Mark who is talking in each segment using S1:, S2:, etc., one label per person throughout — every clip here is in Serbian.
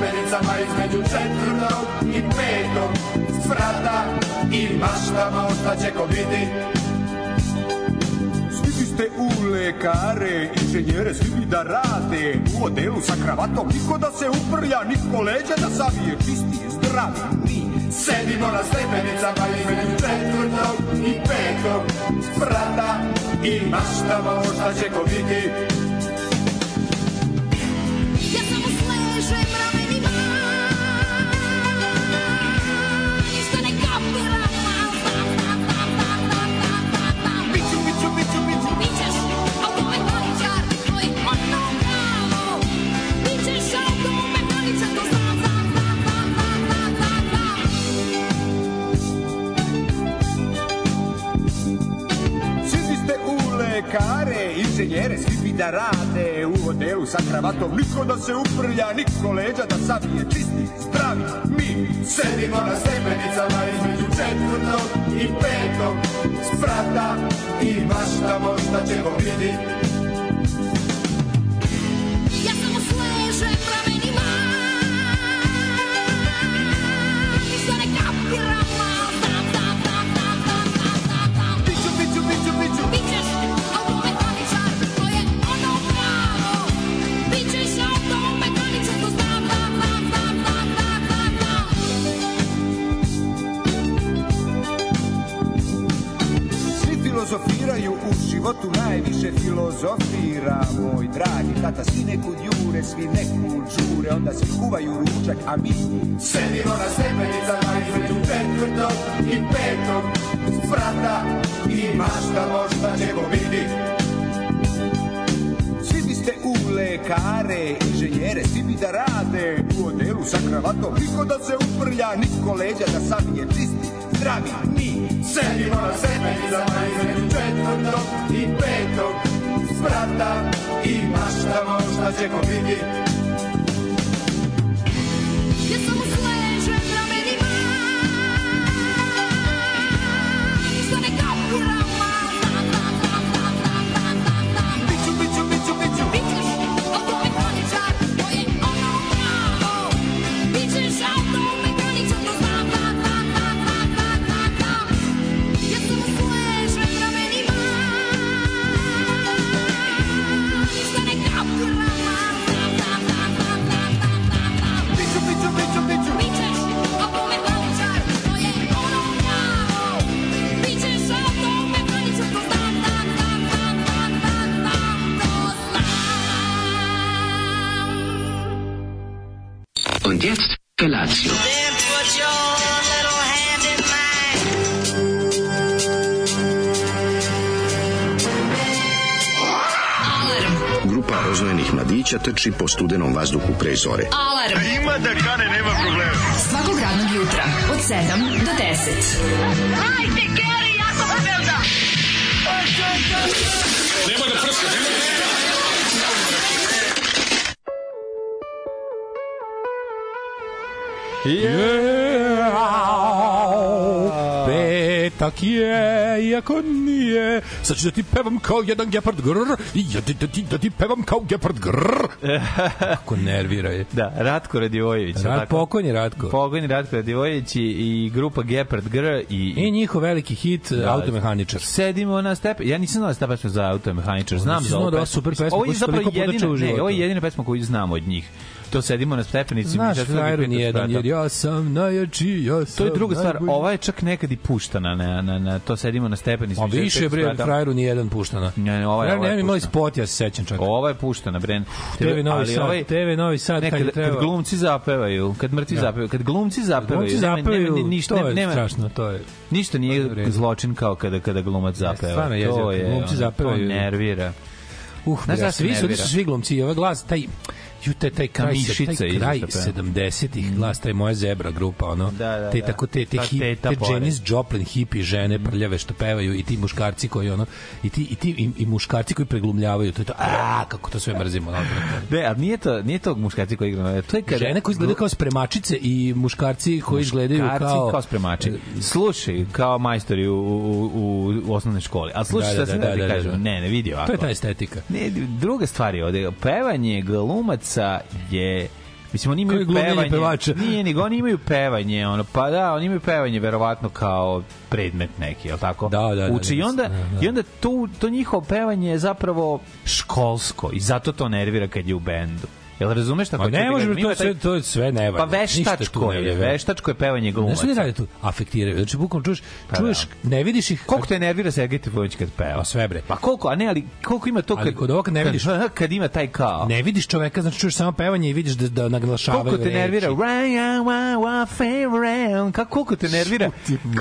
S1: Šmenicama između četvrtog i petog sprata I maštama ostaće ko vidi
S2: Svi biste u lekare, inženjere, svi bi da rade U odelu sa kravatom, niko da se uprlja, niko leđa da savije Čisti, zdravi, mi
S1: Sedimo na stepenicama između četvrtog i petog sprata I maštama ostaće ko vidi
S3: Ja samo sležem ramenima Ništa ne kapiram Tam, tam, tam, tam, tam, tam, tam, tam, tam Biću, biću, biću, biću Bićeš automehaničar To je ono pravo Bićeš automehaničar To znam, znam, znam, znam, znam, znam, znam, znam
S2: Svi biste u lekare, inženjere, svi bi da rade U odelu sa kravatom, niko da se uprlja, niko leđa da savije Čisti, zdravi, mi
S1: Sedimo na stepenicama između četvrtog i petog sprata I maštamo šta će ko vidi
S3: Ja samo sležem ramenima Ništa ne kapiram Tam, tam, tam, tam, tam, tam, tam, tam
S1: Biću, biću, biću, biću
S3: Bićeš automehaničar, to je ono pravo Bićeš automehaničar, to znam, znam, znam, znam, znam, znam, znam, znam
S2: Svi filozofiraju u životu, najviše filozofira moj dragi tata Svi nekud jure, svi nekud žure, onda svi kuvaju ručak, a mi
S1: Sedimo na stepenicama između četvrtog i petog sprata I maštamo šta će ko vidi
S2: Svi biste u lekare, inženjere, svi bi da rade u odelu sa kravatom Niko da se uprlja, niko leđa da savije čisti, zdravi, mi
S1: Sedimo na stepenicama između četvrtog i petog sprata I maštamo šta će ko vidi
S3: Ja samo sležem ramenima Ništa ne kapiram Tam, tam, tam, tam, tam, tam, tam, tam
S1: Biću, biću, biću, biću
S3: Bićeš automehaničar, to je ono pravo Bićeš automehaničar, to znam, znam, znam, znam, znam, znam, znam, znam Ja samo sležem ramenima Ništa ne kapiram Tam, tam, tam, tam, tam, tam, tam, tam
S1: Biću, biću, biću, biću
S3: Bićeš automehaničar, to je ono pravo Bićeš automehaničar, to znam, znam, znam, znam, znam, znam, znam, to znam
S4: Und jetzt Felatio.
S5: Then put your little hand in mine.
S6: Grupa roznojenih mladića trči po studenom vazduhu pre zore.
S7: Alarm. E, ima da kane, nema problema. Svakog radnog jutra, od 7 do 10. Hajde, Keri, jako se velda!
S8: Yeah. Petak je, iako nije. Sad ću da ti pevam kao jedan gepard grr i ja ti, da, ti, da ti pevam kao gepard grr. Kako nervira je.
S9: Da, Ratko Radivojević. jel
S8: Rad,
S9: tako?
S8: pokojni Ratko.
S9: Pokojni Ratko Radivojević i, i grupa Gepard Gr i...
S8: I njihov veliki hit, da, automehaničar.
S9: Sedimo na stepe. Ja nisam znao da ste pesma za automehaničar. Znam
S8: Nisam
S9: za ovu
S8: znao da je super pesma,
S9: Ovo je
S8: koju sam
S9: zapravo
S8: toliko puta
S9: jedina,
S8: čuo u
S9: ne,
S8: životu.
S9: ovo je jedina pesma koju znam od njih. To sedimo na stepenici.
S8: Znaš,
S9: mi četvrtog i
S8: frajer
S9: petog
S8: nijedan,
S9: sprata.
S8: jer ja sam najjači, ja sam
S9: To je druga stvar, ovaj
S8: najbolji.
S9: ova je čak nekad i puštana na, na, na to sedimo na stepenici.
S8: Ma
S9: mi četvrtog
S8: više bre,
S9: sprata.
S8: frajeru nijedan puštana.
S9: Ne, ne, ovaj-
S8: Frajer,
S9: ovaj je
S8: ne, imali
S9: puštana.
S8: spot, ja se sećam čak.
S9: Ova je puštana, Bren.
S8: TV Novi
S9: Ali
S8: Sad, TV Novi Sad,
S9: ne,
S8: kad
S9: kad,
S8: je
S9: kad
S8: trebao.
S9: glumci zapevaju, kad mrtvi zapevaju, kad glumci zapevaju,
S8: Glumci
S9: nema- nema-
S8: zapevaju,
S9: ništa,
S8: to je
S9: nema,
S8: strašno, to je.
S9: Ništa
S8: u
S9: nije
S8: redu.
S9: zločin kao kada kada glumac zapeva.
S8: E, stvarno je jezivo
S9: to
S8: kad
S9: je,
S8: glumci
S9: ono,
S8: zapevaju.
S9: To nervira.
S8: Uh,
S9: Znaš
S8: Znaš da
S9: šta se
S8: svi su,
S9: nervira?
S8: nisu svi glumci i ovaj glas, taj ju taj taj kraj,
S9: mišica
S8: taj
S9: iza
S8: kraj
S9: sebe.
S8: 70-ih glas, taj moja zebra grupa, ono.
S9: pa Mm. Da, da,
S8: te
S9: da.
S8: tako te te,
S9: Ta
S8: hi,
S9: teta
S8: te
S9: pored. Mm.
S8: Janis Joplin hipi žene prljave što pevaju i ti muškarci koji ono i ti i ti i, i muškarci koji preglumljavaju, to je to. A kako to sve mrzimo, ono.
S9: Ne, ali nije to, nije to muškarci koji igra. To je kada
S8: Žene koji izgledaju kao spremačice i muškarci koji izgledaju
S9: Karci
S8: kao e,
S9: kao spremači. Slušaj, kao majstori u, u, u, u osnovnoj školi. A slušaj,
S8: Da,
S9: da,
S8: da,
S9: da,
S8: da,
S9: da, ti
S8: da, da,
S9: kažem,
S8: da.
S9: ne, ne, vidi ovako.
S8: To je ta estetika.
S9: Ne, druga stvar je ovde, pevanje glumaca je Mislim, oni
S8: Koje
S9: imaju
S8: glumljenje
S9: pevanje.
S8: pevača?
S9: Nije, nego oni imaju pevanje. Ono, pa da, oni imaju pevanje verovatno kao predmet neki, je li tako?
S8: Da, da, da,
S9: Uče i
S8: da,
S9: onda,
S8: da, da.
S9: i onda to, to njihovo pevanje je zapravo školsko i zato to nervira kad je u bendu. Jel razumeš tako?
S8: Ma ne može, to je sve, to je sve nevalja.
S9: Pa
S8: Ništa tu
S9: veštačko
S8: ne
S9: je,
S8: valja.
S9: veštačko je pevanje
S8: Znaš
S9: glumaca.
S8: šta ne radi tu? Afektiraju. Znači, bukom čuješ,
S9: Pa
S8: čuješ, ne vidiš ih.
S9: Koliko te nervira Sergej Trifunović kad peva?
S8: Pa sve, bre.
S9: Pa koliko, a ne, ali koliko ima to kad...
S8: Ali kod ovog ne vidiš.
S9: Kad, kad ima taj kao.
S8: Ne vidiš čoveka, znači čuješ samo pevanje i vidiš da, da naglašavaju
S9: Koliko te
S8: reči.
S9: nervira? Run, run, run, run, fair round. Kako koliko te nervira?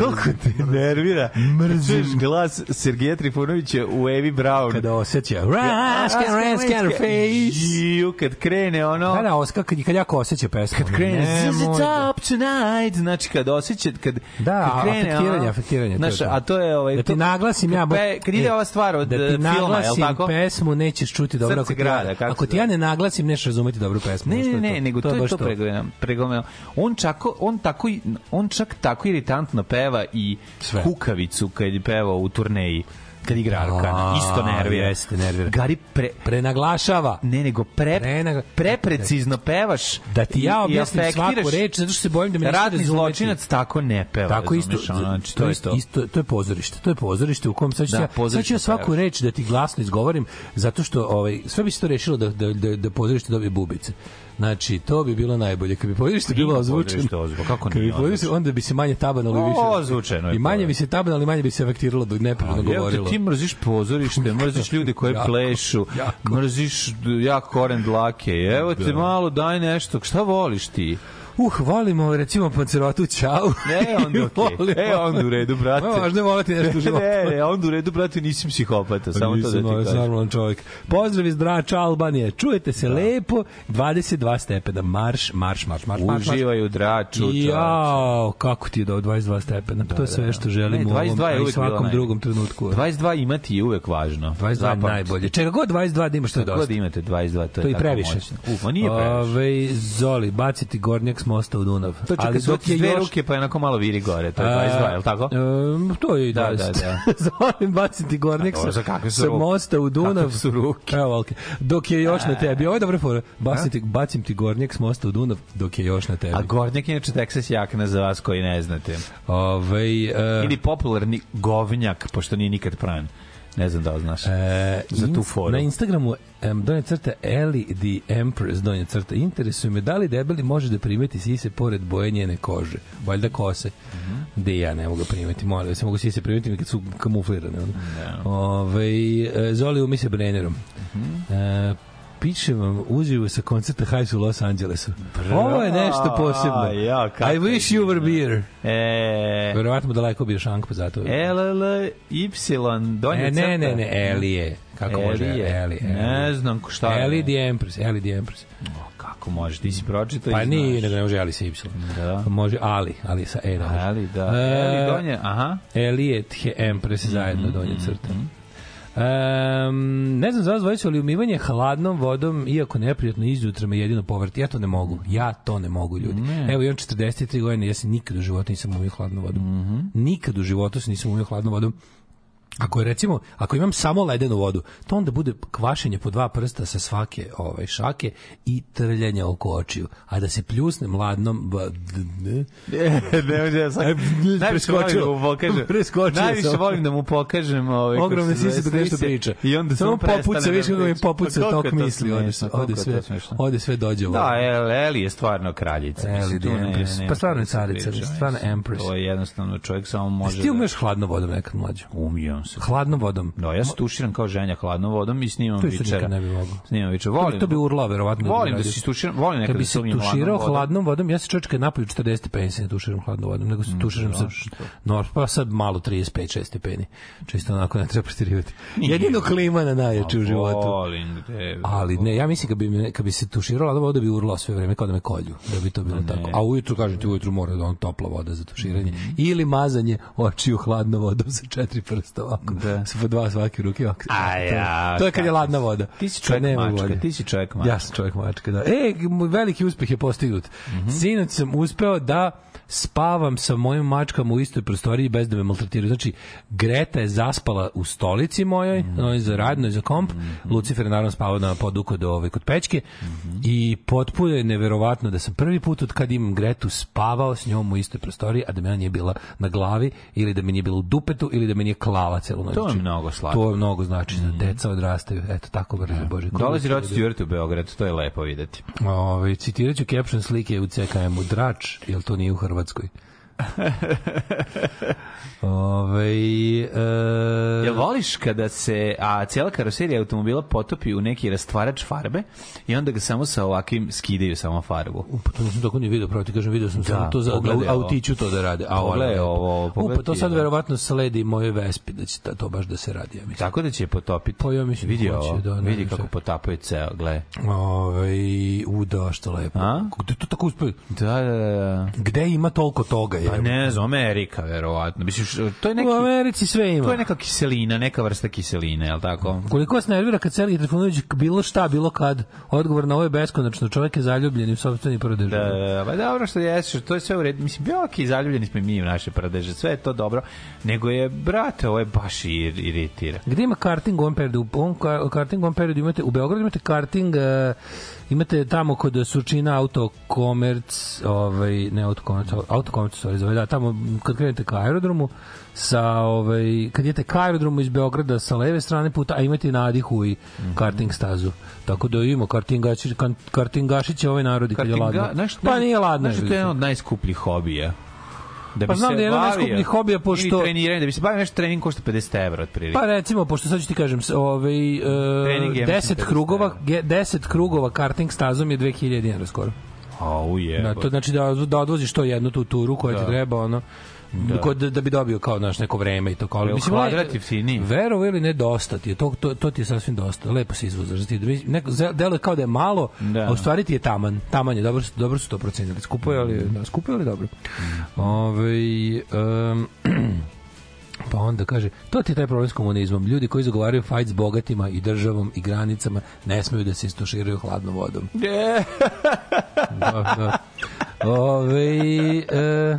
S9: Koliko te nervira? Mrzim. Čuješ glas Sergeja Trifunovića u Evi Brown.
S8: Kada osjeća. Raskan, raskan, face.
S9: Ju, kad krene ono...
S8: Da, da, oska, kad, kad jako osjeća pesmu. Kad
S9: krene ZZ Top tonight, znači kad osjeća, kad,
S8: Da,
S9: kad krene,
S8: afektiranje,
S9: ono,
S8: afektiranje, to je
S9: Znaš,
S8: to.
S9: a to je... Ovaj,
S8: Da ti
S9: to-
S8: naglasim ja... bo-
S9: Pe, kad ide
S8: e,
S9: ova stvar od
S8: da ti
S9: eh, filma, je
S8: naglasim
S9: li tako?
S8: pesmu nećeš čuti dobro.
S9: Srce
S8: ako ti
S9: grada,
S8: ja-
S9: kako
S8: Ako
S9: se
S8: ti ja
S9: zove?
S8: ne naglasim, nećeš razumeti dobru pesmu.
S9: Ne,
S8: Znaš,
S9: ne,
S8: je
S9: ne, nego to, je
S8: baš
S9: to pregledam, pregledam. On čako, on tako i- on čak tako iritantno peva i
S8: Sve.
S9: kukavicu kad je pevao u turneji kad igra Arkana,
S8: A,
S9: isto nervira.
S8: jeste, nervira.
S9: Gari pre,
S8: Prenaglašava.
S9: ne nego pre,
S8: Pre nego-
S9: preprecizno pevaš
S8: Da ti ja
S9: i- i
S8: objasnim svaku
S9: afektiraš.
S8: reč, zato što se bojim da me nećeš
S9: Ratni
S8: razumeti.
S9: zločinac tako ne peva.
S8: Tako isto,
S9: razumeš, ono, znači,
S8: to, je isto, isto, to je pozorište. To je pozorište u kom sad ću,
S9: Da,
S8: ja, sad ću
S9: pozorište
S8: ja svaku
S9: pevaš.
S8: reč da ti glasno izgovorim, zato što ovaj, sve bi se to rešilo da, da, da, da pozorište dobije bubice. Znači, to bi bilo najbolje. Kad bi pozorište bilo ozvučeno,
S9: pozorište ozvučeno, kako
S8: kad bi
S9: nije
S8: pozorište, onda bi se manje tabanalo i
S9: O,
S8: više.
S9: ozvučeno je
S8: I manje
S9: to.
S8: bi se tabanalo, ali manje bi se afektiralo da nepravilno
S9: Ali evo te,
S8: govorilo.
S9: ti mrziš pozorište, mrziš ljude koje
S8: Jako,
S9: plešu,
S8: jako.
S9: mrziš d- ja koren dlake. Evo te malo daj nešto. Šta voliš ti?
S8: Uh, volimo recimo pancerotu, čau.
S9: Ne, onda okej.
S8: Volimo-
S9: E, onda u redu, brate. E,
S8: Ma, Važno je volati nešto u životu.
S9: Ne, ne, onda u redu, brate, nisam psihopata, samo to da
S8: Nisam,
S9: ti
S8: ovaj,
S9: kažem.
S8: normalan čovjek. Pozdrav iz Drača Albanije. Čujete se lepo, 22 stepena. Marš, marš, marš, marš, marš. marš.
S9: Uživaj u draču, čoveče.
S8: Jao, kako ti je do 22 stepena? Pa to je sve što želim
S9: Ne,
S8: u
S9: 22 je
S8: ovom, pa i
S9: uvijek bilo
S8: svakom
S9: najbolje.
S8: drugom trenutku.
S9: 22 imati je uvek važno.
S8: 22 je
S9: Zapamtite.
S8: najbolje. Čega god 22 da imaš, to je
S9: Kako god
S8: dosta.
S9: imate 22, to je
S8: To je i
S9: tako
S8: previše.
S9: moćno. Uf, ma nije previše.
S8: Ove, Zoli, baciti gornjak s mosta u Dunav.
S9: To čekaj,
S8: Ali
S9: ali
S8: dok je
S9: dve
S8: još...
S9: ruke, pa onako malo viri gore, to je 22, je li tako?
S8: Um, to je i
S9: Da,
S8: 20.
S9: da, da.
S8: Zolim baciti gornjak
S9: A dobro, za kakve
S8: sa,
S9: su
S8: sa
S9: ruke?
S8: mosta u Dunav.
S9: Kakve su ruke?
S8: Evo, okay. Dok je još na tebi. Ovo je dobra fora. Baciti, bacim ti gornjak s mosta u Dunav dok je još na tebi.
S9: A gornjak je inače Texas jakna za vas koji ne znate.
S8: Ovaj e,
S9: Ili popularni govnjak, pošto nije nikad pran. Ne znam da li znaš.
S8: e,
S9: za tu
S8: ins-
S9: foru.
S8: Na Instagramu em, donje crta Ellie the Empress donje crta. Interesuje me da li debeli može da primeti sise pored boje njene kože. Valjda kose.
S9: Mhm.
S8: Da i ja ne mogu primeti. Molim, se mogu sise primeti kad su kamuflirane. Yeah. Ove, Zoli umi se Brennerom.
S9: Mhm.
S8: E, piše vam uživo sa koncerta Hives u Los Angelesu. Ovo je nešto posebno.
S9: ja, kako
S8: I wish you were beer.
S9: E,
S8: Verovatno mu daleko bio šank, pa zato.
S9: L, L, Y, donje
S8: E, ne,
S9: crta.
S8: ne, ne, Elije. Kako može
S9: Eli
S8: Elije?
S9: je.
S8: Elije.
S9: Ne znam ko- šta je.
S8: Eli the Empress, Eli the Empress.
S9: O, Kako može, ti si pročitao
S8: Pa
S9: i
S8: ni,
S9: znaš.
S8: nego ne može Ali sa Y.
S9: Da.
S8: Može Ali, Ali sa E. da može.
S9: Ali, da.
S8: E,
S9: Eli donje, aha.
S8: Elije the Empress
S9: Mhm,
S8: zajedno donje crta. Um, ne znam za vas dvojicu, ali umivanje hladnom vodom, iako neprijatno izjutra me jedino povrti. Ja to ne mogu. Ja to ne mogu, ljudi. Evo, imam 43 godine, ja se nikad u životu nisam umio hladnom vodom.
S9: Mhm.
S8: Nikad u životu se nisam umio hladnom vodom. Ako je recimo, ako imam samo ledenu vodu, to onda bude kvašenje po dva prsta sa svake ovaj šake i trljanje oko očiju, a da se pljusnem ladnom ba- d- ne.
S9: ne, ne, ja sam,
S8: E,
S9: najviše volim da
S8: preskočio.
S9: mu pokažem.
S8: Preskočio
S9: najviše
S8: sam.
S9: volim da mu pokažem ovaj, ove
S8: ogromne sise dok nešto priča.
S9: I onda
S8: samo
S9: samo prestane
S8: popuca,
S9: da
S8: vidiš kako mi
S9: priča.
S8: popuca
S9: Pa koliko
S8: tok
S9: je to
S8: misli, ode, sve- ode
S9: smešno, koliko je to
S8: sve,
S9: smešno.
S8: ode sve dođe ovo.
S9: Da, e, El, Eli je stvarno kraljica.
S8: Eli
S9: mislim,
S8: the
S9: tu ne-
S8: Empress.
S9: ne- ne-
S8: Pa stvarno je
S9: ne- ne- ne-
S8: carica,
S9: ne- ne-
S8: stvarno Empress.
S9: To je jednostavno čovjek samo može...
S8: Ti umeš hladnom vodom nekad mlađe.
S9: Umijam se.
S8: Hladnom vodom.
S9: No, ja se tuširam kao ženja hladnom vodom i snimam
S8: To isto
S9: vičera.
S8: nikad ne bi mogao.
S9: Snimam vičera.
S8: To bi-
S9: Volim.
S8: To bi urlao verovatno. bi
S9: Volim da
S8: radio.
S9: se tuširam, volim nekad
S8: Kad
S9: da
S8: bi
S9: se
S8: se
S9: umijem hladnom
S8: tuširao
S9: vodom.
S8: hladnom vodom, ja se čovječe kad napolju 40 stepeni se ne tuširam hladnom vodom, nego se
S9: Mm,
S8: tuširam sa no, pa sad malo 35 6 stepeni. Čisto onako ne treba preterivati. Jedino klima na najjači
S9: Pa
S8: u životu.
S9: Volim, gde-
S8: Ali ne, ja mislim kad bi, me- kad bi se tuširao hladna voda bi urlao sve vreme kao da me kolju, da bi to bilo tako. A ujutru, kažem ti,
S9: Mhm.
S8: ujutru mora da on topla voda za tuširanje. Ili mazanje očiju hladnom vodom sa četiri prsta ovako.
S9: Da.
S8: Sa dva svake ruke ovako.
S9: A
S8: To-
S9: ja,
S8: To je kad je
S9: kako
S8: ladna
S9: si.
S8: voda.
S9: Ti si
S8: Kad
S9: čovjek
S8: nema
S9: mačka,
S8: vode.
S9: ti si čovjek mačka.
S8: Ja sam čovjek mačka, da. E, moj veliki uspeh je postignut.
S9: Mhm.
S8: Sinoć sam uspeo da spavam sa mojim mačkama u istoj prostoriji bez da me maltretiraju. Znači, Greta je zaspala u stolici mojoj,
S9: Mhm.
S8: onoj za radnoj, za komp. Lucifer je naravno spavao na poduku do ove kod pečke.
S9: Mhm.
S8: I potpuno je neverovatno da sam prvi put od kad imam Gretu spavao s njom u istoj prostoriji, a da me ona nije bila na glavi ili da me nije bila u dupetu ili da me nije klala celu noć. Znači,
S9: To je mnogo slatko. Mhm.
S8: To je mnogo znači da deca odrastaju. Eto, tako brzo, Bože. Koliko
S9: Dolazi
S8: je to
S9: Rod Stewart u Beograd, to je lepo videti.
S8: Ove, citirat ću Ovaj, caption slike u CKM-u. Drač, jel to nije u Hrvatskoj? Ove, e,
S9: Jel voliš kada se a cijela karoserija automobila potopi u neki rastvarač farbe i onda ga samo sa ovakvim skidaju samo farbu?
S8: pa to nisam tako ni video, pravo ti kažem, video sam samo to za
S9: pogledaj
S8: da,
S9: ovo.
S8: autiću to da rade. A ovo je
S9: Pogledaj
S8: lepo.
S9: ovo,
S8: U, pa
S9: pogledaj
S8: to
S9: ti,
S8: sad
S9: da.
S8: verovatno sledi moje Vespi, da će ta- to baš da se radi, ja mislim.
S9: Tako da će je potopiti.
S8: Pa ja mislim
S9: vidi
S8: da hoće,
S9: ovo,
S8: da, ne
S9: vidi
S8: znam
S9: kako
S8: šta.
S9: potapaju ceo, gle.
S8: Ove, Ovaj, u, da, što lepo.
S9: A?
S8: Gde to tako uspe?
S9: Da, da, da.
S8: Gde ima toliko toga? Je?
S9: Pa ne znam, Amerika, verovatno. Mislim, š- to je neki...
S8: U Americi sve ima.
S9: To je neka kiselina, neka vrsta kiseline, je li tako?
S8: Koliko vas nervira kad Sergij Trifunović bilo šta, bilo kad, odgovor na ovo je beskonačno, čovjek je zaljubljen i u sobstveni prodrž.
S9: Da, da, da, pa dobro što jeste, to je sve u redu. Mislim, bio ok, zaljubljeni smo i mi u naše pradeže, sve je to dobro, nego je, brate, ovo je baš ir, iritira.
S8: Gde ima karting u ovom periodu? U ovom ka- karting u ovom periodu imate, u Beogradu imate karting, e, imate tamo kod Surčina autokomerc, ovaj, ne autokomerc, autokomerc, sorry, zove, da, tamo kad krenete ka aerodromu, sa, ovaj, kad idete ka aerodromu iz Beograda sa leve strane puta, a imate i na Adihu i
S9: Mhm.
S8: karting stazu. Tako da ima kartingaši, kan- kartingašiće ovaj narodi kad je ladno.
S9: znaš,
S8: pa nije ladno.
S9: Znaš, da je to jedan od najskupljih hobija. Da
S8: Pa
S9: bi
S8: znam
S9: se
S8: da je jedan od
S9: bavio-
S8: najskupljih hobija,
S9: ili
S8: pošto-
S9: treniranje, da bi se bavio nešto trening košta 50 evra, otprilike.
S8: Pa recimo, pošto sad ću ti kažem, s- ovaj, e,
S9: Trening je, mislim,
S8: 10 krugova,
S9: 50
S8: ge- 10 krugova karting stazom je 2000 dinara skoro.
S9: Au, je.
S8: Da, to znači da, da odvoziš to jednu tu turu koja ti treba, ono, da. Kod, da bi dobio kao naš neko vreme i to kao
S9: Jel
S8: le-
S9: kvadrat jeftiniji?
S8: verovo ili ne dosta ti je to, to, to ti je sasvim dosta lepo se izvozaš ti neko ze- deluje kao da je malo
S9: Da.
S8: a u stvari ti je taman taman je dobro su, dobro su to procenili skupo je ali da, skupo je ali dobro ovaj em, Pa onda kaže, to ti je taj problem s komunizmom. Ljudi koji zagovaraju fajt s bogatima i državom i granicama ne smeju da se istuširaju hladnom vodom. da, da. Ove, e,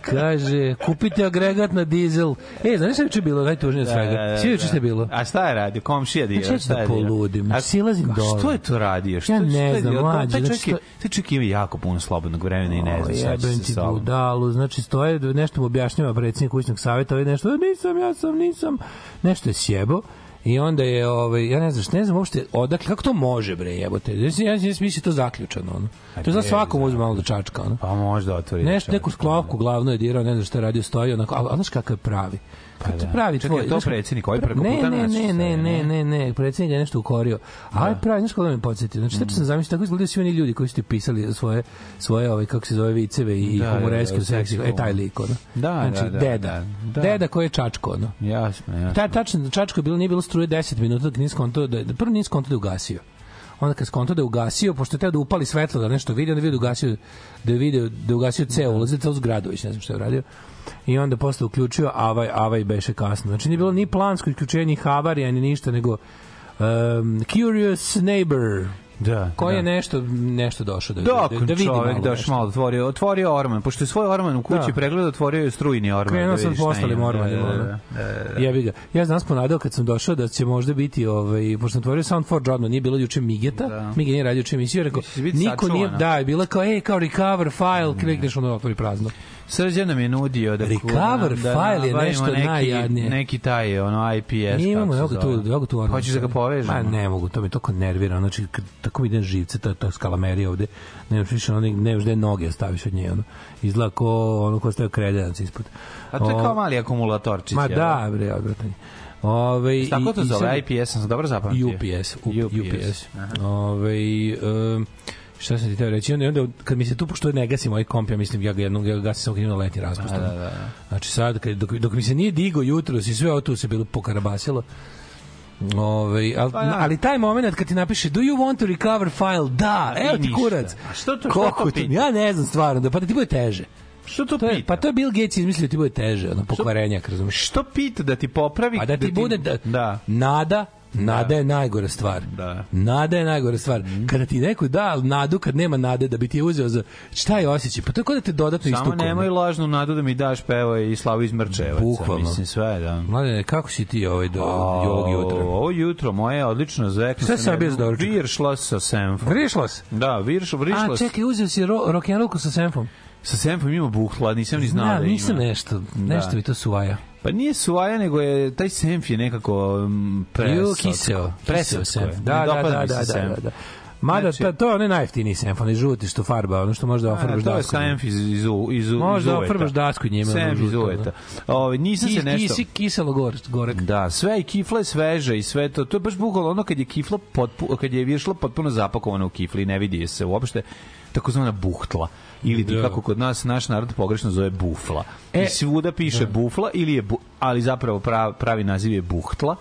S8: kaže, kupite agregat na dizel. E, znaš šta je juče bilo najtužnije od svega? Svi juče šta je bilo?
S9: E, A šta je radio? Komšija dio?
S8: Znači, ja ću
S9: šta je
S8: da
S9: dio?
S8: poludim,
S9: A
S8: silazim
S9: a
S8: dole.
S9: Što je to radio? Što,
S8: Ja
S9: što
S8: ne
S9: je
S8: znam,
S9: radio?
S8: mlađe,
S9: Taj
S8: znači,
S9: čovjek je- Taj čovjek ima jako puno slobodnog vremena i ne znam šta će
S8: Jebem
S9: se
S8: ti
S9: sa ovom.
S8: budalu, znači stoje, nešto mu objašnjava predsjednik kućnog savjeta, ovaj nešto, "E, nisam, ja sam, nisam, nešto je sjebo. I onda je, ovaj, ja ne znam, šta- ne znam uopšte odakle, kako to može bre, jebote. Ja, ja, ja mislim da je to zaključano, ono. To je za svakom uzme malo da čačka, ono.
S9: Pa možda otvori.
S8: Nešto,
S9: da
S8: neku sklavku glavno je dirao, ne znam šta je radio, stoji onako, ali, ali znaš kakav je pravi. Pa
S9: da.
S8: pravi
S9: Čekaj,
S8: tvoj,
S9: je to
S8: znaš kako-
S9: predsjednik, ovaj
S8: pra-
S9: preko
S8: ne,
S9: puta
S8: ne,
S9: nas,
S8: ne, ne,
S9: šta
S8: ne,
S9: je,
S8: ne, ne, predsjednik ga je nešto ukorio. A ovaj pravi, znaš kako me podsjetio? Znači,
S9: Mm.
S8: tačno sam zamislio, tako izgledaju svi oni ljudi koji su ti pisali svoje, svoje ovaj, kako se zove, viceve i
S9: Da, da,
S8: da,
S9: da,
S8: humoreske,
S9: da,
S8: da, seksi,
S9: seksi
S8: e, taj lik, ono.
S9: Da,
S8: znači,
S9: da, da,
S8: deda.
S9: da, da.
S8: Deda koji je čačko, ono.
S9: Jasno, jasno.
S8: Ta, tačno, Čačko je bilo, nije bilo struje 10 minuta, dok nije skonto, da, da prvo nije skonto da je ugasio. Onda kad skonto da je ugasio, pošto je teo da upali svetlo da nešto vidi, onda je video da je ugasio, da je video da je ugasio ceo ulaz, ceo zgradu, već ne znam šta je uradio. I onda posle uključio, avaj, avaj beše kasno. Znači nije bilo ni plansko isključenje, ni havarija, ni ništa, nego um, Curious Neighbor,
S9: Da,
S8: koji
S9: da.
S8: je nešto, nešto došao da, da,
S9: Dok
S8: da, da vidi
S9: čovjek
S8: malo
S9: doš
S8: nešto.
S9: malo otvorio, otvorio orman, pošto je svoj orman u kući
S8: Da.
S9: pregledao, otvorio je strujni orman.
S8: Krenuo
S9: da
S8: sam
S9: vidiš šta
S8: po ostalim
S9: ima.
S8: ormanima,
S9: Da, da,
S8: ono.
S9: da.
S8: Jebi ga. Ja znam ponadao kad sam došao da će možda biti ovaj pošto sam otvorio Sound for Jordan, nije bilo juče Migeta. Da. Miget nije radio juče emisiju, rekao
S9: će biti
S8: niko nije
S9: sačuvana.
S8: da, je bila kao ej kao recover file, klikneš ono otvori prazno.
S9: Srđan nam je nudio da
S8: Recover
S9: da
S8: file je
S9: nabavimo
S8: nešto
S9: neki,
S8: najjadnije.
S9: Neki taj ono IPS.
S8: Mi imamo, evo
S9: kako se
S8: ga tu,
S9: zove.
S8: evo ga tu. orman.
S9: Hoćeš da ga povežemo?
S8: Ma ne mogu, to me toliko nervira. Znači, kad, tako mi ide na živce, ta, ta skalamerija ovde. Ne možeš više, ono, ne možeš da je noge staviš od nje. Ono. Izgleda ko ono ko stavio kredenac ispod.
S9: A to je
S8: O,
S9: kao mali akumulatorčić.
S8: Ma
S9: Znači, jel?
S8: da, bre, odvratanje. Ove,
S9: Tako
S8: i-
S9: to
S8: i sad-
S9: zove, IPS, sam se dobro zapamtio.
S8: UPS, up- UPS. Ovaj um, šta sam ti teo reći, onda, onda kad mi se tu, pošto ne gasi moj komp, ja mislim, ja ga jednom ja ga gasim samo kad imam letnji raspust. Da, da, da. Znači sad, kad, dok, dok mi se nije digo jutro, i sve ovo tu se bilo pokarabasilo, Ove, ali,
S9: Pa da.
S8: ali taj moment kad ti napiše do you want to recover file, da, evo ti
S9: ništa.
S8: kurac.
S9: A što to- što
S8: Koliko
S9: to
S8: to-
S9: pita?
S8: Ja ne znam stvarno, da, pa da ti bude teže.
S9: Što to,
S8: To je,
S9: pita?
S8: pa to je Bill Gates izmislio da ti bude teže, ono pokvarenjak, razumiješ?
S9: Što pita da ti popravi?
S8: A da ti bude da,
S9: da.
S8: nada Nada je najgora stvar.
S9: Da. Mhm.
S8: Nada je najgora stvar. Kada ti neko da nadu, kad nema nade, da bi ti je uzeo za... Šta je osjećaj? Pa to je kao da te dodatno
S9: Samo
S8: istukom.
S9: nemoj lažnu nadu da mi daš peva i slavu iz Mrčevaca.
S8: Bukvalno.
S9: Mislim, sve, da.
S8: Mladene, kako si ti ovaj do,
S9: A,
S8: ovog jutra?
S9: Ovo jutro moje je odlično zvekno.
S8: Šta si
S9: sam
S8: nabio
S9: jednu
S8: za doručak?
S9: Viršla sa semfom.
S8: Vrišlo se.
S9: Da, virš,
S8: A,
S9: vrišla sa-
S8: čekaj, uzeo si ro, rock'n'rollku sa semfom.
S9: sa semfom ima buhla, nisam ni znao
S8: Da,
S9: da
S8: nisam
S9: ima.
S8: nešto. Nešto
S9: Da.
S8: mi to suvaja.
S9: Pa nije suvaja, nego je taj senf je nekako um, preslatko.
S8: Ju, kiseo. Preseo
S9: Preslatko je.
S8: sem.
S9: Ne
S8: Da, da, da,
S9: dopada
S8: da,
S9: mi se
S8: da, da,
S9: senf.
S8: da. Mada,
S9: Znači-
S8: ta, to je onaj najeftiniji senf, onaj žuti što farba, ono što možda
S9: A,
S8: ofarbaš
S9: to je
S8: daskom.
S9: senf iz, iz, u- iz, u- iz
S8: Možda
S9: uveta.
S8: ofarbaš dasku njime, ono
S9: Senf iz
S8: žuto,
S9: uveta. Ove, nisam se
S8: Kis,
S9: nešto...
S8: kisi, kiselo gore, gorek.
S9: Da, sve i kifla je sveža i sve to. To je baš bukvalno ono kad je kifla potpu, kad je viršla potpuno zapakovana u kifli, ne vidi je se uopšte takozvana buhtla ili ti
S8: Da.
S9: kako kod nas naš narod pogrešno zove bufla.
S8: E,
S9: I svuda piše bufla ili je bu, ali zapravo pravi, pravi naziv je buhtla,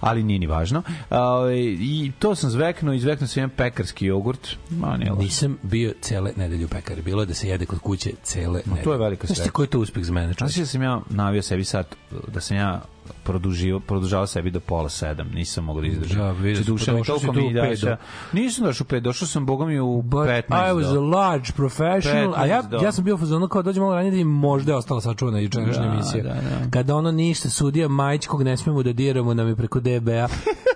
S9: ali nije ni važno. A, ovaj, I to sam zveknuo, i zveknuo sam jedan pekarski jogurt. Ma, ne, loš.
S8: Nisam bio cele nedelje u pekari. Bilo je da se jede kod kuće cele nedelje.
S9: je velika
S8: Znaš ti
S9: sreća.
S8: koji je to uspeh za mene?
S9: Znaš
S8: čoveče?
S9: da sam ja navio sebi sat, da sam ja produžio, produžao sebi do pola sedam, nisam mogao da izdržim.
S8: Da, vidio sam,
S9: Če duša
S8: pa
S9: mi
S8: došao si tu
S9: toliko mi
S8: u
S9: daš.
S8: pet do-
S9: da. Nisam došao u pet, došao sam, boga mi, u
S8: But
S9: 15
S8: I was a
S9: do.
S8: large professional. A ja,
S9: 15 do.
S8: ja sam bio u fazonu kao dođe malo ranije da im možda je ostala sačuvana jučerašnja
S9: Da,
S8: emisija.
S9: da, da.
S8: Kada ono ništa, sudija Majić kog ne smemo da diramo nam je preko DBA.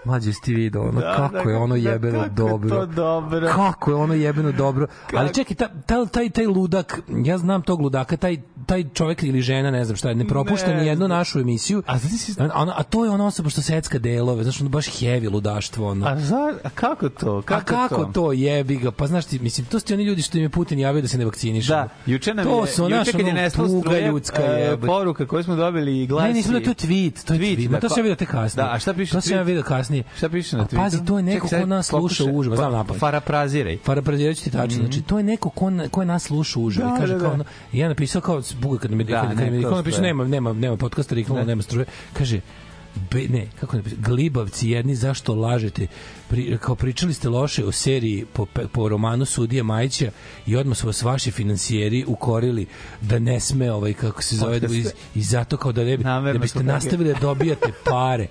S8: Mlađe ste vidio ono
S9: Da,
S8: kako
S9: da,
S8: je ono
S9: da,
S8: jebeno
S9: kako je
S8: dobro.
S9: to dobro.
S8: Kako je ono jebeno dobro. Ali čekaj, ta, ta, taj, taj ludak, ja znam tog ludaka, taj, taj čovek ili žena, ne znam šta, je, ne propušta
S9: Ne
S8: ni jednu našu emisiju.
S9: A znaš si-
S8: A, ona- ono, a to je ona osoba što secka delove, znaš, ono baš heavy ludaštvo. Ono.
S9: A, za, a kako to? Kako
S8: A kako
S9: to?
S8: to jebi ga? Pa znaš ti, mislim, to su ti oni ljudi što im je Putin javio da se ne vakcinišu.
S9: Da, juče nam
S8: to
S9: je,
S8: su,
S9: juče kad je nestalo
S8: struga
S9: struje,
S8: ljudska
S9: e,
S8: jebe.
S9: poruka koju smo dobili i glasi.
S8: Ne, nisam da to je tweet, to je tweet.
S9: Tweet,
S8: tweet.
S9: da,
S8: Ma to
S9: ko-
S8: sam ja video tek kasnije.
S9: Da, a šta piše
S8: To sam
S9: tweet?
S8: ja video kasnije.
S9: Šta piše na
S8: A
S9: Twitteru?
S8: Pazi, to je neko
S9: Čekaj,
S8: ko nas
S9: sad
S8: sluša
S9: pokušaj-
S8: uživo, znam
S9: pa-
S8: napad.
S9: Parafraziraj.
S8: Parafraziraću ti tačno, znači to je neko ko, na, ko je nas sluša uživo
S9: Mhm. Da,
S8: i kaže
S9: da, da.
S8: kao ono, i ja napisao kao buga kad mi
S9: Da,
S8: da, kad, kad
S9: ne,
S8: mi
S9: to
S8: kao napisao
S9: stoji.
S8: nema nema nema podkasta riknula, nema struje, kaže Be, ne, kako je napisao, glibavci jedni, zašto lažete? Pri, kao pričali ste loše o seriji po, pe- po romanu Sudije Majića i odmah su vas vaši financijeri ukorili da ne sme ovaj, kako se zove, da, iz, i zato kao da, ne bi, da
S9: Namerno
S8: biste
S9: su tako-
S8: nastavili da dobijate pare.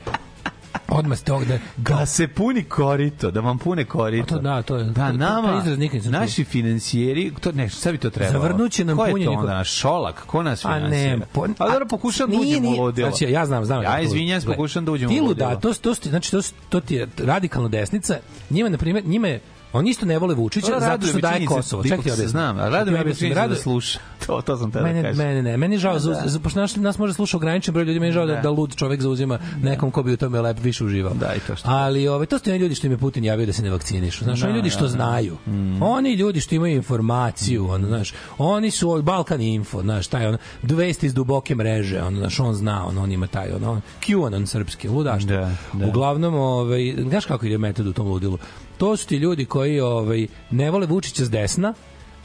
S8: Odmah ste ovog da,
S9: Da se puni korito, da vam pune korito.
S8: A Pa to da, to je- to-
S9: Da,
S8: to-
S9: nama,
S8: taj izraz nikad nisam čuo.
S9: naši financijeri, to, ne, šta bi to trebalo?
S8: Zavrnut će nam
S9: Ko je to
S8: punjenje ko-
S9: onda, Šolak, ko nas
S8: A
S9: finansira?
S8: Pa ne, po,
S9: A dobro, pokušam da
S8: Nije,
S9: uđem u
S8: nije.
S9: ludilo.
S8: Znači, ja znam, znam. kako
S9: Ja
S8: to
S9: izvinjam se,
S8: izgleda.
S9: pokušam da uđem u
S8: Ti
S9: ludilo.
S8: luda, to, to, su- znači, to, su- to ti je radikalno desnica. Njima, na primjer, njima je Oni isto ne vole Vučića zato što daje Kosovo. Čekaj, Znači,
S9: Čekaj,
S8: ovde.
S9: znam, a
S8: Čekaj,
S9: rado mi je
S8: objasnim.
S9: činjenica da
S8: Rado-
S9: sluša. To, to sam tada
S8: Mene,
S9: da kažem.
S8: mene ne, meni je žao, za, za, pošto naš, nas može sluša ograničen broj ljudi, meni je žao da, da lud čovek zauzima nekom ko bi u tome lep više uživao.
S9: Da, i to što-
S8: Ali ove, to su ti oni ljudi što im je Putin javio da se ne vakcinišu. Znaš, oni ljudi što znaju.
S9: Mm.
S8: Oni ljudi što imaju informaciju, ono, znaš, oni su ovaj Balkan Info, znaš, taj ono, dvesti iz duboke mreže, ono, znaš, on zna, on, on ima taj, ono, on, QAnon srpski, ludaštvo.
S9: Da, da.
S8: Uglavnom, ovaj, znaš kako ide metod u tom ludilu? To su ti ljudi koji ovaj, ne vole Vučića s desna,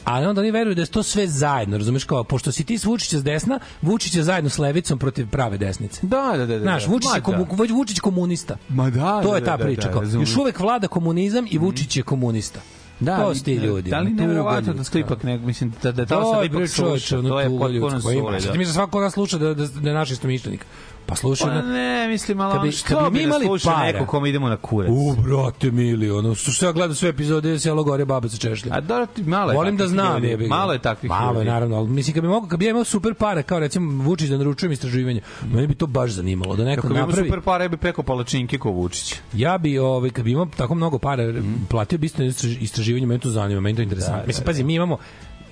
S8: ali onda oni veruju da je to sve zajedno, razumeš kao, pošto si ti s Vučića s desna, Vučić je zajedno s levicom protiv prave desnice.
S9: Da, da, da. da,
S8: Znaš,
S9: da.
S8: Vučić, je
S9: Ma da.
S8: komu, već Vučić je komunista.
S9: Ma da,
S8: to
S9: da,
S8: je ta
S9: da,
S8: priča.
S9: da,
S8: kao,
S9: razumem.
S8: još uvek vlada komunizam i Vučić je komunista. Da, to
S9: ali-
S8: su ti ljudi.
S9: Da li
S8: ono, tuga
S9: nevjerovatno da
S8: ljudska.
S9: sklipak, ne, mislim, da, da, da,
S8: To
S9: da,
S8: je bre
S9: ipak
S8: čoveče,
S9: sluša, to
S8: ono
S9: je
S8: tuga
S9: potpuno
S8: ljudska. Ima,
S9: sule, da.
S8: sad mi za svakog nas sluša da, da, da je naš istomišljenik. Pa slušaj,
S9: Pa
S8: na-
S9: ne, mislim, ali
S8: Kad bi-
S9: on
S8: kad bi mi
S9: što bi nas
S8: imali
S9: slušao
S8: para.
S9: neko kome idemo na kurac?
S8: U, brate mili, ono, što što ja gledam sve epizode, selo gore, baba se češlja.
S9: A da, ti- malo je
S8: Volim da
S9: takvih
S8: znam,
S9: ljudi.
S8: jebi ga.
S9: Malo je takvih
S8: Malo je,
S9: ljudi.
S8: naravno, ali mislim, kad bi mogo, kad bi ja imao super pare, kao recimo Vučić da naručujem istraživanje, mene bi to baš zanimalo, da neko
S9: Kako bi imao
S8: napravi.
S9: super pare, ja bi pekao palačinke ko Vučić.
S8: Ja bi, ovaj, kad bi imao tako mnogo para,
S9: Mhm.
S8: platio bi isto istraž- istraživanje, mene to zanima, meni to je interesantno. Mislim, pazi, mi imamo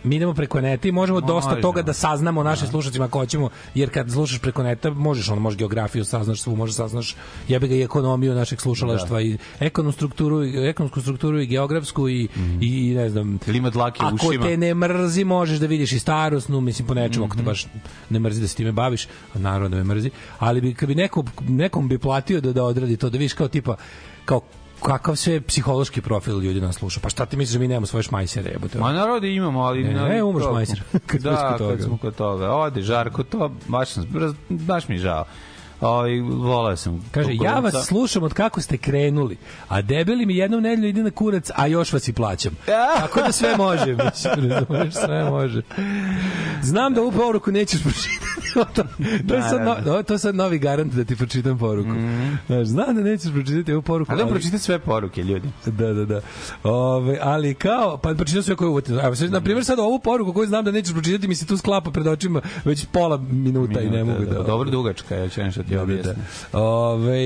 S8: mi idemo preko neta i možemo dosta
S9: Možemo.
S8: toga da saznamo o našim slušateljima ako hoćemo, jer kad slušaš preko neta možeš ono, možeš geografiju, saznaš svu, možeš saznaš jebe ga i ekonomiju našeg slušalaštva i ekonomsku strukturu, i- ekonomsku strukturu i geografsku i, i, i ne znam
S9: Ili ima Mhm. dlake u
S8: Ako
S9: ušima.
S8: te ne mrzi, možeš da vidiš i starosnu, mislim po nečemu, ako te baš ne mrzi da se time baviš, a naravno da me mrzi, ali bi, kad bi neko, nekom bi platio da, da odradi to, da vidiš kao tipa, kao kakav sve psihološki profil ljudi nas sluša. Pa šta ti misliš da mi nemamo svoje šmajsere, jebote?
S9: Ma narodi imamo, ali...
S8: Ne,
S9: ali-
S8: ne, umreš, majster, E, kad smo
S9: da,
S8: kod toga.
S9: kad smo kod toga. Ode, Žarko, to baš, nas- baš mi je žao. Ovaj voleo sam.
S8: Kaže, ja vas
S9: kukurudca.
S8: slušam od kako ste krenuli, a debeli mi jednom nedelju ide na kurac, a još vas i plaćam. Tako da sve može, mislim, razumeš, sve može. Znam da ovu poruku nećeš pročitati. to, to, je sad no, ovo- to je sad novi garant da ti pročitam poruku. Znaš, znam da nećeš pročitati ovu poruku.
S9: Ali on
S8: ali-
S9: pročita sve poruke, ljudi.
S8: Da, da, da. Ove, ali kao, pa pročitao sve koje uvotno. Evo, sad, na primjer, sad ovu poruku koju znam da nećeš pročitati mi se tu sklapa pred očima već pola minuta, i ne mogu da...
S9: Dobro dugačka, ja ću nešto ti
S8: Dobro, da.
S9: objasniti.
S8: Ove,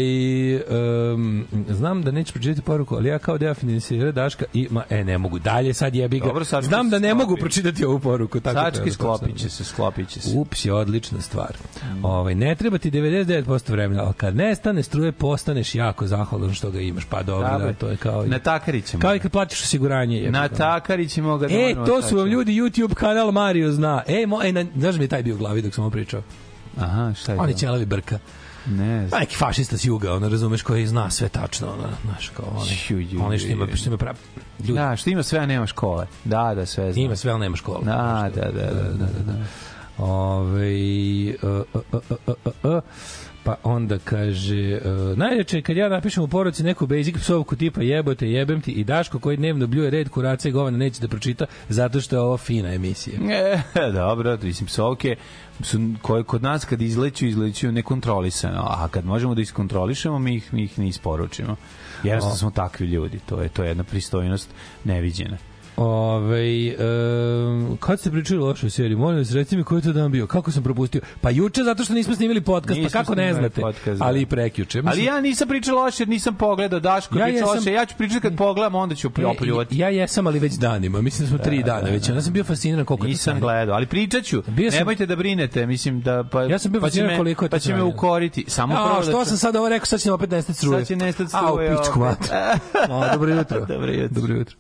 S8: um, znam da neću pročitati poruku, ali ja kao deo finansira Daška i, ma, e, ne mogu dalje, sad jebi ga.
S9: Dobro, sad ću
S8: znam
S9: se
S8: da ne mogu
S9: sklopiti.
S8: pročitati ovu poruku. Tako
S9: Sački
S8: treba,
S9: sklopit
S8: tako
S9: će
S8: sam.
S9: se, Mm. sklopit će se.
S8: Ups je odlična stvar. Ovaj, ne treba ti 99% vremena, ali kad nestane struje, postaneš jako zahvalan što ga imaš. Pa dobro, da,
S9: Dabre.
S8: to je kao... i-
S9: Natakarit ćemo.
S8: Kao i kad platiš osiguranje. jebi ga.
S9: Natakarit ćemo ga.
S8: E,
S9: dovoljno
S8: to su vam
S9: otačemo.
S8: ljudi YouTube kanal Mario zna. E, mo, e na, znaš mi je taj bio u glavi dok sam ovo pričao?
S9: Aha, šta je
S8: On je
S9: to?
S8: ćelavi brka.
S9: Ne
S8: Pa
S9: znam.
S8: neki fašista s juga, ono, razumeš, koji zna sve tačno, ono, znaš, kao
S9: Ju, ju, ju.
S8: oni, oni što ima, što ima pravi, Pa, ljudi,
S9: Da, što ima sve, a nema škole. Da, da, sve znam.
S8: ima sve, ali nema školu.
S9: Da, da, da, da, da, da.
S8: Ove, uh, uh, uh, uh, uh, uh. pa onda kaže uh, najjače je kad ja napišem u poruci neku basic psovku tipa jebote jebem ti i Daško koji dnevno bljuje red kuraca i govana neće da pročita zato što je ovo fina emisija
S9: E, dobro, mislim, psovke su, koje kod nas kad izleću, izleću nekontrolisano, a kad možemo da iskontrolišemo, mi ih, mi ih ne isporučimo. Jednostavno smo takvi ljudi, to je, to je jedna pristojnost neviđena.
S8: Ove, um, kad ste pričali o lošoj seriji, molim vas, reci mi koji je to dan bio, kako sam propustio? Pa juče zato što nismo snimili podcast,
S9: Nismo
S8: pa kako ne
S9: snimali
S8: znate?
S9: podcast, da.
S8: ali i prekjuče.
S9: Ali ja nisam pričao loše jer nisam pogledao, Daško
S8: Ja
S9: ja pričao
S8: jesam-
S9: loše, ja ću pričati kad pogledam, onda ću
S8: ja,
S9: opljuvati.
S8: Pa ja jesam, ali već danima. Mislim da smo tri dana već. Onda sam bio fasciniran koliko je to
S9: Nisam
S8: stanje.
S9: gledao, ali pričat ću.
S8: Bio sam-
S9: Nemojte da brinete, mislim da... Pa,
S8: Ja sam bio
S9: pa će
S8: fasciniran
S9: me-
S8: koliko je to
S9: Pa će me
S8: trajalo.
S9: ukoriti. Samo prvo
S8: A,
S9: da
S8: što
S9: ču-
S8: sam sad ovo rekao, sad će nam opet nestati struje.
S9: Sad će nestat
S8: A, u
S9: struje
S8: pičku
S9: opet.
S8: mater. A, dobro jutro.
S9: Dobro jutro.
S8: Dobro jutro.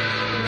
S3: Thank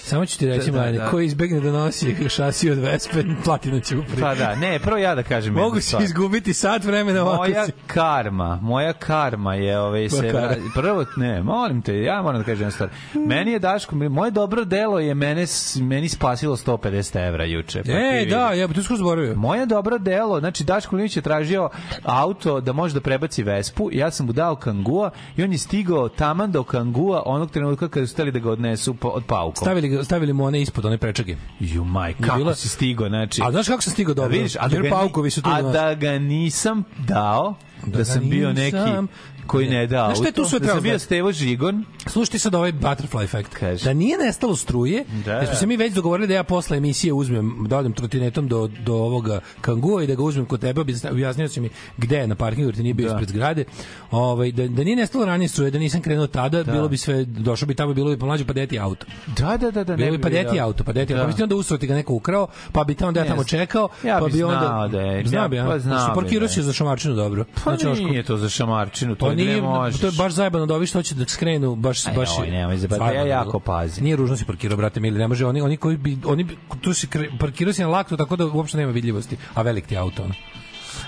S8: Samo ću ti reći,
S9: Da,
S8: da,
S9: da,
S8: mlade,
S9: da.
S8: ko izbegne da nosi šasiju od Vespe, platina će upri.
S9: Pa da, ne, prvo ja da kažem jednu
S8: Mogu se
S9: stvar.
S8: izgubiti sat vremena ovako.
S9: Moja Pa
S8: si-
S9: karma, moja karma je ovaj se
S8: Makar.
S9: vra- prvo ne, molim te, ja moram da kažem jednu stvar. Meni je Daško, moje dobro delo je mene s- meni spasilo 150 evra juče. pa ti
S8: E,
S9: vidi.
S8: da, ja bi tu skoro zaboravio.
S9: Moje dobro delo, znači Daško Milinović je tražio auto da može da prebaci Vespu, ja sam mu dao Kangua i on je stigao taman do Kangua onog trenutka kada su stali da ga odnesu po, od paukom. Stavi...
S8: Stavili, ga- stavili mu one ispod, one prečage.
S9: Ju maj, kako
S8: Bila-
S9: si stigao, znači...
S8: A znaš kako sam stigao dobro?
S9: vidiš, a da,
S8: Jer
S9: ga,
S8: paukovi su tu.
S9: a
S8: do nas.
S9: da ga nisam dao, da,
S8: ga
S9: sam bio neki
S8: nisam-
S9: koji ne da
S8: Znaš šta
S9: auto,
S8: je tu sve
S9: da sam
S8: trebalo
S9: bio
S8: znati?
S9: Stevo Žigon,
S8: Slušajte sad ovaj butterfly effect.
S9: Kaži.
S8: Da nije nestalo struje,
S9: Da.
S8: da. jer smo se mi već dogovorili da ja posle emisije uzmem, da odem trotinetom do, do ovoga kangua i da ga uzmem kod tebe, objasn- objasnio si mi gde je na parkingu, jer ti nije bio ispred zgrade. Ovaj, da, da nije nestalo ranije struje, da nisam krenuo tada, bilo bi sve, došao bi tamo, bilo bi pomlađe, pa deti auto.
S9: da, da, da, da,
S8: Bilo
S9: ne
S8: bi pa
S9: bio.
S8: deti auto, pa deti auto. Pa bi ti onda usrati ga neko ukrao, pa bi tamo da ja
S9: Ne
S8: tamo
S9: znam.
S8: čekao,
S9: Ja
S8: pa
S9: bi
S8: bi onda...
S9: znao da je-
S8: Znao bi,
S9: ja-
S8: ja.
S9: pa
S8: Pa
S9: znao bi
S8: Parkirao
S9: da
S8: si
S9: je.
S8: za šamarčinu, dobro. Znači, ono
S9: Pa
S8: Na Ćošku.
S9: nije to za šamarčinu, to,
S8: Pa
S9: je gde
S8: nije,
S9: možeš.
S8: to je baš zajebano da ovi što hoće da skrenu, baš
S9: Aj,
S8: baš.
S9: oj, nemoj zajebati,
S8: zajebano
S9: ja
S8: je
S9: jako
S8: bilo.
S9: pazim.
S8: Nije ružno se parkirao, brate mili, ne može oni oni koji bi oni bi, tu se parkirao si na laktu tako da uopšte nema vidljivosti, a velik ti je auto ono.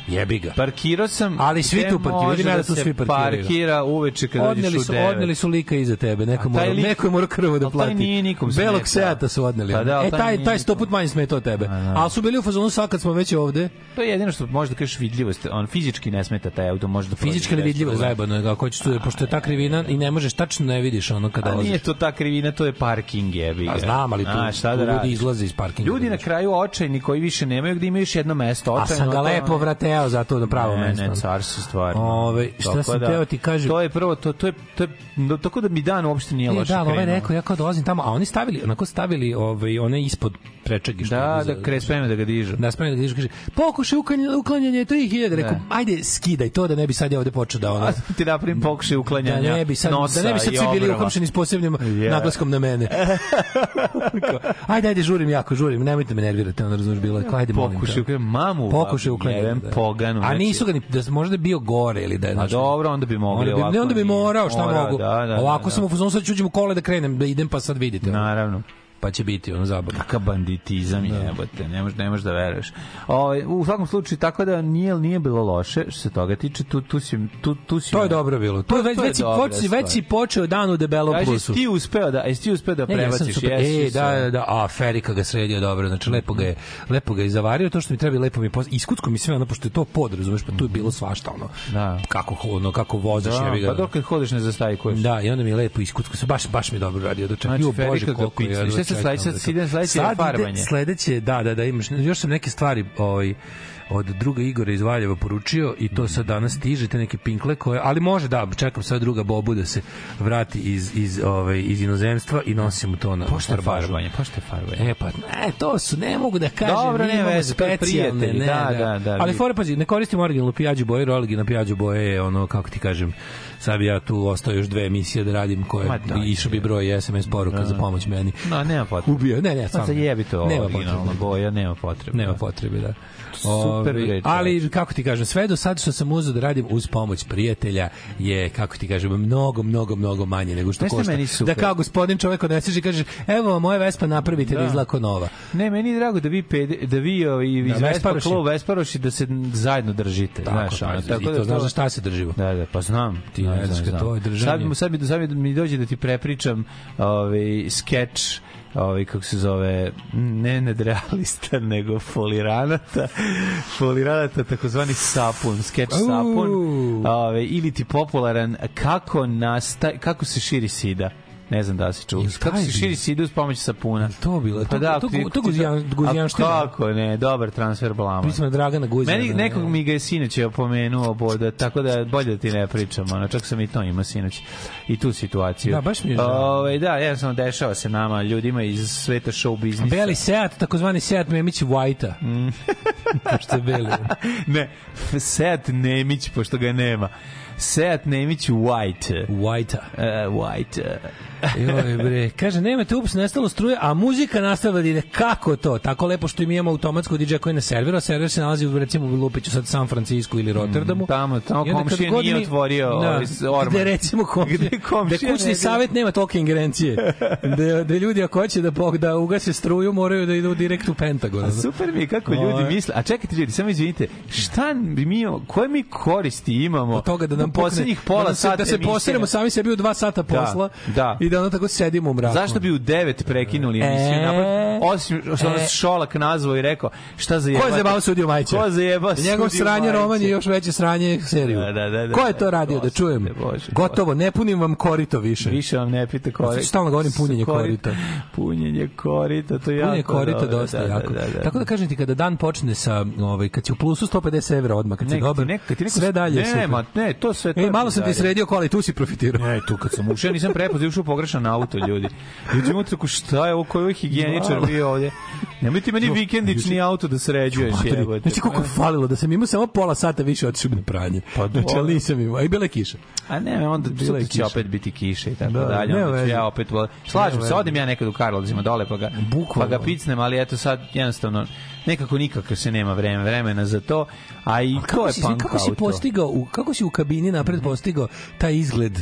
S8: Jebi ga.
S9: Parkirao sam.
S8: Ali svi
S9: gde
S8: tu parkiraju,
S9: može
S8: vidim ja da tu
S9: se
S8: svi parkiraju.
S9: Parkira uveče kada
S8: Odneli
S9: dođeš u
S8: su,
S9: 9.
S8: odneli su lika iza tebe, neko
S9: A taj
S8: mora,
S9: lik-
S8: neko je mora krvo da
S9: ali taj
S8: plati.
S9: nije nikom
S8: Belog
S9: smetao.
S8: Seata su odneli.
S9: Pa da, ali
S8: e,
S9: taj
S8: taj,
S9: nije
S8: taj
S9: nikom. Pa
S8: sto put manje smeta od tebe. Ali su bili u fazonu sad kad smo već ovde,
S9: To je jedino što možda kažeš vidljivost. On fizički ne smeta taj auto, možda
S8: fizička nevidljivo zajebano je, ako ćeš tu, pošto je ta krivina i ne možeš tačno ne vidiš ono kada
S9: Da
S8: dolaziš.
S9: nije to ta krivina, to je parking jebi ga.
S8: A znam, ali tu,
S9: A, šta da
S8: tu ljudi
S9: radiš?
S8: izlaze iz parkinga.
S9: Ljudi na kraju očajni koji više nemaju gde imaju još jedno mesto.
S8: A sam
S9: očajno,
S8: ga
S9: to-
S8: lepo vrateo zato na pravo
S9: ne,
S8: mesto.
S9: ne, carstvo stvarno.
S8: Ove, šta
S9: Tako
S8: sam teo ti kažem?
S9: To je prvo, to, to, je, to je, no, tako da mi dan uopšte nije
S8: E,
S9: loše
S8: da, ali ovaj
S9: krenuo.
S8: rekao, ja kao dolazim tamo, a oni stavili, onako stavili ovaj, one ispod prečegi. Što
S9: Da,
S8: je za-
S9: da, kre, spremio da ga dižu.
S8: da spremno da kaže, pokušaj uklanjanje, uklanjanje 3000, rekao, ajde skidaj to da ne bi sad ja ovde počeo da ono,
S9: ti napravim pokušaj
S8: da
S9: uklanjanja
S8: ne bi sad,
S9: nosa
S8: da ne bi sad
S9: i
S8: svi bili
S9: obrva.
S8: uhapšeni s posebnim
S9: Je.
S8: naglaskom na mene. Kao, ajde, ajde, žurim jako, žurim, nemojte me nervirati, ono razumiješ, bilo je, kao, ajde, molim.
S9: Pokušaj
S8: te.
S9: uklanjanja, mamu u
S8: pokušaj
S9: glavu,
S8: uklanjanja.
S9: jebem poganu,
S8: A
S9: znači-
S8: nisu ga ni, da su- možda je bio gore ili da je
S9: A
S8: znaš,
S9: dobro, onda bi mogli
S8: onda bi,
S9: ovako.
S8: Ne, onda bi
S9: nije.
S8: morao, šta
S9: Morao,
S8: mogu.
S9: Da, da, da,
S8: ovako
S9: da,
S8: sam u fazonu, sad ću uđem u kole da krenem, da idem pa sad vidite. ono.
S9: Naravno.
S8: Pa će biti ono zabavno.
S9: Kakav banditizam da. jebote, ne možeš, ne možeš da veruješ. O, u svakom slučaju, tako da nije, nije bilo loše, što se toga tiče, tu, tu si... Tu, tu si ono.
S8: To je dobro bilo. To,
S9: To-
S8: je već,
S9: to je
S8: već, si
S9: dobra
S8: poč,
S9: stvar.
S8: već si počeo dan u debelom
S9: Kaži,
S8: plusu.
S9: jesi ti uspeo da, jesi ti uspeo da
S8: Ne, ja sam
S9: prebaciš?
S8: super.
S9: Jesi,
S8: E,
S9: jesi.
S8: da, da, da, a Ferika ga sredio dobro, znači lepo ga je, lepo ga je zavario, to što mi treba lepo mi je pos... iskucko mi sve ono, pošto je to pod, razumeš, pa tu je bilo svašta, ono,
S9: Da.
S8: kako, ho- ono, kako vozaš,
S9: Da,
S8: jebi ga.
S9: pa dok kad hodeš ne zastajkuješ.
S8: Da, i onda mi je lepo iskucko, se baš baš mi je dobro radio. Doček,
S9: Znači,
S8: znači,
S9: Ferika
S8: bože
S9: ga
S8: koliko
S9: picni.
S8: je.
S9: Šta sad sledeće? Sad ide sledeće farbanje.
S8: sledeće, da, da, da, imaš. Još sam neke stvari ovaj od druga Igora iz Valjeva poručio i to sad danas stiže te neke pinkle koje, ali može da, čekam sad druga Bobu da se vrati iz, iz, ovaj, iz inozemstva i nosim mu to na
S9: Pošto je
S8: farbažu.
S9: farbanje, pošto je farbanje.
S8: E pa, ne, to su, ne mogu da kažem,
S9: Dobro,
S8: mi
S9: nema
S8: imamo
S9: veze, to je
S8: specijalne,
S9: prijatelj,
S8: ne,
S9: da, da, da,
S8: Ali
S9: vi-
S8: fora, pazi, ne koristimo originalnu pijađu boje, jer originalna pijađu boje je ono, kako ti kažem, sad bi ja tu ostao još dve emisije da radim koje
S9: Ma da,
S8: bi- išao bi broj i SMS poruka za pomoć meni.
S9: No, nema potrebe.
S8: Ubio, ne, ne,
S9: Pa
S8: sam.
S9: za jebi to
S8: nema
S9: originalna
S8: potrebe.
S9: boja, nema potrebe.
S8: Nema potrebe, da.
S9: Super
S8: Ovaj,
S9: reč,
S8: ali kako ti kažem, sve do sad što sam uzeo da radim uz pomoć prijatelja je, kako ti kažem, mnogo, mnogo, mnogo manje nego što
S9: Znaš šta
S8: košta.
S9: meni super?
S8: Da kao gospodin čovek odneseš i kažeš, evo moje Vespa napravite da,
S9: Da.
S8: izlako nova.
S9: Ne, meni je drago da vi pede, da vi ovaj iz
S8: Da,
S9: Vespa
S8: Vesparoši.
S9: kluba Vesparoši da se zajedno držite,
S8: Tako,
S9: znaš, ono,
S8: znaš, i to
S9: da
S8: znaš za šta se držimo.
S9: Da, da, pa znam, ti
S8: ne znaš kad to je držanje.
S9: Sad mi sad mi sad mi- mi dođe da ti prepričam ovaj skeč ovaj kako se zove ne nedrealista nego foliranata foliranata takozvani sapun skeč sapun
S8: Au.
S9: ovaj ili ti popularan kako nasta kako se širi sida ne znam da li si čuo.
S8: Jel
S9: Kako
S8: taj
S9: se
S8: bio?
S9: širi sida uz pomoć sapuna.
S8: To bilo,
S9: Pa
S8: to-
S9: da,
S8: to-
S9: ti-
S8: to guzijan-
S9: ti-
S8: guzijanština.
S9: A Kako ne, dobar transfer blama.
S8: Mi smo na Dragana Guzina.
S9: Meni nekog mi ga je sinoć je opomenuo, boda, tako da bolje da ti ne pričam, ono, čak sam i to imao sinoć i tu situaciju.
S8: Da, baš mi je žao.
S9: Ove, da, jednostavno dešava se nama, ljudima iz sveta show biznisa.
S8: Beli Seat, takozvani Seat Memić White-a.
S9: Mm.
S8: Pošto je beli.
S9: ne, Seat Nemić, pošto ga nema. Seat Nemić White.
S8: White.
S9: Uh, white.
S8: Joj bre, kaže nemate ups, nestalo struje, a muzika nastavila da ide. Kako to? Tako lepo što im imamo automatsko DJ koji je na serveru, a server se nalazi u recimo u Lupiću, sad San Francisco ili Rotterdamu.
S9: Mm, tamo- tamo
S8: I onda kad
S9: komšija
S8: god
S9: nije otvorio ovaj s- orman.
S8: Gde recimo komšija,
S9: Gde
S8: gde
S9: komšija
S8: da kućni
S9: ne bi-
S8: savet nema tolke ingerencije. Da, da ljudi ako hoće da, pog- da ugase struju, moraju da idu direkt u Pentagon. ono.
S9: A super mi je kako ljudi
S8: Ovaj.
S9: misle. A čekajte ljudi, samo izvinite. Šta bi mi koje mi koristi imamo?
S8: od toga da nam
S9: u
S8: pukne,
S9: poslednjih pola
S8: da nam se,
S9: sata
S8: da se
S9: emisije?
S8: posiramo sami sebi u dva sata posla
S9: da.
S8: i da ono tako sedimo u mraku.
S9: Zašto bi u 9 prekinuli emisiju
S8: E.
S9: napad? Osim što nas
S8: E.
S9: Šolak nazvao i rekao, šta za
S8: Ko je zajebao sudiju Majića?
S9: Ko je zajebao
S8: Njegov
S9: sudiju
S8: sranje
S9: Majića?
S8: roman je još veće sranje seriju.
S9: Da, da, da, da.
S8: Ko je to radio, da
S9: Gospode,
S8: čujem?
S9: Bože,
S8: Gotovo, ne punim vam korito više.
S9: Više vam ne pita korita.
S8: Stalno govorim punjenje korita.
S9: Punjenje korita, to je jako
S8: Punje korito
S9: dobro,
S8: dosta
S9: da, da,
S8: jako.
S9: da, da.
S8: Tako da kažem ti, kada dan počne sa, ovaj, kad si u plusu 150 evra odmah, kad si
S9: Ne, kad ti
S8: dobar,
S9: neko- kad ti neko-
S8: sve dalje je
S9: ne,
S8: super.
S9: ma, ne, to sve to
S8: Ej,
S9: je
S8: malo sam ti
S9: bizarije.
S8: sredio kola i tu si profitirao.
S9: Ne, tu kad sam ušao, ja nisam prepoznao, ušao pogrešan auto, ljudi. Ljudi mu tako, šta je ovo, koji je ovo higijeničar bio ovdje? Nemoj ti meni vikendić ni auto da sređuješ,
S8: Materi,
S9: jebote.
S8: Znači koliko je falilo da sam imao samo pola sata više otišao bi na pranje.
S9: Pa
S8: znači, ali
S9: dobro.
S8: nisam imao. A i bila je kiša.
S9: A Pa ne, onda
S8: Bila
S9: sutra
S8: je
S9: će
S8: kiša.
S9: opet biti kiše i tako
S8: Da,
S9: dalje.
S8: nema
S9: Onda ću
S8: veze.
S9: ja opet... vol- Slažem
S8: Nema
S9: se,
S8: veze.
S9: odem ja nekad u Karlovcima dole, pa ga, pa
S8: Bukvalno.
S9: ga picnem, ali eto sad jednostavno nekako nikako se nema vreme, vremena za to, a i to je
S8: si,
S9: punk
S8: kako si
S9: auto.
S8: postigao, u, kako si u kabini napred postigao taj izgled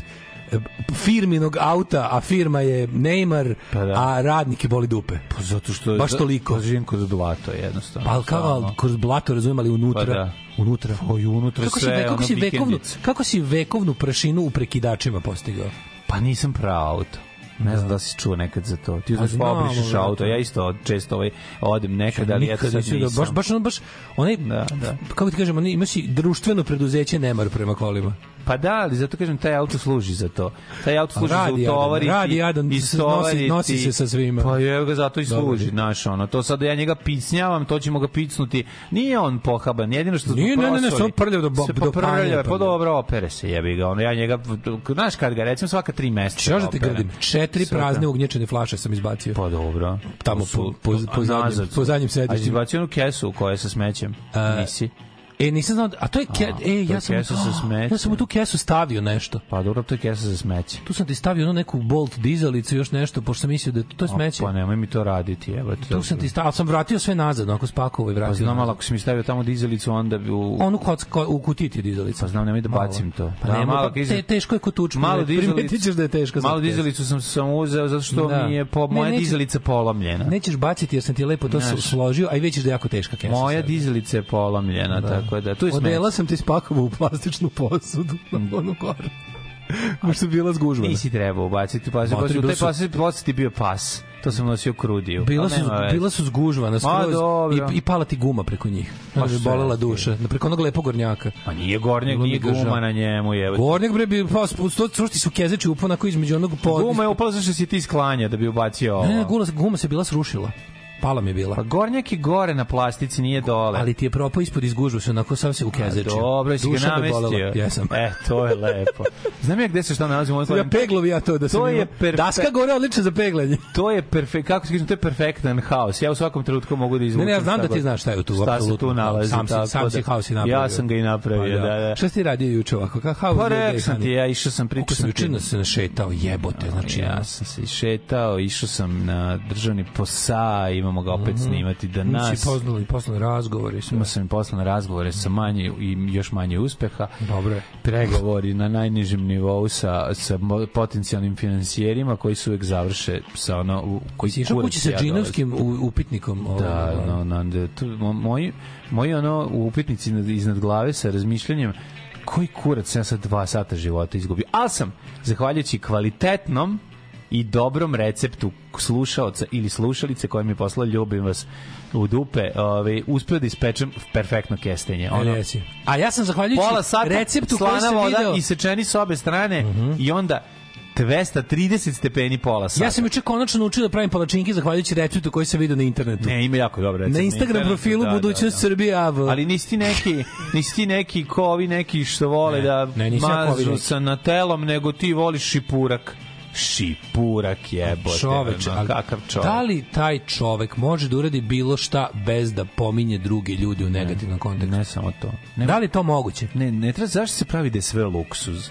S8: e, firminog auta, a firma je Neymar,
S9: Pa da.
S8: a radnike boli dupe.
S9: Pa zato što...
S8: Baš toliko.
S9: Pa živim kod blato jednostavno.
S8: Pa ali kao
S9: Stvarno.
S8: ali kroz blato, razumem, ali unutra.
S9: Pa da.
S8: Unutra.
S9: Oj, unutra
S8: kako si,
S9: sve,
S8: ve- kako,
S9: ono,
S8: si vekovnu,
S9: vikendice.
S8: kako si vekovnu prašinu u prekidačima postigao?
S9: Pa nisam pravo auto. Ne znam da li si čuo nekad za to. Ti
S8: A
S9: uzmeš pa
S8: znam,
S9: obrišeš
S8: vjerojatno.
S9: auto. Ja isto često ovaj, odem nekad, ali eto
S8: Nikad
S9: sad
S8: nisi vidio,
S9: nisam.
S8: baš, baš, ono, baš, onaj,
S9: Da, da.
S8: kako ti kažem, onaj, imaš i društveno preduzeće Nemar prema kolima.
S9: Pa da, ali zato kažem, taj auto služi za to. Taj auto služi
S8: radi
S9: za
S8: jadan,
S9: utovariti.
S8: radi jadan,
S9: i
S8: se nosi- nosi
S9: stovariti.
S8: se sa svima.
S9: Pa je ga zato i
S8: Dobro.
S9: služi, znaš, ono. To sad ja njega picnjavam, to ćemo ga picnuti. Nije on pohaban, jedino što smo
S8: Nije, ne, ne, ne,
S9: prosoli.
S8: samo prljav do bo-
S9: Se
S8: do
S9: Pa prljav,
S8: panjeva,
S9: pa
S8: pa da.
S9: dobro, opere se, jebi ga. Ono, ja njega, znaš kad ga, recimo svaka tri meseca.
S8: Šta da te
S9: operem.
S8: grdim? Četiri
S9: Svaka-
S8: prazne ugnječene flaše sam izbacio.
S9: Pa dobro.
S8: Tamo po- po- po zadnjem-
S9: nazad su.
S8: po zadnjem
S9: A jesi
S8: sedištima.
S9: bacio onu kesu koja je sa smećem?
S8: A,
S9: Nisi.
S8: E, nisam znao, da- a to je, ke,
S9: A,
S8: e,
S9: to je
S8: ja sam,
S9: kesa sa smećem.
S8: ja sam u tu kesu stavio nešto.
S9: Pa dobro, to je kesa za smeće.
S8: Tu sam ti stavio ono neku bolt dizalicu, još nešto, pošto sam mislio da je to, to je smeće.
S9: Pa nemoj mi to raditi, evo.
S8: Tu sam ti stavio, ali sam vratio sve nazad, onako spakovao i
S9: Pa
S8: vratio.
S9: znam, ali
S8: nazad.
S9: ako si mi stavio tamo dizelicu, onda bi u...
S8: Onu koc, ko, u kutiji ti je dizalica.
S9: Pa znam, nemoj da
S8: Malo.
S9: bacim to.
S8: Pa
S9: Da,
S8: nemoj,
S9: malo
S8: pa
S9: kiz-
S8: te- teško je kutučku.
S9: Malo
S8: Malo
S9: dizalicu-
S8: Primetit ćeš da je teško.
S9: Malo
S8: sad teško.
S9: dizelicu sam sam uzeo zato što
S8: Da.
S9: mi je po,
S8: Ne,
S9: moja
S8: neće-
S9: dizelica polomljena.
S8: Nećeš baciti jer sam ti lepo to
S9: Znaš.
S8: složio, a i već ćeš da je jako teška kesa.
S9: moja
S8: sad.
S9: dizelica je polomljena, tako da tu je smeće.
S8: Odela sam ti spakovao u plastičnu posudu na onu gore. Možda je bila zgužvana.
S9: Nisi trebao ubaciti pa pas.
S8: Motori
S9: Motori,
S8: bili
S9: taj
S8: su-
S9: pas, pas pa ti je bio pas. To sam nosio krudiju.
S8: Bila
S9: Pa
S8: su,
S9: nema veze.
S8: bila su zgužvana skroz
S9: dobro.
S8: i, i pala ti guma preko njih.
S9: Ma
S8: Pa mi je
S9: šta
S8: bolela
S9: ti?
S8: duša. Preko onog lepog gornjaka.
S9: Pa nije gornjak,
S8: Bilo mi
S9: nije
S8: ga
S9: guma
S8: žao.
S9: na njemu, je.
S8: Gornjak bre bi pa to čvrsti su kezeči upao onako između onog pod.
S9: Guma je upala zato što si ti sklanja da bi ubacio ovo.
S8: Ne, ne, gula, guma se bila srušila. Pala mi je
S9: Pa
S8: bila.
S9: gornjak je gore na plastici, nije dole.
S8: Ali ti je propao ispod izgužva se onako sam se u kezeči.
S9: E, Dobro, jesi ga namestio.
S8: Jesam.
S9: E, to je lepo. Znam ja gde se šta nalazi u mojoj
S8: Ja
S9: hladnoj-
S8: peglovi ja to da sam
S9: E, pa, To je
S8: imao.
S9: perfe-
S8: Daska gore odlična za peglanje.
S9: To je perfekt, kako se kažem, to je perfektan haos. Ja u svakom trenutku mogu da
S8: Ne,
S9: izvučem.
S8: ne, ja znam
S9: šta
S8: da ti
S9: god-
S8: znaš šta je tu.
S9: Šta se
S8: apsolutno.
S9: tu nalazi.
S8: Sam si,
S9: tako
S8: sam si
S9: da-
S8: haos i napravio.
S9: Ja sam ga i napravio,
S8: Pa
S9: da, da.
S8: Šta si ti radio juče ovako? Ka, how
S9: Pa
S8: was your day,
S9: rekao sam ti,
S8: honey?
S9: ja išao sam,
S8: Kako
S9: pričao
S8: sam
S9: sam
S8: juče
S9: ti.
S8: nas se našetao, jebote, znači
S9: ja sam se šetao, išao sam na državni posa, imamo ga
S8: Mhm.
S9: opet snimati da nas...
S8: Nas Znači, poznali, poslali razgovori sve.
S9: Imao sam i poslane razgovore sa manje i još manje uspeha.
S8: Dobro je.
S9: Pregovori na najnižem nivou sa, sa mo- potencijalnim finansijerima koji su uvek završe sa ono... u- Koji
S8: Si išao
S9: kurac
S8: kući sa
S9: ja dolazim.
S8: džinovskim u- upitnikom? ovaj,
S9: Da, no, no, da, tu, mo- moji, moji ono upitnici iznad- iznad glave sa razmišljanjem koji kurac sam ja sa dva sata života izgubio. Ali sam, zahvaljujući kvalitetnom i dobrom receptu slušaoca ili slušalice koja mi je poslala ljubim vas u dupe, ovaj, uspeo da ispečem perfektno kestenje.
S8: Ono,
S9: Ono,
S8: A ja sam zahvaljujući
S9: pola sata
S8: receptu koji
S9: slana
S8: sam
S9: voda
S8: video...
S9: i sečeni s obe strane i onda 230 stepeni pola sata.
S8: Ja sam juče konačno naučio da pravim palačinke zahvaljujući receptu koji sam video na internetu.
S9: Ne, ima jako dobro recept.
S8: na Instagram
S9: internetu,
S8: profilu
S9: da, da,
S8: Budućnost
S9: da.
S8: Srbije AV.
S9: Ali nisi ti neki, nisi ti neki ko ovi neki što vole da
S8: ne, nisam ja ko ovi
S9: mažu
S8: neki.
S9: sa na telom, nego ti voliš šipurak. šipurak jebote.
S8: Čoveče,
S9: ono,
S8: ali
S9: kakav čovek.
S8: da li taj čovek može da uradi bilo šta bez da pominje druge ljude u negativnom kontekstu?
S9: Ne samo to. Ne,
S8: Da li je to moguće?
S9: ne, ne treba, zašto se pravi da je sve luksuz?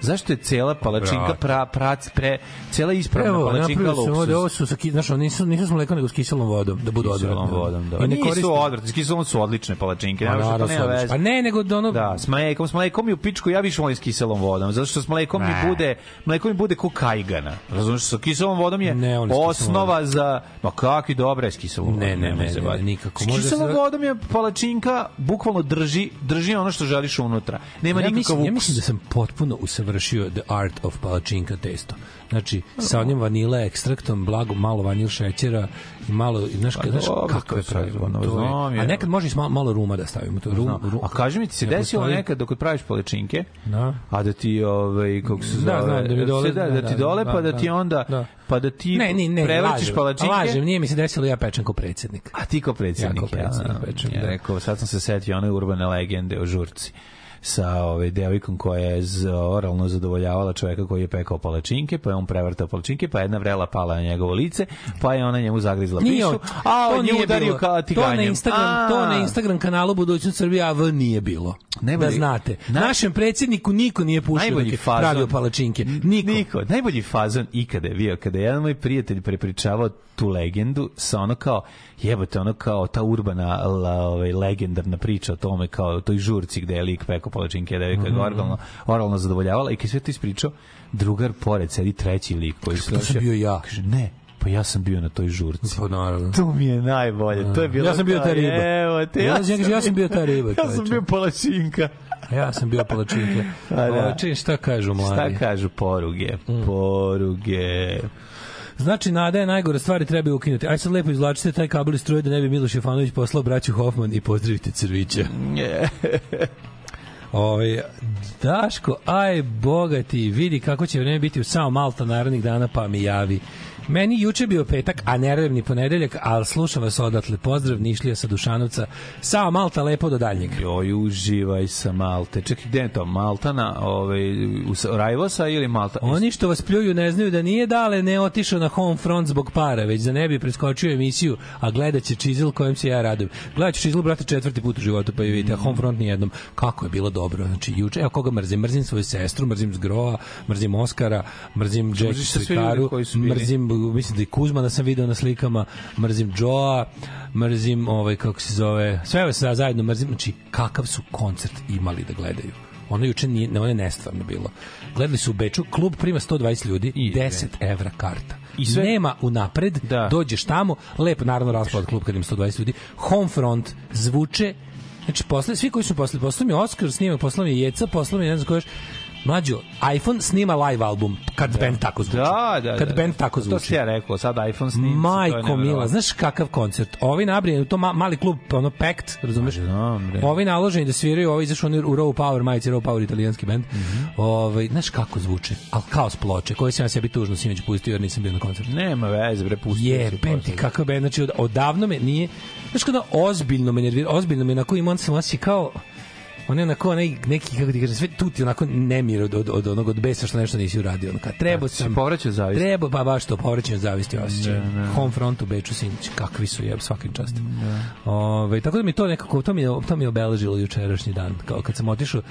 S9: Zašto je cela palačinka
S8: Brate.
S9: pra, prac, pre, cela ispravna
S8: Evo,
S9: palačinka
S8: napravili su
S9: luksuz?
S8: ovde, ovo su sa, ki- znaš, ono, nisu, nisu s mlekom, nego s kiselom vodom, da budu
S9: Kiselom
S8: odvratne.
S9: vodom, da.
S8: I ne
S9: Nisu
S8: koriste.
S9: odvratne, s kiselom su odlične palačinke.
S8: Pa
S9: nema šta, to
S8: naravno,
S9: nema
S8: sad,
S9: veze.
S8: Pa ne, nego da ono...
S9: Da, s mlekom, s mlekom i u pičku ja više volim s kiselom vodom, zato što s mlekom mi
S8: Ne.
S9: bude, mleko mi bude ko kajgana. Razumeš, sa kiselom vodom je
S8: Ne volim s kiselom
S9: osnova za, ma kakvi dobre s kiselom vodom.
S8: Ne, ne,
S9: nemoj
S8: ne,
S9: se
S8: ne,
S9: vaditi.
S8: ne, nikako.
S9: S
S8: Može
S9: kiselom
S8: se-
S9: vodom je palačinka bukvalno drži, drži ono što želiš unutra. Nema
S8: ja
S9: nikakav
S8: mislim, ja
S9: ukus.
S8: mislim da sam potpuno usavršio the art of palačinka testo. Znači, sa onim vanila ekstraktom, blago, malo vanil šećera i malo, i znaš,
S9: Pa
S8: kad, znaš
S9: dobro, to
S8: kako je
S9: sad,
S8: pravilo.
S9: ono,
S8: to je-
S9: znam ja.
S8: A nekad može i s malo, malo ruma da stavimo. To, rum,
S9: No,
S8: rum,
S9: a kaži mi ti se
S8: ne
S9: desilo
S8: postoji.
S9: nekad dok praviš palačinke,
S8: Da.
S9: a da ti ovaj kako se
S8: Da,
S9: zove,
S8: znam, da mi dole-
S9: da, da,
S8: da,
S9: ti
S8: da,
S9: dole
S8: da,
S9: pa da,
S8: da,
S9: ti onda
S8: da.
S9: pa da ti
S8: Ne, ne, ne,
S9: prevrćeš
S8: lažem,
S9: palačinke.
S8: Lažem, nije mi se desilo, ja pečem kao predsednik.
S9: A ti kao predsjednik,
S8: Ja kao predsjednik
S9: ja,
S8: pečem,
S9: ja,
S8: da.
S9: rekao, sad sam se setio one urbane legende o žurci sa ove devojkom koja je z- oralno zadovoljavala čoveka koji je pekao palačinke, pa je on prevrtao palačinke, pa je jedna vrela pala na njegovo lice, pa je ona njemu zagrizla
S8: Nije
S9: pišu,
S8: on,
S9: a
S8: to
S9: on nju
S8: nije
S9: udario
S8: bilo.
S9: kao tiganjem.
S8: To na Instagram,
S9: A.
S8: to na Instagram kanalu Budućnost Srbije AV nije bilo.
S9: Najbolji-
S8: da znate.
S9: Na-
S8: Našem predsjedniku niko nije pušio dok
S9: najbolji
S8: je
S9: fazon.
S8: pravio palačinke. Niko.
S9: Niko. Najbolji fazon ikada je bio kada je jedan moj prijatelj prepričavao tu legendu sa ono kao jebote ono kao ta urbana la, ovaj, legendarna priča o tome kao o toj žurci gde je lik peko palačinke da je
S8: Mhm.
S9: mm oralno, oralno zadovoljavala i kad je sve to ispričao drugar pored sedi treći lik koji se
S8: To sam
S9: došao-
S8: bio ja.
S9: kaže ne pa ja sam bio na toj žurci Mm.
S8: Pa naravno.
S9: to mi je najbolje to je bilo
S8: Ja sam bio ta
S9: kao,
S8: riba.
S9: evo te,
S8: Ja sam- ja sam bio ta riba,
S9: ja sam
S8: čoveče.
S9: bio palačinka
S8: Ja sam bio palačinke.
S9: A, Pa da.
S8: Oči, šta kažu mladi?
S9: šta kažu poruge poruge
S8: Znači, nada je najgore stvari treba je ukinuti. Aj sad lepo izvlačite taj kabel iz struje da ne bi Miloš Jefanović poslao braću Hoffman i pozdravite Crvića. Ovaj Daško, aj bogati, vidi kako će vreme biti u samo Malta narednih dana, pa mi javi. Meni juče bio petak, a nerevni ponedeljak, ali slušam vas odatle. Pozdrav, Nišlija sa Dušanovca. Sao Malta, lepo do daljnjeg.
S9: Joj, uživaj sa Malte. Čekaj, gde je to? Maltana, ovaj, u S- Rajvosa ili Malta?
S8: Oni što vas pljuju ne znaju da nije dale ne otišao na home front zbog para, već da ne bi preskočio emisiju, a gledaće Čizil kojem se ja radujem. Gledaću Čizil, brate, četvrti put u životu, pa i vidite, a home front nijednom. Kako je bilo dobro, znači juče, evo koga mrzim, mrzim svoju sestru, mrzim Zgroa, mrzim Oskara, mrzim Jack
S9: mrziš sve ljude
S8: Slikaru,
S9: koji su bili?
S8: mrzim, mislim da i Kuzmana sam video na slikama, mrzim Joa, mrzim, ovaj, kako se zove, sve ove sada zajedno mrzim, znači kakav su koncert imali da gledaju. Ono juče nije, ne, ono je nestvarno bilo. Gledali su u Beču, klub prima 120 ljudi,
S9: I-
S8: 10 evra karta.
S9: I
S8: I
S9: sve-
S8: sve... Nema unapred,
S9: Da.
S8: da. dođeš tamo, lepo, naravno, raspad klub kad im 120 ljudi, home front, zvuče, znači, posle, svi koji su posle, posle mi je Oscar snimak, posle mi je Jeca, posle mi je, ne znam koja još, Mlađo, iPhone snima live album kad da. band tako zvuči.
S9: Da, da,
S8: Znači, kad
S9: da.
S8: band tako
S9: To
S8: zvuči.
S9: si ja rekao, sad iPhone snimci. to je
S8: Majko
S9: neverovatno.
S8: Mila, znaš kakav koncert? Ovi nabrijeni, to ma, mali klub, ono pekt, razumeš?
S9: Pa znam, bre.
S8: ovi naloženi da sviraju, ovi izašli oni u Raw Power, majice Raw Power italijanski bend. Mm
S9: Mhm.
S8: -hmm. Ovaj, znaš kako zvuče? Al kao s ploče, koje sam ja sebi tužno sinoć pustio jer nisam bio na koncertu.
S9: Nema veze, bre, pusti.
S8: Je,
S9: pa
S8: penti kakav bend, znači od, odavno me nije, znaš kada ozbiljno me nervira, ozbiljno me onako ima, on sam osjeća kao, on je onako onaj, neki, kako ti kažem, sve tuti onako nemir od, od, od onog od besa što nešto nisi uradio. Ono, kao, trebao
S9: si
S8: sam...
S9: povraćao zavist.
S8: Treba, pa baš to, povraćanje zavisti osjećaj. Home front u Beču, sinoć, kakvi su, jeb, svakim častom. Ove, tako da mi to nekako, to mi, je- to mi je obeležilo jučerašnji dan, kao kad sam otišao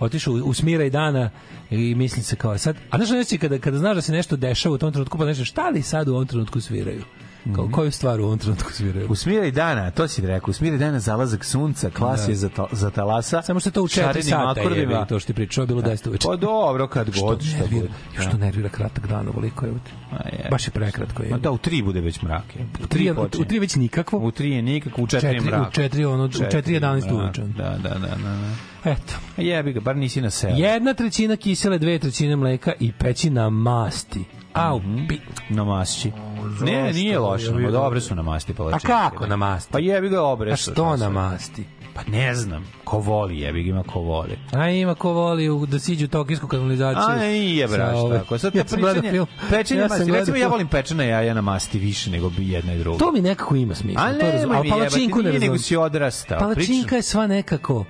S8: otišao u, u smiraj dana i mislim se kao sad, a znaš nešto kada, kada znaš da se nešto dešava u tom trenutku, pa nešto šta li sad u ovom trenutku sviraju?
S9: Mhm.
S8: Kao, koju stvar u ovom trenutku sviraju?
S9: Usmiraj dana, to si rekao, usmiraj dana zalazak sunca, klas je za, ta, za talasa.
S8: Samo što je to u 4
S9: šarenim
S8: sata je,
S9: akordima.
S8: jebi, to što ti pričao, bilo 10 uveče.
S9: Pa dobro, kad god, šta
S8: Što
S9: bude.
S8: nervira, još to nervira kratak dan, ovoliko je.
S9: A je.
S8: Baš je prekratko. Je.
S9: Ma da, u tri bude već mrak. je. U
S8: u
S9: tri
S8: tri,
S9: počinje.
S8: u tri već nikakvo.
S9: U tri je nikako, u četiri je
S8: Četiri- u
S9: mrak.
S8: četiri, ono, u
S9: Četiri
S8: četiri
S9: je
S8: 11
S9: mrak.
S8: uveče.
S9: Da, da, da, da. da.
S8: Eto.
S9: A Jebi ga, bar nisi na selu.
S8: Jedna trećina kisele, dve trećine mleka i pećina masti. Au,
S9: Mhm,
S8: pi...
S9: Na masći. Ne, nije loše, ma dobre su na masti
S8: A
S9: palačinke.
S8: kako na masti?
S9: Pa jebi ga obre.
S8: A što na masti?
S9: Pa ne znam, ko voli jebi ga, ima ko voli.
S8: A ima ko voli u- da siđu u tokijsku kanalizaciju.
S9: A nije
S8: Sa
S9: braš
S8: Pa ove-
S9: tako. Sad te
S8: Ja sam gledao
S9: pričanje,
S8: film.
S9: pečenje
S8: Ja sam
S9: masti.
S8: gledao
S9: Recimo ja
S8: film.
S9: volim pečena jaja na masti više nego bi jedna i druga.
S8: To mi nekako ima smisla.
S9: A
S8: to
S9: ne,
S8: razumem, ali palačinku ne
S9: nego
S8: razumem.
S9: si ono, odrastao.
S8: Palačinka
S9: Pričam-
S8: je sva nekako...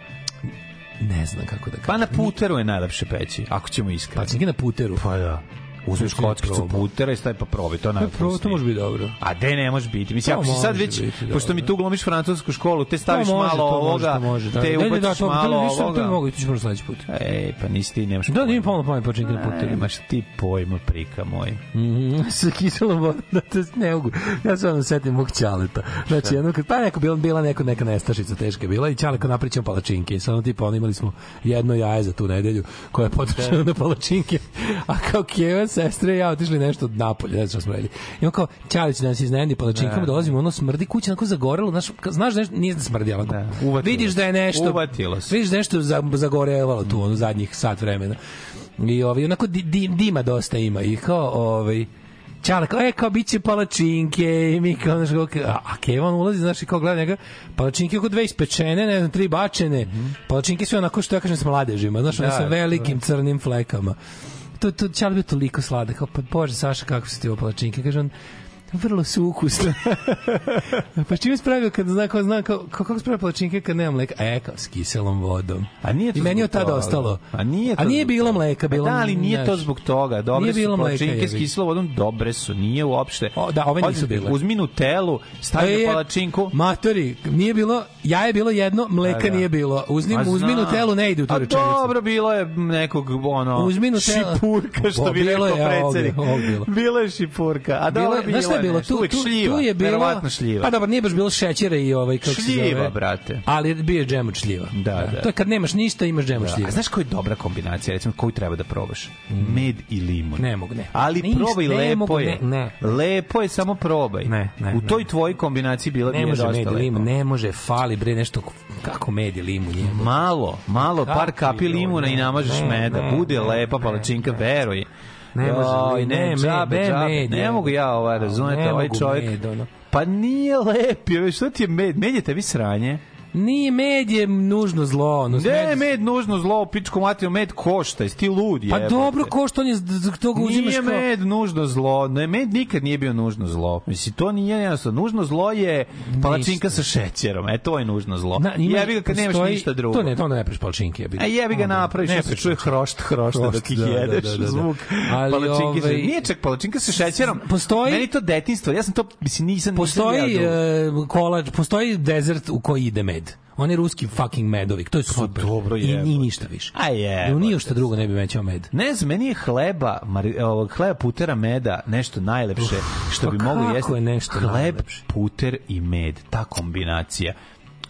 S8: Ne znam kako da kažem.
S9: Pa na puteru je najlepše peći, ako ćemo iskreno.
S8: Palačinke na puteru.
S9: Pa da. Uzmeš
S8: Znači,
S9: kockicu
S8: probam.
S9: putera i stavi pa probaj, to je
S8: Pa prvo,
S9: najopasnije.
S8: to može biti dobro.
S9: A de ne može biti. Mislim,
S8: To
S9: ako si sad
S8: može
S9: već,
S8: biti, dobro,
S9: pošto mi
S8: da.
S9: tu glomiš francusku školu, te staviš
S8: To može,
S9: malo
S8: to može,
S9: ovoga,
S8: to može, da.
S9: te
S8: Ne, ne, da,
S9: ubaciš
S8: to-
S9: malo
S8: to- to- To mi
S9: ovoga.
S8: mogu, to ćemo na sledeći put.
S9: Ej, pa nisi ti, nemaš
S8: Da, da imam
S9: pojma.
S8: pomalo pamet počinje na
S9: Ne,
S8: putu.
S9: Nemaš ti pojma, prika moj. Mhm.
S8: sa kiselom vodom, da to se ne mogu. Ja se ono setim mog ćaleta. Znači, jedno, kad, pa neko bila, bila neko, neka nestašica teška je bila i ćale kao napričam palačinke. I samo tipa, ono imali smo jedno jaje za tu nedelju koje je potrošeno na palačinke. A kao Keva, sestre i ja otišli nešto od napolje, ne znam šta smo redili. I on kao, ćale će nas iznendi palačinkama, dolazimo, ono smrdi kuća, onako zagorelo, znaš, ka- znaš da nešto, nije da smrdi, ali
S9: Da, uvatilo
S8: vidiš
S9: se.
S8: da je nešto,
S9: Uvatilo se.
S8: vidiš da je nešto za- zagorevalo tu, ono, zadnjih sat vremena. I ovaj, onako di- di- dima dosta ima. I kao, ovaj, Čale, kao, e, kao, bit će palačinke, i mi kao, znaš, kao, ka- a, a Kevan ulazi, znaš, i kao gleda njega, palačinke oko dve ispečene, ne znam, tri bačene, palačinke su onako, što ja kažem, s mladežima, znaš, one
S9: Da,
S8: sa velikim crnim flekama. To, to, Čale bio toliko slada, kao, pa, bože, Saša, kako su ti ovo palačinke, kaže on, vrlo su ukusne. pa s čim spravio kad zna, kao, zna, kao, kao, kako spravio palačinke kad nema mleka? E, kao, s kiselom vodom.
S9: A nije to
S8: I meni je
S9: zbog
S8: od tada
S9: toga.
S8: ostalo.
S9: A nije, to
S8: A nije
S9: zbog
S8: bilo
S9: toga.
S8: mleka,
S9: Pa
S8: bilo...
S9: Da, ali nije to
S8: znaš,
S9: zbog toga. Dobre
S8: Nije
S9: nije bilo
S8: bilo
S9: su
S8: mleka,
S9: palačinke s
S8: jebi.
S9: kislovodom, dobre su, nije uopšte.
S8: O, da, ove nisu
S9: Odmah
S8: bile.
S9: Uzmi Nutellu, stavi
S8: E,
S9: na
S8: je,
S9: palačinku.
S8: Matori, nije bilo, jaje je bilo jedno, mleka
S9: Da, da.
S8: nije bilo. Uzmi,
S9: Ma
S8: uzmi
S9: znam.
S8: Nutellu, ne ide u tu
S9: A
S8: rečenicu.
S9: Pa dobro, bilo je nekog, ono,
S8: Uzmi Nutellu.
S9: šipurka, što
S8: O,
S9: bi rekao
S8: bilo je, ovog je,
S9: predsednik.
S8: ovog bilo.
S9: Bilo je šipurka. A
S8: Bilo
S9: dobro,
S8: je,
S9: bilo,
S8: znaš šta je bilo?
S9: nešto.
S8: Tu, tu,
S9: Uvek šljiva,
S8: tu je bilo...
S9: verovatno šljiva.
S8: Pa dobro, nije baš bilo šećera i ovaj... Kako se
S9: Šljiva,
S8: zove.
S9: brate.
S8: Ali bio je džem od šljiva.
S9: Da, da.
S8: To je kad nemaš ništa, imaš džem od šljiva. Mm.
S9: A znaš koja je dobra kombinacija, recimo koju treba da probaš? Med i limun.
S8: Ne mogu, ne.
S9: Ali
S8: Ništa,
S9: probaj,
S8: ne
S9: lepo
S8: mogu,
S9: je.
S8: ne, ne.
S9: Lepo je, samo probaj.
S8: Ne, ne,
S9: U
S8: ne.
S9: toj tvojoj kombinaciji bila bi
S8: ne
S9: je
S8: može
S9: dosta
S8: med i
S9: lepo.
S8: limun, ne može, fali bre nešto kako med i limun je.
S9: Mm. Malo, malo, par
S8: Kako
S9: kapi
S8: je,
S9: limuna
S8: ne,
S9: i namažeš
S8: ne,
S9: meda.
S8: ne,
S9: Bude
S8: ne,
S9: lepa
S8: ne,
S9: palačinka, veruj.
S8: Ne može,
S9: Joj,
S8: ne,
S9: ne,
S8: med,
S9: džabe,
S8: ne,
S9: džabe.
S8: med,
S9: Ne
S8: je.
S9: mogu ja ova,
S8: A,
S9: razumete,
S8: ne
S9: ovaj
S8: mogu
S9: čovjek.
S8: med, ono.
S9: Pa nije lepi, ove, što ti je med? Med je tebi sranje.
S8: Nije med je nužno zlo, ono.
S9: Ne,
S8: med-
S9: med nužno zlo, pičku materiju, med košta, jesi ti lud,
S8: Pa
S9: jebote.
S8: dobro, ko što on je, z- to ga uzimaš
S9: Nije
S8: kao...
S9: med nužno zlo, ne, med nikad nije bio nužno zlo. Mislim, to nije jednostavno. Nužno zlo je palačinka sa šećerom, e, to je nužno zlo.
S8: Na, ima-
S9: jebi ga kad nemaš
S8: postoji-
S9: ništa drugo.
S8: To ne, to onda ne priš palačinke. jebi ga.
S9: A jebi ga
S8: Onda
S9: napraviš,
S8: ne
S9: ne, se
S8: priš
S9: čuje hrošt, hrošt,
S8: Hrošt,
S9: dok ih
S8: da, da,
S9: jedeš,
S8: da, da, da.
S9: zvuk
S8: Ali,
S9: palačinke. sa-
S8: ovaj,
S9: Nije čak palačinka sa šećerom.
S8: postoji-
S9: Meni to detinstvo, ja sam to, mislim, nisam... nisam
S8: Postoji
S9: ja drugo.
S8: e, kolač, postoji dezert u koji ide med. On je ruski fucking medovik, to je super.
S9: Pa dobro,
S8: I,
S9: jebote.
S8: I ništa više.
S9: A jebote.
S8: I u ništa drugo ne bi mećao med.
S9: Ne znam, meni je hleba, mari, ovog hleba putera meda nešto najlepše što
S8: pa
S9: bi mogli
S8: kako
S9: jesti.
S8: je nešto
S9: Hleb,
S8: najlepše?
S9: puter i med, ta kombinacija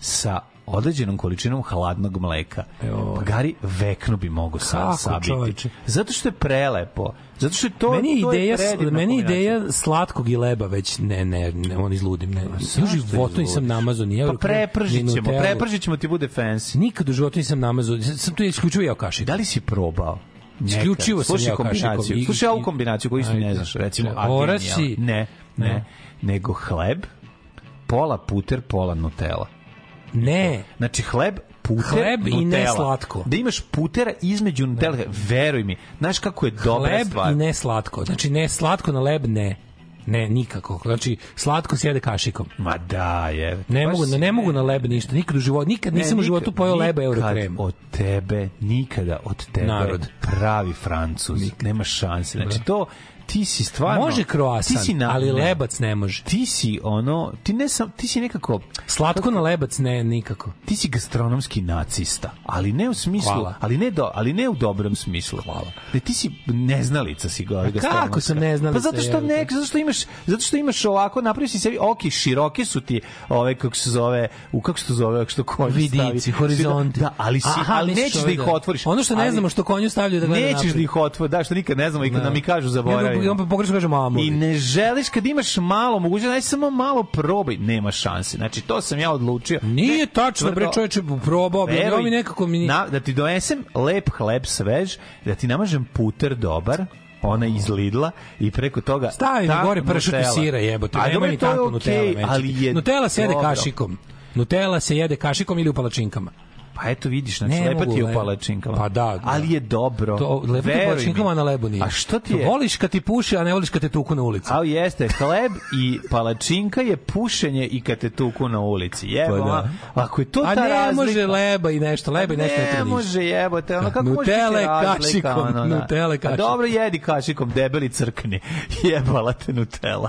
S9: sa određenom količinom hladnog mleka.
S8: Evo.
S9: Pa Gari veknu bi mogo sa,
S8: E, ovaj. Kako,
S9: sabiti.
S8: čoveče?
S9: Zato što je prelepo. Zato što je to,
S8: meni je
S9: to je
S8: ideja,
S9: predivna
S8: meni je
S9: kombinacija.
S8: ideja slatkog i leba već ne, ne, ne on izludim, ne. Ja u
S9: Zašto
S8: životu nisam
S9: izludiš?
S8: namazao ni
S9: Pa
S8: euro.
S9: prepržit ćemo, prepržit ćemo ti bude fancy.
S8: Nikad u životu nisam namazao, sam tu isključivo jeo kašiku.
S9: Da li si probao? Nekad.
S8: Isključivo sam
S9: Slušaj
S8: jeo
S9: kombinaciju.
S8: kašikom i-
S9: Slušaj ovu
S8: i-
S9: kombinaciju koju isto ne
S8: Ajde.
S9: znaš, recimo. a
S8: Oraci.
S9: genijalno. Ne, ne.
S8: Ne.
S9: Nego hleb, pola puter, pola nutella.
S8: Ne,
S9: Znači hleb, puter,
S8: Hleb i ne
S9: Nutella.
S8: slatko.
S9: Da imaš putera između Nutella. Veruj mi, znaš kako je dobra
S8: leb
S9: stvar.
S8: i ne slatko. Znači ne slatko na leb ne. Ne, nikako. Znači slatko se jede kašikom.
S9: Ma da, je.
S8: Ne
S9: Baš
S8: mogu,
S9: si-
S8: ne, mogu na leb ništa. Nikad u životu, nikad
S9: Ne,
S8: nisam u
S9: nikad-
S8: životu pojeo leba euro
S9: nikad
S8: krem.
S9: Od tebe, nikada od tebe
S8: Narod.
S9: pravi Francuz. Nema šanse. Znači to ti si stvarno
S8: Može
S9: ti si
S8: kroasan,
S9: na-
S8: ali
S9: ne.
S8: lebac ne može.
S9: ti si ono, ti ne sam, ti si nekako,
S8: Slatko na lebac ne, nikako.
S9: ti si gastronomski nacista, ali ne u smislu,
S8: Hvala.
S9: ali ne do, ali ne u dobrom smislu. Hvala. Da ti si neznalica si ga
S8: kako sam
S9: Pa
S8: neznalica,
S9: zato što
S8: jebote?
S9: ne, zato što imaš, zato što imaš ovako napraviš si sebi oki široke su ti, ove kako se zove, u kako se to zove, kako što konji stavi.
S8: Vidici,
S9: Svi to-
S8: horizonti.
S9: Da, ali si,
S8: Aha,
S9: ali
S8: misliš
S9: nećeš da
S8: ovaj
S9: ih
S8: da-
S9: otvoriš.
S8: Ono što ne
S9: Ali
S8: znamo što konju stavljaju da gleda
S9: Nećeš da
S8: napred.
S9: ih otvoriš, da što nikad ne znamo i kad nam i kažu zaboravimo.
S8: I on pogrešno kaže mamu.
S9: I ne želiš kad imaš malo mogućnosti, daj samo malo probaj, nema šanse. Znači to sam ja odlučio.
S8: Nije tačno,
S9: tvrdo-
S8: bre čoveče, probao bi,
S9: Veruj,
S8: ovo mi nekako mi...
S9: na, da ti donesem lep hleb svež, da ti namažem puter dobar, ona iz Lidla i preko toga
S8: Stavi mi
S9: taknu
S8: gore pršut i
S9: Nutella.
S8: sira, jebote.
S9: A
S8: Nema
S9: dobro,
S8: ni
S9: to je
S8: tako
S9: okej,
S8: Nutella,
S9: ali je
S8: Nutella se jede
S9: dobro.
S8: kašikom. Nutella se jede kašikom ili u palačinkama.
S9: Pa eto vidiš, znači
S8: Ne
S9: lepa
S8: mogu
S9: ti je u
S8: le-
S9: palačinkama.
S8: Pa da, da.
S9: Ali je dobro.
S8: To, lepo ti
S9: Veruj mi.
S8: palačinkama na lebu nije.
S9: A što ti je?
S8: Voliš kad ti puši, a ne voliš kad te tuku na ulici.
S9: A jeste, hleb i palačinka je pušenje i kad te tuku na ulici. Jebo,
S8: Pa da.
S9: a, ako je to
S8: A
S9: ta
S8: ne
S9: razlika... Pa
S8: može leba i nešto, leba i nešto.
S9: ne
S8: treba ništa.
S9: može jebote, ono kako može
S8: Nutele
S9: biti razlika,
S8: kašikom,
S9: ono, da.
S8: nutele
S9: A
S8: kašikom.
S9: Dobro jedi kašikom, debeli crkni. Jebala te Nutella.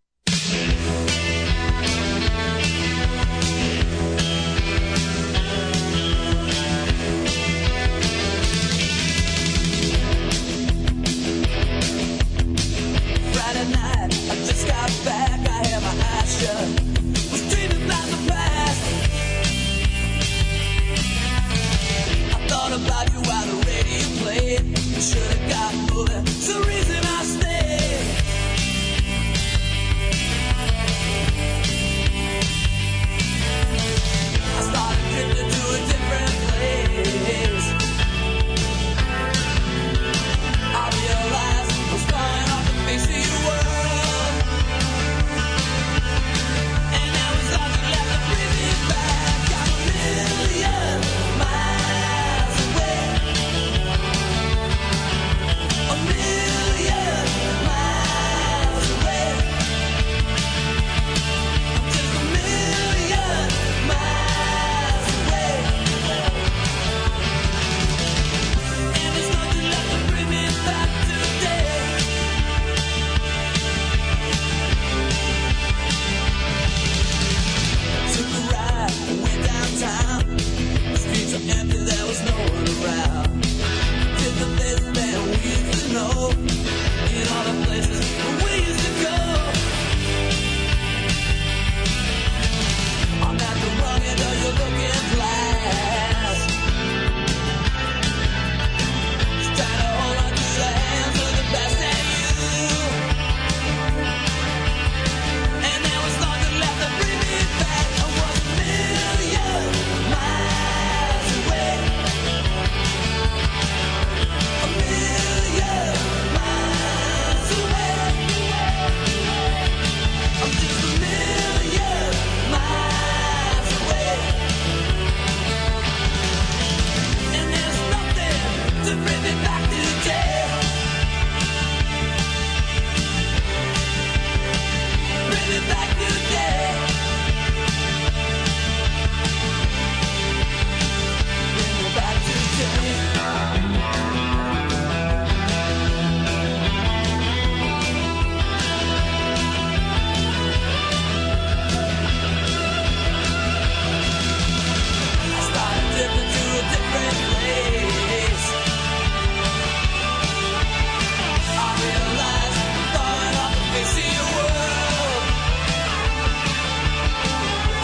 S5: Friday night, I just got back, I had my eyes shut. Was dreaming about the past. I thought about you while the radio played. You should have got bullet. It's the reason I stayed. I started drifting to a different place. I realized I was falling off the face of your world. And now it's like you left the prison back. I'm a million miles away. A million miles away. I'm just a million miles away. And it's nothing left to bring me back today. Took a ride, went downtown. The streets are empty, there was no one around. Did the things that we used to know. In all the places where we used to go. I'm at the wrong end of your looking glass. Try to hold on to your hands with the best at you. And there was nothing left to bring me back. I was a million miles away. A million miles away. I'm just a million miles away. And there's nothing to bring me back today. Bring me back today. Bring me back today. I started drifting to a different place. I realized I'm falling off the face of your world.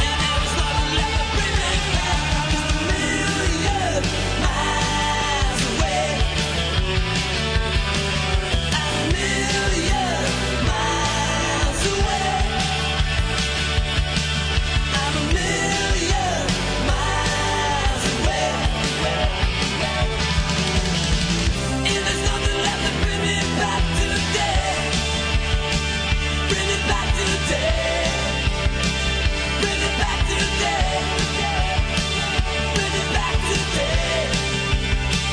S5: And there was nothing left to bring me back. I'm just a million miles away. I'm a million miles away. I'm a million miles away. If there's nothing left to bring me back today, bring me back today, bring me back today, bring me back today.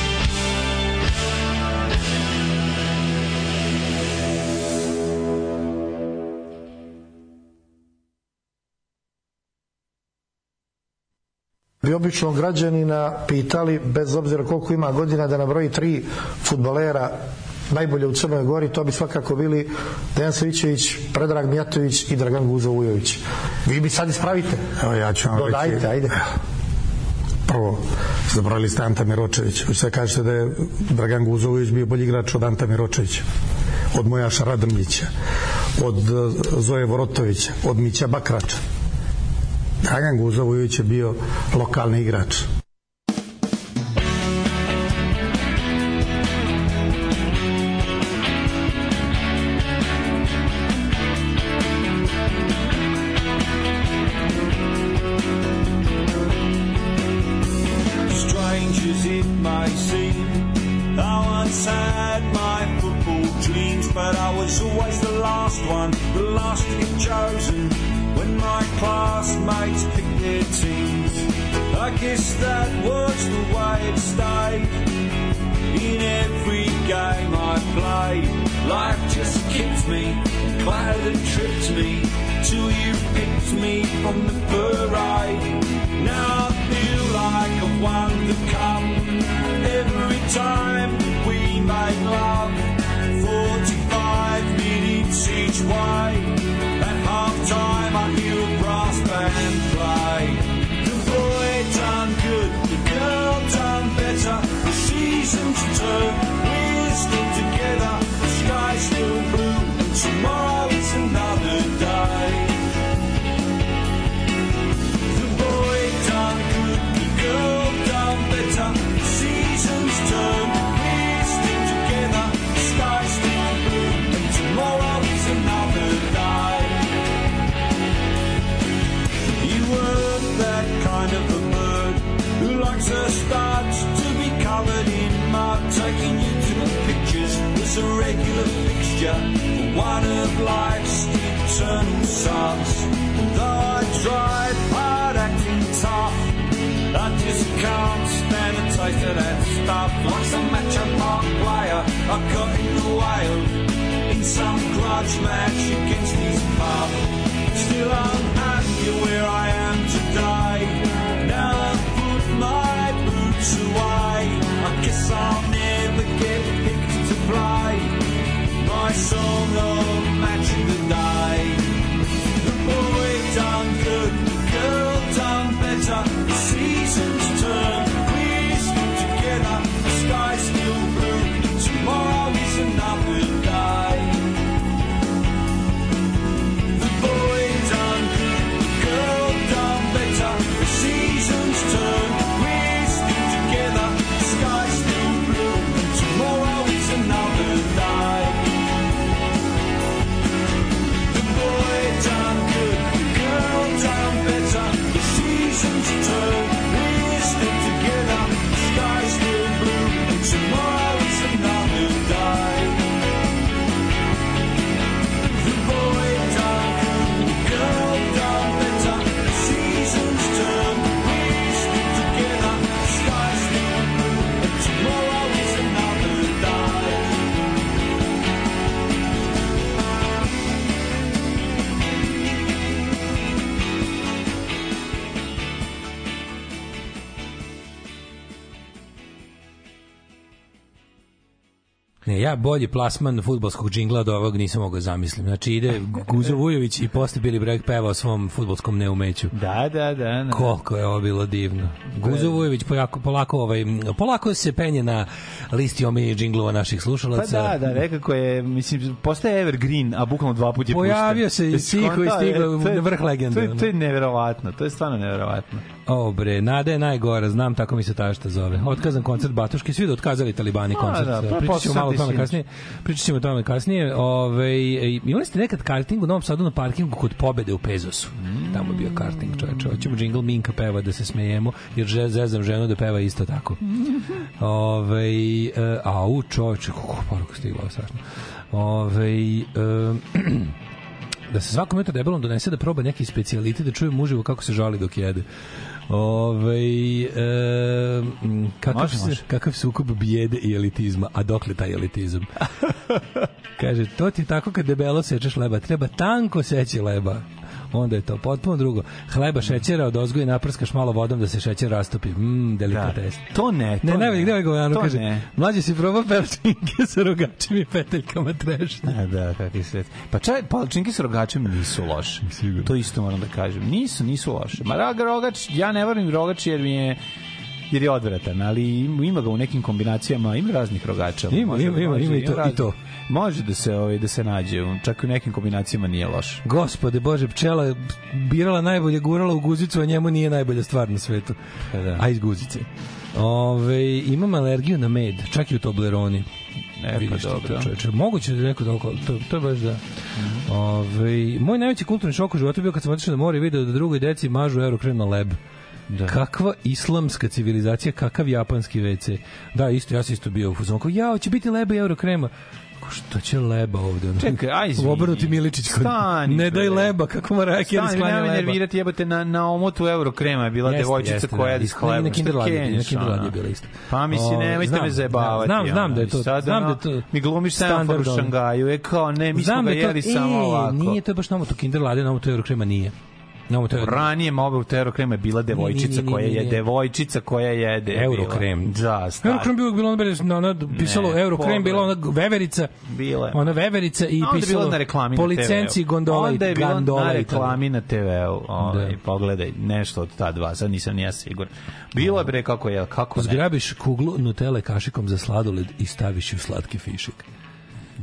S1: Bi obično građanina pitali, bez obzira koliko ima godina, da nabroji tri futbolera najbolje u Crnoj Gori, to bi svakako bili Dejan Svićević, Predrag Mijatović i Dragan Guzo Ujović. Vi bi sad ispravite.
S10: Evo ja ću vam
S1: Dodajte,
S10: reći.
S1: ajde.
S10: Prvo, zabrali ste Anta Miročević. Vi sad kažete da je Dragan Guzović bio bolji igrač od Anta Miročevića, od Mojaša Radrmljića, od eh, Zoje Vorotovića, od Mića Bakrača. Dragan Guzović je bio lokalni igrač.
S5: I once had my football dreams, but I was always the last one, the last to be chosen. When my classmates picked their teams, I guess that was the way it stayed. In every game I play, life just kicked me, glad it tripped me, till you picked me from the parade. Now I feel like I've won the cup every time we made love. 45 minutes each way, at half time I hear a brass band play. The boy done good, the girl done better, the seasons turn, we're still together, the sky's still blue, and tomorrow is another day. The boy done good, the girl done better, the seasons turn, we're still together, the sky's still blue, and tomorrow is another day. You were that kind of a bird who likes her starts to be covered in mud. Taking you to the pictures was a regular fixture for one of life's eternal subs. Though I tried hard acting tough, I just can't stand the taste of that stuff. Like some matchup park player, I got in the wild in some grudge match against his pub. Still, I'm happy where I am today. Now I've put my boots away. I guess I'll never get picked to play my song of match of the day. The boy done good, the girl done better. The seasons turn, we're still together. The sky's still blue. Tomorrow is another day. The boy done good, the girl done better. The seasons turn, we're still together. The sky's still blue, and tomorrow is another day. The boy done good, the girl done better. The seasons turn, we're still together. The sky's still blue, and tomorrow is another day. The boy done good, the girl done better. The seasons turn, we're still together. The sky's still blue, and tomorrow is another day.
S8: Ne, ja bolji plasman fudbalskog džingla od ovog nisam mogao da zamislim. Znači ide Guzo Vujović i posle Billy Bragg peva o svom fudbalskom neumeću.
S9: Da, da, da. da.
S8: Koliko je ovo bilo divno. Guzo Vujović polako, polako, ovaj, polako se penje na listi omiljenih džinglova naših
S9: Pa
S8: slušalaca.
S9: da, da, nekako je, mislim, postaje evergreen, a bukvalno dva puta je
S8: Pojavio se
S9: pušten.
S8: i
S9: Jesi
S8: Ciko i
S9: skontao? E,
S8: stigao
S9: to je-
S8: na vrh legende,
S9: To je,
S8: ono.
S9: to je neverovatno, to je stvarno neverovatno.
S8: O bre, nada je najgora, znam tako mi se tašta zove. Otkazan koncert Batuške, svi da otkazali talibani
S9: A,
S8: koncert. Da,
S9: da, pa
S8: pričat ćemo
S9: posle
S8: malo o
S9: ti
S8: tome
S9: sinoć.
S8: kasnije. Pričat ćemo o tome kasnije. Ove, e, imali ste nekad karting u Novom Sadu na parkingu kod pobede u Pezosu?
S9: Mm.
S8: Tamo je bio karting, čoveče. Hoćemo džingl Minka peva da se smejemo, jer že- zezam ženu da peva isto tako. Ove, e, au, čoveče, kako poruka stigla, ovo je strašno. Ove, e, da se svakom jutro debelom donese da proba neki specijalitet da čujem uživo kako se žali dok jede. Ove, e, m, kakav,
S9: Može,
S8: se,
S9: može.
S8: kakav sukob bijede i elitizma, a dokle taj elitizam? Kaže, to ti je tako kad debelo sečeš leba, treba tanko seći leba. Onda je to potpuno drugo. Hleba šećera od ozgoje naprskaš malo vodom da se šećer rastopi. Mm,
S9: Da.
S8: delikates.
S9: To ne, to
S8: Ne, ne,
S9: ne.
S8: ne, gde je govano,
S9: To
S8: kaže,
S9: ne.
S8: mlađe si probao pevčinke sa rogačima i peteljkama trešnje.
S9: A, da, kakvi svet. Pa čaj, palčinke s rogačem nisu loše. To isto moram da kažem. Nisu, nisu loše. Ma rag, rogač, ja ne volim rogač jer mi je jer je odvratan, ali im- ima ga u nekim kombinacijama, ima raznih rogača.
S8: Ima, ima, ima, ima i to- i
S9: raznih-
S8: to.
S9: Može da se, ovaj, da se nađe, čak i u nekim kombinacijama nije loše.
S8: Gospode Bože, pčela je birala najbolje, gurala u guzicu, a njemu nije najbolja stvar na svetu.
S9: Pa da.
S8: A iz guzice. Ove, imam alergiju na med, čak i u Tobleroni.
S9: E, pa
S8: ti to,
S9: dobro.
S8: čoveče. Moguće da je neko toliko, to, to je baš da. Ove, moj najveći kulturni šok u životu je bio kad sam otišao na more i video da drugoj deci mažu eurokren na leb. Da. Kakva islamska civilizacija, kakav japanski WC. Da, isto, ja sam isto bio u fuzonu. kao, Jao, će biti leba i euro krema. Ko, Šta će leba ovde? ono?
S9: Čekaj, aj izvini.
S8: Obrnuti Miličić. kod-
S9: Stani,
S8: ne daj
S9: bre.
S8: leba, kako mora Kjer
S9: Stani,
S8: sklanja
S9: nemoj
S8: leba.
S9: nervirati, jebote, na, na omotu Eurokrema je bila
S8: Jeste,
S9: devojčica
S8: jeste,
S9: koja je
S8: da, isto,
S9: dishleba.
S8: na Kinder
S9: Šta
S8: Ladi je bila,
S9: kenjaš,
S8: na Kinder Ladi je
S9: ono?
S8: bila isto.
S9: Pa mislim,
S8: O,
S9: nemojte
S8: znam,
S9: me zajebavati.
S8: znam, znam
S9: ono,
S8: da je to-
S9: i sad,
S8: znam da je
S9: ono,
S8: to
S9: Mi glumiš semafor u
S8: standard, ono.
S9: Šangaju, je kao, ne, mi smo
S8: Znam
S9: ga
S8: da to,
S9: jeli samo
S8: e,
S9: ovako.
S8: Nije to baš nomo to Kinder Lade, nomo to euro krema nije. Nomo to euro
S9: Ranije mobil Euro krema je bila devojčica
S8: nije, nije,
S9: koja
S8: nije,
S9: je
S8: nije.
S9: devojčica koja jede. je bila.
S8: Eurokrem.
S9: Da, stari.
S8: Eurokrem bilo bilo ono bez na na pisalo
S9: Ne,
S8: Eurokrem bila ona
S9: pogled.
S8: veverica.
S9: Bila je.
S8: Ona veverica i
S9: A onda je
S8: pisalo
S9: bilo na reklami
S8: po
S9: na TV-u.
S8: licenci gondola i
S9: Onda je bilo
S8: gondola
S9: na
S8: i tako.
S9: reklami na TV-u. Ovaj, Pogledaj, nešto od ta dva, sad nisam ni ja siguran. Bilo je bre kako je,
S8: Pa
S9: kako ne.
S8: Zgrabiš kuglu Nutelle kašikom za sladoled i staviš ju u slatki fišek.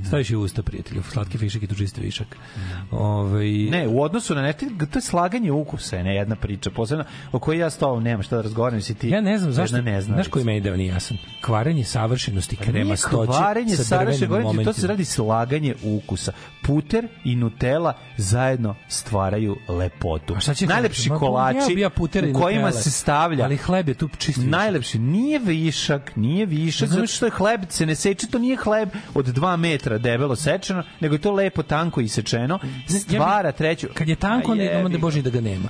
S8: Staviš ju u usta, prijatelju. Slatki fišek i tu čisti višak. Ovaj
S9: Ne, u odnosu na ne, to je slaganje ukusa, je ne jedna priča, posebno o kojoj ja s tobom nemam šta da razgovaram, si ti.
S8: Ja ne znam
S9: jedna
S8: zašto, ne
S9: neznalica.
S8: znaš koji meni deo nije jasan. Kvarenje savršenosti krema stoće
S9: Pa kvarenje
S8: sa
S9: Saraše
S8: drvenim
S9: Gorenje, to se
S8: momentima.
S9: radi slaganje ukusa. Puter i Nutella zajedno stvaraju lepotu.
S8: A Pa šta će
S9: Najlepši
S8: Ma, jeo
S9: kolači
S8: bi ja putere i
S9: u kojima
S8: Nutelle,
S9: se stavlja
S8: Ali hleb je tu čisti. višak.
S9: najlepši nije višak, nije višak, zato što je hleb se ne seče, to nije hleb od 2 metra debelo sečeno, nego je to lepo tanko isečeno, stvara treću.
S8: Kad je tanko,
S9: A
S8: ne,
S9: jebi
S8: onda
S9: ga.
S8: bože da ga nema.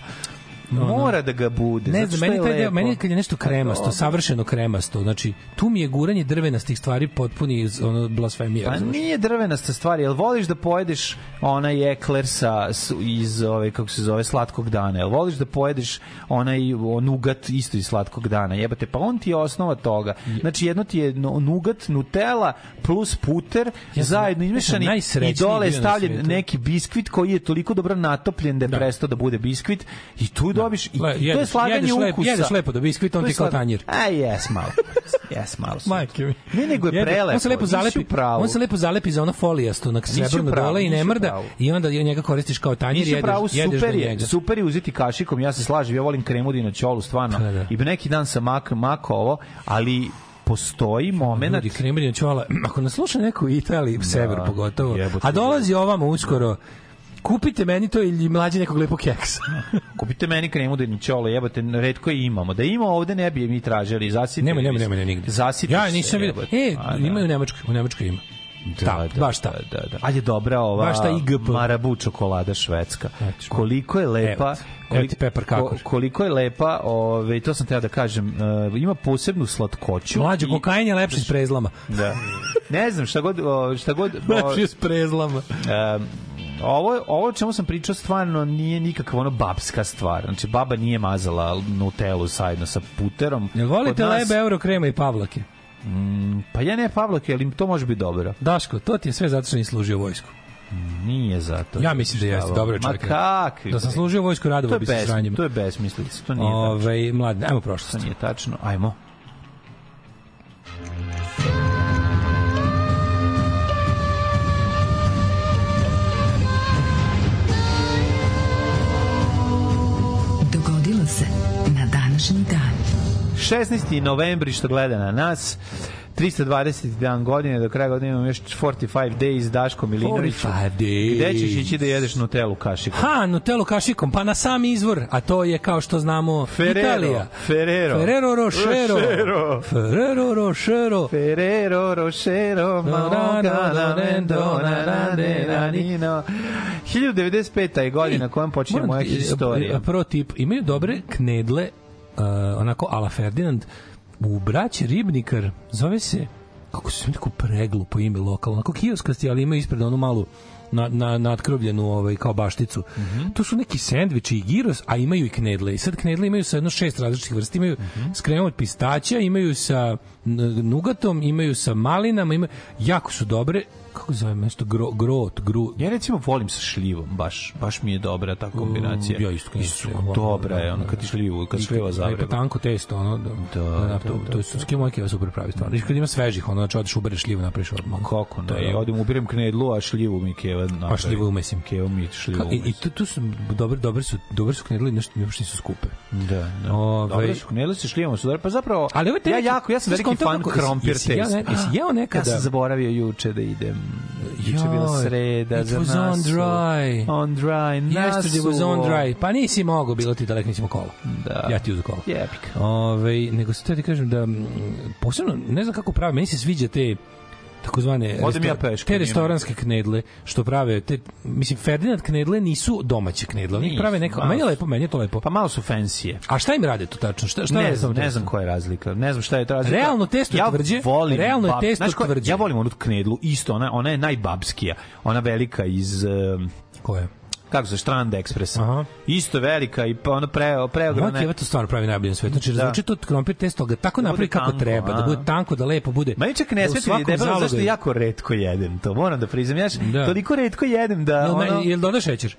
S9: mora da ga bude.
S8: Ono, Ne znam,
S9: zato što
S8: meni
S9: je
S8: taj deo,
S9: lepo.
S8: meni je kad je nešto
S9: Pa
S8: kremasto,
S9: dobro.
S8: savršeno kremasto, znači tu mi je guranje drvenastih stvari potpuni iz ono blasfemija.
S9: Pa
S8: razumeš?
S9: nije drvenasta stvar, jel voliš da pojedeš onaj ekler sa, s- iz ove, kako se zove, slatkog dana, jel voliš da pojedeš onaj o, nugat isto iz slatkog dana, jebate, pa on ti je osnova toga. Znači jedno ti je no- nugat, nutela plus puter,
S8: Ja sam-
S9: zajedno
S8: ja sam
S9: izmešani i
S8: najsrećniji
S9: dole je
S8: bio na
S9: stavljen
S8: svijetu.
S9: neki biskvit koji je toliko dobro natopljen da je
S8: Da.
S9: prestao da bude biskvit i tu dobiš, i,
S8: Le-
S9: i to je
S8: jedeš-
S9: slaganje
S8: jedeš lep-
S9: ukusa.
S8: jedeš lepo do biskvita, on
S9: To je
S8: ti kao
S9: slag-
S8: tanjir.
S9: A jes, malo. Jes, malo. su.
S8: Majke mi.
S9: Ne, nego je
S8: Jede,
S9: prelepo.
S8: On se lepo
S9: nisi u
S8: zalepi,
S9: pravu.
S8: on se lepo zalepi za ono folijasto na srebrno
S9: u pravu,
S8: dole i
S9: nisi
S8: ne
S9: u
S8: mrda
S9: pravu.
S8: i onda njega koristiš kao tanjir i
S9: Nisi u
S8: jedeš,
S9: pravu,
S8: jedeš do
S9: super je,
S8: njega.
S9: super je uzeti kašikom, ja se slažem, ja volim kremudi na čolu, stvarno.
S8: Pa da.
S9: I neki dan sam mak, mako ovo, ali postoji moment...
S8: Ljudi, Kremlin čovala, ako nas sluša neko u Italiji, da, sever pogotovo,
S9: jebote.
S8: a dolazi ovamo uskoro, kupite meni to ili mlađe nekog lepog keksa.
S9: Kupite meni kremudu na čolo, jebate, redko je imamo. Da ima ovde, ne bi je mi tražili. Zasitili
S8: nema, nema,
S9: bi se.
S8: nema, nema nigde.
S9: Zasitiš
S8: ja nisam
S9: se,
S8: vidio.
S9: jebote.
S8: E,
S9: A, da.
S8: ima i u Nemačkoj, u Nemačkoj ima.
S9: Da,
S8: ta,
S9: da,
S8: baš ta.
S9: Da, da, da. Ali je dobra ova
S8: Baš ta IGP.
S9: marabu čokolada švedska. Koliko je lepa...
S8: Evo ti, evo ti pepper kakor.
S9: koliko je lepa, ove, to sam teo da kažem, e, ima posebnu slatkoću.
S8: Mlađe,
S9: i-
S8: kokain je lepši s prezlama.
S9: Da. Ne znam, šta god... o, Šta god o,
S8: Lepši je s prezlama.
S9: em, ovo, ovo o čemu sam pričao stvarno nije nikakva ono babska stvar. Znači, baba nije mazala Nutellu sajedno sa puterom.
S8: Jel volite
S9: Kod nas-
S8: lebe, euro, krema i pavlake?
S9: Pa ja ne Pavloke, ali to može biti dobro. Pa
S8: Daško, to ti je sve zato što nisi služio vojsku.
S9: Nije zato.
S8: Ja mislim da jeste,
S9: Šta,
S8: dobro je
S9: Ma
S8: čovjek.
S9: kakvi?
S8: Da sam
S9: bre?
S8: služio vojsku,
S9: To
S8: radovo
S9: je,
S8: bi se
S9: bes,
S8: sranjima.
S9: to je besmislica, to nije tačno.
S8: Ove, mladne, ajmo
S9: To
S8: prošlost.
S9: nije tačno. Ajmo.
S7: Dogodilo se na današnji dan.
S9: 16. novembri što gleda na nas. 321 godine, do kraja godine imamo još 45 days, Daško Milinović.
S8: 45 days.
S9: Gde ćeš ići da jedeš Nutellu kašiku?
S8: Ha, Nutello kašikom, pa na sam izvor, a to je kao što znamo
S9: Ferrero,
S8: Italija.
S9: Ferrero.
S8: Ferrero Rochero.
S9: Rochero.
S8: Ferrero Rochero.
S9: Ferrero Rochero Maogana Nendo na na ne na nino 1095. je godina kojem počinje
S8: Moram
S9: moja
S8: ti-
S9: historija.
S8: Pro tip, imaju dobre knedle, uh, onako ala Ferdinand, u braći Ribnikar, zove se, kako se zove, tako preglu po ime lokalno, onako kioskasti, ali imaju ispred onu malu na, na, natkrovljenu ovaj, kao bašticu.
S9: Mhm.
S8: To su neki sendviči i giros, a imaju i knedle. I sad knedle imaju sa jedno šest različitih vrsta. Imaju
S9: Mhm.
S8: s kremom od pistaća, imaju sa n- nugatom, imaju sa malinama, imaju... jako su dobre. Kako zove nešto? Gro, grot, gru,
S9: Ja recimo volim sa šljivom, baš, baš mi je dobra ta kombinacija.
S8: Mm, Ja isto kažem,
S9: Isu,
S8: ja volim,
S9: dobra je,
S8: da,
S9: ono
S8: da,
S9: kad ti šljivu, kad šljiva
S8: Lepo
S9: zavreba.
S8: tanko testo, ono, da, da,
S9: Da, da,
S8: da, to, to, je s kim moj keva super pravi stvar. Znači, kad ima svežih, ono, znači, odeš ubereš šljivu, napraviš odmah.
S9: Kako
S8: To
S9: ne,
S8: je
S9: i
S8: ono.
S9: odem ubirem knedlu, a šljivu mi keva napravi.
S8: Pa šljivu umesim.
S9: Keva mi šljivu
S8: Ka- I, i
S9: umesim.
S8: tu, tu su, dobre, dobre su, dobre su knedli, nešto mi uopšte nisu skupe.
S9: Da, da.
S8: Ovaj-
S9: Dobre su knedle sa šljivom, su dobre. Pa zapravo,
S8: Ali ovo je
S9: ja
S8: teško.
S9: jako, ja sam
S8: Znaš,
S9: veliki
S8: kontakt
S9: fan
S8: kako-
S9: krompir
S8: jesi- jesi jeo
S9: testa.
S8: ne- jesi jeo
S9: Ja
S8: nekada-
S9: sam zaboravio juče da idem Juče je bila
S8: Joj,
S9: sreda,
S8: it
S9: za
S8: was
S9: nas
S8: on
S9: su-
S8: dry.
S9: On dry,
S8: Yesterday
S9: nas
S8: was
S9: su-
S8: on dry. Pa nisi mogao, bilo ti daleko nisi imao kola. Da. Ja ti uzu kola.
S9: Jebik.
S8: Ove, Ovaj, nego se ti kažem da, mm, posebno, ne znam kako pravi, meni se sviđa te takozvane
S9: Odem ja
S8: restor-
S9: peške,
S8: te
S9: nije
S8: restoranske knedle što prave te mislim Ferdinand knedle nisu domaće knedle oni
S9: Nisu,
S8: prave neka
S9: malo
S8: meni je
S9: su-
S8: lepo meni je to lepo
S9: pa malo su fancy
S8: a šta im rade tu tačno šta šta
S9: ne,
S8: rade
S9: znam,
S8: tom
S9: ne
S8: testu?
S9: znam koja je razlika. Ne znam šta je to razlika.
S8: Realno testo je
S9: ja
S8: tvrđe,
S9: Volim
S8: realno je
S9: bab-
S8: testo
S9: Znaš koja-
S8: tvrđe.
S9: Ja volim onu knedlu, isto, ona, ona je najbabskija. Ona velika iz... Um,
S8: koja?
S9: Kako se, Štranda Ekspresa. Aha. Isto velika i pa ona pre, preograna.
S8: Moj to stvarno pravi najbolje na svetu. Znači,
S9: Da.
S8: razvuče to krompir testo, ga tako
S9: Da
S8: napravi
S9: bude
S8: kako
S9: tanko,
S8: treba, da
S9: a.
S8: bude tanko, da lepo bude.
S9: Meni čak ne
S8: U
S9: sveti
S8: svakom
S9: ni debelo, zašto
S8: zalogu je.
S9: jako retko jedem to, moram da priznam. Ja
S8: Da.
S9: da. toliko retko jedem da...
S8: Jel,
S9: ono,
S8: ono... jel dodaš šećer?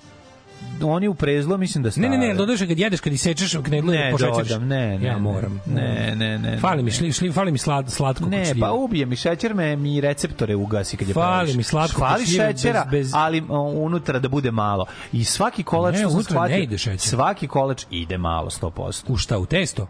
S9: Oni u prezlo mislim da
S8: Ne,
S9: stave.
S8: ne, ne, jel dodaš kad jedeš, kad isečeš knedlu i
S9: Ne,
S8: pošećeš?
S9: dodam, ne, ne.
S8: Ja moram.
S9: Ne, ne, ne.
S8: Fali
S9: ne,
S8: mi, šli, šli, fali mi slad, slatko
S9: Ne,
S8: kočljivo.
S9: pa ubije mi šećer, me mi receptore ugasi kad je
S8: Fali
S9: praviš.
S8: mi slatko
S9: Fali
S8: kočljivo bez-
S9: šećera,
S8: bez-
S9: ali o, unutra da bude malo. I svaki kolač
S8: Ne,
S9: što sam
S8: unutra
S9: shvatio,
S8: ne ide šećer.
S9: Svaki kolač ide malo 100%.
S8: U šta, u testo?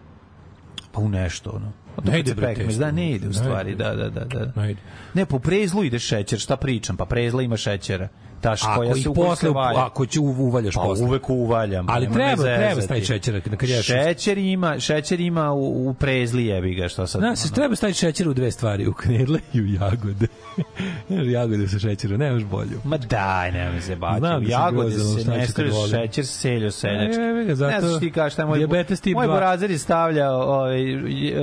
S9: Pa u nešto ono. A to
S8: Ne
S9: kad
S8: ide,
S9: se
S8: bre,
S9: pekmez,
S8: testo.
S9: Da, ne ide u
S8: Ne
S9: stvari,
S8: ide.
S9: da, da, da. da.
S8: Ne ide.
S9: Ne, po prezlu ide šećer, šta pričam? Pa prezla ima šećera. Ta š- koja
S8: Ako ih
S9: se u koju se
S8: posle,
S9: valja.
S8: ako ću uvaljaš
S9: Pa
S8: posle.
S9: uvek uvaljam.
S8: Ali
S9: nema me
S8: treba, treba
S9: zezati.
S8: taj šećer kad jedeš.
S9: Šećer ima, šećer ima u, u prezli jebi ga što sad.
S8: Da, se treba staviti šećer u dve stvari, u knedle i u jagode. Jer jagode sa šećerom, nemaš bolju.
S9: Ma daj, nemoj se
S8: Znam da
S9: bati.
S8: sam
S9: Jagode
S8: grozan, ali
S9: se
S8: šta ću
S9: ne
S8: kad
S9: stavljaš
S8: volim.
S9: šećer, seljo, seljački.
S8: E, jebi ga,
S9: Ne
S8: zato
S9: znaš ti kao šta je moj...
S8: dijabetes tip
S9: moj
S8: dva.
S9: burazer je stavljao ovaj,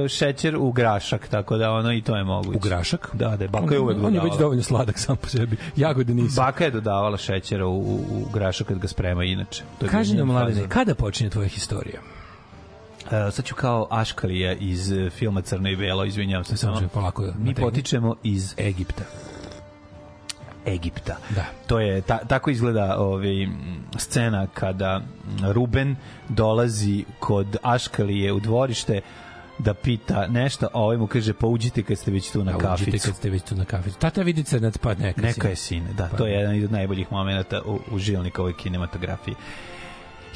S9: šećer u grašak, tako da ono i to je moguće.
S8: U grašak?
S9: Da, da, baka je uvek
S8: On je već
S9: dodavala.
S8: dovoljno sladak sam po sebi. Jagode nisu.
S9: Baka je dodavala šećera u, u, u grašak kad ga sprema inače. To je bio
S8: Kaži
S9: njen
S8: nam, mladene,
S9: fazon.
S8: kada počinje tvoja historija?
S9: E, sad ću kao Aškalija iz e, filma Crno i Belo, izvinjavam se.
S8: Samo
S9: samo.
S8: ću polako da
S9: Mi
S8: nategnem.
S9: potičemo iz E-
S8: Egipta.
S9: Egipta.
S8: Da.
S9: To je ta, tako izgleda ovaj m, scena kada m, Ruben dolazi kod Aškalije u dvorište da pita nešto, a ovaj mu kaže pa uđite kad ste već tu na
S8: Da, uđite
S9: kaficu.
S8: kad ste već tu na kaficu. Tata vidi crnac, pa neka,
S9: Neka je sine, da,
S8: Pa
S9: to je jedan od najboljih momenata u, u Žilnikovoj kinematografiji.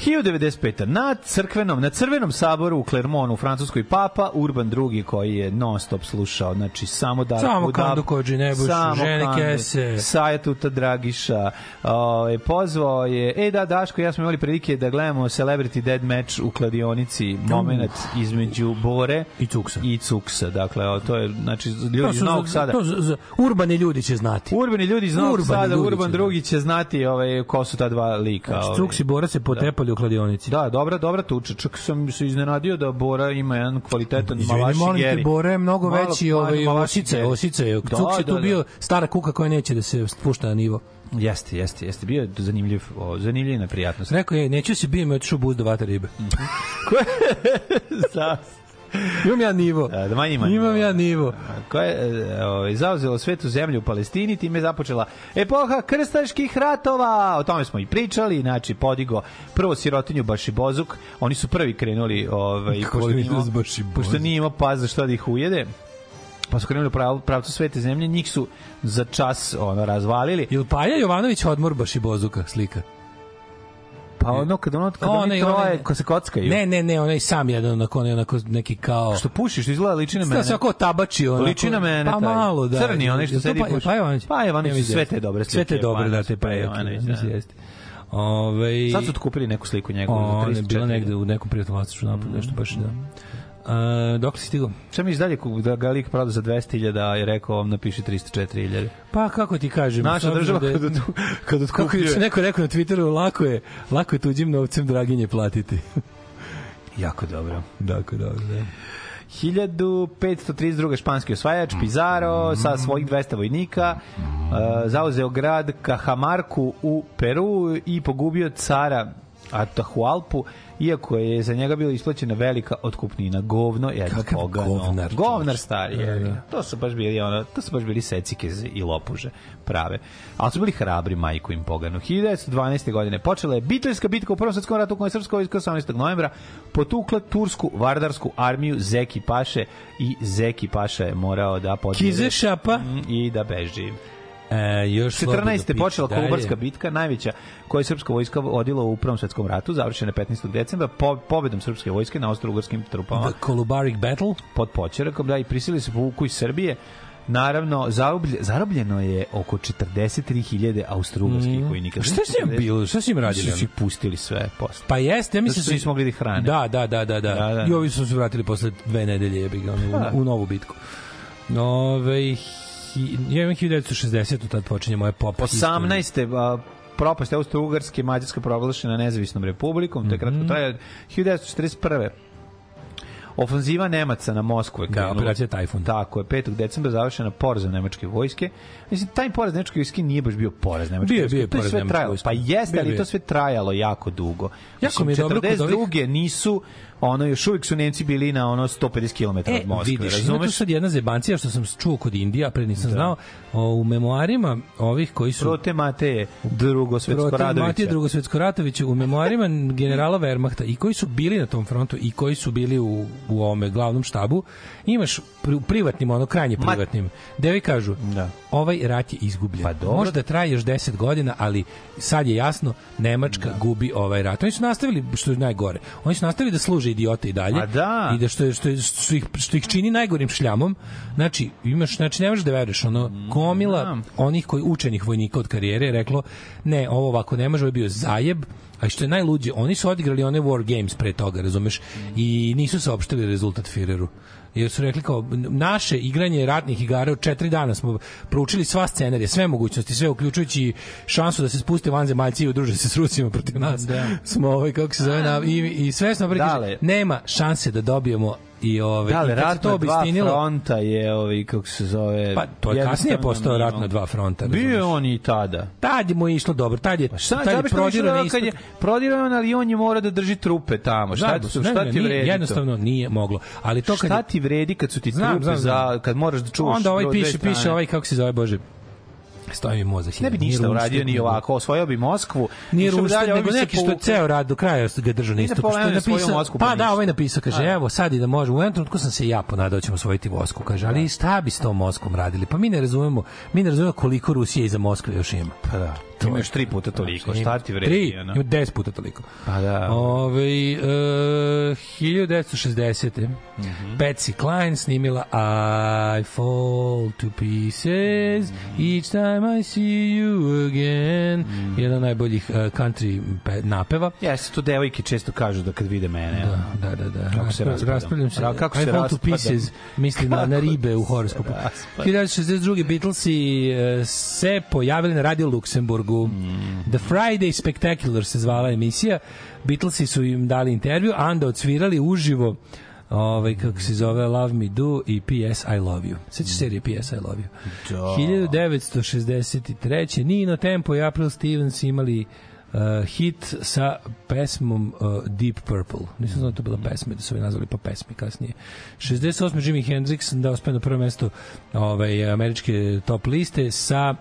S9: 1095. Na crkvenom, na crvenom saboru u Clermontu u Francuskoj papa Urban II koji je non stop slušao, znači samo da
S8: Samo Kandu Kodži Nebušu, žene kese.
S9: Sajatuta Dragiša. Ovaj pozvao je, e da Daško, ja smo imali prilike da gledamo Celebrity Dead Match u kladionici, momenat između Bore
S8: I Cuksa.
S9: i Cuksa. Dakle, o, to je znači
S8: To
S9: ljudi iz
S8: su,
S9: Novog
S8: za,
S9: Sada.
S8: to za, za, urbani ljudi će znati.
S9: Urbani ljudi iz Novog
S8: Urbani
S9: Sada,
S8: ljudi
S9: Urban
S8: će
S9: drugi će znati ovaj, ko su ta dva lika.
S8: Znači,
S9: ovaj.
S8: Cuks i Bora se potepali u kladionici.
S9: Da, dobra, dobra tuča. Čak sam se iznenadio da Bora ima jedan kvalitetan
S8: Izvini,
S9: malaši
S8: molim
S9: geri.
S8: te, Bora je mnogo
S9: Malo-
S8: veći
S9: malo
S8: ovaj,
S9: malaši
S8: osice,
S9: geri.
S8: osice. je.
S9: Da,
S8: Cuks je
S9: da,
S8: tu
S9: da.
S8: bio stara kuka koja neće da se spušta na nivo.
S9: Jeste, jeste, jeste. Bio je zanimljiv, o, zanimljiv na prijatnost.
S8: Rekao je, neću se bijem, otišu buz do vata ribe.
S9: Mhm. Za-
S8: Imam ja nivo.
S9: Da, da manje ima
S8: Imam
S9: nivo.
S8: ja nivo.
S9: koja je e, ovaj, zauzela svetu zemlju u Palestini, time je započela epoha krstaških ratova. O tome smo i pričali, znači podigo prvo sirotinju Bašibozuk. Oni su prvi krenuli, ovaj,
S8: Kako
S9: pošto,
S8: oni
S9: nije imao,
S8: s Bašibozuk?
S9: pošto nije imao pas za šta da ih ujede, pa su krenuli u prav, pravcu svete zemlje, njih su za čas ono, razvalili.
S8: Jel Paja Jovanović odmor baš i bozuka slika?
S9: Pa ono, kad ono, kad
S8: Onaj,
S9: oni
S8: onaj-
S9: troje, ko se kockaju.
S8: Ne, ne, ne, onaj sam jedan, onako, onaj, onako neki kao...
S9: E, Što pušiš, što izgleda liči na
S8: Da
S9: mene.
S8: se oko tabači onako.
S9: Liči na mene
S8: Pa
S9: taj.
S8: malo, da.
S9: Crni onaj što
S8: Jel to
S9: sedi
S8: Pa-
S9: i puši.
S8: Pa Jovanović.
S9: Pa Jovanović su
S8: Ne vidim.
S9: sve te dobre slike,
S8: Sve te dobre, da,
S9: Jovanović,
S8: te Pa
S9: Pa
S8: Jovanović,
S9: Jovanović,
S8: da.
S9: da.
S8: Jeste. Ovaj- Ove,
S9: Sad su kupili neku sliku njegovu. za
S8: Ona Pa je
S9: 34
S8: bila negde u nekom prijatnom vlasničku napadu, nešto baš da. Uh, dok si stigao?
S9: Šta mi izdalje da ga lik prodao za 200.000 i rekao vam napiše 304.000?
S8: Pa kako ti kažem? s
S9: Naša
S8: obzirom
S9: država
S8: da je-
S9: kad, od, kad
S8: Kako je
S9: otkupljuje...
S8: se neko rekao na Twitteru, lako je, lako je tuđim novcem draginje platiti.
S9: Jako dobro.
S8: dakle, da, da.
S9: 1532. španski osvajač Pizarro sa svojih 200 vojnika uh, zauzeo grad Cajamarku u Peru i pogubio cara Atahualpu iako je za njega bila isplaćena velika otkupnina govno jedno
S8: Kakav
S9: pogano
S8: govnar, čoveče.
S9: govnar stari
S8: Da,
S9: je.
S8: da.
S9: to su baš bili ono to su baš bili secike i lopuže prave ali su bili hrabri majku im pogano 1912. godine počela je biteljska bitka u Prvom svetskom ratu u kojoj je srpska vojska 18. novembra potukla tursku vardarsku armiju Zeki Paše i Zeki Paša je morao da podijeli
S8: Kize šapa.
S9: i da beži
S8: E, još
S9: 14. je počela Kolubarska
S8: Kolubarska
S9: bitka, najveća koju je srpska vojska odila u Prvom svetskom ratu, završena je 15. decembra po, pobedom srpske vojske na austro-ugarskim trupama
S8: The Kolubaric Battle.
S9: pod Poćerakom, da, i prisili se povuku iz Srbije Naravno, zaroblje- zarobljeno je oko 43.000 austrougarskih
S8: Mm.
S9: vojnika. Znači,
S8: Šta s njima bilo? Šta s njim radili,
S9: Su ih
S8: ono?
S9: pustili sve posle.
S8: Pa jeste, ja mislim
S9: Zato što nisu mogli da ih hrane.
S8: Da, da, da, da, da.
S9: Da, da.
S8: I ovi su se vratili posle dve nedelje jebi ga, ono,
S9: Da.
S8: u, u novu bitku. Ove, hi, ja imam 1960 tad počinje moja pop. historija.
S9: 18. a, propast Austro-Ugarske, Mađarska proglašena nezavisnom republikom, to je
S8: Mhm.
S9: kratko traje, 1941. Ofanziva Nemaca na Moskvu je krenula.
S8: operacija Tajfun.
S9: Tako je, 5. decembra završena porazom nemačke vojske. Mislim, taj poraz nemačke vojske nije baš bio poraz nemačke
S8: Bio je,
S9: vojske.
S8: bio je
S9: to je
S8: poraz
S9: sve
S8: nemačke
S9: trajalo.
S8: vojske.
S9: Pa jeste,
S8: Bio
S9: ali
S8: je.
S9: to sve trajalo jako dugo.
S8: Jako mi je dobro kod ovih-
S9: 42. nisu, ono, još uvijek su Nemci bili na ono 150 km
S8: E,
S9: od Moskve,
S8: vidiš, ima tu
S9: razumeš?
S8: sad jedna zebancija što sam čuo kod Indija, pre nisam znao, o, u memoarima ovih koji su...
S9: Prote Mateje, drugo svetsko
S8: Protiv
S9: Radovića.
S8: Matije Drugosvetsko Ratovića u memoarima generala Wehrmachta i koji su bili na tom frontu i koji su bili u, u ovome glavnom štabu, imaš pri, u privatnim, ono krajnje
S9: Ma-
S8: privatnim, gde vi kažu,
S9: Da.
S8: ovaj rat je izgubljen.
S9: Pa dobro.
S8: Možda traje još 10 godina, ali sad je jasno, Nemačka gubi ovaj rat. Oni su nastavili, što je najgore, oni su nastavili da služe idiote i dalje.
S9: A Pa da.
S8: I da što, je- što, je- što, ih, što ih čini najgorim šljamom. Znači, imaš, znači ne možeš da veruješ, ono, gomila
S9: da.
S8: onih koji učenih vojnika od karijere je reklo ne, ovo ovako ne može, ovo je bio zajeb a što je najluđe, oni su odigrali one war games pre toga, razumeš, i nisu saopštili rezultat Führeru jer su rekli kao, naše igranje ratnih igara od četiri dana smo proučili sva scenarije, sve mogućnosti, sve uključujući šansu da se spuste vanzemaljci i udruže se s Rusima protiv nas. Smo ovaj, kako se zove, na, i, i sve smo prikaže,
S9: Dale.
S8: nema šanse da dobijemo i ove,
S9: Da, ali
S8: i kad se
S9: rat
S8: to
S9: na dva
S8: obistinilo,
S9: fronta je, ovaj, kako se zove...
S8: pa to je kasnije
S9: jednostavno
S8: postao rat na
S9: minimalno.
S8: dva fronta.
S9: Bio je
S8: razumeš?
S9: on i tada.
S8: Tad mu je išlo dobro, tad je,
S9: Šta,
S8: tad
S9: šta
S8: je
S9: bi prodirao
S8: prodirao na
S9: na kad je
S8: istok.
S9: prodirao je on, ali on je mora da drži trupe tamo. Šta,
S8: Zabos,
S9: ti-
S8: ne,
S9: šta
S8: ne,
S9: ti
S8: nije,
S9: vredi
S8: Jednostavno nije moglo. Ali to
S9: to?
S8: kad
S9: Šta
S8: je-
S9: ti vredi kad su ti
S8: Znam,
S9: trupe
S8: znam, znam.
S9: za kad moraš da čuvaš
S8: onda ovaj
S9: od dve
S8: piše,
S9: strane?
S8: piše ovaj kako se zove, bože, stoji mi mozak.
S9: ne bi
S8: Nije
S9: ništa
S8: Rumstig,
S9: uradio ni
S8: nego-
S9: ovako, osvojio bi Moskvu.
S8: Nije
S9: išao bi
S8: rušten,
S9: dalje, ovaj
S8: nego
S9: bi se
S8: neki što je
S9: povukao.
S8: ceo rad do kraja do kraja ga
S9: Ide
S8: držao
S9: po
S8: na što je
S9: Leninu svoju
S8: napisao.
S9: Mosku, pa
S8: Pa da,
S9: ništa.
S8: ovaj napisao, kaže,
S9: A.
S8: evo sad i da možemo. U jednom trenutku sam se ja ponadao da ćemo osvojiti Mosku, kaže, ali šta bi s tom Moskom radili? Pa mi ne razumemo, mi ne razumemo koliko Rusija iza Moskve još ima.
S9: Pa da,
S8: To je-
S9: imaš tri puta toliko,
S8: Znači,
S9: šta
S8: ima
S9: ti vredi?
S8: Tri,
S9: ono?
S8: ima deset puta toliko.
S9: Pa da.
S8: Ove, e, 1960. Patsy Cline snimila I fall to pieces each time I see you again. Jedan od najboljih e, country pe- napeva.
S9: Jeste, to devojke često kažu da kad vide mene. ono.
S8: Da, da, da.
S9: Kako se
S8: Raspa-
S9: raspadam.
S8: Raspravljam se.
S9: Ra- kako
S8: I
S9: se
S8: fall to
S9: raspadam.
S8: pieces, misli na, na
S9: Kako
S8: ribe u
S9: se
S8: horoskopu.
S9: raspadam.
S8: 1962. Beatlesi e, se pojavili na Radio Luksemburgu.
S9: Mm.
S8: The Friday Spectacular se zvala emisija. Beatlesi su im dali intervju, a onda odsvirali uživo ovaj kako se zove Love Me Do i PS I Love You. Sećaš serije PS I Love You.
S9: Mm. Da.
S8: 1963. Nino Tempo i April Stevens imali uh, hit sa pesmom uh, Deep Purple. Nisam znao da je to bila pesma, da su je nazvali pa pesmi kasnije. 68. Jimi Hendrix da ospe na prvo mesto ovaj, američke top liste sa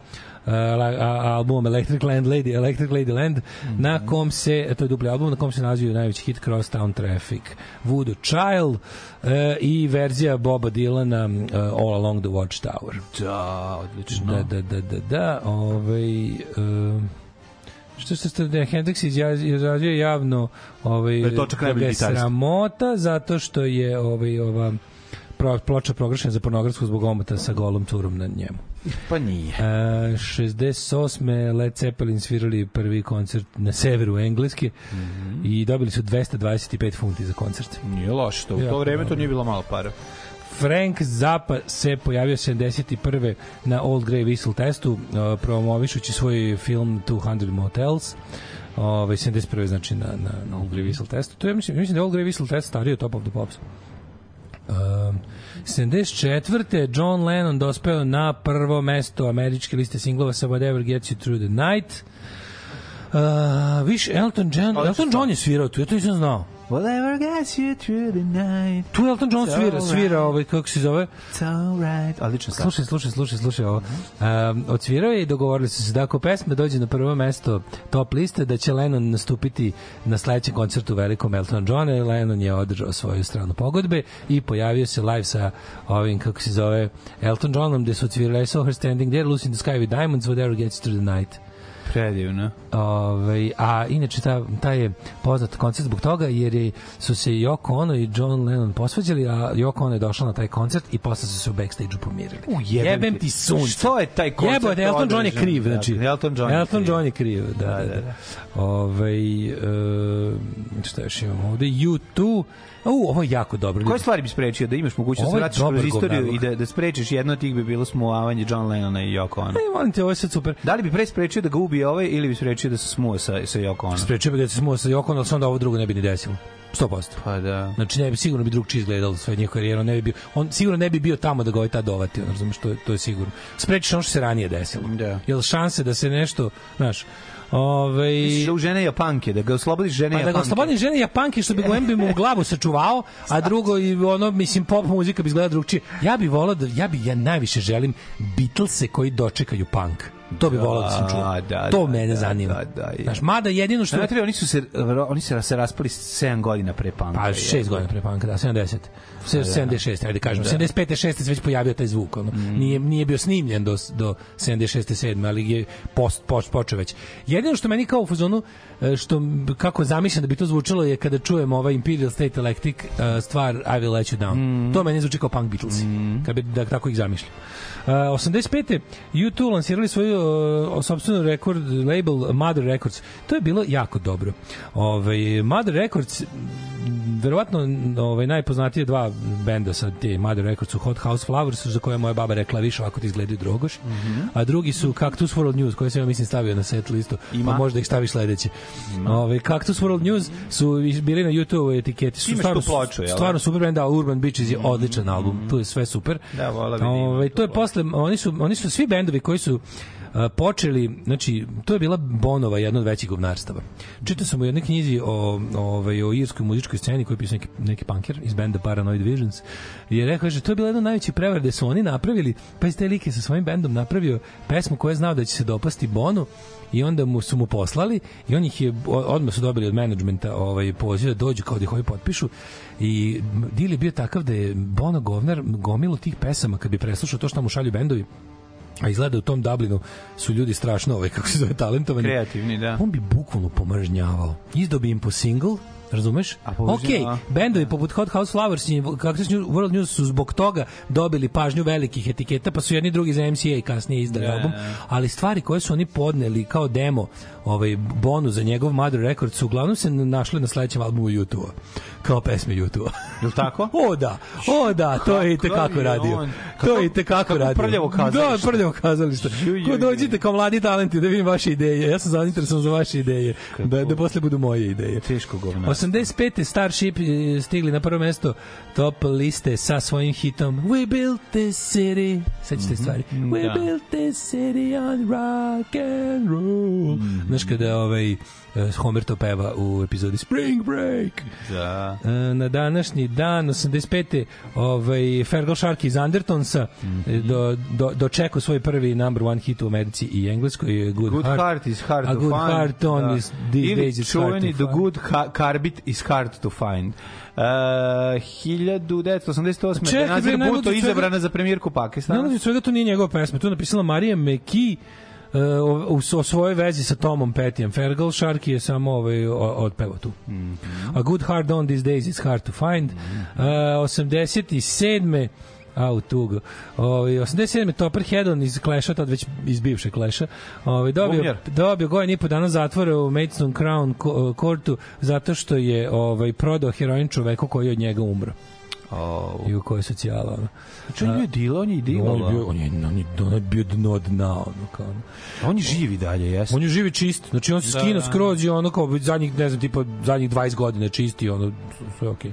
S8: uh, la- a- albumom Electric Land Lady, Electric Lady Land,
S9: Mhm.
S8: na kom se, to je dupli album, na kom se nazivaju najveći hit Crosstown Traffic, Voodoo Child e, i verzija Boba Dylana e, All Along the Watchtower.
S9: Da, odlično.
S8: Da, da, da, da, da, ovaj... Um, što se ste da je Hendrix izjaz- izrazio javno ovaj
S9: Da je Točak najbolji
S8: ga je
S9: gitarist.
S8: sramota zato što je ovaj ova pro- ploča proglašena za pornografsku zbog omota sa golom curom na njemu.
S9: Pa nije.
S8: E, 68. Led Zeppelin svirali prvi koncert na severu Engleske
S9: Mhm.
S8: i dobili su 225 funti za koncert.
S9: Nije loše to. U to
S8: Jako
S9: vreme to nije bilo malo para.
S8: Frank Zappa se pojavio 71. na Old Grey Whistle testu eh, promovišući svoj film 200 Motels. Ovaj 71. znači na na, na Old Grey Whistle testu. To je mislim, mislim da je Old Grey Whistle test stariji od Top of the Pops. Um, 74. John Lennon dospeo na prvo mesto američke liste singlova sa Whatever Gets You Through the Night. Uh, viš, Elton John,
S9: Odlično.
S8: Elton John je svirao tu, ja to nisam znao.
S9: Whatever gets you through the night,
S8: Tu Elton John svira, svira ovaj, kako se zove,
S9: it's alright. Odlično sam.
S8: Slušaj, slušaj, slušaj, slušaj ovo. Um, odsvirao je i dogovorili su se da ako pesma dođe na prvo mesto top liste, da će Lennon nastupiti na sledećem koncertu u velikom Elton Johna. Lennon je održao svoju stranu pogodbe i pojavio se live sa ovim, kako se zove, Elton Johnom, gde su odsvirali I saw her standing there, Lucy in the sky with diamonds, whatever gets you through the night.
S9: Predivno.
S8: Ove, Ovaj, a inače, ta, ta je poznat koncert zbog toga, jer je, su se Yoko Ono i John Lennon posvađali, a Yoko Ono je došla na taj koncert i posle su se u backstage-u pomirili. U
S9: jebem ti. Što je taj koncert
S8: Jebo, Elton John je
S9: održan?
S8: kriv,
S9: Da,
S8: znači.
S9: Elton John je
S8: Elton
S9: kriv.
S8: John je kriv, da, da, da. Ove, e, šta još imamo ovde? U2, u, ovo je jako dobro.
S9: Koje stvari bi sprečio da imaš mogućnost
S8: Ovo
S9: da
S8: je
S9: vratiš
S8: dobar
S9: kroz istoriju
S8: govnarluk.
S9: i da, da sprečiš jedno od tih bi bilo smuavanje John Lennona i Yoko Ono.
S8: E, molim te, ovo je sad super.
S9: Da li bi pre sprečio da ga ubije ovaj ili bi sprečio da se smuo sa, sa Yoko Ono?
S8: Sprečio bi da se smuo sa Yoko Ono, ali se onda ovo drugo ne bi ni desilo. 100%.
S9: Pa da.
S8: Znači ne bi sigurno bi drugčije izgledalo sve njihova karijera, on ne bi bio, on sigurno ne bi bio tamo da ga ovaj tad dovati, on razumeš, to je, to je sigurno. Sprečiš ono što se ranije desilo.
S9: Da.
S8: Jel šanse da se nešto, znaš, ovaj
S9: Misliš da u žene Japanke, da ga oslobodiš žene
S8: Pa da
S9: Japanke.
S8: ga oslobodni žene Japanke što bi ga em bi mu u glavu sačuvao, a drugo i ono mislim pop muzika bi izgledala drugčije. Ja bi voleo da ja bi ja najviše želim Beatlese koji dočekaju punk. To bi voleo da sam čuo.
S9: Da, da,
S8: to
S9: da,
S8: mene
S9: da,
S8: zanima.
S9: da, da, je.
S8: Znaš, mada jedino što
S9: Što oni su se oni se se raspali 7 godina pre panka.
S8: Pa 6 godina pre panka, da, 70. Se- 76, ajde kažemo. 75. 6. se već pojavio taj zvuk. Ono. Nije, nije bio snimljen do, do 76. 7. ali je post, post, počeo već. Jedino što meni kao u fazonu, e, što m- kako zamišljam da bi to zvučalo je kada čujem ovaj Imperial State Electric e, stvar I Will Let You Down. To meni zvuči kao punk Beatles. Kad bi, da, tako ih zamišljam. E, 85. U2 lansirali svoju e, sopstvenu rekord label Mother Records. To je bilo jako dobro. Ove, Mother Records verovatno ovaj najpoznatije dva benda sa te Mother Records su Hot House Flowers za koje je moja baba rekla više ovako ti izgledaju drogoš.
S9: Mhm.
S8: A drugi su Cactus World News koje sam ja mislim stavio na set listu.
S9: Ima.
S8: Pa možda ih staviš sledeće. Ovaj Cactus World News su bili na YouTube etiketi su
S9: Imaš
S8: stvarno
S9: tu ploču, jel da? Mhm.
S8: stvarno super bend, a Urban Beaches je odličan album. Tu je sve super.
S9: Da, vola bi da ima
S8: Ovaj,
S9: tu
S8: to je posle oni su oni su svi bendovi koji su a, počeli, znači, to je bila Bonova jedna od većih govnarstava. Čitao sam u jednoj knjizi o, ovaj, o irskoj muzičkoj sceni koju je pisao neki, neki punker iz benda Paranoid Visions i je rekao, kaže, to je bila jedna od najvećih prevara gde su oni napravili, pa iz te like sa svojim bendom napravio pesmu koja je znao da će se dopasti Bonu i onda mu su mu poslali i on ih je o- odmah su dobili od menadžmenta ovaj poziv da dođu kao da ih ovi potpišu i m, deal je bio takav da je Bono govnar gomilu tih pesama kad bi preslušao to što mu šalju bendovi a izgleda u tom Dublinu su ljudi strašno ovaj kako se zove talentovani
S9: Kreativni, da.
S8: on bi bukvalno pomržnjavao izdao bi im po single razumeš?
S9: A
S8: Ok,
S9: pomržnjava.
S8: bendovi poput Hot House Flowers i Cactus New- World News su zbog toga dobili pažnju velikih etiketa, pa su jedni i drugi za MCA kasnije izdali album, ali stvari koje su oni podneli kao demo ovaj, bonu za njegov Mother Record su uglavnom se našle na sledećem albumu YouTube-a, kao pesme YouTube-a.
S9: Jel tako?
S8: O da, o da, to je i
S9: je
S8: tekako radio.
S9: on?
S8: To je i
S9: kako
S8: tekako radio.
S9: prljavo kazalište.
S8: Da, prljavo kazalište.
S9: Ju, ju,
S8: Ko
S9: ju.
S8: dođite kao mladi talenti da vidim vaše ideje. Ja sam zainteresovan za vaše ideje. Da, da posle budu moje ideje.
S9: Teško govna.
S8: 85. Starship eh, stigli na prvo mesto top liste sa svojim hitom We built this city. Sećate se stvari. We
S9: da.
S8: built this city on rock and roll. Znaš kada ovaj eh, Homer to peva u epizodi Spring Break.
S9: Da.
S8: E, na današnji dan 85. ovaj Fergal Sharkey iz Andertonsa
S9: Mhm.
S8: e, do, do, dočekao svoj prvi number one hit u Americi i Engleskoj e, Good,
S9: Good
S8: Heart,
S9: Heart is Hard
S8: a
S9: to
S8: Good
S9: Find.
S8: Heart on
S9: da.
S8: is these
S9: Ili
S8: days is hard
S9: čuveni
S8: to
S9: The
S8: find.
S9: Good ha Carbit is Hard to Find. Uh, 1988.
S8: Pa Čekaj,
S9: Čekaj,
S8: bre,
S9: Benazir
S8: najluđe
S9: Buto
S8: čovjek-
S9: izabrana za premijerku Pakistana.
S8: Naravno, svega to nije njegova pesma. To je napisala Marija Meki e, o, o, o svojoj vezi sa Tomom Petijem. Fergal Sharkey je samo ovaj, o- otpevao tu. A good hard on these days is hard to find. E, 87. Au, tugo. Ovaj, 87. Topper Hedon iz Clash-a, tad već iz bivše Clash-a, ovaj, dobio,
S9: Bubnjar.
S8: dobio godin i po dana zatvora u Maidstone Crown ko- Courtu zato što je ovaj, prodao heroin čoveku koji je od njega umro.
S9: Oh.
S8: I u kojoj socijala. Ono.
S9: Znači, on je dilo, on je
S8: On je bio,
S9: dilo.
S8: on je, on je, on je bio dno dna, ono kao. Ono.
S9: On je živi dalje, jeste.
S8: On je živi čist, znači on se
S9: Da,
S8: skino
S9: da.
S8: skroz i ono kao već zadnjih, ne znam, tipa zadnjih 20 godina je čist i ono, sve okej.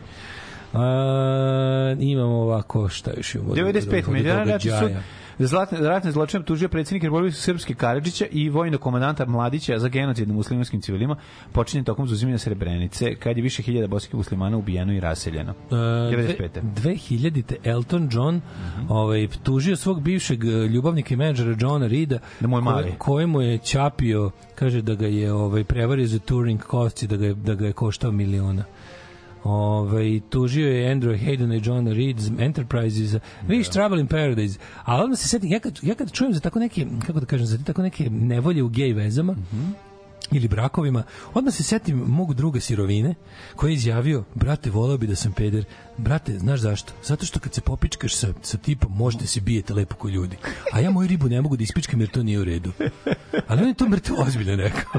S8: A, imamo ovako, šta još imamo? od-
S9: 95.
S8: od- od
S9: Međunarodni ratni sud
S8: događaja?
S9: za znači zlatne, za ratne zločine tužio predsjednik Republike Srpske Karadžića i vojno komandanta Mladića za genocid na muslimanskim civilima počinjen tokom zuzimanja Srebrenice kad je više hiljada bosanskih muslimana ubijeno i raseljeno.
S8: E,
S9: 95.
S8: dve- 2000. Elton John
S9: Mhm.
S8: ovaj, tužio svog bivšeg e, ljubavnika i menadžera Johna Rida
S9: Da mu je
S8: koje-
S9: mali.
S8: kojemu je čapio kaže da ga je ovaj prevario za touring costs i da ga je, da ga je koštao miliona Ove, tužio je Andrew Hayden i John Reed's Enterprises, vidiš Trouble in Paradise, a onda se setim, ja kad, ja kad čujem za tako neke, kako da kažem, za tako neke nevolje u gej
S9: Mhm.
S8: vezama, ili brakovima, odmah se setim mog druga sirovine, koji je izjavio, brate, volao bi da sam peder, brate, znaš zašto? Zato što kad se popičkaš sa, sa tipom, možete se bijete lepo ko ljudi. A ja moju ribu ne mogu da ispičkam jer to nije u redu. Ali on je to mrtvo ozbiljno rekao.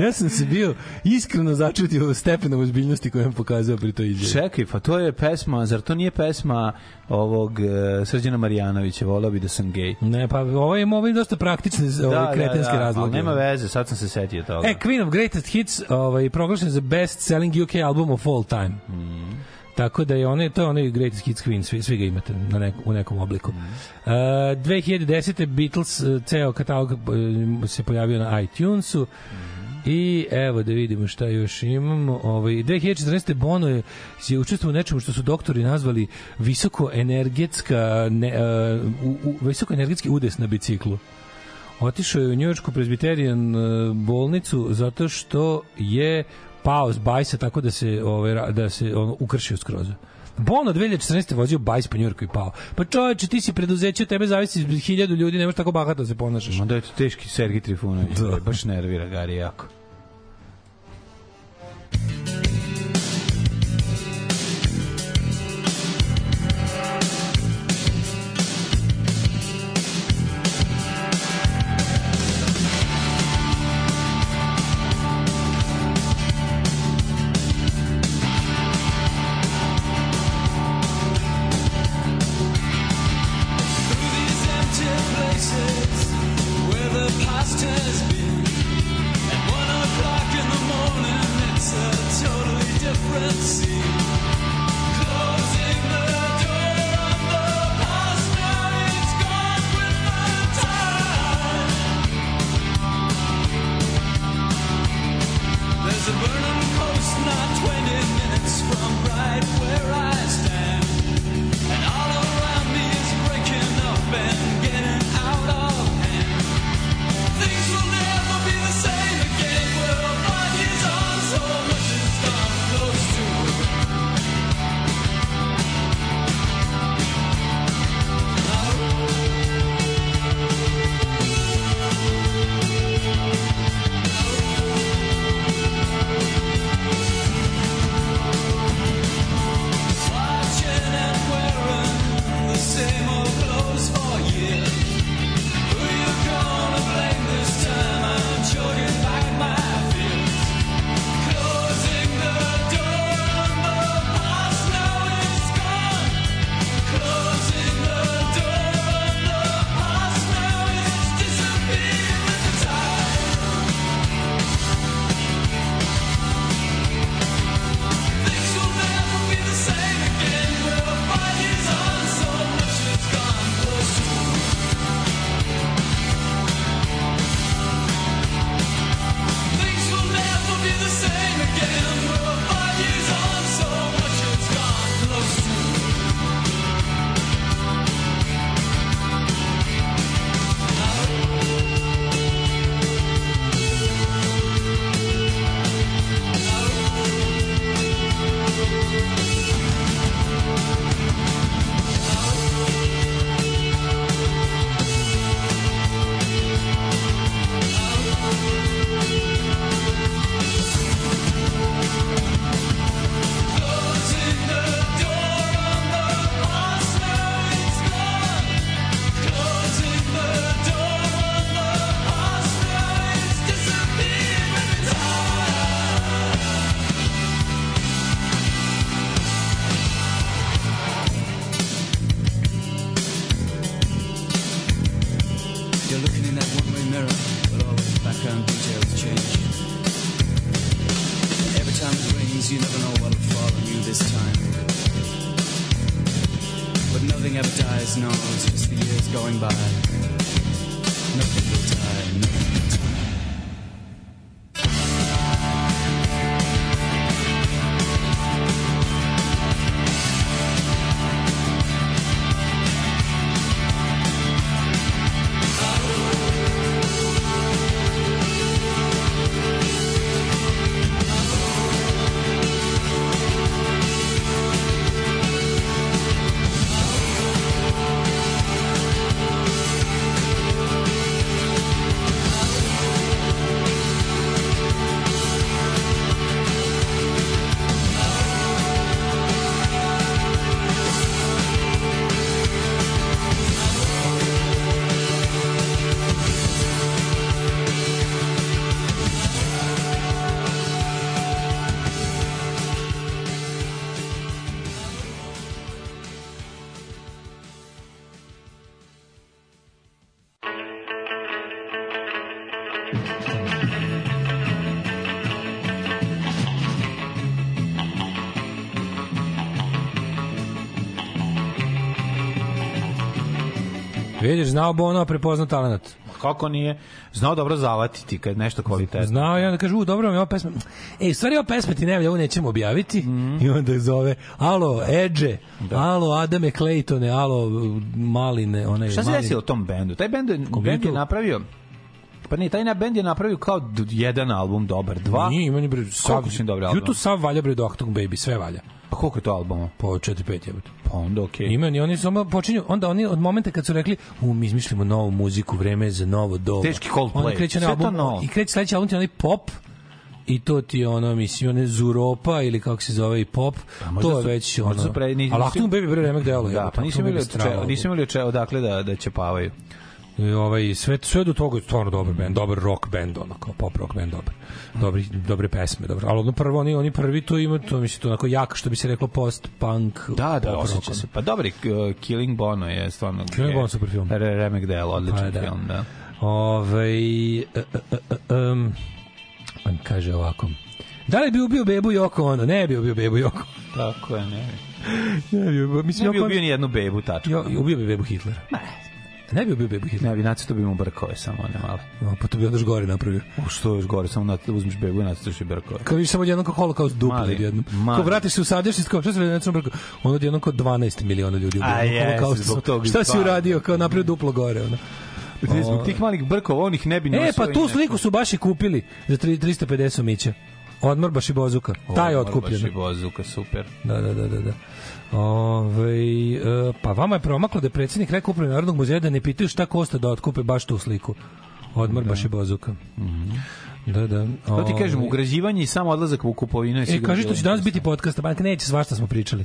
S8: ja sam se bio iskreno začutio stepenom ozbiljnosti koju je on pokazao pri toj izjavi.
S9: Čekaj, pa to je pesma, zar to nije pesma ovog e, Srđana Marjanovića, volao bi da sam gej.
S8: Ne, pa ovo je, ovo je dosta praktične ove, da, kretenske da, da, razloge.
S9: ali nema veze, sad sam se setio toga.
S8: E, Queen of Greatest Hits ovaj, proglašen za best selling UK album of all time. Mm. Tako da je one, to je onaj Greatest Hits Queen, svi, svi ga imate na nek, u nekom obliku. Mm. Uh, 2010. Beatles, uh, ceo katalog uh, se pojavio na iTunesu. Mm. I evo da vidimo šta još imamo. Ovaj 2014. Bono je, je učestvovao u nečemu što su doktori nazvali visokoenergetska ne, uh, u, u, visokoenergetski udes na biciklu. Otišao je u njujoršku prezbiterijan e, bolnicu zato što je pao s bajsa tako da se ovaj ra- da se on ukršio skroz. Bono 2014. vozio bajs po Njujorku i pao. Pa čoveče, ti si preduzeće, od tebe zavisi hiljadu ljudi, ne možeš tako bahato da se ponašaš.
S9: Onda je to teški Sergij Trifunović, da. baš nervira Gari jako.
S5: these empty places where the past has been. At one o'clock in the morning, it's a totally different scene. Closing the door on the past, now it's gone with the time. There's a burning coast not 20 minutes from right where I stand. And all around me is breaking up and getting out of hand. Things will never be the same again. Well, five years on, so much has come close to. Watching and wearing the same old clothes for years. Who you gonna blame this time? I'm choking back my fears. Closing the door on the past, now it's gone. Closing the door on the past, now it's disappeared with the tide. Things will never be the same again. Well, five years on, so much has gone close to. Things will never be the same again. Well, five years on, so much has gone close to. Closing the door on the past, now it's gone. Closing the door on the past, now it's disappeared with the tide.
S11: You're looking in that one-way mirror, but always background details change. Every time it rains, you never know what'll fall on you this time. But nothing ever dies, no, it's just the years going by. Nothing will die, nothing will die.
S5: Closing the door on the past, now it's gone. Closing the door on the past, now it's disappeared with the tide.
S8: Vidiš, znao Bono, prepoznao talenat.
S9: Pa Kako nije? Znao dobro zavatiti kad nešto kvalitetno.
S8: Znao i onda kaže, u, dobro vam je ova pesma. E, u stvari ova pesma ti ne valja, ovu nećemo objaviti.
S9: Mhm.
S8: I onda je zove, alo, Edge, alo, Adame Claytone, alo, Maline, onaj
S9: Šta se
S8: Maline.
S9: desilo tom bendu? Taj bend, bend je
S8: bendu?
S9: napravio Pa ne, taj na bend je napravio kao d- jedan album dobar, dva.
S8: Pa, Nije, ima ni bre, sav,
S9: Pa, Koliko su im dobri album?
S8: YouTube sav valja bre Doctor Baby, sve valja.
S9: Pa koliko je to albuma?
S8: Po 4-5 jebote.
S9: Pa onda okej.
S8: Ima, ni oni samo počinju, onda oni od momenta kad su rekli, u, mi izmišljamo novu muziku, vreme je za novo doba.
S9: Teški Coldplay,
S8: Onda kreće onaj
S9: sve to
S8: album,
S9: novo.
S8: I kreće sledeći album, ti je onaj pop, i to ti je ono, mislim, one Zuropa ili kako se zove i pop,
S9: Pa možda
S8: to je
S9: su-
S8: već ono.
S9: možda su pre- nisu-
S8: ali Achtung Baby bre remek delo.
S9: Da, pa nisu imali od čega, nisu imali od čega odakle da, da ćepavaju.
S8: I ovaj sve sve do toga je stvarno dobar bend, dobar rock bend, ono kao pop rock bend dobar. Dobri, dobre pesme, dobro. Ali ono prvo oni oni prvi to ima, to mislim to onako jak što bi se reklo post punk.
S9: Da, da,
S8: ono.
S9: osjeća se. Pa dobri, k- Killing Bono je stvarno...
S8: Killing Bono je super film.
S9: Re- Remek Delo, odličan
S8: Pa, da.
S9: film, da.
S8: Ove, e, um, on kaže ovako. Da li bi ubio bebu Joko ono? Ne bi ubio bebu Joko.
S9: Tako je, ne.
S8: Ne bi ubio, mislim,
S9: Ne bi
S8: Joko-
S9: ubio ni jednu bebu, tačku.
S8: Jo, ubio bi bebu Hitlera. Ne bi ubio bebu Hitlera.
S9: Ne bi, nacrto bi mu brkove samo, ne male.
S8: No, pa to bi onda još gore napravio.
S9: U što još gore, samo nat- uzmeš bebu i nacrtoš i brkove.
S8: Kad vidiš samo jednom kao holokaust dupli
S9: Mali,
S8: odjednom.
S9: mali.
S8: Ko vratiš se u sadašnjost, kao šta se radi na Crnom Brku? Ono odjednom kao 12 miliona ljudi ubio.
S9: A
S8: Ono,
S9: jes,
S8: holokaust
S9: zbog
S8: su-
S9: tog
S8: Šta si
S9: stvarno.
S8: uradio? Kao napravio duplo gore. Ono.
S9: Ne, Zbog tih malih brkova, onih ne bi
S8: E,
S9: nosio
S8: pa
S9: i
S8: tu
S9: ne-
S8: sliku su baš i kupili za tri- 350 mića. Odmor baš i bozuka. Taj je
S9: Ovo,
S8: otkupljen.
S9: Baš i bozuka, super.
S8: Da, da, da, da. da. Ove, e, pa vama je promaklo da je predsjednik rekao upravi Narodnog muzeja da ne pitaju šta kosta da otkupe baš tu sliku. Odmor baš i bozuka. Da, da.
S9: Mhm. To ti kažem,
S8: Ovaj,
S9: ugrađivanje i samo odlazak u kupovinu. je
S8: E,
S9: sigurno
S8: kaži što će
S9: bilo.
S8: danas biti podcast, banka neće svašta smo pričali.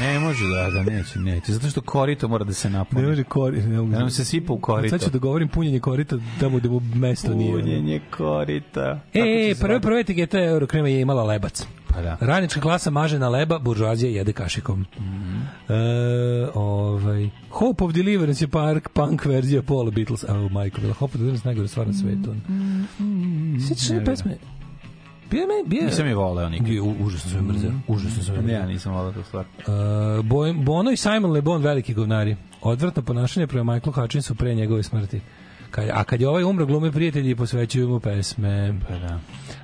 S9: Ne može, da, da, neće, neće. Zato što korito mora da se napuni.
S8: Ne može kori, ne mogu.
S9: Da nam se sipa u korito.
S8: Sad ću da govorim punjenje korita tamo gde mu mesto nije. ono.
S9: Punjenje korita.
S8: E, prve prve etiketa Eurokrema je imala lebac.
S9: Pa da.
S8: Radnička klasa maže na leba, buržuazija jede kašikom. Mhm. e, ovaj, Hope of Deliverance je park, punk verzija Paula Beatles. Oh, majko, bila Hope of Deliverance najgore stvar na svetu. ono. Sjećaš se pesme? Bio je Mhm. meni, bio je...
S9: Nisam je voleo nikad.
S8: Je, u- užasno sam je mrzeo. Užasno sam je mrzeo.
S9: Ja nisam voleo tu stvar.
S8: Uh, Bo- Bono i Simon Le Bon veliki govnari. Odvratno ponašanje prema Michaelu Hutchinsu pre njegove smrti. Kad, a kad je ovaj umro, glume prijatelji i posvećuju mu pesme.
S9: Pa da.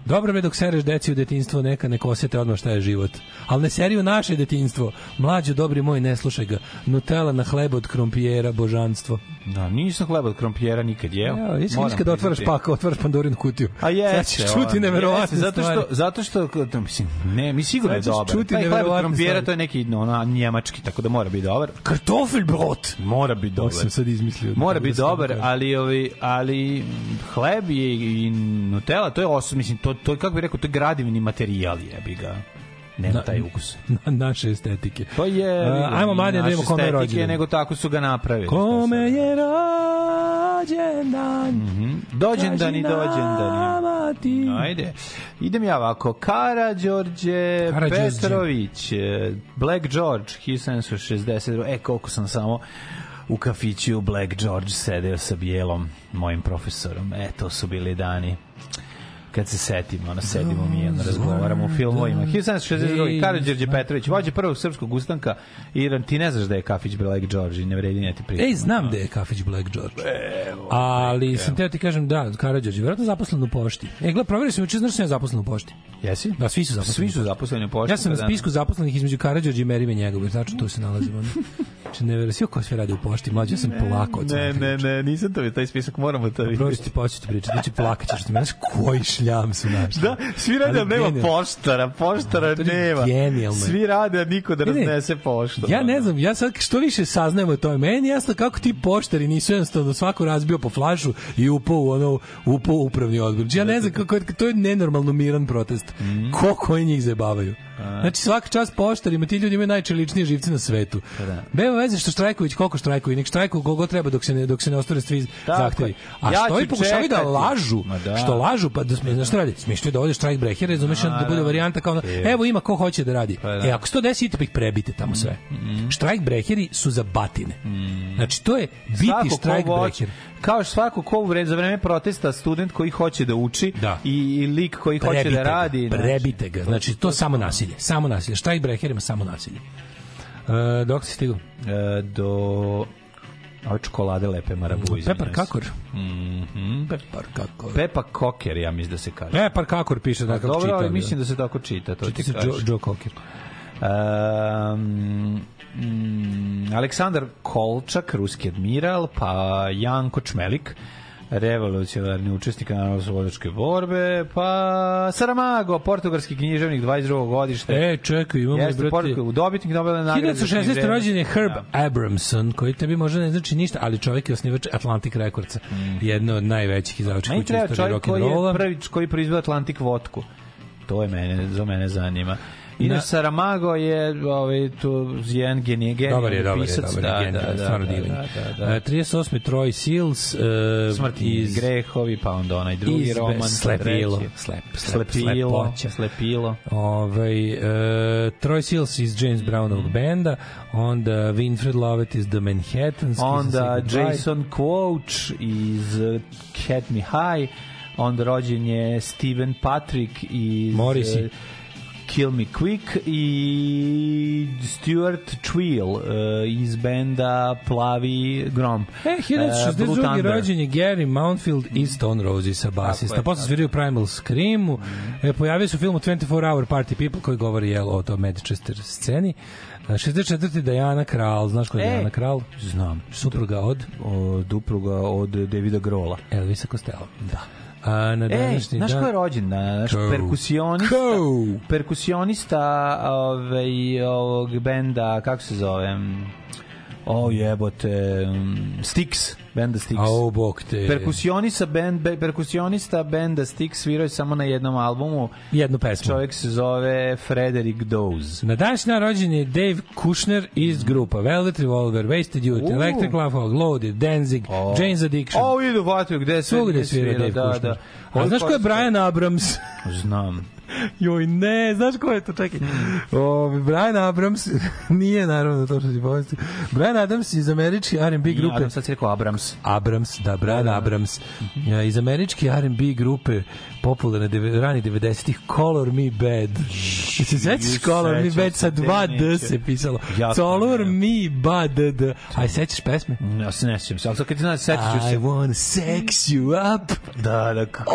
S8: Dobro bre dok sereš deci u detinjstvu, neka ne osete odmah šta je život. Ali ne seri u naše detinjstvo. Mlađo, dobri moj, ne slušaj ga. Nutella na hleb od krompijera, božanstvo.
S9: Da, nisam hleba od krompijera nikad jeo.
S8: Evo, vidiš
S9: Moram
S8: vidiš kada otvaraš
S9: priznati.
S8: pak, otvaraš Pandorinu kutiju.
S9: A jeste.
S8: Sad ćeš čuti
S9: ono,
S8: neverovatne
S9: jeste, zato
S8: stvari.
S9: što, zato što, to, mislim, ne, mi sigurno je
S8: Sad ćeš
S9: dobar.
S8: čuti
S9: Taj hleb od
S8: neverovatne
S9: krompijera,
S8: stvari.
S9: to je neki, no, ono, njemački, tako da mora biti dobar.
S8: Kartoffelbrot!
S9: Mora biti
S8: Ovo
S9: dobar.
S8: sam sad izmislio.
S9: Mora
S8: Tako
S9: biti
S8: da sam
S9: dobar,
S8: kažem.
S9: ali ovi, ali hleb je i Nutella, to je osam, mislim, to to je, kako bih rekao, to je gradivni materijal, jebi ga. Nema taj ukus.
S8: Na- naše estetike.
S9: To Pa je
S8: A, ajmo mladi da
S9: naše
S8: vidimo kome je
S9: estetike,
S8: rođendan.
S9: Nego tako su ga napravili.
S8: Kome je rođendan?
S9: Mhm. Dođen dan i dođen dan.
S8: nama ti.
S9: Ajde. Idem ja ovako. Karađorđe
S8: Karađorđe.
S9: Petrović, eh, Black George, 1762. E, koliko sam samo u kafiću Black George sedeo sa bijelom mojim profesorom. E, to su bili dani kad se setimo, ono, sedimo mi, ono, razgovaramo o filmovima. 1762. Karađorđe Petrović, vođe prvog srpskog ustanka, Iran, ti ne znaš da je kafić Black George i ne vredi ne ti pričati.
S8: Ej, znam da je kafić Black George. Ali sam teo ti kažem, da, Karadžođe, vjerojatno zaposlen u pošti. E, gled, provjerio sam juče, znaš da sam ja zaposlen u pošti.
S9: Jesi?
S8: Da, svi su zaposleni.
S9: Svi su zaposleni u pošti.
S8: Ja sam na
S9: pa da.
S8: spisku zaposlenih između Karadžođe i Merime Njegović, znači tu se nalazim. ono. Znači, ne verujem, svi ko sve radi u pošti, mlađe, ja sam polako od
S9: Ne, ne, ne, nisam to vidio, taj spisak moramo to vidjeti.
S8: Prosto ti početi pričati, znači plakaćeš što mi znaš koji šljam su naš.
S9: Da, svi rade, ali nema
S8: genijalno.
S9: poštara, poštara
S8: To je
S9: nema.
S8: genijalno.
S9: Svi rade, a niko da
S8: Ne, ne.
S9: raznese poštu.
S8: Ja ne znam, ja sad što više saznajemo o tome, meni je jasno kako ti poštari nisu jednostavno svako razbio po flašu i upao u ono upao u upravni odbor. Znači, Ja ne znam kako je- to je nenormalno miran protest.
S9: Mhm.
S8: Koliko oni njih zabavaju.
S9: Pa.
S8: Znači svaka čast poštarima, ti ljudi imaju najčeličnije živce na svetu.
S9: Pa
S8: Nema veze što štrajković koliko štrajkuju, nek štrajkuju koliko treba dok se ne dok se ne ostvare svi
S9: Tako je.
S8: zahtevi. A
S9: Ja
S8: što
S9: ću
S8: i pokušavaju da
S9: čekati.
S8: lažu,
S9: Ma da.
S8: što lažu pa da sme, znaš šta radi? Smišljaju da ovde štrajk breaker, razumeš, da bude varijanta kao ono, evo ima ko hoće da radi.
S9: da. Mhm.
S8: E, ako se to desi, idite pa ih prebite tamo sve. Štrajk breheri su za batine. Znači, to je biti
S9: Svako ko
S8: štrajk
S9: hoće-
S8: breher.
S9: Kao što svako ko u vreme, za vreme protesta student koji hoće da uči
S8: Da.
S9: i, i lik koji hoće da radi.
S8: ga,
S9: znači.
S8: prebite ga. Znači, to samo nasilje. Samo nasilje. E, Štrajk breherima samo nasilje. E, dok si stigao?
S9: E, do Ove čokolade lepe marabu iz
S8: Pepar Kakor.
S9: Mhm.
S8: Pepar Kakor.
S9: Pepa Koker, ja mislim da se kaže.
S8: Pepar Kakor piše tako
S9: Pa Dobro,
S8: čitam,
S9: ali
S8: da.
S9: mislim da se tako čita. To
S8: Čita
S9: ti
S8: se
S9: kažem.
S8: Joe- Joe Cocker.
S9: Um, mm, Aleksandar Kolčak, ruski admiral, pa Janko Čmelik, revolucionarni učesnik narodno-slobodačke borbe, pa Saramago, portugalski književnik 22. godište.
S8: E, čekaj, imamo i,
S9: Jeste,
S8: brate-
S9: Portugal, dobitnik Nobelove nagrade. za
S8: 1916.
S9: književnost.
S8: rođen je Herb Abramson, koji tebi možda ne znači ništa, ali čovjek je osnivač Atlantic Recordsa, jedno od najvećih izdavačkih
S9: Meni
S8: kuća u
S9: Mhm. treba
S8: istoriji
S9: čovjek koji
S8: rock'n'rolla.
S9: je prvi koji proizveo Atlantik votku. To je mene, za mene zanima. I
S8: Na-
S9: na Saramago je ovaj tu jedan genije genije
S8: Dobar je, dobar je,
S9: pisac,
S8: dobar je,
S9: da,
S8: genijalan,
S9: da, da,
S8: stvarno
S9: da,
S8: divan.
S9: da, da, da.
S8: E, 38. Troy Seals e,
S9: Smrti
S8: iz
S9: grehovi, pa onda onaj drugi
S8: iz-
S9: roman.
S8: Slepilo,
S9: treći.
S8: slep, slep,
S9: slepilo,
S8: slepoća.
S9: slepilo.
S8: Ovaj e, Troy Seals iz James Brownovog
S9: Mhm.
S8: benda, onda Winfred Lovett iz The Manhattans,
S9: Onda Jason Quoach iz eh, Cat Me High, onda rođen je Steven Patrick iz
S8: Morrissey.
S9: eh, Kill Me Quick i Stuart Twill eh, iz benda Plavi Grom.
S8: E,
S9: Eh, Blue
S8: 1962.
S9: Thunder.
S8: rođen je Gary Mountfield iz Stone Roses,
S9: Tako
S8: basista.
S9: je, Mhm.
S8: Posle svirio Primal Screamu. E, pojavio se u filmu 24 Hour Party People koji govori jel, o tom Manchester sceni. E, 64. Dajana Kral, znaš ko je
S9: E,
S8: Dajana Kral?
S9: Znam.
S8: Supruga od?
S9: O, dupruga od Davida Grola.
S8: Elvisa Costello. Da. A, na
S9: E,
S8: današnji
S9: znaš
S8: dan...
S9: ko je rođen? Na, naš
S8: Ko?
S9: perkusionista. Perkusionista ovaj, ovog benda, kako se zove? O jebote, mm, Styx, benda Styx.
S8: A, o, bog te.
S9: Perkusionista, bend, be, perkusionista benda Styx svirao je samo na jednom albumu.
S8: Jednu pesmu.
S9: Čovjek se zove Frederick Doze.
S8: Na današnji dan rođen je Dave Kushner iz grupa Velvet Revolver, Wasted Youth,
S9: U.
S8: Electric Love, Loaded, Danzig, Jane's Addiction.
S9: O, idu vatio, gde sve
S8: Svugde
S9: nije
S8: svira Dave
S9: da,
S8: Kushner.
S9: da.
S8: A znaš ko je Brian Abrams?
S9: Znam.
S8: Joj, ne, znaš ko je to? Čekaj. O, Brian Abrams nije naravno to što ti povesti. Brian Adams iz američke R&B
S9: Grupe.
S8: grupe.
S9: sad si rekao Abrams.
S8: Abrams, da, Brian Abrams. Ja, Iz američke R&B grupe popularne deve- rani 90-ih Color Me Bad. Se sećaš Color Me
S9: sećam
S8: Bad sa
S9: se, te
S8: 2D
S9: neće.
S8: se pisalo.
S9: Jasno,
S8: Color Me Bad. Aj, sećaš pesme?
S9: Ja se ne sjećam se, ali sad kad ti znaš, setit ću
S8: I
S9: se.
S8: wanna sex you up.
S9: Da, da, kako.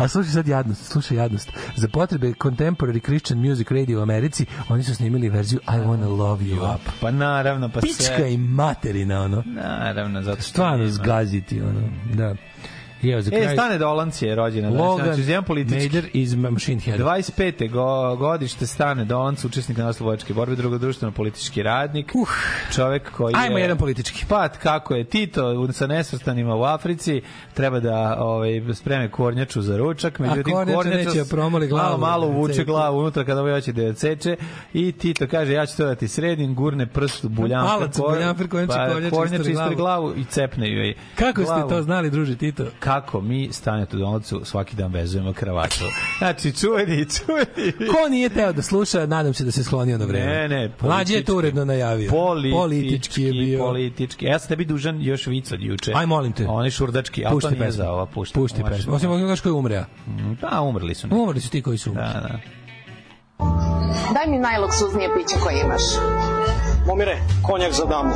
S8: A slušaj sad jadnost, slušaj jadnost. Za potrebe Contemporary Christian Music Radio u Americi, oni su snimili verziju I Wanna Love You Up.
S9: Pa naravno, pa
S8: Pička
S9: sve.
S8: i materina, ono.
S9: Naravno, zato što...
S8: Stvarno
S9: nema.
S8: zgaziti, ono. Da. I evo, za
S9: E,
S8: kraj,
S9: Stane Dolanc je rođena. Logan, znači, jedan politički.
S8: Major iz Machine Head.
S9: 25. Go, godište Stane Dolanc, učesnik naslovovačke borbe, drugo društveno politički radnik. Uh, čovek koji je...
S8: Ajmo jedan politički.
S9: Pa, kako je Tito u- sa nesvrstanima u Africi, treba da ovaj, spreme kornjaču za ručak, međutim
S8: kornjača neće
S9: s-
S8: promoli glavu
S9: Malo, malo
S8: da
S9: vuče
S8: cepi.
S9: glavu unutra kada ovaj hoće da je odseče i Tito kaže, ja ću to da ti sredim, gurne prst u buljanfer,
S8: Palac u buljamper, kornjača, kornjača istri
S9: istri
S8: glavu.
S9: glavu i cepne joj
S8: Kako ste
S9: glavu
S8: to znali, druže Tito?
S9: kako mi Stanetu Donalcu svaki dan vezujemo kravatu. Znači, čuveni, čuveni.
S8: Ko nije teo da sluša, nadam se da se sklonio na vreme.
S9: Ne, ne,
S8: Mlađe je to
S9: politički.
S8: uredno najavio.
S9: Politički,
S8: politički je bio.
S9: Politički. Ja sam tebi dužan još vic od juče.
S8: Aj, molim te.
S9: Oni šurdački, ali to
S8: Pušti
S9: nije
S8: pesmu.
S9: za ova pušta.
S8: Pušti
S9: Može.
S8: pesmu. Osim onoga koji umre. a?
S9: Da, umrli su. neki.
S8: Umrli su ti koji su umrli.
S9: Da, da.
S12: Daj mi najloksuznije piće koje imaš.
S13: Momire, konjak za damu.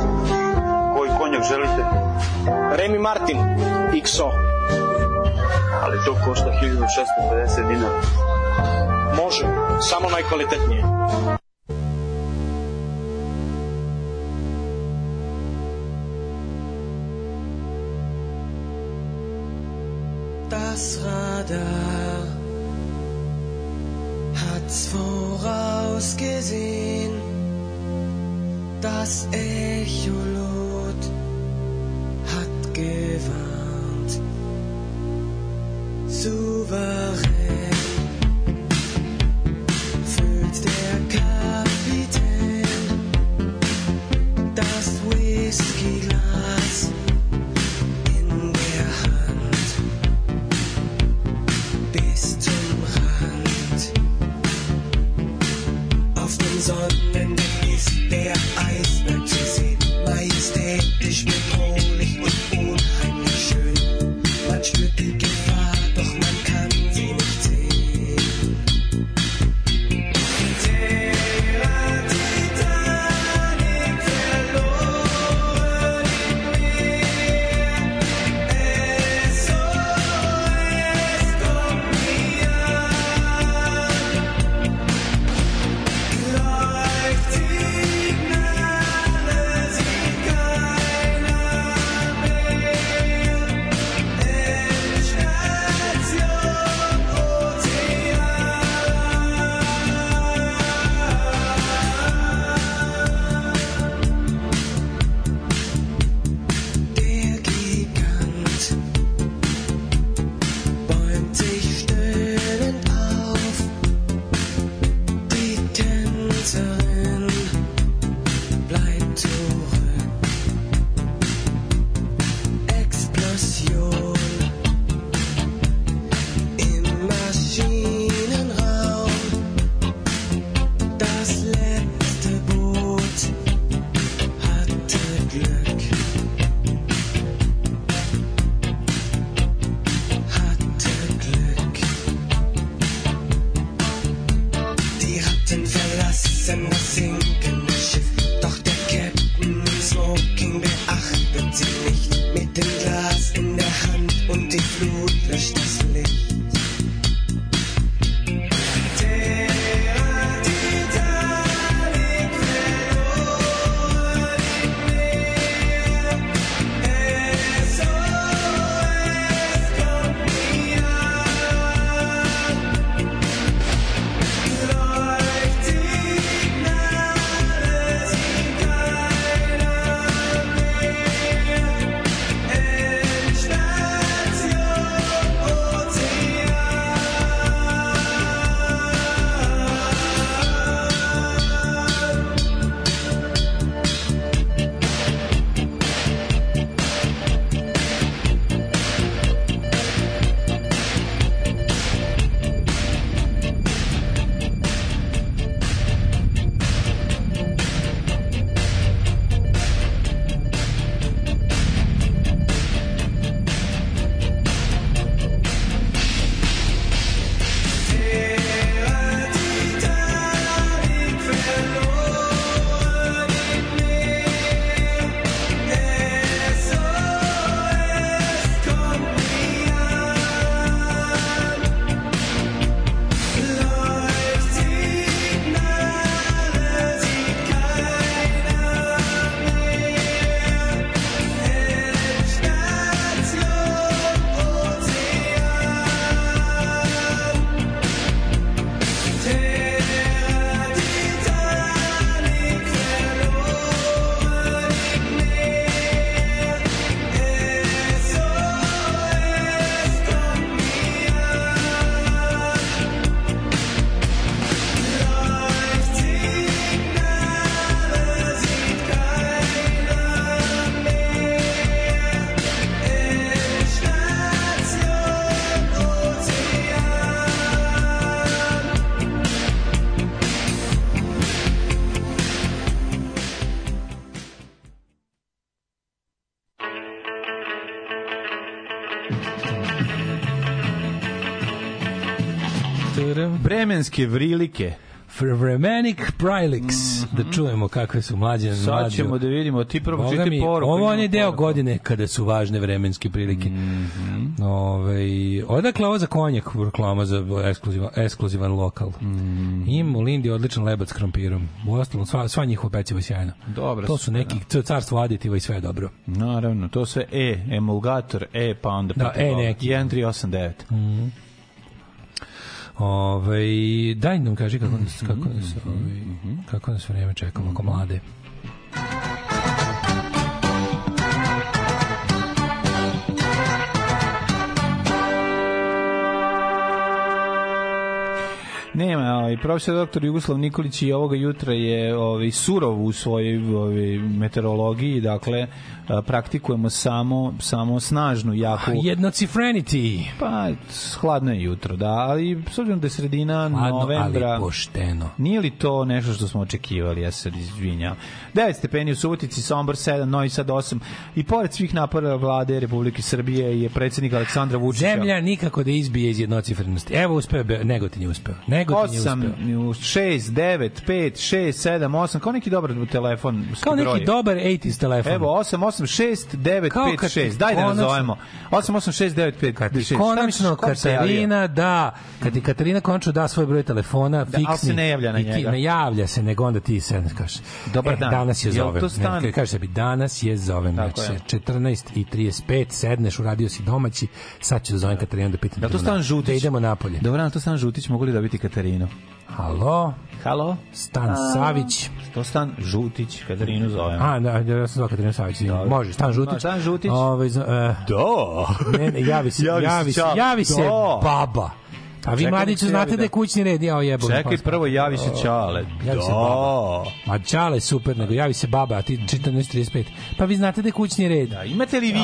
S13: Koji konjak želite? Remy Martin, XO. Ali to košta 1650 dinara. Može, samo najkvalitetnije.
S5: Das Radar hat's vorausgesehen. Das Echolot hat gewarnt. Souverän füllt der Kapitän das Whiskyglas in der Hand bis zum Rand. Auf dem Sonnengenies der Eisberg zu sehen, majestätisch, bedrohlich und unheimlich schön. Man spürt die Gefahr, doch man kann sie nicht sehen.
S14: sinken Schiff, doch der Captain im Smoking beachtet sie nicht. Mit dem Glas in der Hand und die Flut löscht das Licht. Der Titanic verloren im Meer. SOS, kommt mir an. Läuft Signale, sind keiner mehr. Endstation Ozean.
S9: Bremenske vrilike.
S8: Vremenik Priliks. Da čujemo kakve su mlađe.
S9: Mhm. Sad ćemo da vidimo, ti prvo čiti poruku.
S8: Ovo on
S9: imamo
S8: je deo
S9: poruku. Mhm.
S8: godine kada su važne vremenske prilike. Mm -hmm. odakle ovo za konjak reklama za ekskluzivan, ekskluzivan lokal.
S9: Mhm.
S8: Mm. Im u Lindi odličan lebac s krompirom. U ostalom, sva, sva njihova peciva je sjajna.
S9: Dobra
S8: to
S9: su,
S8: su neki da. carstvo aditiva i sve je dobro.
S9: Naravno, to sve E, emulgator, E, pa onda...
S8: Da,
S9: protiv
S8: E
S9: ovoga.
S8: neki.
S9: 1389.
S8: Mm. Ove, Ovaj, daj nam kaži kako nas,
S9: Mhm,
S8: kako nas, ovaj, kako nas vreme čekamo oko mlade.
S9: Nema, ovaj, profesor doktor Jugoslav Nikolić i ovoga jutra je ovaj, surov u svojoj ovaj, meteorologiji, dakle, a, praktikujemo samo, samo snažnu, jaku...
S8: Jednocifrenity!
S9: Pa, s- hladno je jutro, da, ali s obzirom da je sredina
S8: Hladno, ali
S9: novembra...
S8: pošteno.
S9: Nije li to nešto što smo očekivali, ja se izvinjam. 9 stepeni u Subotici, Sombor 7, Novi Sad 8 i pored svih napora vlade Republike Srbije je predsednik Aleksandra Vučića...
S8: Zemlja nikako da izbije iz jednocifrenosti. Evo uspeo, Be- Negotin je uspeo. Negotin je uspeo.
S9: 8, 6, 9, 5, 6, 7, 8, kao neki dobar telefon.
S8: Kao neki dobar 80s telefon.
S9: Evo, 8, 8, 6, 9,
S8: Kao
S9: 5,
S8: kad ti
S9: 6. Daj da
S8: konačno-
S9: nazovemo. 8, 8, 6, 9, 5, 6. Šta
S8: Konačno
S9: misliš, ko bi se javio?
S8: Katarina da, kad ti Katarina končno da svoj broj telefona,
S9: Da,
S8: fiksni.
S9: ali se ne javlja na
S8: i ti-
S9: njega.
S8: Ne javlja se, nego onda ti se kažeš.
S9: Dobar
S8: e,
S9: dan.
S8: Danas je
S9: Jel
S8: zovem.
S9: to
S8: Ne,
S9: stan?
S8: ka- Kažeš sebi, danas je zovem.
S9: Tako
S8: Znači, 14 i 35, sedneš, uradio si domaći, sad ću da zovem Katarina da pitam.
S9: Da to
S8: idemo
S9: Stan
S8: na-
S9: Žutić.
S8: Da idemo napolje.
S9: Dobar dan, to Stan Žutić, mogu li dobiti Katarinu?
S8: Halo?
S9: Halo?
S8: Stan Savić.
S9: To Stan Žutić, Katarinu zovemo.
S8: A, da, da, ja sam zvao Katarina Savić. Može, Stan Žutić.
S9: Ma, Stan Žutić.
S8: Ovaj, za- e,
S9: Da.
S8: Ne, ne, javi se, javi, se,
S9: čao.
S8: javi se pa-
S9: Da.
S8: baba. A vi
S9: Čekaj,
S8: mladiću
S9: nek se javi,
S8: znate da je
S9: da.
S8: kućni red, jao jebo.
S9: Čekaj, prvo javi se Čale.
S8: Javi se baba. Ma Čale super, nego javi se baba, a ti 14.35. Pa vi znate da je kućni red. Da,
S9: imate li vi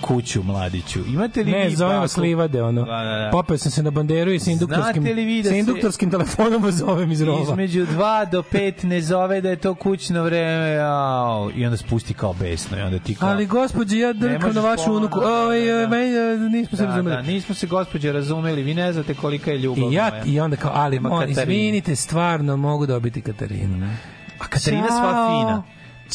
S9: kuću, mladiću? Imate li
S8: ne,
S9: vi
S8: zovem
S9: baku?
S8: vas Livade, ono.
S9: Da, da, da.
S8: Popeo sam se na banderu i sa induktorskim,
S9: Znate li vi da
S8: sa
S9: se-
S8: induktorskim telefonom vas zovem iz rova.
S9: Između 2 do 5 ne zove da je to kućno vreme. Au. I onda spusti kao besno. I onda ti kao...
S8: Ali gospođe, ja
S9: Ne
S8: drkam
S9: možeš
S8: na vašu
S9: ponovo,
S8: unuku.
S9: da, da,
S8: Oj,
S9: da.
S8: oj, meni, e, nismo se
S9: Da, da,
S8: razumeli.
S9: nismo se gospođe razumeli, vi ne znate kolika je ljubav
S8: I ja,
S9: moja.
S8: i onda kao, ali,
S9: Nema
S8: mo,
S9: Katarine.
S8: izvinite, stvarno mogu dobiti Katarinu. A
S9: Katarina sva fina.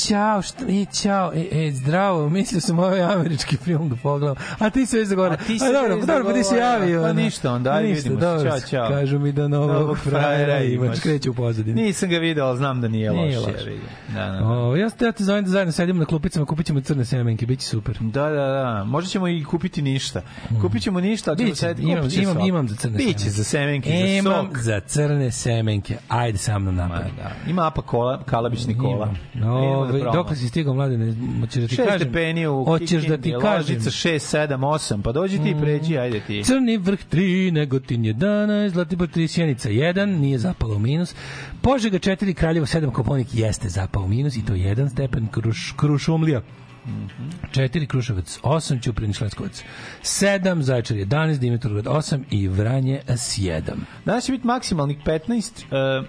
S8: Ćao, šta, i ćao, e, e, zdravo, mislio sam ovaj američki film da pogledam. A ti se već zagovarao.
S9: A ti se
S8: A dobro,
S9: već
S8: dobro, pa ti se
S9: zagovarao.
S8: javio.
S9: Pa
S8: ono.
S9: ništa onda, ajde,
S8: Ništa,
S9: vidimo se.
S8: dobro,
S9: Ćao, ćao.
S8: Kažu mi da novog,
S9: Novog
S8: frajera imaš. Kreće u pozadini.
S9: Nisam ga video, ali znam da nije,
S8: Nije
S9: loš.
S8: loš.
S9: jebi ga. Da, da.
S8: O, ja, ja te zovem da zajedno sedimo na klupicama, kupit ćemo crne semenke, bit će super.
S9: Da, da, da. Možda ćemo i kupiti ništa. Kupit ćemo ništa, ali ćemo
S8: Mm. Biće,
S9: sad
S8: imam, imam, imam za crne
S9: Biće za semenke,
S8: imam
S9: za sok.
S8: za crne semenke. Ajde sa mnom napad.
S9: Ima apa kola, Kalabić Nikola. Idemo da
S8: Ove,
S9: probamo.
S8: Ovaj, dokle si stigao, mladine, hoćeš da ti
S9: Šest
S8: kažem?
S9: stepeni u
S8: Hoćeš da ti
S9: Kikindi,
S8: kažem? Mm.
S9: Loznica 6, 7, 8. Pa dođi ti i pređi, ajde ti.
S8: Crni vrh 3, Negotin 11, Zlatibor 3, Sjenica 1, nije zapalo u minus. Požega 4, Kraljevo 7, Koponik jeste zapao u minus i to 1 stepen Kruš, Krušumlija. 4, Kruševac 8, Ćuprin Šleskovac 7, Zaječar 11, Dimitrovgrad 8 i Vranje 7.
S9: Danas će biti maksimalnih 15, uh,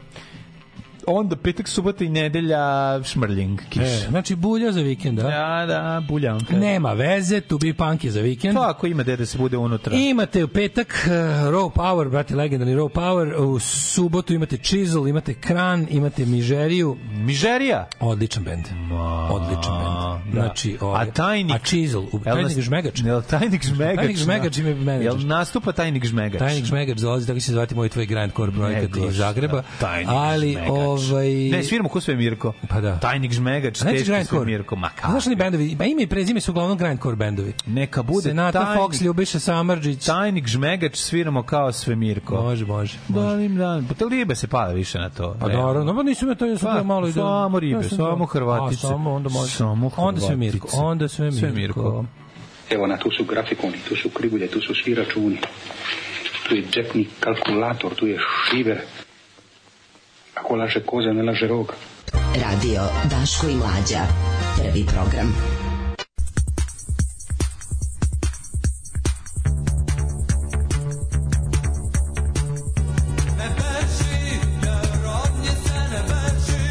S9: onda petak, subota i nedelja šmrljing kiš.
S8: E, znači bulja za vikend, da?
S9: Da, da, bulja.
S8: Nema veze, tu bi punk je za vikend.
S9: Tako ima dede se bude unutra.
S8: Imate u petak uh, Raw Power, brate, legendarni Raw Power. U subotu imate Chisel, imate Kran, imate Mižeriju.
S9: Mižerija?
S8: Odličan bend. Odličan bend.
S9: da.
S8: Znači,
S9: A Tajnik?
S8: A Chisel. U,
S9: Jel
S8: tajnik
S9: nas-
S8: Žmegač.
S9: Jel Tajnik Žmegač?
S8: Tajnik Žmegač im je menadžer.
S9: Jel nastupa Tajnik Žmegač?
S8: Tajnik Žmegač dolazi, tako će se zvati moj tvoj grindcore projekat
S9: Žmegač,
S8: iz Zagreba.
S9: da, Tajnik
S8: Ali,
S9: Žmegač.
S8: ovaj...
S9: Ne, sviramo ko sve Mirko.
S8: Pa da.
S9: Tajnik Žmegač,
S8: A neće
S9: teško sve
S8: grindcore?
S9: Mirko. Ma
S8: A
S9: kako?
S8: Znaš li bendovi? Ba ime i prezime su uglavnom grindcore bendovi.
S9: Neka bude
S8: Senata
S9: tajnik.
S8: Fox, Ljubiša Samardžić.
S9: Tajnik Žmegač sviramo kao Svemirko.
S8: Može, može.
S9: Da, lim, da. Pa te ribe se pada više na to.
S8: Pa dobro, no pa nisu me to, ja sam
S9: Pa,
S8: bio malo...
S9: samo ribe,
S8: Ja sam-
S9: samo Hrvatice.
S8: A, samo, onda može.
S9: Samo
S8: Onda sve Mirko,
S9: Hrvatice.
S8: onda sve Mirko.
S9: Sve Mirko.
S4: Evo na, tu su grafikoni, tu su krivulje, tu su svi računi. Tu je džepni kalkulator, tu je šiver. Ako laže koza, ne laže rog.
S7: Radio Daško i Mlađa. Prvi program.
S5: Ne beži, jer od nje se ne beži.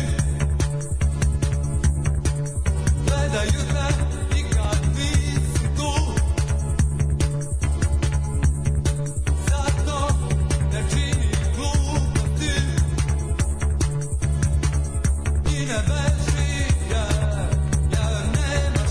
S5: Gledaju te i kad ti si tu. Zato ne čini gluposti. I ne beži, jer- jer nema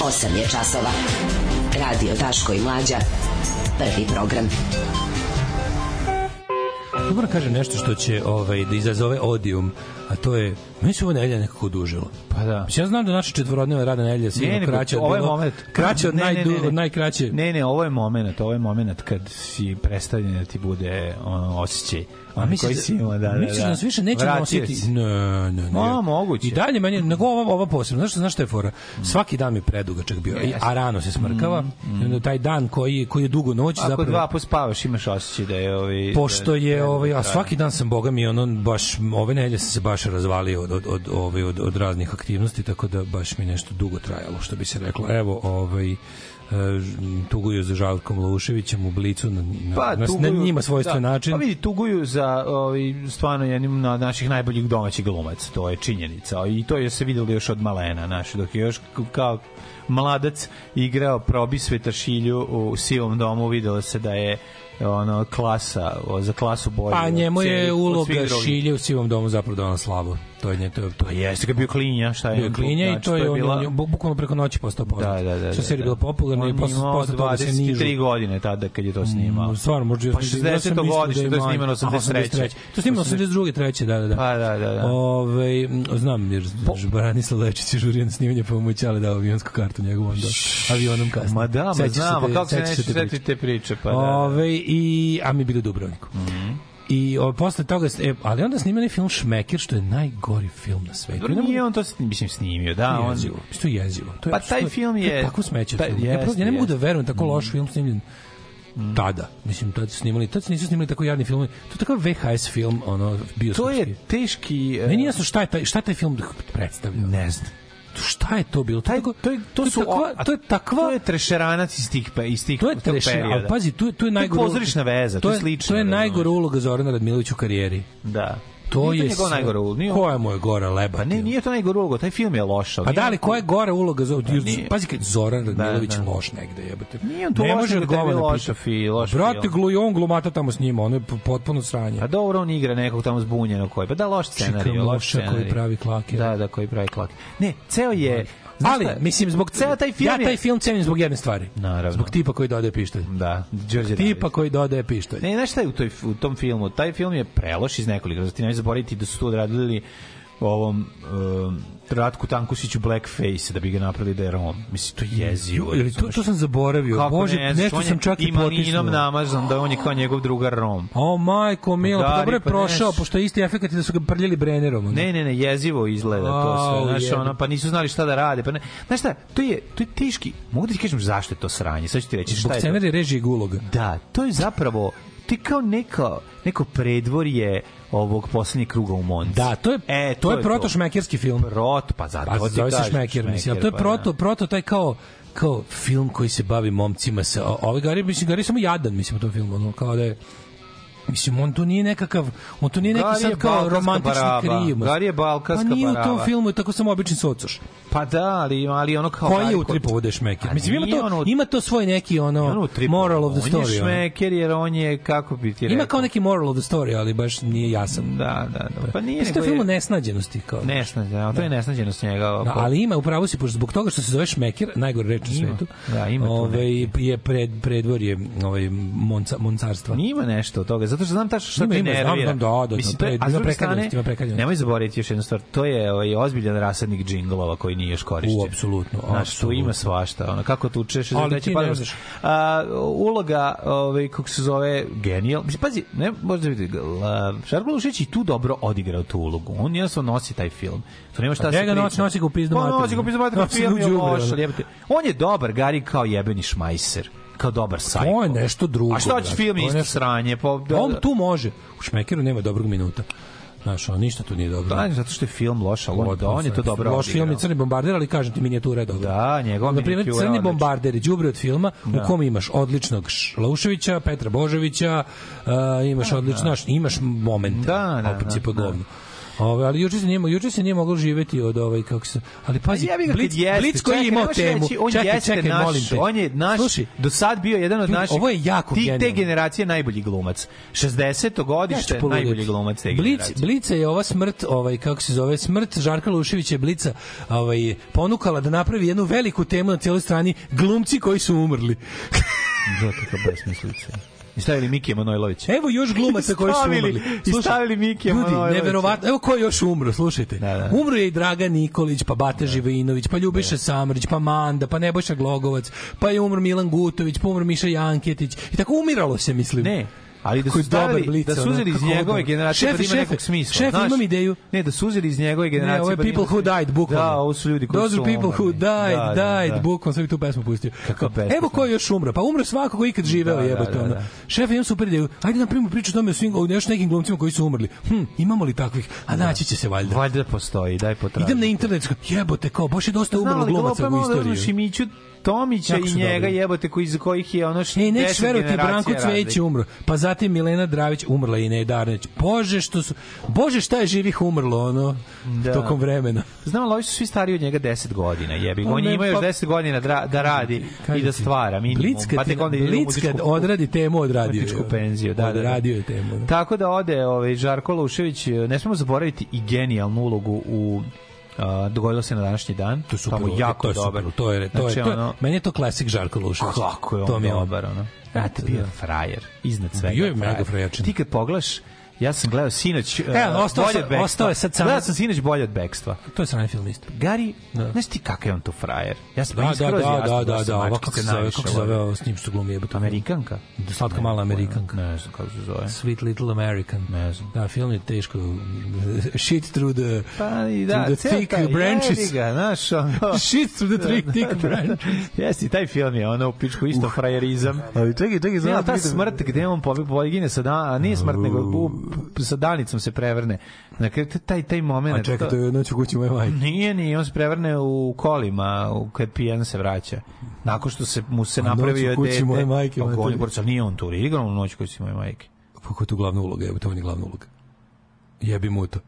S15: 8 je časova. Radio Daško i Mlađa. Prvi program.
S8: Ja moram kažem nešto što će ovaj, da izazove odium, a to je, meni se ovo nedelja nekako odužilo. Pa da. Ja znam da naša četvorodnevna rada nedelja sigurno
S9: ne,
S8: kraća od
S9: ovo je
S8: bilo-
S9: moment.
S8: kraća od
S9: Ne, ne,
S8: najdu,
S9: ne, ne.
S8: od najkraće.
S9: Ne, ne, ovo je moment, ovo je moment kad si prestavljen da ti bude ono, osjećaj. A
S8: misliš
S9: koji
S8: da-
S9: si imao, da, da, da.
S8: misliš da nas više neće
S9: Vratio
S8: nositi?
S9: si.
S8: Ne, ne, ne.
S9: Ma, moguće.
S8: I dalje meni, nego ova, ova posebno. Znaš, šta- znaš šta je fora? Svaki dan mi je predugačak bio, i- a rano se smrkava. I onda taj dan koji, koji je dugo noć,
S9: Mm, Ako
S8: zapravo...
S9: dva pospavaš, imaš osjećaj da je... Ovaj,
S8: pošto
S9: da-
S8: je
S9: da-
S8: ovaj a
S9: da-
S8: svaki dan sam boga mi ono baš ove nedelje sam se baš razvalio od od od ovaj od, od raznih aktivnosti tako da baš mi nešto dugo trajalo što bi se reklo evo ovaj e, tuguju za Žarkom Luševićem u Blicu na, na, na, Znači, na njima svojstven
S9: Pa, da.
S8: način.
S9: Pa vidi, tuguju za ovaj, stvarno jednim na naših najboljih domaćih glumaca, to je činjenica. I to je se videlo još od malena, naš, dok je još k- kao mladac igrao probi svetašilju u sivom domu, videlo se da je ono klasa o, za klasu bolje.
S8: Pa
S9: od
S8: njemu
S9: celih-
S8: je
S9: od svih
S8: uloga
S9: drugih.
S8: Šilje u Sivom domu zapravo dala slavu. To je nje, to, je- to je.
S9: Jeste ga bio klinja, šta je?
S8: bio je
S9: on tu,
S8: klinja i
S9: znači,
S8: to je, on,
S9: bila-
S8: on je bu- bukvalno preko noći postao poznat.
S9: Da, da, da.
S8: Što se
S9: da,
S8: bilo
S9: da.
S8: popularno i
S9: On
S8: posle,
S9: je imao
S8: posle toga se nižu.
S9: 23 godine tada kad je to snimao.
S8: Mm, stvarno, možda još
S9: Pa 60. godište, to je snimano 83.
S8: To je snimano 82. treće, da, da, da.
S9: Pa, da, da, da.
S8: Ove, m, znam, jer po... Branislav Lečić je žurio na snimanje, pa mu je Ćale dao avionsku kartu njegovu, onda avionom kasnije.
S9: Ma da, ma
S8: Sećaš se
S9: znam, a
S8: te-
S9: kako se
S8: sećaš
S9: neće
S8: te priče.
S9: setiti te priče, pa da. Mhm.
S8: Ove, i, a mi bili u Dubrovniku. I o, posle toga, s- e, ali onda snimali film Šmekir, što je najgori film na svetu.
S9: Dobro, nije on to s- mislim snimio, da,
S8: To je
S9: on
S8: jezivo. Što je jezivo. To je,
S9: Pa taj
S8: to je-
S9: film
S8: to
S9: je- pa
S8: Tako smeće.
S9: taj-
S8: film. ja, prosto, ja ne
S9: jeste,
S8: mogu da
S9: jeste.
S8: verujem tako loš film snimljen
S9: Mm.
S8: tada. Mislim, tad su snimali, tad se nisu snimali tako jadni filmovi. To je takav VHS film, ono, bio To je
S9: teški... e,
S8: Meni nije jasno šta je taj, šta je taj film predstavljao.
S9: Ne znam.
S8: Šta je to bilo? Taj, to, je, to,
S9: su
S8: je takva, to je takva... To je
S9: trešeranac iz tih, pe- iz tih
S8: to je
S9: tog
S8: trešina,
S9: perioda.
S8: ali pazi, tu, je- tu je
S9: To je
S8: najgora...
S9: pozorišna veza, to je slično,
S8: To je
S9: da,
S8: najgora uloga Zorana Radmilovića u karijeri.
S9: Da.
S8: To
S9: Nije to
S8: je...
S9: njegova
S8: sve-
S9: najgora uloga, nije on-
S8: Koja mu je gora leba?
S9: Pa ne, nije to najgore uloga, taj film je loš. ali
S8: A Pa da
S9: nije-
S8: li koja je gore uloga za
S9: Pa nije.
S8: pazi kad Zoran Radmilović
S9: Da, da.
S8: loš negde jebote.
S9: Nije on to
S8: ne
S9: loš,
S8: može
S9: nego tebi
S8: odgovor
S9: je
S8: na
S9: loš
S8: pitanje.
S9: fi- loš
S8: Brate
S9: film.
S8: gluj on glumata tamo s njima, ono je p- potpuno sranje.
S9: A pa dobro, on igra nekog tamo zbunjenog koji. Pa da, loš scenarij.
S8: Čekam
S9: loš
S8: loša koji
S9: scenarij.
S8: pravi klake.
S9: Da, da, koji pravi klake. Ne, ceo je... znaš
S8: Ali,
S9: šta-
S8: mislim, zbog
S9: ceo taj film
S8: Ja
S9: je-
S8: taj film cenim zbog jedne stvari.
S9: Naravno.
S8: Zbog tipa koji dodaje pištolj.
S9: Da, Đorđe
S8: Tipa koji dodaje pištolj.
S9: Pa Ne, znaš šta je u, toj, u tom filmu? Taj film je preloš iz nekoliko razloga. Ti nemoj zaboraviti da su tu odradili ovom um, Ratku Tankusiću blackface da bi ga napravili da je Rom. Mislim, to je jezivo.
S8: Ili to, to sam zaboravio.
S9: Kako
S8: Bože,
S9: ne znaš,
S8: nešto
S9: on je
S8: sam čak i
S9: imaninom
S8: potisnuo.
S9: namazan da on je kao njegov drugar Rom.
S8: O majko milo, pa
S9: Udari,
S8: dobro je
S9: pa
S8: prošao,
S9: nešto.
S8: pošto je isti efekat i da su ga prljali brenerom. ono.
S9: Ne, ne, ne, jezivo izgleda to
S8: Au,
S9: sve. Znaš,
S8: jebi.
S9: ono, pa nisu znali šta da rade. Pa ne, znaš šta, to je, to je teški. Mogu da ti kažem zašto je to sranje? Sad ću ti reći
S8: Zbog
S9: šta je to.
S8: scenarija režije guloga.
S9: Da, to je zapravo ti kao neka, neko predvorje ovog poslednjeg kruga u Monci.
S8: Da, to je
S9: e,
S8: to je protošmekerski film.
S9: Prot, pa zato
S8: Pa
S9: ti
S8: zove se
S9: kažem,
S8: Šmeker, mislim, ali to je
S9: pa da.
S8: proto, proto taj kao kao film koji se bavi momcima sa o- ovaj Gari, mislim, Gari je samo jadan, mislim, u tom filmu, ono, kao da je Mislim, on tu nije nekakav, on tu nije neki
S9: Gari je
S8: sad kao
S9: balkanska
S8: romantični
S9: baraba.
S8: kriv.
S9: Gari je balkanska
S8: Pa nije u tom
S9: baraba.
S8: filmu, je tako samo obični socoš.
S9: Pa da, ali, ali ono kao...
S8: Koji je
S9: Marko-
S8: u tripovu da je šmeker?
S9: A
S8: Mislim, ima
S9: nije
S8: to,
S9: ono-
S8: ima to svoj neki, ono,
S9: Ono u tripovu.
S8: moral of the
S9: On je
S8: story. ono.
S9: šmeker jer on je, kako bi ti rekao...
S8: Ima kao neki moral of the story, ali baš nije jasan.
S9: Da, da, da. Pa nije,
S8: Mislim, to je
S9: nego
S8: film o
S9: je-
S8: nesnađenosti. Kao.
S9: Nesnađenost, to je nesnađenost njega.
S8: Da, ali ima, upravo si, pošto zbog toga što se zove Šmeker, najgore reč na
S9: Pa Ima.
S8: svetu,
S9: Da, ima tu
S8: ovaj, je pred, predvorje ovaj, monca, moncarstva.
S9: Ima nešto od toga, zato što znam tačno šta
S8: Ima,
S9: me
S8: ima, znam,
S9: nervira.
S8: znam, da, da, da,
S9: to
S8: pre-
S9: je- a s
S8: ima
S9: druge
S8: prekaljenosti,
S9: strane,
S8: ima prekaljenosti.
S9: Nemoj zaboraviti još jednu stvar, to je ovaj, ozbiljan rasadnik džinglova koji nije još korišćen.
S8: U, apsolutno,
S9: Znaš, tu ima svašta, ono, kako tučeš,
S8: Ali
S9: znači,
S8: ti
S9: pa,
S8: ne znaš.
S9: A, uloga, ovaj, kako se zove, genijal. Mislim, pazi, ne, možda vidite, la- Žarko Lušić i tu dobro odigrao tu ulogu. On jednostavno nosi taj film. To nema šta
S8: A
S9: se
S8: gde ga
S9: priča.
S8: nosi? Nosi ga u pizdu
S9: Pa
S8: materinu.
S9: Nosi ga u pizdu materinu,
S8: Nosi ga
S9: film
S8: u
S9: je
S8: đubre,
S9: loš,
S8: ono.
S9: ali jebote. On je dobar, Gari, kao jebeni šmajser. Kao dobar sajko.
S8: Pa To je nešto drugo.
S9: A šta će
S8: brate.
S9: film
S8: To je
S9: isto
S8: nešto-
S9: sranje? Pa, da,
S8: On
S9: da.
S8: tu može. U Šmekeru nema dobrog minuta. Znaš, on ništa tu nije dobro.
S9: Da, zato što je film loš, ali on, da, on je to dobro
S8: Loš film je
S9: odigrao.
S8: Crni bombarder, ali kažem ti minijatura je dobra.
S9: Da, njegova
S8: Na primjer,
S9: minijatura je
S8: Crni
S9: odlična.
S8: bombarder je đubre od filma
S9: Da.
S8: u kom imaš odličnog Šlauševića, Petra Božovića, uh, imaš odlično, znaš, imaš moment.
S9: Da, da,
S8: a u principu
S9: da, da.
S8: govno. Ove, ali juče se nije, mo- juče se nije moglo živeti od ovaj kako se. Ali pazi,
S9: Ja bih Pa ga
S8: Blic,
S9: kad jeste.
S8: Blic koji je
S9: Čekaj,
S8: imao
S9: nemoj
S8: temu.
S9: reći, on
S8: čekaj,
S9: jeste
S8: čekaj,
S9: naš,
S8: molim te.
S9: On je naš,
S8: Slušaj,
S9: do sad bio jedan od
S8: ljudi,
S9: naših.
S8: ovo je jako
S9: ti, Te
S8: genijalno.
S9: generacije najbolji glumac. 60. godište
S8: poludeti.
S9: najbolji glumac te generacije.
S8: Blic, Blica je ova smrt, ovaj kako se zove, smrt Žarka Luševića je Blica, ovaj ponukala da napravi jednu veliku temu na cijeloj strani glumci koji su umrli.
S9: Da, kakva besmislica. I stavili Mikija Manojlovića.
S8: Evo još glumaca koji su
S9: Stavili-
S8: umrli.
S9: i stavili ono, ovaj, Mikija
S8: ljudi,
S9: Manojlovića.
S8: neverovatno. Evo ko je još umro, slušajte. Umro je i Dragan Nikolić, pa Bata Živinović, pa Ljubiša Samrđ, pa Manda, pa Nebojša Glogovac, pa je umro Milan Gutović, pa umro Miša Janketić. I tako umiralo se, mislim. Ne,
S9: ali da su stavili- da
S8: ono,
S9: su uzeli iz njegove generacije, pa da ima nekog smisla,
S8: Šef,
S9: znaš.
S8: imam ideju.
S9: Ne, da su uzeli iz njegove generacije,
S8: Ne, ovo je
S9: pa da ima
S8: People Who
S9: smisla.
S8: Died, bukvalno.
S9: Da, ovo su ljudi koji
S8: Those
S9: su
S8: are people who
S9: umrli.
S8: died,
S9: Da, da,
S8: died,
S9: da.
S8: bukvalno. Sam i tu pesmu pustio.
S9: Kakva pesma.
S8: Evo ko je još umro. Pa umro svako ko je ikad živeo,
S9: Da, da,
S8: jebote.
S9: da,
S8: ono.
S9: da.
S8: Šef, imam super ideju. Ajde napravimo priču o tome o svim, o još nekim glumcima koji su umrli. Hm, imamo li takvih? A naći će se valjda.
S9: Valjda postoji, daj potraži.
S8: Idem na internet, jebote, kao, baš je dosta umrlo
S9: Znali,
S8: glumaca
S9: glupamo,
S8: u
S9: ali ono
S8: istoriji.
S9: Šimiću Tomića
S8: Jako
S9: i
S8: su
S9: njega
S8: dobri.
S9: jebote koji iz kojih je ono što
S8: E, nećeš verovati, Branko Cvejić je umro. Pa zatim Milena Dravić umrla i Nedarneć. Bože, što su... Bože, šta je živih umrlo, ono, tokom vremena.
S9: Znam, ali ovi su svi stariji od njega 10 godina, jebi ga.
S8: Pa
S9: On
S8: ne,
S9: ima još
S8: pa-
S9: 10 godina da, da radi i
S8: Kažem
S9: da
S8: ti,
S9: stvara minimum.
S8: Blic kad
S9: Pa tek
S8: ti-
S9: onda ide u
S8: Blic
S9: muzičku
S8: kad
S9: kupu.
S8: odradi temu, odradio je.
S9: Muzičku penziju, da, da, da.
S8: Odradio je temu. da.
S9: Tako da ode ovaj, Žarko Lušević, ne smemo zaboraviti i genijalnu ulogu u a, dogodilo se na današnji dan. To je super,
S8: uloga,
S9: jako
S8: to je super,
S9: dobar. Znači, ono,
S8: to je- to je- to je- meni je to klasik Žarko Lušević.
S9: Kako je on
S8: To mi je on.
S9: dobar, ono. Znate, bio je frajer, iznad svega.
S8: Bio je mega
S9: frajačin. Ti kad pogledaš, ja sam gledao sinoć uh,
S8: E, ali ostao
S9: bolje
S8: sam-
S9: od bekstva.
S8: ostao je sad sam-
S9: Gledao sam sinoć bolje od bekstva.
S8: To je strani film isto.
S9: Gari, znaš ti kakav je on tu frajer? Ja sam
S8: Da,
S9: meni
S8: da,
S9: skroz
S8: da,
S9: jasno
S8: da, da,
S9: sam
S8: da, ova
S9: mačkice
S8: kako se zove,
S9: najviše
S8: kako se zove,
S9: volim.
S8: ovo s njim što glumi jebote.
S9: Amerikanka?
S8: Slatka mala Amerikanka.
S9: Ne znam kako se zove.
S8: Sweet Little American.
S9: Ne znam.
S8: Da, film je teško. Shit through the,
S9: Pa i da,
S8: through the
S9: ceo
S8: thick
S9: taj, jebi
S8: branches.
S9: Ga, znaš, ono.
S8: Shit through the thick- thick branches.
S9: Jesi, taj film je ono u ono, pičku isto frajerizam. Ali čekaj, čekaj,
S8: znam
S9: ta
S8: da vidim-
S9: smrt gde on pobe- pobegne sa dan, a nije smrt nego u, sa danicom se prevrne. Na kraju t- taj taj momenat.
S8: A čekaj, to je noć u kući moje majke.
S9: Nije, nije, on se prevrne u kolima, u kad pijan se vraća. Nakon što se mu se
S8: A noć u
S9: napravio
S8: kući
S9: dete.
S8: moje majke,
S9: Pa
S8: ono je
S9: Golji
S8: to-
S9: borca, nije on tu igrao u noć koji si moje majke.
S8: Kako Pa je tu glavna uloga, jebote, on je glavna uloga. Jebi mu to.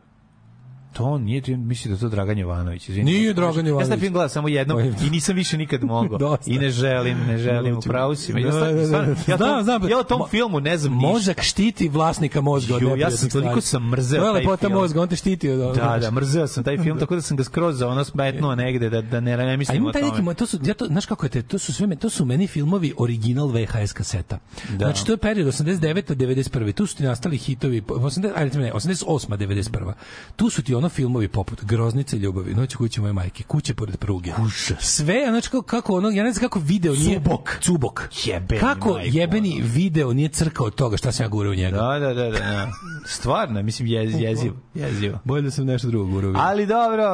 S9: To on nije, ti misli da je to Dragan Jovanović. Izvini,
S8: Nije Dragan
S9: Ja sam taj
S8: Jovanović.
S9: film gledao samo jednom i nisam više nikad mogao.
S8: Dosta.
S9: I ne želim, ne želim,
S8: Hoću.
S9: upravo si me. Ja
S8: Da,
S9: stvarno-
S8: da, da.
S9: stvarno, ja
S8: Znam,
S9: tom-
S8: znam.
S9: ja o tom
S8: Mo-
S9: filmu ne znam ništa.
S8: Mozak štiti vlasnika mozga od
S9: Ju, ja
S8: neprijatnih
S9: sam toliko
S8: stvari.
S9: sam mrzeo
S8: To je
S9: taj
S8: lepota
S9: film.
S8: mozga, on te štiti od
S9: Da, da, mrzeo sam taj film, tako da sam ga skroz za ono smetnuo negde, da, da ne, ne
S8: A
S9: mislim
S8: ima
S9: o
S8: taj neki,
S9: tome.
S8: moj- to su, ja to, znaš kako je te, to su sve, me- to su meni filmovi original VHS kaseta.
S9: Da.
S8: Znači, to je period 89. 91. Tu su ti nastali hitovi, po- 80, ajde, recimo ne, 88. 91. Tu su ti ono filmovi poput Groznice ljubavi, Noć u kući moje majke, Kuće pored pruge. Sve, znači kako, kako ono, ja ne znam kako video nije... Cubok. Cubok.
S9: Jebeni
S8: kako
S9: majku,
S8: jebeni video nije crkao od toga šta sam ja gurao u njega.
S9: Da, da, da, da, da. Stvarno, mislim, jez, jezivo, jezivo.
S8: Bolje da sam nešto drugo gurao. u njega.
S9: Ali dobro,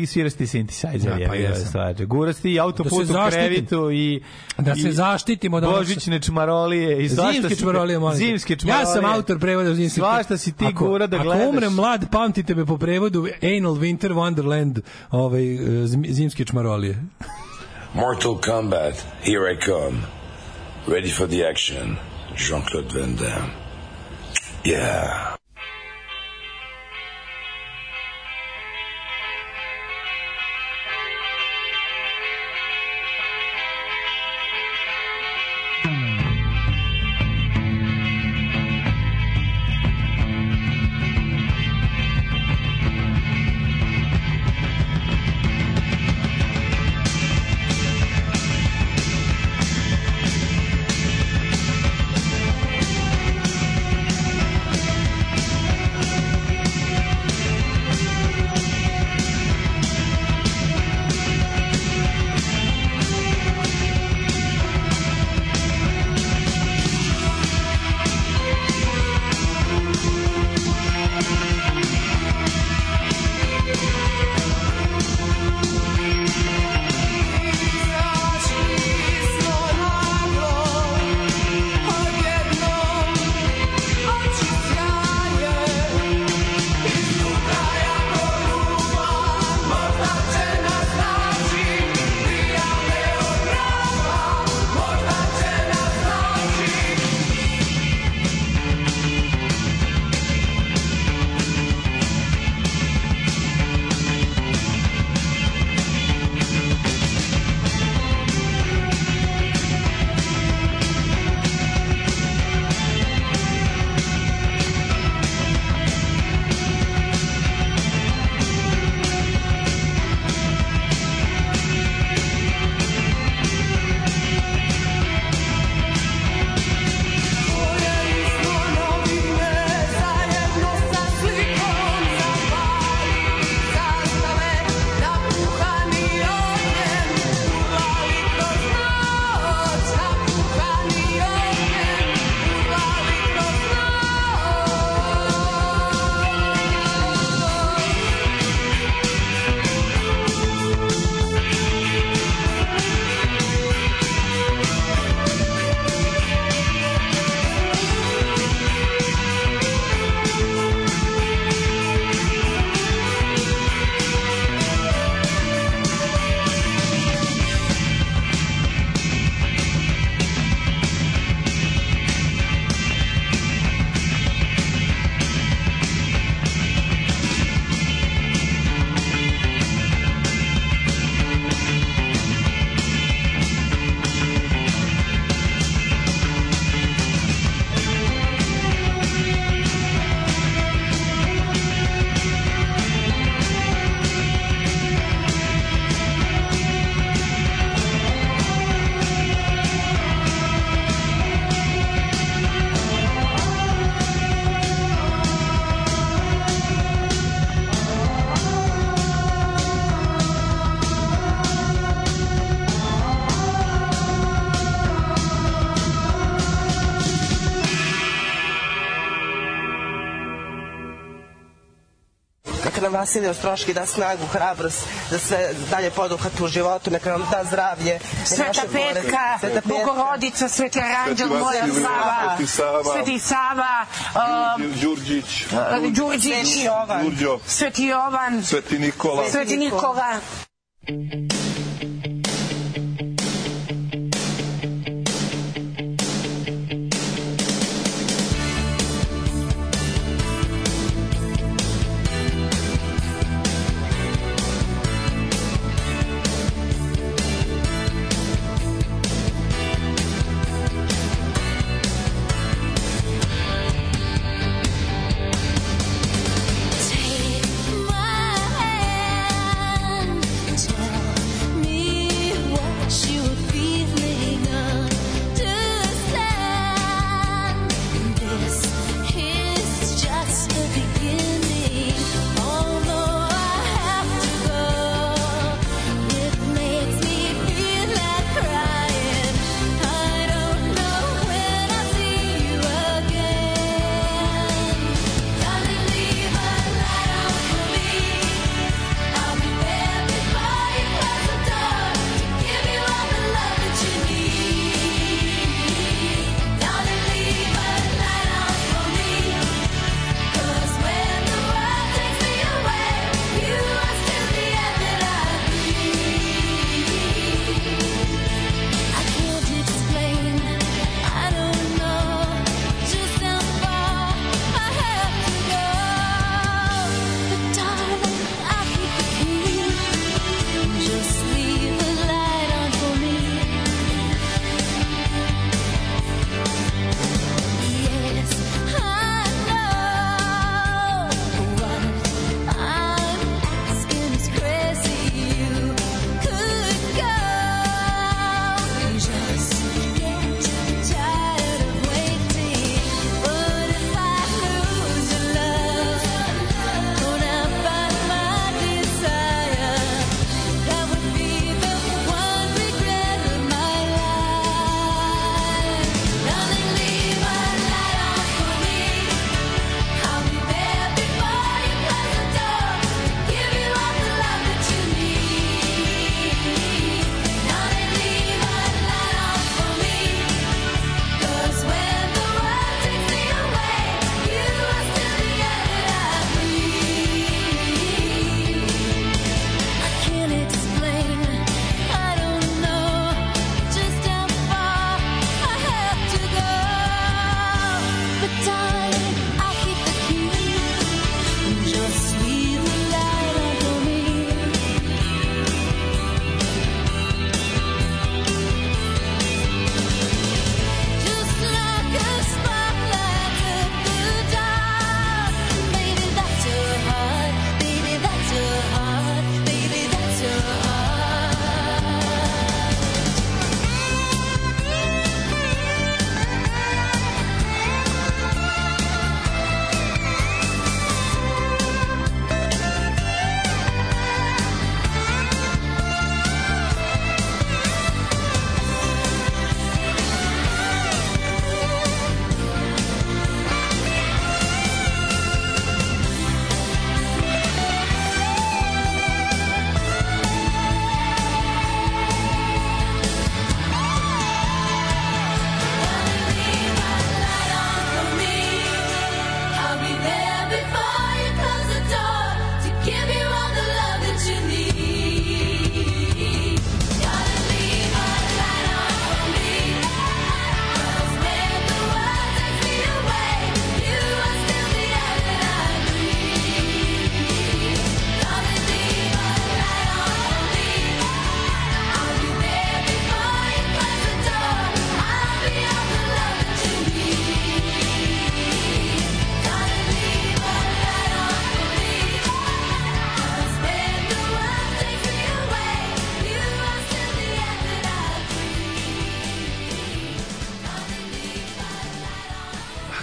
S9: i sviraš ti synthesizer,
S8: Da, pa
S9: ja, pa
S8: jesam.
S9: stvar. Guraš ti i
S8: Da
S9: autoput
S8: se
S9: u
S8: zaštitim.
S9: krevitu i...
S8: Da
S9: i
S8: se zaštitimo od onog-
S9: Božićne čmarolije i svašta
S8: Zimske
S9: si-
S8: čmarolije, molim. te.
S9: Zimske čmarolije.
S8: Ja sam autor prevoda zimske
S9: Svašta si ti gura da gledaš.
S8: Ako umrem mlad, pamtite me po prevodu Anal Winter Wonderland ovaj, eh, zim- zimske čmarolije.
S16: Mortal Kombat, here I come. Ready for the action. Jean Claude Van Damme. Yeah.
S5: neka nam Vasilije Ostroški da snagu, hrabrost, da sve dalje poduhat u životu, neka nam da zdravlje. neka
S7: Sveta
S5: naše bore-
S7: Petka,
S5: Sveta Petka.
S7: Bogorodica, Sveti Aranđel,
S5: Sveti
S7: Moja
S5: Vasilij,
S7: Sava,
S5: Sveti Sava,
S7: Sveti Sava, um,
S2: Đurđić,
S7: Đurđić,
S2: Đurđo,
S7: Sveti Jovan,
S2: Sveti Nikola.
S7: Sveti Nikola.
S3: Take my hand and tell uh,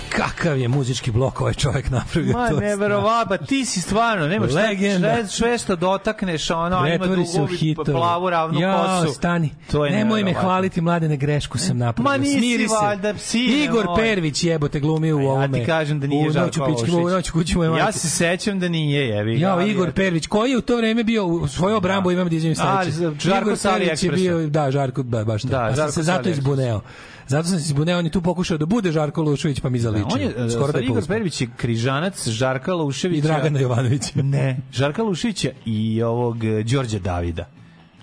S8: kakav je muzički blok ovaj čovjek napravio.
S9: Ma,
S8: to je
S9: neverovatno, ti si stvarno, nema šta,
S8: Legenda.
S9: šta, sve što dotakneš, ono, a ima
S8: Pretvori se u
S9: dugovi,
S8: hitove.
S9: plavu ravnu
S8: Jao,
S9: kosu.
S8: stani.
S9: To je
S8: Nemoj me
S9: neverovatno.
S8: hvaliti, mlade, na grešku sam napravio.
S9: Ma nisi
S8: Smiri se.
S9: valjda, psi,
S8: Igor
S9: nemoj.
S8: Pervić jebote glumi u
S9: Ja
S8: ovome.
S9: ti kažem da nije
S8: u
S9: Žarko
S8: noću pički, u
S9: Ošić.
S8: noću kući moje
S9: Ja
S8: majke.
S9: se sećam da nije, jevi. ga,
S8: Jao,
S9: ali
S8: Igor
S9: eto.
S8: Pervić, koji je u to vreme bio u svoju obrambu, imam da izvinim
S9: A,
S8: sledeće.
S9: Žarko sa
S8: Pervić je
S9: AliExpressa.
S8: bio, da, Žarko, ba, baš to.
S9: Da,
S8: Da,
S9: Žarko
S8: sam se
S9: sa
S8: zato
S9: AliExpressa.
S8: izbuneo. Zato sam se izbuneo, on je tu pokušao da bude Žarko Lušović, pa mi zaličio.
S9: On je, e,
S8: Skoro da
S9: stari
S8: je
S9: Igor
S8: pouzdao.
S9: Pervić je križanac Žarka Luševića.
S8: I Dragana Jovanovića.
S9: Ne, Žarka Luševića i ovog e, Đorđa Davida.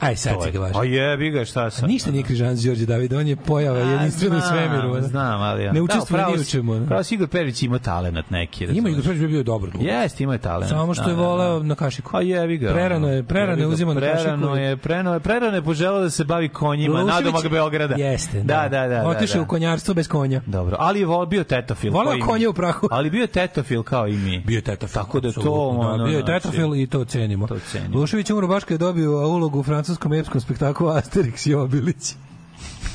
S8: Aj, sad
S9: To
S8: si
S9: je.
S8: ga važi.
S9: A jebi ga, šta sam.
S8: Ništa nije križanac Đorđe Davida, on je pojava jedinstvena u
S9: znam,
S8: svemiru. ono.
S9: Znam, ali... ono,
S8: Ne
S9: da,
S8: učestvuje
S9: upravo
S8: ni u
S9: si-
S8: čemu. ono.
S9: Pravo si Igor Pervić ima talenat neki.
S8: Ima Igor Pervić bi bio dobar glumac.
S9: Jeste, ima talent.
S8: Samo što
S9: Da,
S8: je
S9: da,
S8: voleo na kašiku.
S9: A jebi ga.
S8: Prerano
S9: ono.
S8: je, prerano
S9: Jebi
S8: je
S9: ga,
S8: uzimao na kašiku.
S9: Prerano je, prerano je, prerano je poželao da se bavi konjima
S8: Milošević-
S9: nadomak Beograda.
S8: Jeste,
S9: Da, da, da.
S8: Otišao
S9: da,
S8: u konjarstvo bez konja.
S9: Dobro, ali je vol- bio tetofil.
S8: Voleo
S9: kao i mi.
S8: konje u prahu.
S9: Ali bio je tetofil kao i mi. Bio
S8: je tetofil.
S9: Tako da to...
S8: Apsolutno, da,
S9: ono,
S8: bio je
S9: znači,
S8: tetrafil i to cenimo.
S9: To cenimo.
S8: Lušević umro baš kad je dobio ulogu u francuskom epskom spektaklu Asterix i Obelix.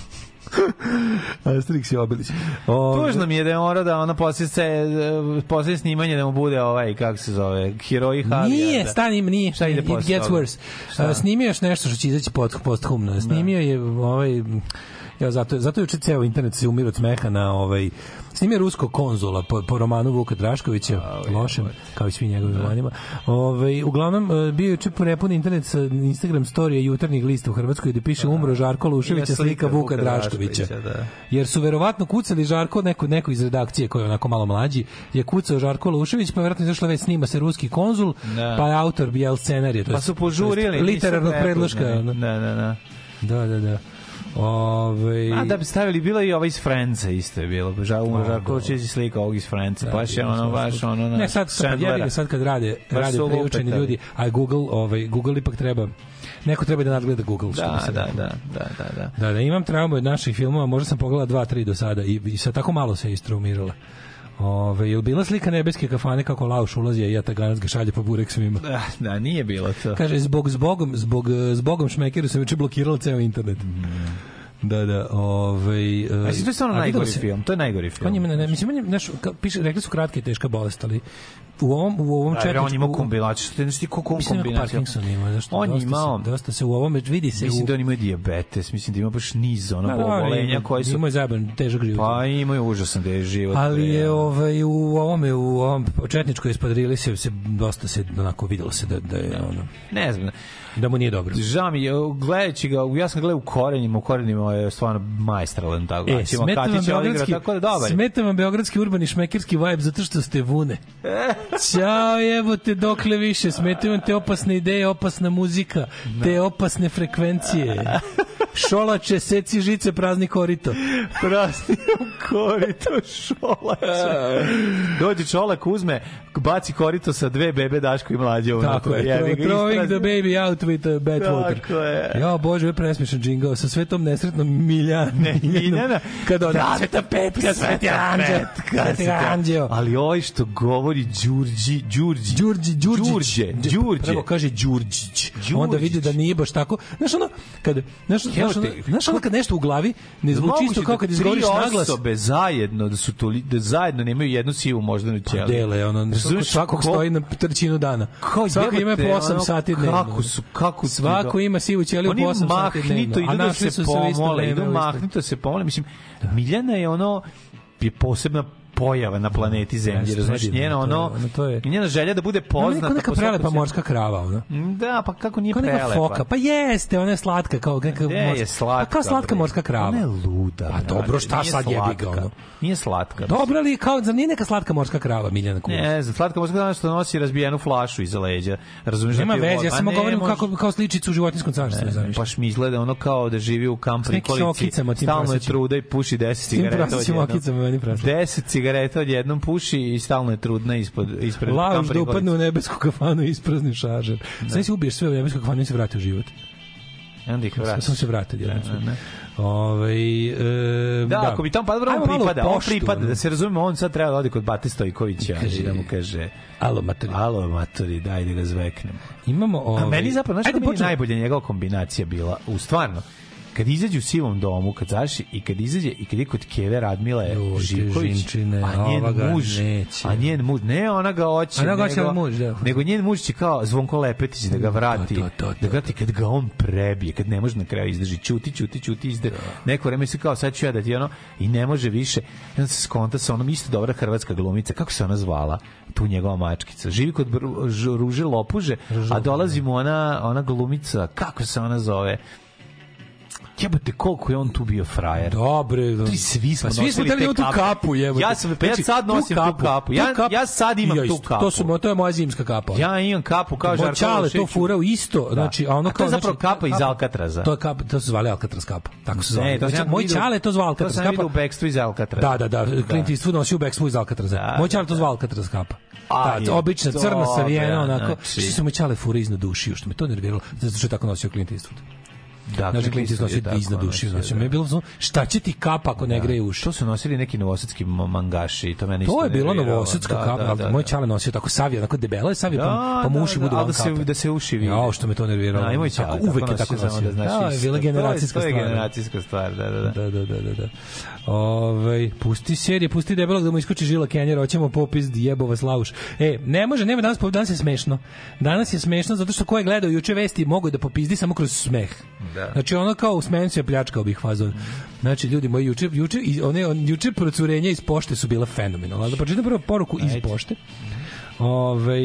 S8: Asterix i Obelix. O,
S9: Tužno mi je da je morao da ona poslije, se, e, poslije snimanje da mu bude ovaj, kako se zove, heroji Havija.
S8: Nije,
S9: da.
S8: stani, nije.
S9: Šta ide
S8: It
S9: posle
S8: gets
S9: toga?
S8: worse.
S9: Šta?
S8: A, Snimio je još nešto što će izaći pod, posthumno. Snimio je ovaj... Ja, zato, zato juče ceo internet se umir od smeha na ovaj... Snimio je ruskog konzula po, po romanu Vuka Draškovića, lošem, kao i svi njegovi romanima. Ovaj, uglavnom, e, bio je juče prepun internet sa Instagram storije jutarnjih lista u Hrvatskoj gde piše umro Žarko Luševića,
S9: Ja,
S8: slika Vuka Draškovića.
S9: da.
S8: Jer su verovatno kucali Žarko, neko, neko iz redakcije koji je onako malo mlađi, je kucao Žarko Lušević, pa je verovatno izašla već snima se ruski konzul,
S9: Da.
S8: pa je autor bijel scenarija. to
S9: Pa
S8: jest-
S9: su požurili.
S8: to jest
S9: nisu
S8: Literarnog
S9: prepoznali.
S8: predloška. ono.
S9: Da, da, da.
S8: Da, da, da. Ove,
S9: A da bi stavili, bila i ova iz Franca isto je bilo. Žao umro
S8: Da,
S9: Žarko Lučić i slika ovog iz Franca. baš je ono, baš ono... na
S8: Ne, sad, sad,
S9: Chandlera.
S8: jebi ga, sad kad rade,
S9: Baš
S8: rade
S9: su lupetali.
S8: priučeni ljudi, a Google, ovaj, Google ipak treba, neko treba da nadgleda Google. što bi
S9: Da,
S8: se
S9: da,
S8: reklo.
S9: da, da, da, da.
S8: Da, da, imam traumu od naših filmova, možda sam pogledala dva, tri do sada i, i sa tako malo se istraumirala. Ove, je bila slika nebeske kafane kako Lauš ulazi, a ja taganac ga šalje po burek svima?
S9: Da, da, nije bilo to.
S8: Kaže, zbog, zbogom, zbog, eh, zbogom šmekeru sam juče blokirala ceo internet. Da, da, ovaj... eh,
S9: Mislim, to je stvarno
S8: a videlo
S9: najgori
S8: se-
S9: film. To je najgori
S8: On
S9: film.
S8: ima, ne, ne, mislim, on je, znaš, ka- piše, rekli su kratka i teška bolest, ali u ovom, u ovom
S9: Da,
S8: četvrtu...
S9: on ima kombinaciju. Što je nešto kako
S8: Mislim, ima
S9: kombinaciju?
S8: Parkinson ima, zašto?
S9: On
S8: dosta
S9: imao-
S8: Se, dosta se u ovome, vidi se
S9: Mislim
S8: u...
S9: da on ima dijabetes, mislim da ima baš niz ono
S8: Da, da, ali
S9: obolenja koji su...
S8: Ima je zajeban, težak život.
S9: Pa imaju užasan da je život.
S8: Ali
S9: bre. ono.
S8: je ovaj u ovome u ovom četničkoj espadrili se se dosta se onako videlo se da da je ono
S9: Ne znam.
S8: da mu nije dobro.
S9: Žao mi je, gledajući ga, ja sam gledao u korenima, u korenima je stvarno majstralan tako.
S8: E,
S9: pa Ćemo
S8: smeta vam
S9: Katića odigra,
S8: beogradski,
S9: tako da dobar. je.
S8: smeta vam beogradski urbani šmekerski vibe zato što ste vune. Ćao, jebote, dokle više. Smetaju vam te opasne ideje, opasna muzika, te opasne frekvencije. Šolače, seci žice, prazni korito.
S9: Prazni korito šolače. E. Dođe čolak, uzme, baci korito sa dve bebe Daško i mlađe unutra.
S8: Tako je,
S9: Jebi
S8: throw-
S9: ga,
S8: throwing
S9: isprazni.
S8: the baby out with the bad water.
S9: Tako je.
S8: Ja, bože, ovo je presmešan džingao sa sve tom nesretnom Miljan. Ne,
S9: Miljana.
S8: Kad ona,
S9: Da,
S8: sveta petka, sveti
S9: Sveta
S8: anđel,
S9: Petka,
S8: sveti
S9: Sveta-
S8: anđeo.
S9: Ali ovaj što govori Đurđi, Đurđi.
S8: Đurđi, Đurđić.
S9: Đurđe,
S8: Đ-
S9: Đurđe.
S8: Prvo kaže Đurđić. Onda vidi da nije baš tako. Znaš ono, kad, znaš, znaš, ono,
S9: Evo te,
S8: znaš ono kad nešto u glavi ne zvuči
S9: Moguće
S8: isto kao
S9: da
S8: kad izgovoriš
S9: tri
S8: naglas.
S9: osobe zajedno, da su toli, da zajedno nemaju jednu sivu moždanu ćeliju.
S8: Dele, ono,
S9: Razumeš
S8: kod svakog
S9: ko-
S8: stoji na trećinu dana.
S9: Kao
S8: Svako
S9: jebote,
S8: ima po 8
S9: ono,
S8: sati dnevno.
S9: Kako su, kako ti
S8: Svako
S9: do-
S8: ima sivu ćeliju po 8 sati
S9: Oni mahnito
S8: dnevno, a
S9: idu da
S8: našli
S9: se
S8: su se u isto
S9: pomole,
S8: vreme,
S9: idu
S8: u isto-
S9: mahnito se pomole. Mislim, Miljana je ono, je posebna pojava na planeti Zemlji,
S8: Jeste,
S9: razumeš,
S8: predivno,
S9: njena
S8: to je,
S9: ono,
S8: ono, to je-
S9: njena želja da bude
S8: Ona Ono je
S9: poznata.
S8: kao neka
S9: po svakom
S8: prelepa
S9: svijetu.
S8: morska krava, ona.
S9: Da, pa kako nije
S8: Kao neka
S9: prelepa?
S8: foka. Pa jeste, ona je slatka kao neka
S9: Gde je slatka,
S8: Pa kao slatka
S9: bre?
S8: morska krava.
S9: Ona je luda.
S8: Pa dobro, šta sad jebi ga ono.
S9: Nije slatka.
S8: Dobro ali kao za nije neka slatka morska krava Miljana Kulić.
S9: Ne znam, slatka možda znaš što nosi razbijenu flašu iza leđa. Razumiješ?
S8: Nema
S9: da ti je
S8: veze,
S9: voda.
S8: ja
S9: A
S8: samo
S9: pa ne,
S8: govorim
S9: može-
S8: kako kao sličicu u životinskom carstvu,
S9: Ne,
S8: zamišljam.
S9: baš mi izgleda ono kao da živi u kamp
S8: S nekim
S9: prikolici.
S8: okicama, tim
S9: Stalno je
S8: prasećim.
S9: truda i puši 10
S8: Tim
S9: cigareta
S8: prasećim okicama, meni prasećim.
S9: 10 cigareta odjednom puši i stalno je trudna ispod, ispred
S8: Laž
S9: kamp
S8: da upadne u
S9: prikolice.
S8: nebesku kafanu i isprazni šaržer. Sve se ubiješ sve u nebesku kafanu i se vrati u život.
S9: I onda ih vrati.
S8: Samo se vrati odjednom.
S9: Ne, ne, ne.
S8: Ovaj e,
S9: Da, ako bi tom pa dobro, on
S8: Ajmo malo u
S9: pripada, on
S8: poštu,
S9: pripada,
S8: ono.
S9: da se razumemo, on sad treba da ode kod Bate Stojkovića i da mu kaže
S8: Alo, matori.
S9: Alo, matori, daj da ga zveknemo.
S8: Imamo ovaj.
S9: A meni zapravo, znaš
S8: Ajde,
S9: što mi je
S8: počnemo.
S9: najbolje njegova kombinacija bila? U stvarno, kad izađe u sivom domu, kad zaši i kad izađe i kad je kod Keve Radmile
S8: te
S9: Živković,
S8: žinčine,
S9: a njen
S8: ova ga
S9: muž,
S8: neće.
S9: a njen muž, ne ona ga hoće,
S8: Ona ga hoće,
S9: nego,
S8: ali muž, da.
S9: nego njen muž će kao Zvonko Lepetić da ga vrati, da ga ti kad ga on prebije, kad ne može na kraju izdrži, ćuti, ćuti, ćuti, izde, neko vreme se kao sad ću ja da ti ono, i ne može više, i onda se skonta sa onom isto dobra hrvatska glumica, kako se ona zvala, tu njegova mačkica, živi kod Bru- Ž- Ruže Lopuže, a dolazi mu ona, ona glumica, kako se ona zove, Jebote, koliko je on tu bio frajer.
S8: Dobre, da.
S9: Ti svi smo
S8: Pa svi smo
S9: nosili
S8: tada
S9: te
S8: imamo tu
S9: kape.
S8: kapu, jebote.
S9: Ja sam, pa ja
S8: Znači,
S9: sad
S8: tu
S9: nosim tu kapu. Ja, ja sad imam
S8: I ja
S9: tu
S8: isto.
S9: kapu.
S8: To, su, mo- to je moja zimska kapa.
S9: Ja imam kapu kao
S8: Moj
S9: Žarko
S8: Čale to
S9: Lošić.
S8: furao isto,
S9: Da.
S8: znači, a ono
S9: A to
S8: kao...
S9: je zapravo
S8: znači,
S9: kapa iz Alcatraza.
S8: To, je kapa, to su zvali Alcatraz kapa. Tako se zvali.
S9: Ne, to sam
S8: Znači,
S9: ja
S8: moj
S9: vidio-
S8: Čale je to zvao
S9: to sam
S8: Alcatraz
S9: ja
S8: kapa.
S9: vidio u Backstreet iz Alcatraza.
S8: Da, da, da. Clint
S9: Da.
S8: Eastwood nosio Backstreet iz Alcatraza.
S9: Da,
S8: moj Čale je to zvao Alcatraz kapa.
S9: Ali
S8: Ta,
S9: je
S8: obična
S9: to,
S8: crna savijena,
S9: bre,
S8: onako.
S9: znači-
S8: Znači... Što su me Čale fure iznad ušiju, što me to nerviralo, zato što je tako nosio Clint Eastwood.
S9: Da,
S8: znači,
S9: Pa Dakle, Clint
S8: Clint
S9: Eastwood je
S8: Eastwood
S9: tako
S8: nosio iznad ušiju.
S9: nosio,
S8: Znači,
S9: da.
S8: me je bilo, znači, šta će ti kapa ako ne greje uši?
S9: To su nosili neki novosadski ma- mangaši. To, mene
S8: To
S9: isto
S8: je bila
S9: nerviralo.
S8: novosadska
S9: Da,
S8: kapa,
S9: da, da,
S8: ali moj čale nosio tako savije, onako debelo je savije,
S9: Da,
S8: pa, pa mu
S9: da,
S8: uši
S9: da,
S8: budu
S9: ali
S8: van
S9: da se-
S8: kape.
S9: da se uši vide.
S8: Jao, što me to nerviralo.
S9: Da, i moj
S8: Tako,
S9: Ćale
S8: uvek
S9: tako
S8: je tako
S9: nosio, samo
S8: nosio.
S9: da znaš
S8: Da, je
S9: isto.
S8: bila
S9: To je-
S8: generacijska
S9: to je
S8: stvar.
S9: generacijska stvar, da, da, da.
S8: Da, da, da, da, da. Ovaj, pusti serije, pusti debelog da mu iskoči žila Kenjera, hoćemo popis jebova slavuš. E, ne može, nema danas, pop- danas je smešno. Danas je smešno zato što ko je gledao juče vesti mogu da popizdi samo kroz smeh.
S9: Da.
S8: Znači ono kao u smenu se pljačkao bih fazon. Znači ljudi moji juče juče i one on, juče procurenja iz pošte su bila fenomenalna. Ali Da pročitam prvo poruku iz pošte. Ove,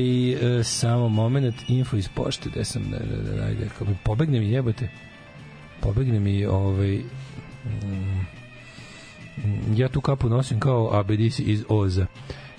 S8: samo moment, info iz pošte, gde sam, da, da, da, ajde, ako mi pobegne mi jebote, pobegne mi, ovaj, mm, Mm, ja tu kapu nosim kao ABDC iz Oza.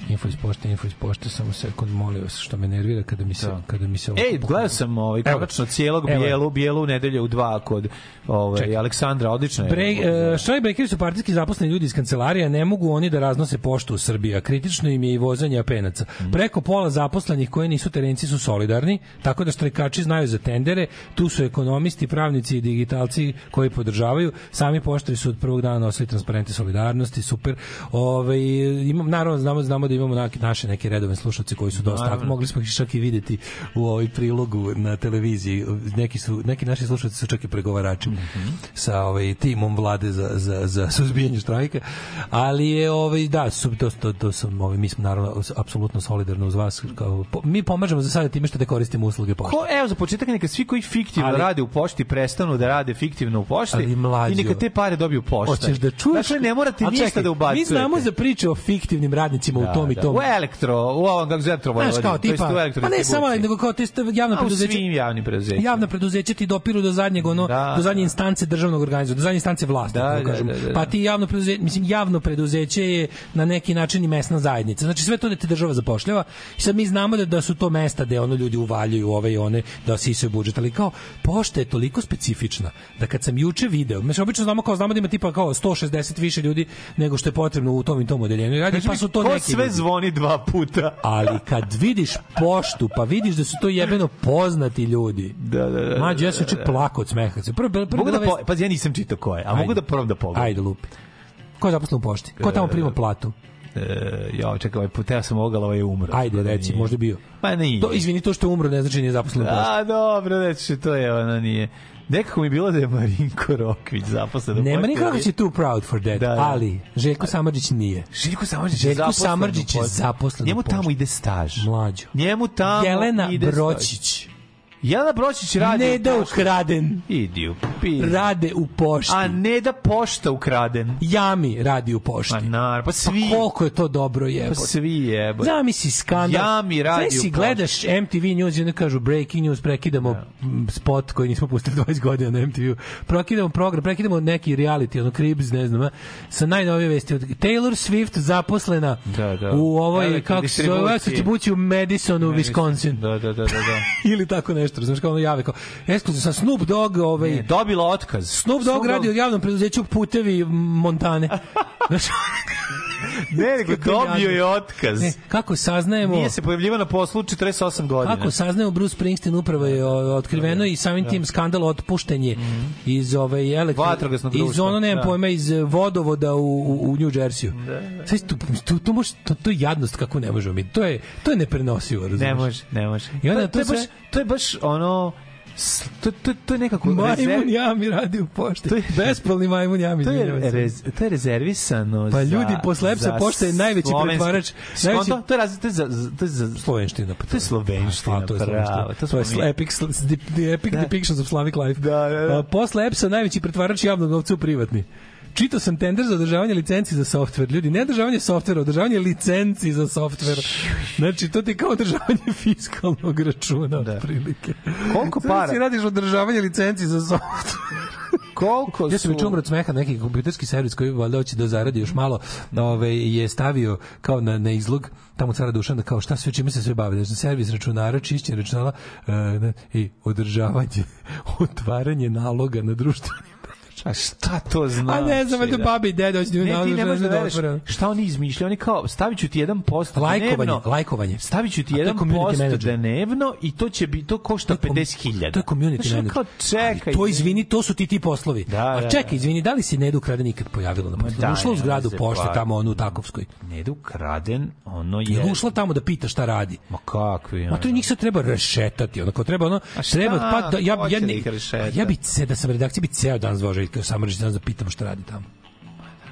S8: Info iz pošte, info iz pošte, samo sekund, molim vas, što me nervira kada mi se, kada mi se ovo...
S9: Ej, gledao sam ovaj
S8: Evo.
S9: konačno cijelog
S8: Evo.
S9: bijelu, bijelu u nedelju u dva kod ovaj
S8: Čekaj.
S9: Aleksandra, odlično je.
S8: Bre, e, štrajkbrekeri su partijski zaposleni ljudi iz kancelarija, ne mogu oni da raznose poštu u Srbiji, a kritično im je i vozanje apenaca. Preko pola zaposlenih koji nisu terenci su solidarni, tako da štrajkači znaju za tendere, tu su ekonomisti, pravnici i digitalci koji podržavaju, sami poštari su od prvog dana nosili transparente solidarnosti, super. Ove, imam, naravno, znamo, znamo da imamo na- naše neke redovne slušalce koji su dosta
S9: Naravno.
S8: aktivni, mogli smo ih čak i videti u ovoj prilogu na televiziji. Neki, su, neki naši slušalci su čak i pregovarači
S9: Mhm.
S8: sa ovaj, timom vlade za, za, za suzbijanje štrajka. Ali je, ovaj, da, su, to, to, to sam, ovaj, mi smo naravno s- apsolutno solidarno uz vas. Kao, po- mi pomažemo za sada time što da koristimo usluge pošte.
S9: Ko, evo, za početak neka svi koji fiktivno
S8: Ali-
S9: rade u pošti prestanu da rade fiktivno u pošti
S8: Ali mlađo.
S9: i neka te pare dobiju pošta.
S8: Hoćeš da čuješ?
S9: Dakle, ne morate
S8: A
S9: ništa
S8: čekaj,
S9: da
S8: Mi
S9: ubacujete.
S8: znamo za priče o fiktivnim radnicima
S9: Da,
S8: u tom i
S9: da.
S8: tom.
S9: U elektro, u ovom kako zove
S8: Znaš,
S9: Vojvodini,
S8: kao
S9: to jest
S8: tipa,
S9: u
S8: pa ne samo, pa
S9: elektrodistribuciji.
S8: nego kao te st- javna
S9: A, u
S8: preduzeća.
S9: svim javnim preduzećima.
S8: Javna preduzeća ti dopiru do zadnjeg ono,
S9: Da,
S8: do zadnje instance državnog organizma, do zadnje instance vlasti,
S9: Da,
S8: da,
S9: da,
S8: kažem.
S9: da, da, da.
S8: Pa ti javno preduzeće, mislim javno preduzeće je na neki način i mesna zajednica. Znači sve to da te država zapošljava. I sad mi znamo da, da su to mesta gde ono ljudi uvaljuju ove i one da sisaju budžet, ali kao pošta je toliko specifična da kad sam juče video, mislim obično znamo kao znamo da ima tipa kao 160 više ljudi nego što je potrebno u tom i tom odeljenju. Radi,
S9: Kaži
S8: pa
S9: mi,
S8: su to
S9: Znači, ko
S8: neki
S9: sve
S8: ljudi.
S9: zvoni dva puta?
S8: Ali kad vidiš poštu, pa vidiš da su to jebeno poznati ljudi.
S9: Da, da, da.
S8: Mađo, ja sam
S9: da,
S8: juče
S9: da.
S8: plakao od smeha. Prvo, prvo, prvo
S9: Mogu da
S8: bila
S9: po,
S8: vest-
S9: pazi, ja nisam čitao ko je, a mogu
S8: Ajde.
S9: da prvom da pogledam.
S8: Ajde, lupi. Ko je zaposlen u pošti? Ko tamo prima platu?
S9: E, ja, čekaj, ovaj put, ja sam ogala, ovaj je umro.
S8: Ajde, reci, možda je bio.
S9: Pa nije.
S8: To, izvini, to što je umro ne znači nije zaposlen u pošti.
S9: A, dobro, reći, to je ono nije. Nekako mi je bilo da je Marinko Rokvić zaposlen. u
S8: Nema
S9: pošti,
S8: nikako
S9: ali-
S8: će tu proud for that,
S9: pa Da, da.
S8: ali Željko Samarđić nije.
S9: Željko Samardžić je
S8: Željko
S9: zaposlen u
S8: Samardžić je
S9: pošti.
S8: zaposlen
S9: Njemu
S8: u pošti.
S9: tamo ide staž.
S8: Mlađo.
S9: Njemu tamo
S8: Jelena
S9: ide staž.
S8: Bročić.
S9: Jelena Bročić radi
S8: Ne
S9: u
S8: da
S9: pošti.
S8: ukraden.
S9: Idi u pi-
S8: Rade u pošti.
S9: A ne da pošta ukraden.
S8: Jami radi u pošti.
S9: Pa nar, pa svi.
S8: Pa koliko je to dobro
S9: Pa
S8: jebote.
S9: svi jebote.
S8: Zamisli skandal.
S9: Jami radi
S8: Znaš,
S9: u
S8: si
S9: pošti.
S8: gledaš MTV News i onda kažu breaking news, prekidamo m, spot koji nismo pustili 20 godina na MTV-u. Prekidamo program, prekidamo neki reality, ono Cribs, ne znam, a, sa najnovije vesti. od- Taylor Swift zaposlena
S9: Da, da.
S8: u ovoj,
S9: Velikoj
S8: kako se zove, ovoj
S9: distribuciji.
S8: distribuciji u Madisonu, Wisconsin.
S9: Da, da, da, da. da.
S8: Ili tako nešto, razumiješ, kao ono jave, kao, ekskluzivno, sa Snoop Dogg, ovaj,
S9: Ne, dobila otkaz.
S8: Snoop Dogg radi u javnom preduzeću Putevi Montane. Znaš,
S9: Ne, nego
S8: Kako
S9: dobio
S8: jadno.
S9: je otkaz.
S8: ne, kako saznajemo...
S9: Nije se pojavljivao na poslu 48 godina.
S8: Kako saznajemo Bruce Springsteen upravo je o, otkriveno i samim tim skandal otpušten je iz ove elektro
S9: Mhm. Vatrogasnog
S8: iz
S9: društva,
S8: ono nemam
S9: da.
S8: pojma iz eh, vodovoda u u, u New Jerseyu. Sve tu tu, tu može to, to je jadnost kako ne možemo mi. To je to je neprenosivo, razumeš?
S9: Ne može, ne može.
S8: I onda
S9: to, to, je
S8: to
S9: baš,
S8: sve-
S9: to je baš ono s- to, to, to je nekako...
S8: Majmun
S9: rezerv-
S8: jami radi u pošti. To je, Bespravni majmun jami.
S9: To je,
S8: izvinjavam se.
S9: rez, to je rezervisano
S8: Pa
S9: za-
S8: ljudi, posle EPS-a
S9: za
S8: pošta je najveći
S9: slovenski-
S8: pretvarač,
S9: Skonto?
S8: najveći-
S9: To je razli- to je za- za- to je za... Slovenština. To je slovenština,
S8: to pa je
S9: pravo.
S8: pravo. To,
S9: smo
S8: je
S9: mi-
S8: sl- epic, sl- s- di- the epic
S9: Da.
S8: depictions of Slavic life. A, posle EPS-a najveći pretvarač javnog novca u privatni. Čitao sam tender za održavanje licenci za softver. Ljudi, ne održavanje softvera, održavanje licenci za softver. Znači, to ti je kao održavanje fiskalnog računa, da. otprilike.
S9: Koliko
S8: Znači,
S9: para?
S8: radiš održavanje licenci za softver.
S9: Koliko
S8: Ja sam
S9: su-
S8: juče umro od smeha neki kompjuterski servis koji valjda hoće da zaradi još malo, ovaj je stavio kao na na izlog tamo cara Dušan da kao šta sve čime se sve bavi, znači servis računara, čišćenje računala e, ne, i održavanje, otvaranje naloga na društvenim
S9: A šta to
S8: A
S9: znači?
S8: ne znam, valjda
S9: da?
S8: babi i deda hoće da imaju
S9: Ne, ti
S8: nalog
S9: ne
S8: da
S9: možeš da
S8: žene da
S9: veruješ
S8: otvore.
S9: šta oni izmišljaju. Oni kao, stavit ću ti jedan post
S8: Lajkovanje,
S9: dnevno.
S8: lajkovanje.
S9: Stavit ću ti
S8: A to je
S9: jedan
S8: community
S9: post
S8: manager.
S9: dnevno i to će biti, to košta 50.000.
S8: To je community
S9: Znaš, ono
S8: manager.
S9: Kao, čekaj.
S8: Ali to izvini, to su ti ti poslovi.
S9: da,
S8: A
S9: da.
S8: čekaj, izvini, da li se Nedu Kraden ikad pojavila na poslu?
S9: da,
S8: ušla u
S9: ne,
S8: zgradu
S9: se
S8: pošte
S9: pa-
S8: tamo onu u Takovskoj.
S9: Nedu ukraden, ono je...
S8: Je ušla tamo da pita šta radi.
S9: Ma kakvi,
S8: Ma Pa ono. to njih se treba rešetati, ono kao treba ono treba pa da, ja
S9: ko
S8: ja
S9: će da
S8: ne,
S9: ih rešeta?
S8: ja bi se da sam redakcija bi ceo dan zvao Željka Samardžić da pitam šta radi tamo.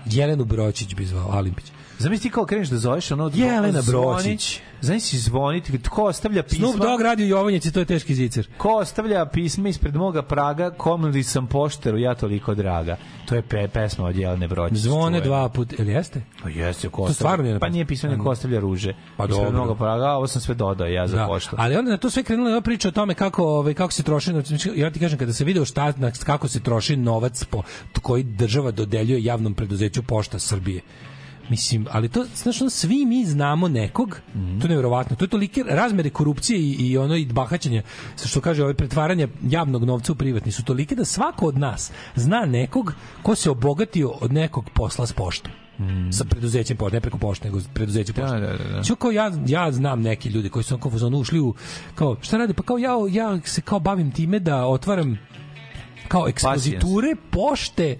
S8: Jelenu Bročić bi zvao Alimpić.
S9: Zamisli ti kao kreneš da zoveš ono...
S8: Jelena
S9: zvoni-
S8: Bročić.
S9: Zamisli zvoniti, ko ostavlja pisma...
S8: Snoop Dogg radio Jovanjice, to je teški zicer.
S9: Ko ostavlja pisma ispred moga praga, komnili sam pošteru, ja toliko draga. To je pe, pesma od Jelene Bročić.
S8: Zvone
S9: čuvena.
S8: dva puta, ili jeste?
S9: Pa jeste, ko
S8: To
S9: ostavlja-
S8: stvarno nije na
S9: Pa
S8: pesmi.
S9: nije pisao neko
S8: Ano.
S9: ostavlja ruže.
S8: Pa
S9: Ispred
S8: dobro.
S9: moga praga, a ovo sam sve dodao ja za
S8: Da,
S9: poštu.
S8: ali onda na to sve krenula je priča o tome kako ovaj kako se troši novci. ja ti kažem kada se video šta na- kako se troši novac po koji država dodeljuje javnom preduzeću Pošta Srbije. Mislim, ali to, znaš, ono, svi mi znamo nekog, to je nevjerovatno, to je tolike razmere korupcije i, i ono i bahaćenja, sa što kaže ove pretvaranje javnog novca u privatni su tolike da svako od nas zna nekog ko se obogatio od nekog posla s poštom. sa preduzećem pošte, ne preko pošte, nego preduzeće pošte.
S9: Mm. da, da, da.
S8: Znači, kao ja, ja znam neke ljude koji su onako u zonu ušli u, kao, šta radi? Pa kao ja, ja se kao bavim time da otvaram kao ekspoziture pošte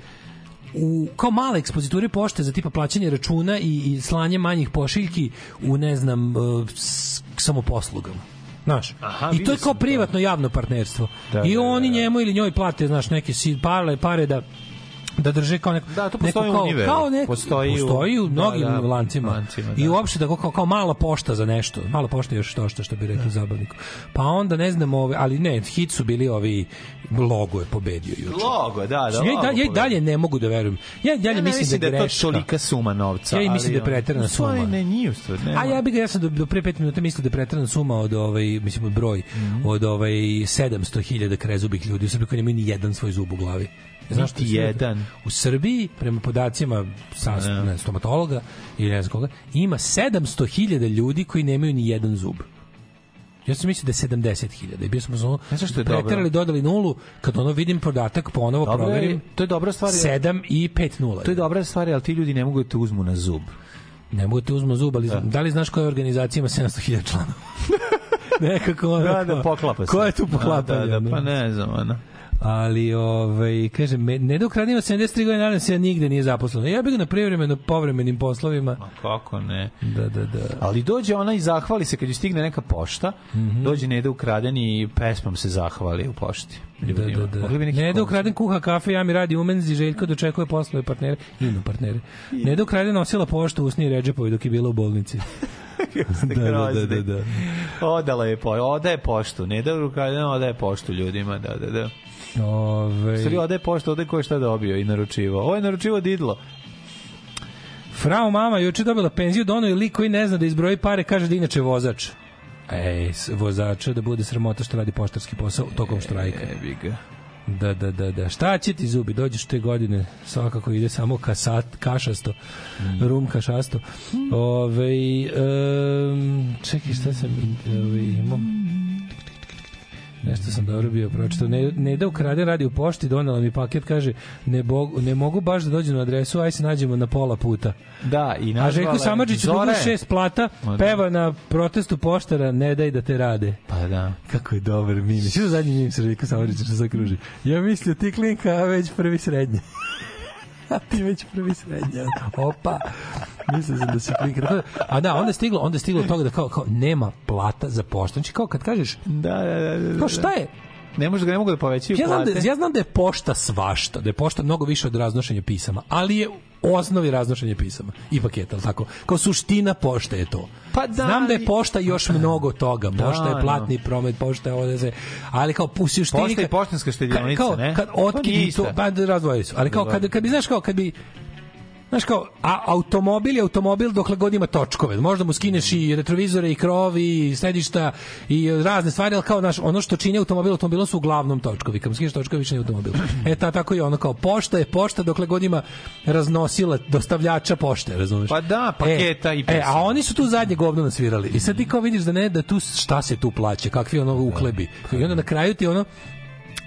S8: u, kao male ekspoziture pošte za tipa plaćanje računa i, i slanje manjih pošiljki u ne znam e, s, samoposlugama. Znaš, I to
S9: vidio
S8: je kao privatno javno partnerstvo.
S9: Da,
S8: I
S9: da,
S8: oni njemu ili njoj plate, znaš, neke si pare, pare da da drže kao neko
S9: Da, to postoji
S8: neko
S9: u Univeru.
S8: kao neko,
S9: Postoji u-
S8: postoji u
S9: da,
S8: mnogim
S9: da,
S8: lancima,
S9: lancima,
S8: i
S9: da.
S8: uopšte da kao, kao mala pošta za nešto mala pošta je još što što što bi rekli zabavniku pa onda ne znam ove ali ne hit su bili ovi logo je pobedio juče
S9: Logo, da, da.
S8: ja, i
S9: logo
S8: dalje, ja i
S9: poveća.
S8: dalje ne mogu da verujem ja i dalje
S9: Ja ne
S8: mislim, da je
S9: to
S8: greška
S9: tolika suma novca.
S8: Ja i mislim
S9: ali
S8: da je
S9: ono,
S8: preterana
S9: u stvari
S8: suma.
S9: Ne, nije u stvari. Ne,
S8: A ja bih ga ja sam do, do pre 5 minuta mislio da je preterana suma od ovaj mislim od broj
S9: Mhm.
S8: od ovaj 700.000 krezubih ljudi u Srbiji koji nemaju ni jedan svoj zub u glavi. Znaš
S9: Niti
S8: što je-
S9: jedan.
S8: U Srbiji prema podacima sa ne, stomatologa ili ne znam koga ima 700.000 ljudi koji nemaju ni jedan zub. Ja sam mislio da je 70.000 i bio sam u zonu
S9: Znaš što je dobro?
S8: preterali dodali nulu kad ono vidim podatak ponovo
S9: Dobro je,
S8: proverim
S9: to je dobra stvar.
S8: 7 i 5 nula.
S9: To je dobra stvar, ali ti ljudi ne mogu da te uzmu na zub.
S8: Ne mogu da te uzmu zub, ali da. li znaš koja organizacija ima 700.000 članova? Nekako ono,
S9: Da, da,
S8: kao,
S9: poklapa se.
S8: Ko je tu
S9: Da,
S8: poklapanje?
S9: Da, da,
S8: ono?
S9: pa ne znam, ono.
S8: Ali, ovaj, kaže, me, ne dok radim 73 godine, nadam se ja nigde nije zaposleno. Ja bih ga na privremeno povremenim poslovima.
S9: Kako ne?
S8: Da, da, da.
S9: Ali dođe ona i zahvali se kad ju stigne neka pošta,
S8: Mhm.
S9: dođe Neda ukraden i pesmom se zahvali u pošti.
S8: Da, da, da. Ne da ukraden kuha kafe, ja mi radi umenzi, Željko dočekuje poslove partnere, ima partnere. Ne da ukraden nosila poštu usni Ređepovi dok je bila u bolnici.
S9: da, da, da, da. Odala je, po, odaje poštu. Neda ukraden odaje poštu ljudima, da, da, da.
S8: Ove,
S9: Sri odaje poštu, odaje ko je šta dobio i naručivao. Ovo je naručivao Didlo.
S8: Frau mama juče dobila penziju da ono je lik koji ne zna da izbroji pare, kaže da je inače vozač. Ej, s- vozača da bude sramota što radi poštarski posao tokom štrajka.
S9: Jebi ga.
S8: Da, da, da, da. Šta će ti zubi? Dođeš te godine, svakako ide samo kasat, kašasto, rum kašasto. Ove, em, čekaj, šta sam in- ovaj, imao? Nešto sam dobro bio pročitao. Ne, ne da ukrade radi u pošti, donela mi paket, kaže, ne, bog- ne mogu baš da dođem na adresu, aj se nađemo na pola puta.
S9: Da, i nazvala
S8: A Pa Željko
S9: je
S8: Samadžić
S9: Zora
S8: duguje
S9: je.
S8: šest plata,
S9: Ma da.
S8: peva na protestu poštara, ne daj da te rade.
S9: Pa da.
S8: Kako je dobar mim. Što zadnji mim sa Željko Samadžić što zakruži? Ja mislio ti klinka, a već prvi srednji. a ti već prvi srednji. ono. Opa. Mislio sam da si klinka. Tako da- A da, onda je stiglo, onda je stiglo do toga da kao, kao nema plata za poštu. Znači kao kad kažeš,
S9: Da, da, da, da, da.
S8: kao šta je?
S9: Ne može da ga ne mogu da povećaju
S8: ja znam
S9: plate.
S8: da, ja znam da je pošta svašta, da je pošta mnogo više od raznošenja pisama, ali je u osnovi raznošenje pisama i paketa, ali tako? Kao suština pošte je to.
S9: Pa da,
S8: znam da je
S9: ali- Pa
S8: pošta još mnogo toga. Pošta
S9: da.
S8: je platni promet, pošta je ovo da se... Ali kao u suštini...
S9: Pošta i
S8: kad-
S9: poštanska štedionica,
S8: kao,
S9: ne?
S8: Kad
S9: To
S8: otkid
S9: nije
S8: i to...
S9: isto.
S8: Pa da, razdvojili su. Ali kao, kad, kad bi, znaš, kao, kad bi Znaš kao, a automobil je automobil dokle god ima točkove. Možda mu skineš i retrovizore i krov i sedišta i razne stvari, ali kao, znaš, ono što čini automobil automobilom su uglavnom točkovi. Kad mu skineš točkove, više nije automobil. E, ta, tako je ono kao, pošta je pošta dokle god ima raznosila dostavljača pošte, razumeš?
S9: Pa da, paketa
S8: e,
S9: i
S8: E,
S9: pisama.
S8: a oni su tu zadnje govno nasvirali. I sad ti kao vidiš da ne, da tu šta se tu plaća, kakvi ono uklebi. I onda na kraju ti ono,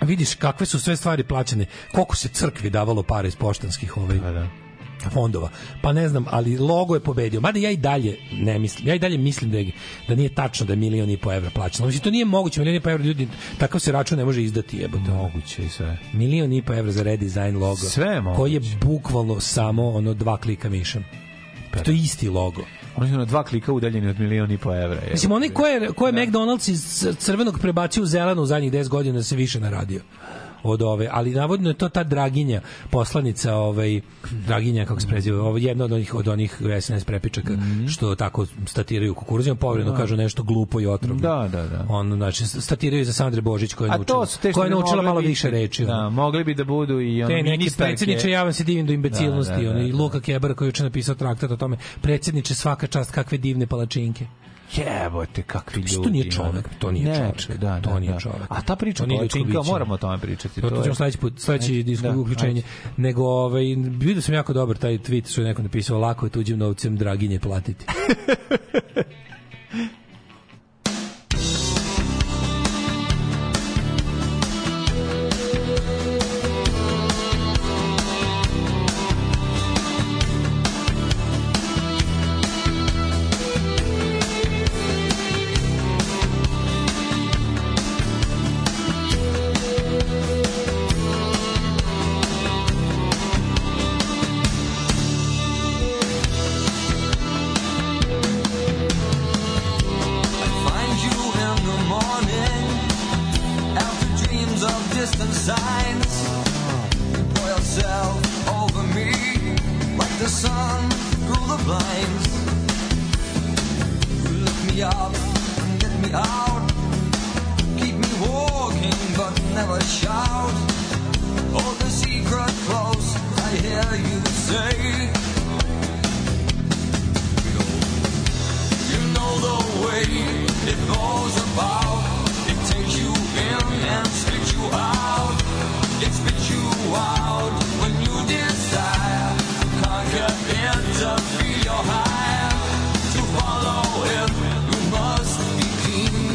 S8: vidiš kakve su sve stvari plaćene, koliko se crkvi davalo para iz poštanskih ovaj,
S9: Pa
S8: fondova. Pa ne znam, ali logo je pobedio. Mada ja i dalje ne mislim, ja i dalje mislim da, je, da nije tačno da je milion i po evra plaćeno. Mislim, to nije moguće, milion i po evra ljudi, takav se račun ne može izdati jebote.
S9: Moguće i sve.
S8: Milion i po evra za redizajn logo.
S9: Sve je moguće.
S8: Koji je bukvalno samo ono dva klika mišem. Pa to je isti logo.
S9: Oni su na dva klika udaljeni od milion i po evra. Je.
S8: Mislim, onaj ko je, ko je McDonald's iz cr- crvenog prebacio u zeleno u zadnjih 10 godina se više naradio od ove, ali navodno je to ta Draginja, poslanica ovaj Draginja kako se preziva, ovo je jedna od onih od onih SNS prepičaka što tako statiraju kukuruzima, povremeno
S9: Mhm. Da.
S8: kažu nešto glupo i otrovno.
S9: Da, da, da.
S8: On znači statiraju za Sandre Božić koja je
S9: A to
S8: naučila,
S9: su te što
S8: koja je
S9: bi
S8: naučila
S9: mogle
S8: malo
S9: biti.
S8: više reči. ono.
S9: Da, mogli bi da budu i ono
S8: Te neki
S9: ministarke.
S8: predsjedniče, ja vam se divim do imbecilnosti.
S9: Da, da, da,
S8: ono, I
S9: da.
S8: Luka Keber koji je juče napisao traktat o tome. Predsjedniče, svaka čast, kakve divne palačinke.
S9: Jebote, kakvi ljudi.
S8: Mislim,
S9: ono.
S8: to Pa nije čovek, to nije
S9: Ne,
S8: čovek,
S9: Da, da,
S8: to nije
S9: da.
S8: čovek.
S9: A ta priča
S8: To nije ljudsko
S9: Palačinka,
S8: biće.
S9: moramo o tome pričati.
S8: To, to
S9: je-
S8: ćemo sledeći put, sledeći
S9: Ajde,
S8: disko
S9: da,
S8: uključenje. Nego, ovaj, vidio sam jako dobar taj tweet što je neko napisao, lako je tuđim novcem draginje platiti.
S5: Find you in the morning after dreams of distant signs. Pour yourself over me like the sun through the blinds. Lift me up and get me out. Keep me walking but never shout. Hold the secret close, I hear you say. You know the way it goes about. It takes you in and spits you out. It spits you out when you desire to conquer and to feel your higher. To follow it, you must be keen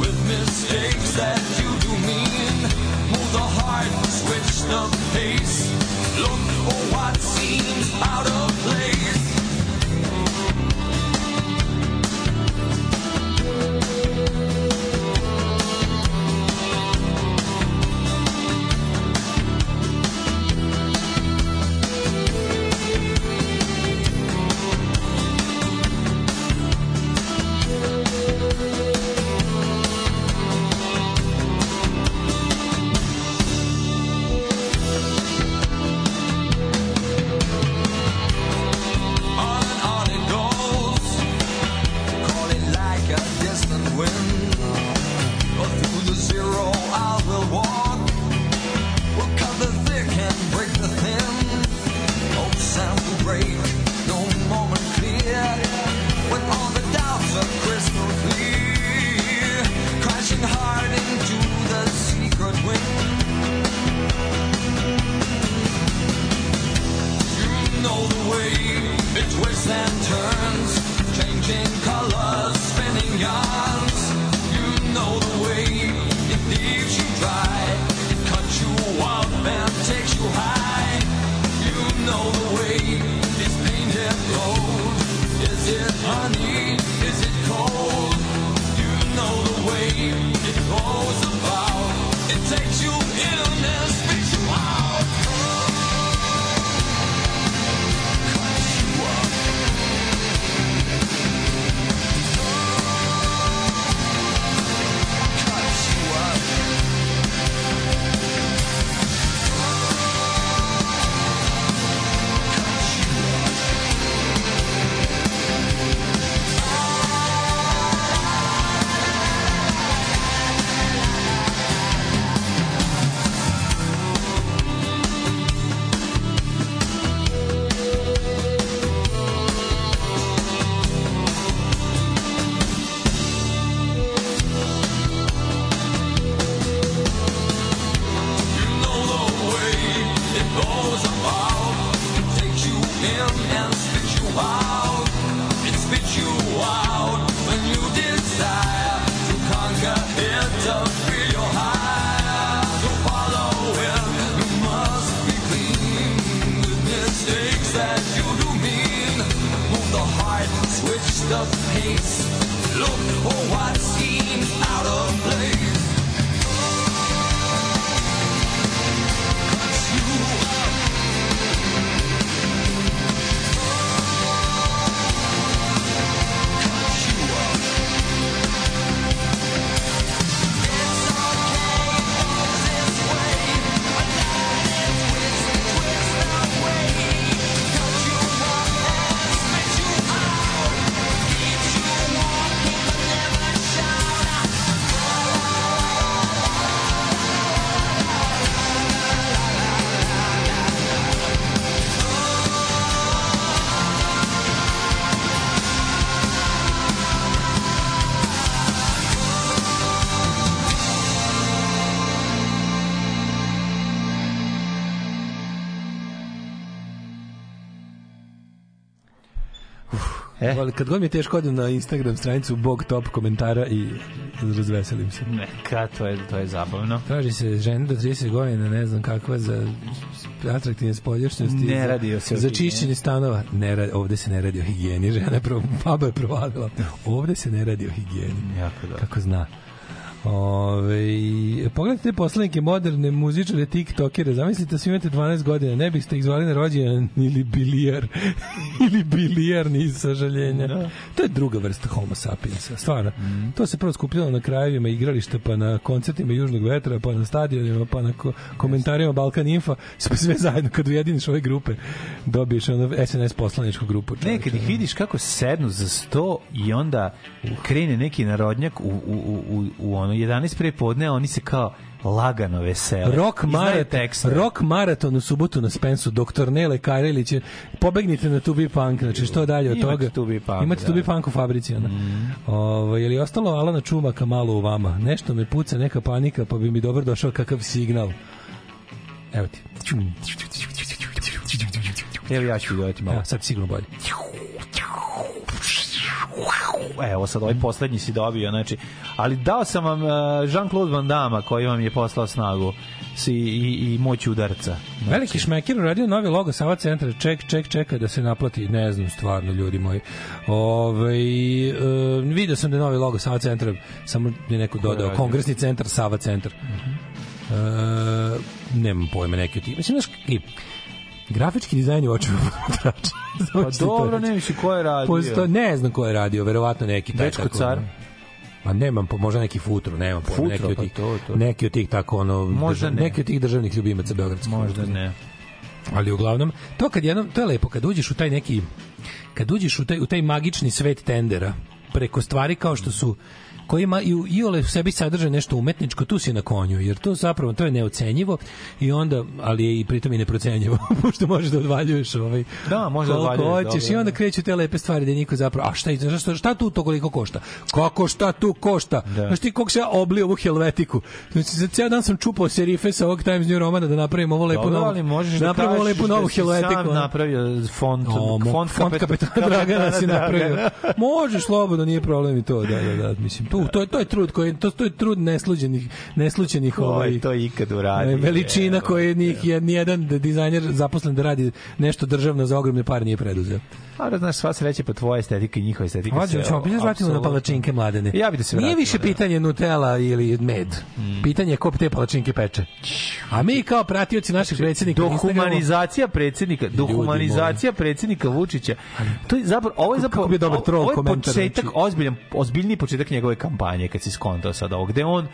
S5: with mistakes that you do mean. Move the heart, switch the pace. Look for what seems out of place. On and on it goes, calling like a distant wind. Or through the zero I will walk. We'll cut the thick and break the thin. Hopes and we break, no moment clear. When all the doubts are crystal clear, crashing hard into the secret wind. know the way it twists and turns, changing colors, spinning yarns. You know the way it leaves you dry, it cuts you up and takes you high. You know the way it's painted gold. Is it honey? Is it cold? You know the way it goes about. It takes you in and spits you out. Cuts you up.
S17: midst of haste. Look, oh, what seems out of place. 'Cause you are
S8: E? Ali kad god mi je teško odem na Instagram stranicu Bog top komentara i razveselim se.
S9: Neka, to je, to je zabavno.
S8: Traži se žena do 30 godina, ne znam kakva, za atraktivne spoljašnjosti.
S9: Ne
S8: za-
S9: radi se o
S8: Za
S9: higijeni.
S8: čišćenje stanova. Ne, ra- ovde se ne radi o higijeni. Žena je pro, baba je provalila. Ovde se ne radi o higijeni.
S9: Jako dobro.
S8: Kako zna. Ove, pogledajte te poslanike moderne muzičare, tiktokere, zamislite svi imate 12 godina, ne biste ih zvali na rođendan ili bilijar, ili bilijarni iz sažaljenja. Da. To je druga vrsta homo sapiensa, stvarno.
S9: Mhm.
S8: Mm. To se prvo skupljalo na krajevima igrališta, pa na koncertima Južnog vetra, pa na stadionima, pa na ko komentarima Balkan Infa, sve, sve zajedno, kad ujediniš ove grupe, dobiješ ono SNS poslaničku grupu.
S9: Ne, kad ih vidiš kako sednu za sto i onda krene neki narodnjak u, u, u, u, u ono 11 pre podne, a oni se kao lagano vesele.
S8: Rock,
S9: I znaju znači.
S8: marat,
S9: tekste.
S8: rock maraton u subotu na Spensu, doktor Nele Karelić, je- pobegnite na Tubi Punk, znači što dalje od
S9: Imate
S8: toga?
S9: To Be Punk,
S8: Imate
S9: da. Mm.
S8: Tubi Punk u fabrici, ona. Ovo, je li ostalo Alana Čumaka malo u vama? Nešto me puca, neka panika, pa bi mi dobro došao kakav signal. Evo ti.
S9: Evo ja ću dodati malo.
S8: Evo, sad sigurno bolje.
S9: Evo sad ovaj poslednji si dobio, znači, ali dao sam vam e, Jean-Claude Van Damme koji vam je poslao snagu si, i, i moć udarca. Znači.
S8: Veliki šmekir uradio novi logo Sava centra. Ček, ček, čekaj da se naplati. Ne znam stvarno, ljudi moji. Ove, e, video sam da je novi logo Sava centra. Samo je neko dodao.
S9: radio? Mhm.
S8: Kongresni centar, Sava centar. Uh nemam pojma neki od tih. Mislim, znaš, i grafički dizajn je očinu potrača.
S9: Pa
S8: Znači,
S9: dobro, ne više ko je radio.
S8: Posto, ne znam ko je radio, verovatno neki taj
S9: Dečko
S8: tako,
S9: car.
S8: Ma nemam, po, možda neki futro, nemam pojma,
S9: Futro,
S8: neki od
S9: pa
S8: tih,
S9: to, to.
S8: neki od tih tako ono,
S9: Možda
S8: držav,
S9: ne.
S8: neki od tih državnih ljubimaca beogradskih.
S9: Možda ne.
S8: Ali uglavnom, to kad jednom, to je lepo, kad uđeš u taj neki, kad uđeš u taj, u taj magični svet tendera, preko stvari kao što su koji ima i u iole u sebi sadrže nešto umetničko, tu si na konju, jer to zapravo to je neocenjivo i onda, ali je i pritom i neprocenjivo, pošto možeš da odvaljuješ ovaj,
S9: Da, možda
S8: koliko
S9: odvaljuješ,
S8: hoćeš
S9: dobro,
S8: i onda
S9: da.
S8: kreću te lepe stvari da niko zapravo, a šta, šta, šta, šta tu to koliko košta? Kako šta tu košta? Da. Znaš ti koliko se ja oblio ovu helvetiku? Znači, za ceo dan sam čupao serife sa ovog Times New Romana da napravim ovo lepo
S9: Dobro,
S8: novo.
S9: ali možeš da
S8: napravim
S9: kažeš
S8: ovu lepu novu
S9: da si
S8: helvetiku.
S9: sam
S8: ono.
S9: napravio font,
S8: O, mo-
S9: font,
S8: font kapetana Dragana si napravio. Može slobodno, nije problem i to, da, da, da, mislim. Tu, to je to je trud koji to, to je trud nesluđenih neslućenih
S9: Ko
S8: ovaj
S9: je to ikad uradio?
S8: veličina
S9: Evo.
S8: koje njih je ni jedan dizajner zaposlen da radi nešto državno za ogromne pare nije preduzeo.
S9: A da znaš, sva sreće po tvoje estetika i njihove estetika.
S8: Hoćemo,
S9: se,
S8: ćemo opet se vratimo na
S9: apsolutno-
S8: palačinke mladene.
S9: Ja bi da se
S8: Nije
S9: vratimo,
S8: više
S9: da. Mm.
S8: pitanje Nutella ili med. Pitanje je ko te palačinke peče. A mi kao pratioci naših
S9: Znači,
S8: predsjednika na Instagramu-
S9: Dohumanizacija predsjednika, dohumanizacija predsjednika Vučića. To je zapravo ovo je zapravo
S8: bi dobar troll
S9: ovo je
S8: komentar,
S9: početak
S8: znači.
S9: ozbiljan ozbiljni početak njegove kampanje kad se skontao sad ovo gde on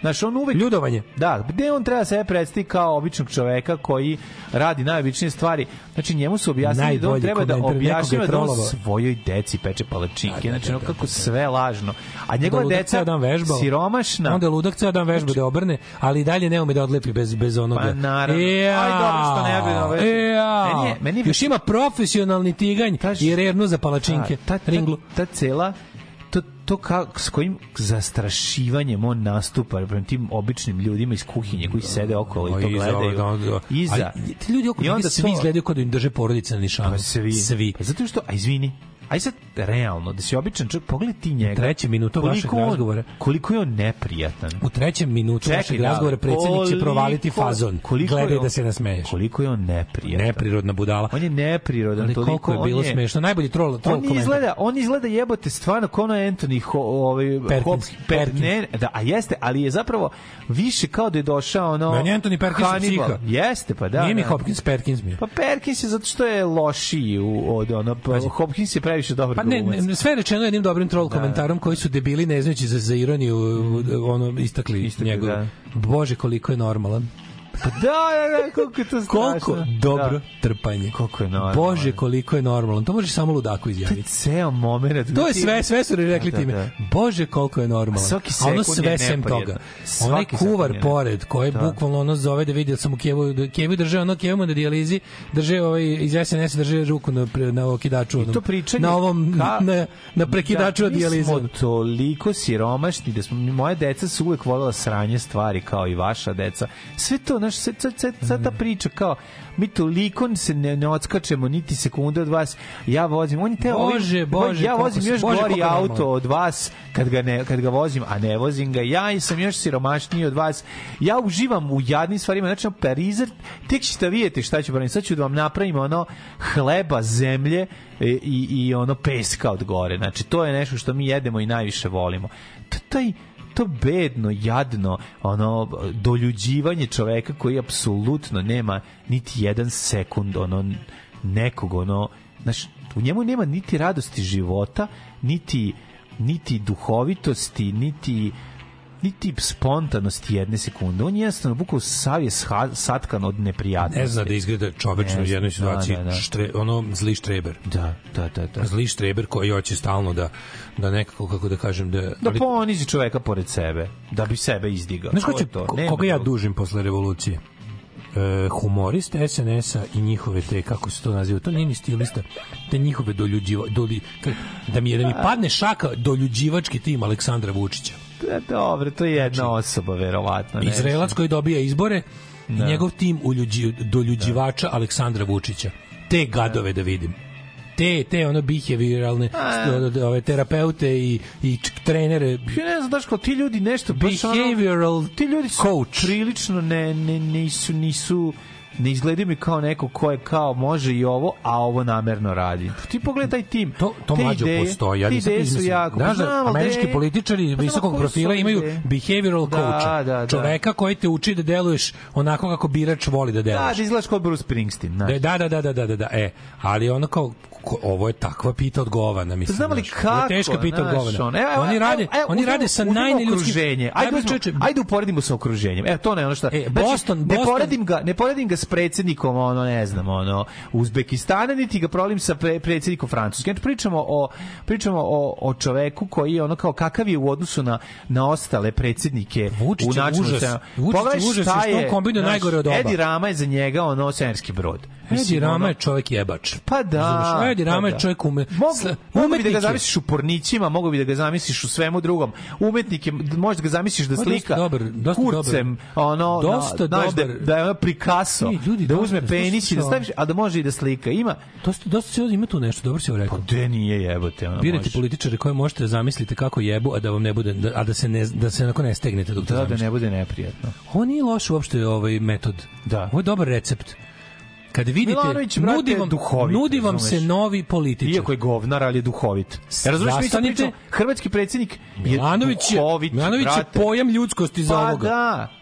S9: Znaš, on uvek...
S8: Ljudovanje.
S9: Da, gde on treba sebe predstaviti kao običnog čoveka koji radi najobičnije stvari. Znači, njemu su objasnili da on
S8: Najbolji
S9: treba da
S8: komentar, nekoga je
S9: objašnjava da on
S8: trolovao.
S9: svojoj deci peče palačinke. Znači, ono kako sve lažno. A njegova
S8: ludak
S9: deca
S8: ceo dan vežbao.
S9: siromašna.
S8: Onda je ludak ceo dan vežba da obrne, ali i dalje ne ume da odlepi bez, bez onoga.
S9: Pa naravno. Aj, dobro, što ne bi na vežbi.
S8: Ja.
S9: Meni je- meni je-
S8: Još ima profesionalni tiganj i rernu za palačinke.
S9: Ta, ta,
S8: ringlu.
S9: ta, ta cela to, to ka, s kojim zastrašivanjem on nastupa prema tim običnim ljudima iz kuhinje koji sede okolo i to gledaju. Iza.
S8: A, ti ljudi oko
S9: I
S8: njega
S9: onda
S8: svi
S9: to-
S8: izgledaju kao da im drže porodice na nišanu.
S9: Pa svi.
S8: Svi.
S9: Pa zato što, a izvini, Aj sad, realno, da si običan čovjek, pogledaj ti njega.
S8: trećem minutu vašeg
S9: on-
S8: razgovora.
S9: Koliko je on neprijatan.
S8: U trećem minutu
S9: Čekaj,
S8: našeg
S9: da,
S8: razgovora predsednik će
S9: koliko-
S8: provaliti fazon.
S9: koliko je
S8: Gledaj
S9: on-
S8: da se nasmeješ.
S9: Koliko je on neprirodan.
S8: Neprirodna budala.
S9: On je neprirodan.
S8: Ali
S9: toliko,
S8: koliko je bilo
S9: on
S8: smešno. Najbolji troll, troll
S9: on
S8: komentar.
S9: izgleda, on izgleda jebote stvarno kao ono Anthony Ho, ovaj,
S8: Perkins,
S9: Hopkins.
S8: Perkins.
S9: Ne, da, a jeste, ali je zapravo više kao da je došao ono...
S8: Meni je Anthony Perkins
S9: Hannibal.
S8: psiha.
S9: Jeste, pa da.
S8: Nije mi
S9: da.
S8: Hopkins, Perkins mi je.
S9: Pa Perkins je zato što je lošiji u, od ono, pa, Hopkins je previše dobar
S8: Pa ne,
S9: glumac.
S8: ne, sve je rečeno jednim dobrim troll komentarom koji su debili ne znajući za, za ironiju ono istakli,
S9: Mm. Istakli,
S8: njegov.
S9: da.
S8: Bože koliko je normalan.
S9: Pa da, da, da, koliko je to strašno.
S8: Koliko dobro trpanje.
S9: Koliko je Pa, normalno.
S8: Bože koliko je normalan. To može samo ludaku
S9: To je
S8: izjaviti.
S9: ceo moment.
S8: To je sve, sve su rekli time. Bože, koliko je normalno.
S9: A svaki
S8: A ono
S9: sekund
S8: sve
S9: je
S8: sem
S9: neprijatno.
S8: toga.
S9: Svaki
S8: Onaj
S9: sekund je
S8: kuvar
S9: neprijatno.
S8: pored, koji
S9: Da.
S8: bukvalno ono zove da vidi da sam u Kijevu, Kijevu drže, ono Kijevu mu na dijalizi, drže ovaj, iz SNS drže ruku na, pre- na okidaču.
S9: I
S8: onom,
S9: to pričanje
S8: na ovom,
S9: ka-
S8: na, na prekidaču
S9: da,
S8: od dijalize.
S9: Mi smo toliko siromašni da smo moje deca su uvek volela sranje stvari kao i vaša deca. Sve to naš sve, sve, sve, sva
S8: Mhm.
S9: ta priča kao mi toliko se ne, ne odskačemo niti sekunde od vas. Ja vozim, on je teo
S8: Bože,
S9: ovim-
S8: Bože,
S9: ja
S8: koliko
S9: vozim
S8: si-
S9: još
S8: Bože,
S9: gori
S8: koliko normalno.
S9: auto od vas kad ga ne kad ga vozim, a ne vozim ga. Ja sam još siromašniji od vas. Ja uživam u jadnim stvarima, znači ono, Parizer, tek ćete vidjeti šta ću praviti. Sad ću da vam napravim ono hleba, zemlje e, i, i ono peska od gore. Znači to je nešto što mi jedemo i najviše volimo. To, taj to bedno, jadno, ono doljuđivanje čoveka koji apsolutno nema niti jedan sekund ono nekog ono znaš, u njemu nema niti radosti života, niti niti duhovitosti, niti niti spontanosti jedne sekunde. On je jednostavno bukao sav je sha- satkan od neprijatnosti.
S8: Ne zna E, da izgleda čovečno
S4: E,
S8: u
S9: Ne zna,
S8: jednoj situaciji.
S9: da, da,
S8: Pa
S9: da.
S8: štre- ono, zli štreber.
S9: Da, da, da. da.
S8: Zli štreber koji hoće stalno da, da nekako, kako da kažem, da...
S9: Da
S8: ali-
S9: ponizi čoveka pored sebe, da bi sebe izdigao.
S8: Znaš ko
S9: To
S8: će,
S9: je to.
S8: ko-
S9: Nema
S8: koga ja
S9: drugog.
S8: dužim posle revolucije? E, humorist SNS-a i njihove te, kako se to naziva, to nije ni stilista, te njihove doljuđiva, doli, ka- da mi je da mi padne šaka doljuđivački tim Aleksandra Vučića.
S9: Da, E, dobro, to je jedna
S8: Znači,
S9: osoba, verovatno. ne.
S8: Izraelac koji dobija izbore i njegov tim uljuđi, doljuđivača Aleksandra Vučića. Te gadove da vidim. Te, te ono behavioralne st- ove, terapeute i, i č- trenere
S9: Ja ne znam, Daško, ti ljudi nešto... baš ono-
S8: Behavioral
S9: ti ljudi su
S8: coach.
S9: prilično ne, ne, nisu, nisu ne izgledaju mi kao neko ko je kao može i ovo, a ovo namerno radi. Pa Ti pogledaj taj tim.
S8: To, to
S9: te
S8: mlađo
S9: ideje,
S8: postoji. Ja
S9: te
S8: nisam
S9: ideje su
S8: izmislio.
S9: jako. pa
S8: Znaš da
S9: Znam, ali
S8: američki
S9: ideje-
S8: političari
S9: Pa znam,
S8: visokog
S9: koje su
S8: profila imaju
S9: ideje?
S8: behavioral
S9: Da,
S8: coacha.
S9: da, da.
S8: Čoveka koji te uči da deluješ onako kako birač voli da
S9: Da,
S8: deluješ.
S9: da izgledaš kao Bruce Springsteen. Da,
S8: Da, da, da, da, da, da, da, e, ali ono kao, ko- ovo je takva pita od govana, mislim.
S9: Znam li
S8: znaš,
S9: kako?
S8: Ovo je teška pita od
S9: znaš,
S8: govana.
S9: ono, evo, evo,
S8: oni rade,
S9: evo, evo,
S8: oni
S9: uzmimo-
S8: rade sa
S9: uzmimo
S8: najneljudskim...
S9: okruženje. Ajde,
S8: Ajde,
S9: uzmimo-
S8: čoveče,
S9: ajde uporedimo sa okruženjem. E, to ne ono šta.
S8: E, Boston-
S9: ne
S8: Boston-
S9: poredim ga, ne poredim ga s predsjednikom, ono ne znam, ono Uzbekistana niti ga prolim sa pre, predsjednikom Francuske. Znači pričamo o pričamo o o čoveku koji je ono kao kakav je u odnosu na na ostale predsjednike
S8: Vučić
S9: u
S8: je
S9: načinu
S8: užas.
S9: sa-
S8: Vučić je
S9: Pogledaj
S8: užas,
S9: šta
S8: jer što on
S9: je,
S8: kombinuje
S9: znaš,
S8: najgore od oba.
S9: Edi Rama je za njega ono Serski brod.
S8: Edi
S9: Mislim,
S8: Rama
S9: ono-
S8: je čovjek jebač.
S9: pa da.
S8: Razumeš? Edi Rama
S9: pa da.
S8: je čovjek ume...
S9: Mogu, mogu bi da
S8: umetnik
S9: ga
S8: je.
S9: zamisliš u pornićima, mogu bi da ga zamisliš u svemu drugom. Umetnik je, možda ga zamisliš
S8: Pa
S9: da
S8: dosta
S9: slika
S8: dobar, dosta
S9: kurcem, ono,
S8: Dosta
S9: na, znaš, da,
S8: dobar.
S9: da je ono Picasso,
S8: Ej, ljudi,
S9: da
S8: dosta,
S9: uzme
S8: slušaj
S9: penis i da
S8: šta.
S9: staviš, a da može i da slika. Ima, Pa
S8: Dosta, dosta se ima tu nešto, dobro si joj rekao.
S9: gde nije jebote, ono
S8: Birajte
S9: može.
S8: političare koje možete da zamislite kako jebu, a da vam ne bude, da, a da se ne, da se onako ne stegnete dok to
S9: Da, da
S8: zamislite.
S9: ne bude neprijatno.
S8: Ovo nije loš uopšte ovaj metod.
S9: Da.
S8: Ovo je dobar recept. Kad vidite,
S9: Milanović, brate,
S8: nudi vam,
S9: duhovit,
S8: nudi vam se
S9: razumeš?
S8: novi političar.
S9: Iako je govnar, ali je duhovit. Ja razumiješ, mi sad
S8: Zastanite.
S9: pričamo, hrvatski predsjednik je
S8: Milanović je,
S9: duhovit,
S8: Milanović je
S9: brate.
S8: pojam ljudskosti za
S9: Pa
S8: ovoga.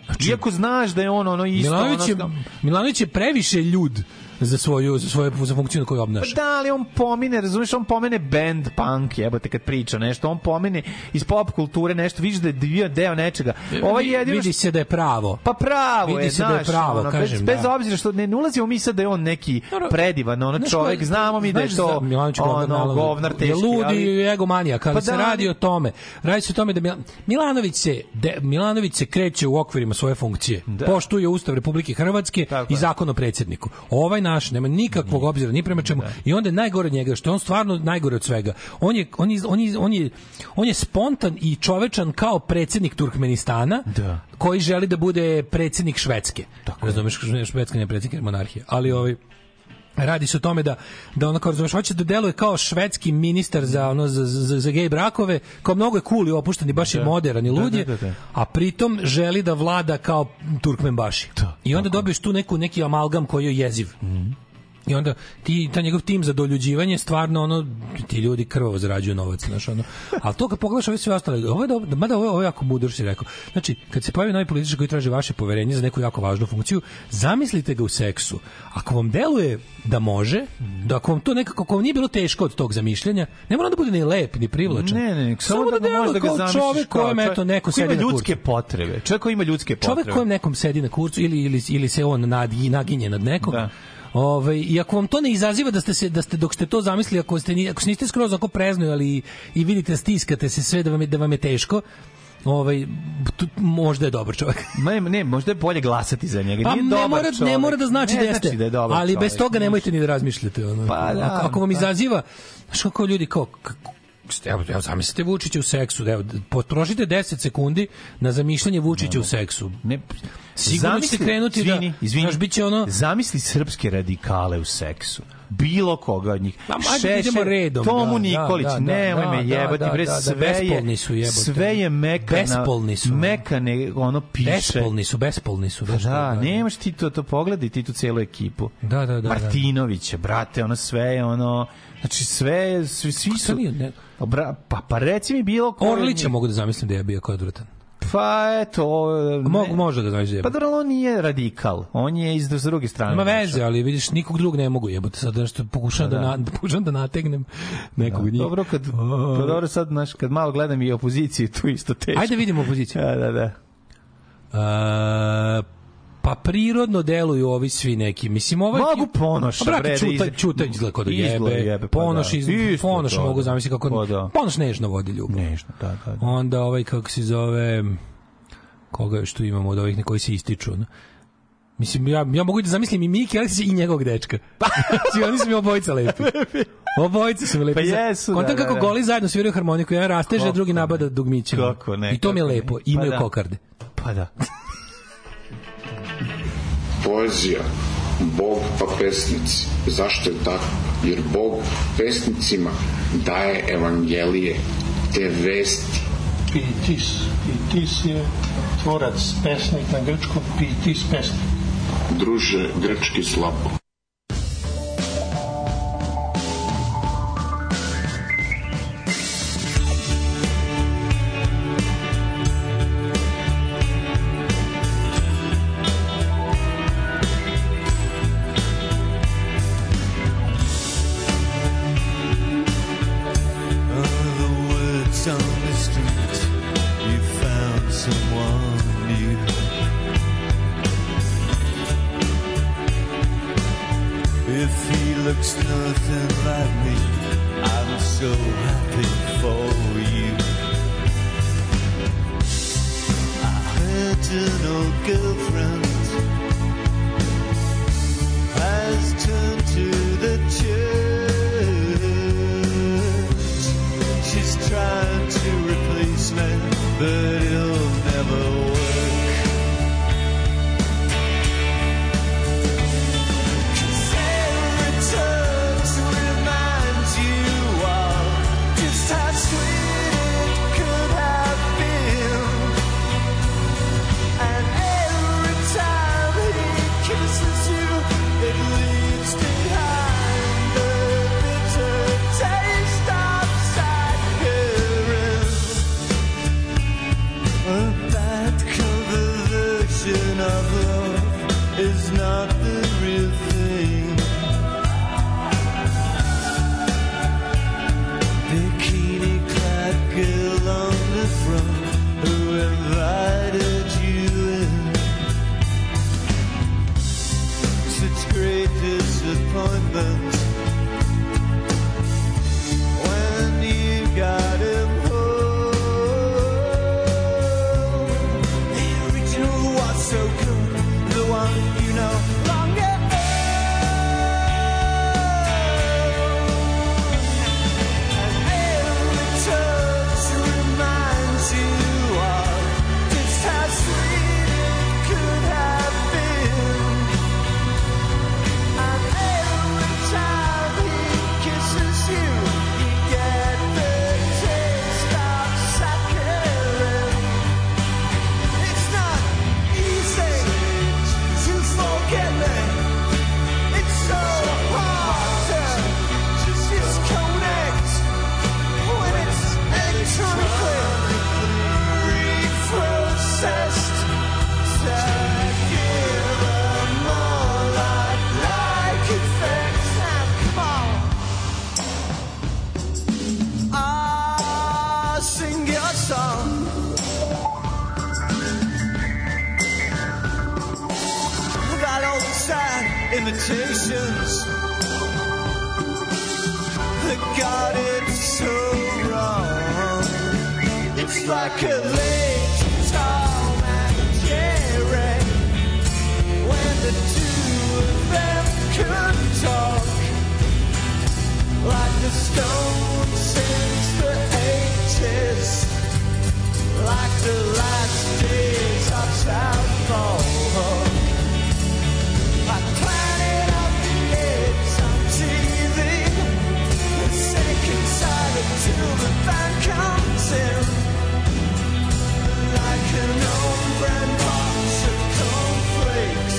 S8: Znači,
S9: da, iako znaš da je on ono isto...
S8: Milanović, je,
S9: ono,
S8: Milanović je previše ljud za svoju za svoju za funkciju koju obnaša.
S9: Pa da, ali on pomine, razumiješ, on pomene band punk, jebote, kad priča nešto, on pomene iz pop kulture nešto, vidiš da je bio deo nečega. Ovo je jedino
S8: vidi
S9: što-
S8: se da je pravo.
S9: Pa pravo
S8: vidi
S9: je,
S8: se da je
S9: znaš,
S8: pravo,
S9: ono,
S8: kažem,
S9: bez, bez
S8: da.
S9: obzira što ne, ne ulazimo mi sad da je on neki
S8: Dobro,
S9: predivan, ono
S8: znaš
S9: čovek,
S8: ko-
S9: znamo mi da je
S8: znaš
S9: to
S8: za Milanović je govnar,
S9: ono,
S8: naravno,
S9: govnar teški,
S8: je ludi
S9: ali...
S8: i egomanijak, ali
S9: Pa
S8: se
S9: da,
S8: radi
S9: ali-
S8: o tome. Radi se o tome da Mil- Milanović se de, Milanović se kreće u okvirima svoje funkcije. Poštuje Ustav Republike Hrvatske
S9: Tako
S8: i
S9: je.
S8: zakon o predsjedniku. Ovaj naš nema nikakvog obzira ni prema čemu i onda je najgore od njega što je on stvarno najgore od svega. On je on je, on je, on je, on je spontan i čovečan kao predsjednik Turkmenistana
S9: Da.
S8: koji želi da bude predsjednik Švedske. Tako Razumeš, Švedska ne je predsjednik jer je monarhija, ali ovaj Radi se o tome da da ono kao razumeš, hoće da deluje kao švedski ministar za ono za za, za gej brakove, kao mnogo je cool i opušten i baš je
S9: Da.
S8: modern i
S9: Da,
S8: lud je,
S9: da, da, da.
S8: a pritom želi da vlada kao Turkmenbaši. I onda dobiješ tu neku neki amalgam koji je jeziv. I onda ti, ta njegov tim za doljuđivanje stvarno ono, ti ljudi krvavo zarađuju novac, znaš, ono. Ali to kad pogledaš ove sve ostale, ovo je, dobro, mada ovo, je- ovo je jako mudro si rekao. Znači, kad se pojavi novi političar koji traži vaše poverenje za neku jako važnu funkciju, zamislite ga u seksu. Ako vam deluje da može, da ako vam to nekako, ako vam nije bilo teško od tog zamišljanja, ne mora da bude ni lep, ni privlačan.
S9: Ne, ne, ne, samo, da, ga
S8: deluje
S9: možeš da ga
S8: kao
S9: zamisliš
S8: čovek
S9: kao
S8: kojem,
S9: čovek
S8: eto, neko
S9: koji
S8: sedi na
S9: ima
S8: kurcu.
S9: ljudske potrebe. Čovek koji ima ljudske potrebe.
S8: Čovek kojem nekom sedi na kurcu ili ili ili se on nadgi naginje nad nekom. Da. Ovaj i ako vam to ne izaziva da ste se da ste dok ste to zamislili ako ste ni- ako se niste skroz onako preznoj ali i vidite stiskate se sve da vam je, da vam je teško. Ovaj tu, možda je dobar čovjek.
S9: Ne, ne, možda je bolje glasati za njega.
S8: Pa
S9: Nije
S8: ne
S9: dobar
S8: mora ne
S9: čovek.
S8: mora da znači
S9: Ne
S8: da jeste.
S9: znači da je dobar
S8: ali bez
S9: čovek,
S8: toga
S9: znaš.
S8: nemojte ni da razmišljate ono.
S9: Pa da,
S8: ako, ako vam
S9: da.
S8: izaziva znači kako ljudi kao k- k- Evo, evo zamislite Vučića u seksu, evo, potrošite 10 sekundi na zamišljanje Vučića u seksu.
S9: Ne,
S8: Sigurno ćete
S9: Zamisli-
S8: krenuti
S9: izvini,
S8: da...
S9: izvini,
S8: znaš, biće ono...
S9: Zamisli srpske radikale u seksu. Bilo koga od njih.
S8: Ma, ajde da idemo redom,
S9: Tomu
S8: da,
S9: Nikolić,
S8: da, da,
S9: nemoj
S8: da,
S9: me
S8: da,
S9: jebati,
S8: da,
S9: bre,
S8: da, da,
S9: sve
S8: bespolni
S9: je,
S8: su, jebote. ono.
S9: sve je mekana,
S8: Bespolni su, ono.
S9: mekane, ono piše.
S8: Bespolni su, bespolni su.
S9: Pa Da, da, nemaš ti to, to pogledaj ti tu celu ekipu.
S8: Da, da, da.
S9: Martinovića, brate, ono sve je ono, znači sve, je- svi, svi su... Pa, bra, pa, pa reci mi bilo ko...
S8: Orlića mogu da zamislim da je bio kao odvratan.
S9: Pa eto...
S8: Mogu, može da zamislim da je
S9: Pa dobro, ali on nije radikal, on je iz s druge strane.
S8: Ima veze, ali vidiš, nikog drugog ne mogu jebati. Sad nešto pokušavam da,
S9: Pa da.
S8: na, da, pokušavam da nategnem nekog od njih.
S9: Dobro, kad, pa dobro sad, znaš, kad malo gledam i opoziciju, tu isto teško.
S8: Ajde vidimo opoziciju.
S9: Da, da, da.
S8: E, pa prirodno deluju ovi svi neki. Mislim, ovaj...
S9: Mogu Ponoša,
S8: A, brate,
S9: bre, da
S8: Čuta,
S9: iz-
S8: Čuta izgleda kao da
S9: izgleda
S8: jebe.
S9: jebe, pa
S8: ponoš,
S9: da.
S8: iz,
S9: Isto
S8: ponoš
S9: to,
S8: mogu
S9: da.
S8: zamisliti kako...
S9: Pa da.
S8: Ponoš nežno vodi ljubav.
S9: Nežno, da, da.
S8: Onda ovaj, kako se zove... Koga još tu imamo od ovih na koji se ističu, no? Mislim, ja, ja mogu da zamislim i Miki Aleksića i njegovog dečka. Znači, oni su mi obojica lepi. Obojica su mi lepi.
S9: Pa jesu,
S8: Kontam
S9: da, da,
S8: kako
S9: da.
S8: goli zajedno sviraju harmoniku, jedan rasteže,
S9: Kako
S8: drugi nabada dugmićima.
S9: Kako ne,
S8: I to mi je
S9: kako ne.
S8: lepo,
S9: Pa
S8: imaju
S9: da.
S8: kokarde.
S9: Pa da.
S18: Poezija, Bog pa pesnici. Zašto je tako? Jer Bog pesnicima daje evangelije, te vesti.
S19: Pitis. Pitis je tvorac, pesnik na grčkom, Pitis pesnik.
S18: Druže, grčki slabo.
S1: Are the words on the street? You found someone new. If he looks nothing like me, I'm so happy for you. I heard an old girlfriend has turned to the church. She's trying to replace me, but it'll never work. Cause every touch reminds you all just how sweet it could have been. And every time he kisses you, it leaves behind the bitter taste of sadness. A bad cover version of love is not the real thing. Bikini clad girl on the front who invited you in. Such great disappointment when you got him home. The original was so good, the one you no longer own. And every touch reminds you of just how sweet it could have been. And every
S5: limitations. But God, it's so wrong. It's like a late Tom and Jerry when the two of them could talk. Like the Stones since the 80s, like the last days of South Park. Like Planet of the Apes on TV, the second sight until the band comes in. Like an old brand box of cornflakes,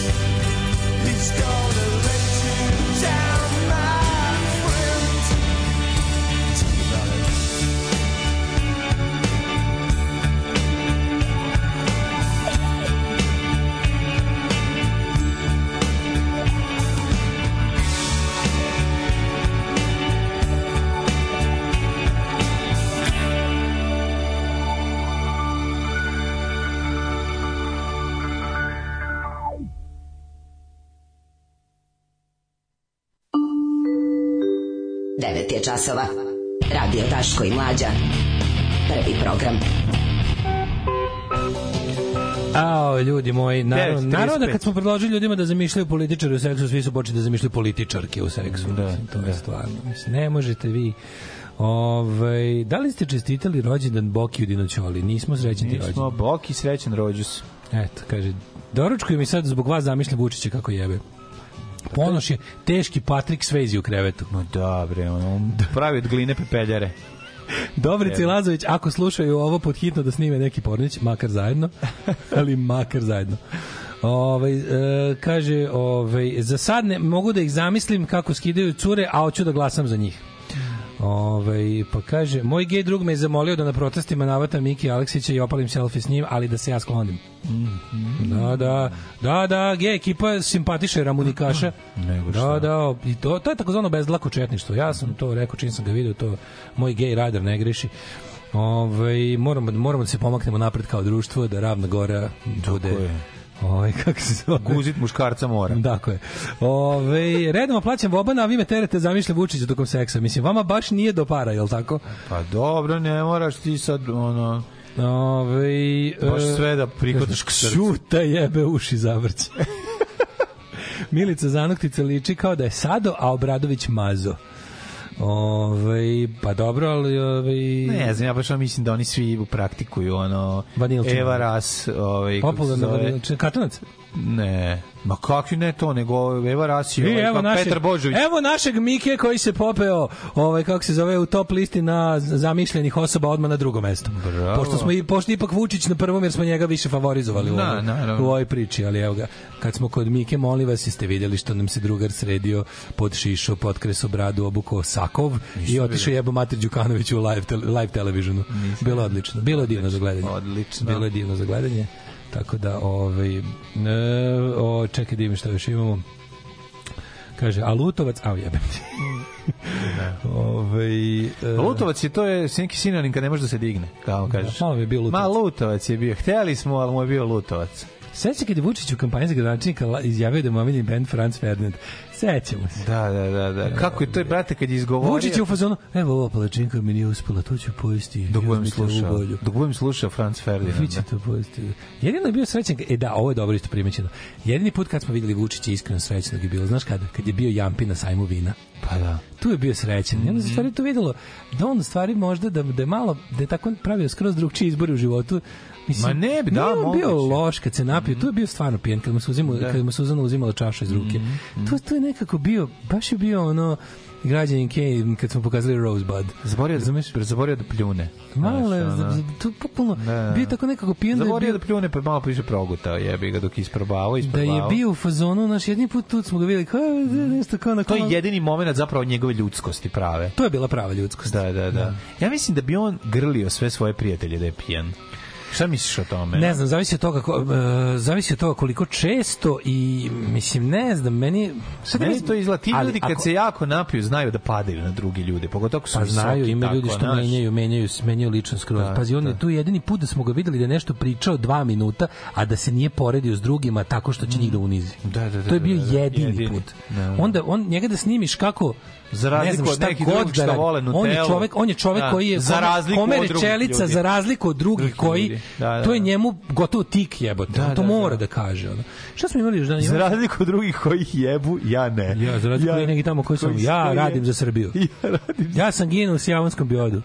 S5: he's gonna let you down, my friend. Tell me about it.
S7: Devet je časova. Radio Daško i Mlađa. Prvi program.
S8: Ao, ljudi moji, naravno,
S7: 9:35.
S8: naravno da kad smo predložili ljudima da zamišljaju političare u seksu, svi su počeli da zamišljaju političarke u seksu. Da, mislim, to je stvarno. Mislim, ne možete vi... Ovaj, da li ste čestitali rođendan Boki u Dinoćoli? Nismo srećni ti rođendan.
S9: Nismo, Boki srećan rođus.
S8: Eto, kaže, doručkuju mi sad zbog vas zamišlja Vučića kako jebe. Ponoš je teški Patrik Svezi u krevetu.
S9: No da, bre, ono, on pravi od gline pepeljare.
S8: Dobrica i Lazović, ako slušaju ovo, pod hitno da snime neki pornić, makar zajedno, ali makar zajedno. Ovaj e, kaže, ovaj za sad ne mogu da ih zamislim kako skidaju cure, a hoću da glasam za njih. Ovaj pa kaže, moj gej drug me je zamolio da na protestima navata Miki Aleksića i opalim selfie s njim, ali da se ja sklonim. Da, da, da, da, gej ekipa simpatiše Ramunikaša. Da, da, i to, to je takozvano bezdlako četništvo. Ja sam to rekao čim sam ga video, to moj gej radar ne greši. Ovaj moramo, moramo da se pomaknemo napred kao društvo, da Ravna Gora bude... Ovaj, kako se zove?
S9: Guzit muškarca mora.
S8: Tako je. Ove, redom plaćam Bobana, a vi me terete zamišljam Vučića tokom seksa. Mislim, vama baš nije do para, jel tako?
S9: Pa dobro, ne moraš ti sad, ono...
S8: Ove, e,
S9: Baš sve da prihvataš k srcu.
S8: Šuta jebe uši zavrće. Milica Zanoktica liči kao da je Sado, a Obradović Mazo. Ove, pa dobro, ali... Ove,
S9: Ne znam, ja baš ono mislim da oni svi praktikuju ono
S8: Vanilčinu.
S9: Eva Ras, ovaj kako se
S8: Popularno,
S9: zove.
S8: vanilčinu- katanac?
S9: Ne. Ma kakvi ne to, nego Eva Ras i
S8: Vi,
S9: ovaj,
S8: evo,
S9: pa
S8: našeg,
S9: Petar Božović.
S8: evo našeg Mike koji se popeo, ovaj, kako se zove, u top listi na zamišljenih osoba odmah na drugo mesto.
S9: Bravo.
S8: Pošto smo i pošto je ipak Vučić na prvom jer smo njega više favorizovali u,
S9: Da,
S8: ovoj,
S9: naravno.
S8: u ovoj priči, ali evo ga. Kad smo kod Mike, molim vas, jeste vidjeli što nam se drugar sredio pod šišo, pod kreso bradu, obuko sakov i otišao jebo Mater Đukanović u live, tele, live televisionu. Bilo je odlično. Bilo je divno za gledanje.
S9: Odlično.
S8: Bilo je divno za gledanje. Tako da, ovaj, e, o, čekaj da vidim šta još imamo. Kaže, a Lutovac, a jebem ti. Ovaj, e,
S9: Lutovac je to je neki sinonim kad ne može da se digne, kao kažeš.
S8: malo mi je bio Lutovac.
S9: Ma Lutovac je bio. Hteli smo, ali mu je bio Lutovac.
S8: Sećam se kad je Vučić u kampanji za gradonačelnika la- izjavio da mu je omiljeni band Franz Ferdinand. Sećamo se.
S9: Da, da, da, da. E, Kako je to, brate, kad je izgovorio...
S8: Vučić je u fazonu, evo ova palačinka mi nije uspela, to ću pojesti.
S9: Dok budem
S8: uzmite ovu
S9: slušao,
S8: bolju.
S9: dok budem slušao Franz
S8: Vi će
S9: Ferdinand.
S8: to pojesti. Jedino je bio srećan, e da, ovo je dobro isto primećeno. Jedini put kad smo videli Vučića iskreno srećnog je bilo, znaš kada? Kad je bio Jampi na sajmu vina.
S9: Pa da. Mhm.
S8: tu je bio srećan. I onda se u stvari to videlo da on u stvari možda da, da je malo, da je tako pravio skroz drugčiji izbor u životu. Mislim,
S9: Ma ne bi, da,
S8: nije on bio
S9: moguće. Mhm.
S8: loš kad se napio, tu je bio stvarno pijen, kad mu, se uzimao,
S9: Da. Mhm,
S8: kad mu Suzana uzimala čašu iz ruke. To, to je nekako bio, baš je bio ono građanin Kane kad smo pokazali Rosebud.
S9: Zaborio da, zaborio da pljune.
S8: Malo je,
S9: Znaš, ono.
S8: za- za- tu popolno,
S9: Da.
S8: bio je tako nekako pijen da je
S9: Zaborio
S8: bio,
S9: da pljune, pa je malo piše progutao, jebi ga dok je isprobavao,
S8: da
S9: isprobavao.
S8: je bio u fazonu, naš jedni put tu smo ga videli, kao, e, nešto kao na
S9: To je jedini moment zapravo njegove ljudskosti prave.
S8: To je bila prava ljudskost.
S9: Da, da, da. Ja mislim da bi on grlio sve svoje prijatelje da je pijen. Šta misliš o tome?
S8: Ne znam, zavisi od toga, ko, uh, zavisi od toga koliko često i mislim ne znam, meni
S9: Sad meni to izgleda, ti ljudi kad se jako napiju znaju da padaju na druge ljude, pogotovo ako su
S8: Pa
S9: visoki.
S8: znaju, ima
S9: tako,
S8: ljudi što
S9: znaš.
S8: menjaju, menjaju, menjaju ličnost skroz.
S9: Da,
S8: Pazi, on
S9: da.
S8: je tu jedini put da smo ga videli da je nešto pričao dva minuta, a da se nije poredio s drugima tako što
S9: Mm.
S8: će njih da unizi.
S9: Da, da, da,
S8: to je bio
S9: da, da,
S8: jedini,
S9: jedini.
S8: put.
S9: Da, da.
S8: Onda on njega da snimiš kako ne
S9: Za
S8: znam
S9: razliku od
S8: šta
S9: nekih
S8: god
S9: drugih
S8: da
S9: što
S8: radi.
S9: vole
S8: on je
S9: Nutellu.
S8: čovek, on je čovek
S9: Da,
S8: koji je
S9: za
S8: kome-
S9: razliku
S8: kome
S9: od drugih
S8: rečelica
S9: ljudi.
S8: za razliku od drugih
S9: Drugih
S8: koji
S9: ljudi, da, da,
S8: to je
S9: da.
S8: njemu gotovo tik jebote.
S9: Da,
S8: on to
S9: da,
S8: mora
S9: da.
S8: da kaže. Ono. Šta smo imali još danas?
S9: Za razliku od drugih kojih jebu, ja ne.
S8: Ja, za razliku ja, neki tamo koji sam,
S9: koji
S8: ja
S9: stoje.
S8: radim za Srbiju.
S9: Ja radim.
S8: Ja sam ginuo u Sjavonskom biodu.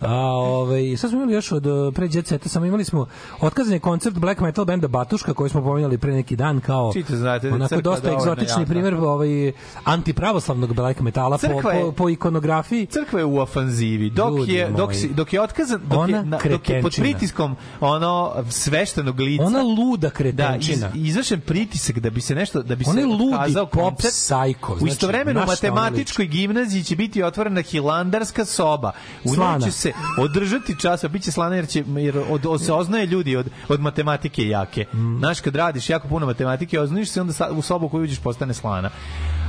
S8: A ovaj, sad smo imali još od uh, pre Jet Seta, samo imali smo otkazan je koncert black metal benda Batuška koji smo pominjali pre neki dan kao
S9: Čite, znate da je
S8: onako
S9: crkva
S8: dosta
S9: dovoljno
S8: egzotični
S9: jadna.
S8: primer ovaj, antipravoslavnog black metala po,
S9: Crkva je-
S8: po, po ikonografiji.
S9: Crkva je u ofanzivi. Dok
S8: Ljudi
S9: je dok
S8: moji.
S9: si, dok je otkazan, dok
S8: Ona
S9: je, na, dok je pod
S8: kretenčina.
S9: pritiskom ono sveštenog lica.
S8: Ona luda
S9: da iz,
S8: kretenčina.
S9: izvršen pritisak da bi se nešto da bi
S8: Ona
S9: se
S8: je ludi
S9: otkazao
S8: pop
S9: koncert.
S8: psycho,
S9: u
S8: znači,
S9: istovremeno u
S8: na šta ona
S9: matematičkoj gimnaziji će biti otvorena hilandarska soba. U njoj
S8: Slana.
S9: će se održati čas, a biće slana jer će jer od, od, se oznaje ljudi od od matematike jake. Znaš kad radiš jako puno matematike, oznajiš se i onda sa, u sobu koju uđeš postane slana.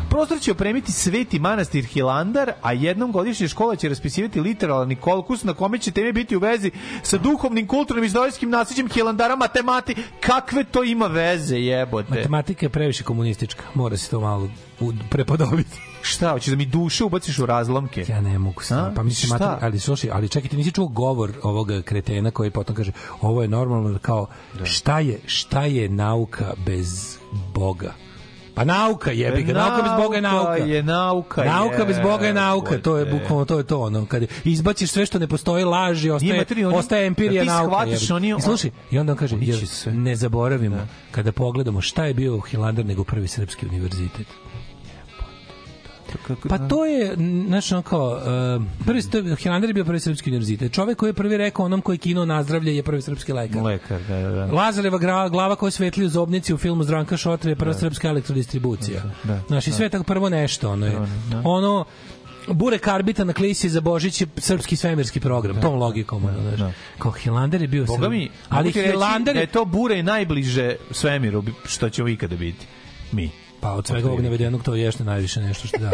S9: Prostor će opremiti Sveti manastir Hilandar, a jednom godišnje škola će raspisivati literalni kolkus na kome će teme biti u vezi sa duhovnim, kulturnim i istorijskim naslijeđem Hilandara matemati. Kakve to ima veze, jebote?
S8: Matematika je previše komunistička, mora se to malo u- prepodobiti.
S9: Šta, hoćeš da mi duše ubaciš u razlomke?
S8: Ja ne mogu
S9: A?
S8: sam. Pa mislim,
S9: Šta?
S8: mater, ali slušaj, ali čekaj, ti nisi čuo govor ovog kretena koji potom kaže ovo je normalno, kao šta je, šta je nauka bez Boga? Pa nauka jebi ga, nauka bez Boga je nauka.
S9: je nauka,
S8: nauka bez Boga je nauka, to je
S9: jebote.
S8: bukvalno to je to ono kad izbaciš sve što ne postoji laži,
S9: Njima
S8: ostaje
S9: tri, oni-
S8: ostaje empirija
S9: da ti
S8: nauka.
S9: shvatiš,
S8: jebi ga.
S9: oni-
S8: I slušaj, i onda on kaže
S9: Oni će
S8: jer
S9: sve.
S8: ne zaboravimo kada pogledamo šta je bio Hilandar nego prvi srpski univerzitet. Pa to je, n- znaš, ono kao, uh, prvi, to je, Hilandar je bio prvi srpski univerzitet. Čovek koji je prvi rekao onom koji je kino nazdravlje je prvi srpski lekar.
S9: Lekar, da, da. da.
S8: Lazareva gra, glava koja svetli u zobnici u filmu Zdranka Šotra je prva srpska elektrodistribucija.
S9: Da, da,
S8: Znaš, i sve je tako prvo nešto. Ono, je. ono Bure Karbita na klisi za Božić je srpski svemirski program, tom logikom. ono, znaš. Kao Hilander je bio
S9: Boga
S8: Srb-
S9: mi,
S8: ali
S9: ali
S8: Hilander
S9: da je
S8: je
S9: to bure najbliže svemiru bi- što će ikada biti. Mi.
S8: Pa od svega ovog
S9: Otprilike.
S8: navedenog to ješne najviše nešto što da.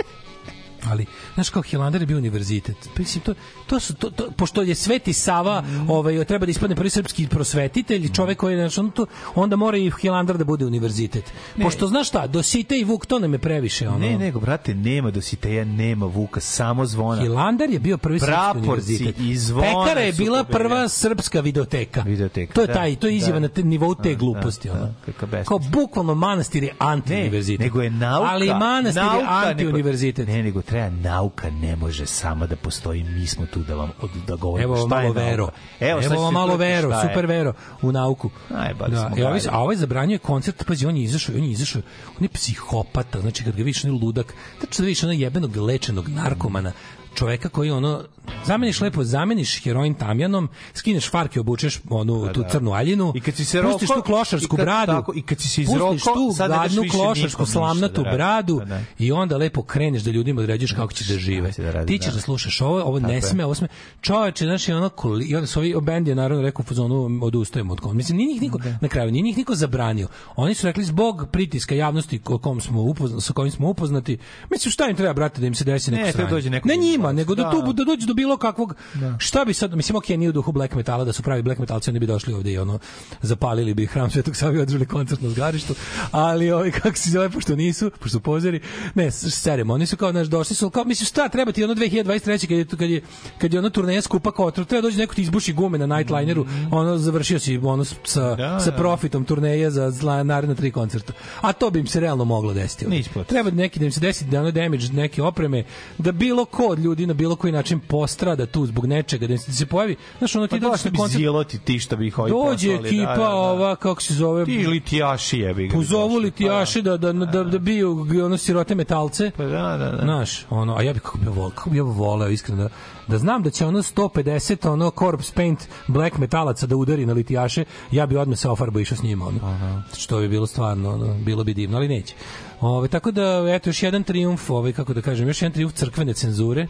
S8: Ali, znaš kao, Hilandar je bio univerzitet. Pa Mislim, to, to su, to, to, pošto je Sveti Sava,
S9: Mhm.
S8: ovaj, treba da ispadne prvi srpski prosvetitelj, čovek koji je, znaš, on to, onda mora i Hilandar da bude univerzitet. Pošto, znaš šta, Dosite i Vuk, to nam je previše, ono.
S9: Ne, nego, brate, nema Dositeja, nema Vuka, samo zvona.
S8: Hilandar je bio prvi srpski
S9: Praporci
S8: univerzitet.
S9: i zvona
S8: Pekara je
S9: su
S8: bila
S9: pobedili.
S8: prva srpska videoteka.
S9: Videoteka,
S8: To je
S9: da,
S8: taj, to je izjava na
S9: da.
S8: te, nivou
S9: Da,
S8: te gluposti.
S9: da,
S8: ono.
S9: da, kakva besmislica.
S8: Kao bukvalno manastir je anti-univerzitet.
S9: Ne, nego je nauka.
S8: Ali manastir je
S9: nauka ne-
S8: anti-univerzitet.
S9: Ne, nego treba nauka ne može sama da postoji. Mi smo tu da vam od, da govorimo
S8: Evo vam
S9: šta je
S8: malo
S9: nauka.
S8: vero. Evo,
S9: sad
S8: Evo vam
S9: ćete
S8: malo
S9: čuti
S8: vero,
S9: šta je.
S8: super vero u nauku.
S9: Najbali
S8: da,
S9: smo
S8: e, ovaj,
S9: gari.
S8: a ovaj zabranjuje koncert, pazi, on je izašao, on je izašao, on je psihopata, znači kad ga vidiš, on je ludak, tačno da vidiš onog jebenog lečenog narkomana, čoveka koji ono zameniš lepo zameniš heroin tamjanom skineš farke obučeš onu tu crnu aljinu
S9: I kad si se
S8: pustiš
S9: roko-
S8: tu klošarsku
S9: i kad-
S8: bradu
S9: tako, i kad si se
S8: pustiš
S9: izroko,
S8: tu
S9: sad ne daš
S8: gadnu
S9: više
S8: klošarsku
S9: nikom ništa
S8: slamnatu
S9: da radi.
S8: bradu
S9: Da, da.
S8: i onda lepo kreneš da ljudima određuješ kako će da žive
S9: će da radi,
S8: ti ćeš
S9: da.
S8: da slušaš ovo ovo
S9: Tako
S8: ne
S9: je.
S8: sme ovo sme čoveče znači ono koli, i onda su ovi bend je naravno rekao u fazonu odustajemo od kom mislim nije njih niko na kraju nije njih niko zabranio oni su rekli zbog pritiska javnosti o kom smo upoznati sa kojim smo upoznati mislim šta im treba brate da im se desi
S9: Ne,
S8: neko
S9: treba
S8: sranje
S9: dođe neko
S8: ne
S9: da
S8: njima
S9: izbaci.
S8: nego da,
S9: Da,
S8: tu
S9: da.
S8: da dođe do bilo kakvog šta bi sad mislim okej nije u duhu black metala da su pravi black metalci oni bi došli ovde i ono zapalili bi hram Svetog Save i održali koncert na zgarištu ali ovaj kako se zove pošto nisu pošto su pozeri ne s- serem oni su kao naš došli su kao mislim šta treba ti ono 2023 kad je kad je kad je ono turneja skupa kotru treba dođe neko ti izbuši gume na nightlineru ono završio si ono s- sa
S9: Mhm. Da,
S8: sa
S9: da.
S8: profitom turneje za zla, naredna tri koncerta a to bi im se realno moglo desiti
S9: Ne
S8: ovde.
S9: isplati.
S8: treba neki da im se desi da ono damage neke opreme da bilo ko od ljudi na bilo koji način postrada tu zbog nečega da im se, da se pojavi znaš ono ti
S9: Pa došli
S8: dođeš na
S9: bi
S8: koncert
S9: ziloti ti što bi ih ovi
S8: dođe
S9: poslali, da,
S8: ekipa
S9: da, da.
S8: ova kako se zove
S9: Ti litijaši jebi ga.
S8: pozovu
S9: došli,
S8: litijaše da, da, da, da biju g- ono sirote metalce.
S9: Pa da, da, da.
S8: Znaš, ono, a ja bi kako bi ja voleo, kako bi ja voleo iskreno da, da znam da će ono 150 ono corpse paint black metalaca da udari na litijaše, ja bi odmah se ofarbo išao s njima, ono. Što bi bilo stvarno, ono, bilo bi divno, ali neće. Ove, tako da, eto, još jedan triumf, ovaj, kako da kažem, još jedan triumf crkvene cenzure,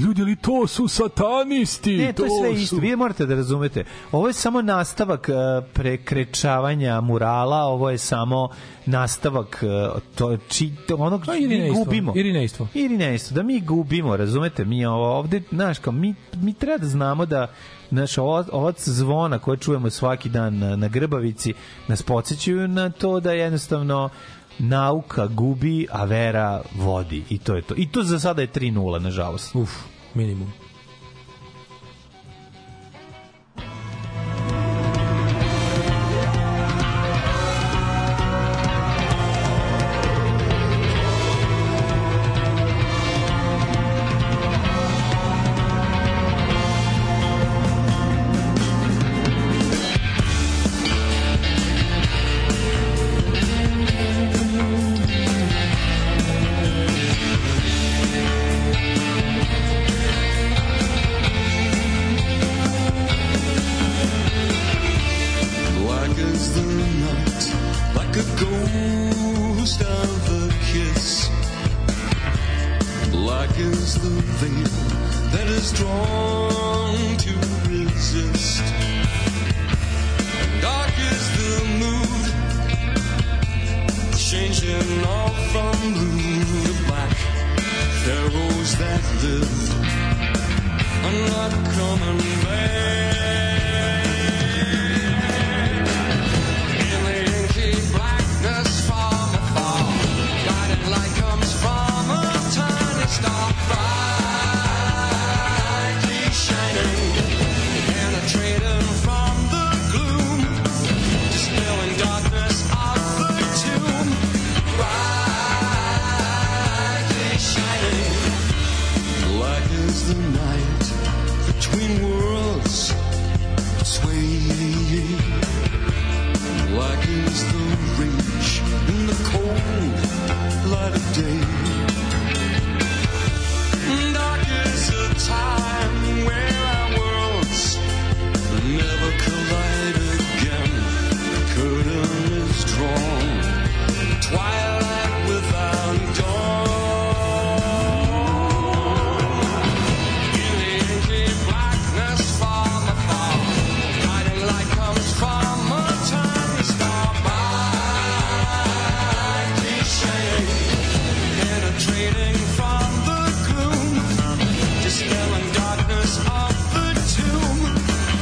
S8: Ljudi, ali to su satanisti.
S9: Ne, E, to je sve isto.
S8: su-
S9: Vi morate da razumete. Ovo je samo nastavak e, prekrečavanja murala, ovo je samo nastavak e, to či, to- onog
S8: To je
S9: Pa mi
S8: irinejstvo,
S9: gubimo.
S8: irinejstvo.
S9: Irinejstvo, da mi gubimo, razumete? Mi ovo ovde, znaš, kao mi, mi treba da znamo da Naš ovac zvona koje čujemo svaki dan na, na Grbavici nas podsjećaju na to da jednostavno nauka gubi, a vera vodi. I to je to. I to za sada je 3-0, nažalost. Uf, minimum.
S1: Black as the night, like a ghost of a kiss. Black as the veil that is drawn to resist. Dark is the mood, changing all from blue to black. Pharaohs that lived are not coming back. In the inky blackness from afar, guided light comes from a tiny star, brightly shining, penetrating from the gloom, dispelling darkness of the tomb, brightly shining. Black is the night between worlds, swaying. Black is the rage in the cold light of day. Dark is a time where our worlds never collide again. The curtain is drawn. Twilight without dawn. In the inky blackness from afar, guiding light comes from a tiny star brightly shining, penetrating from the gloom, dispelling darkness of the tomb.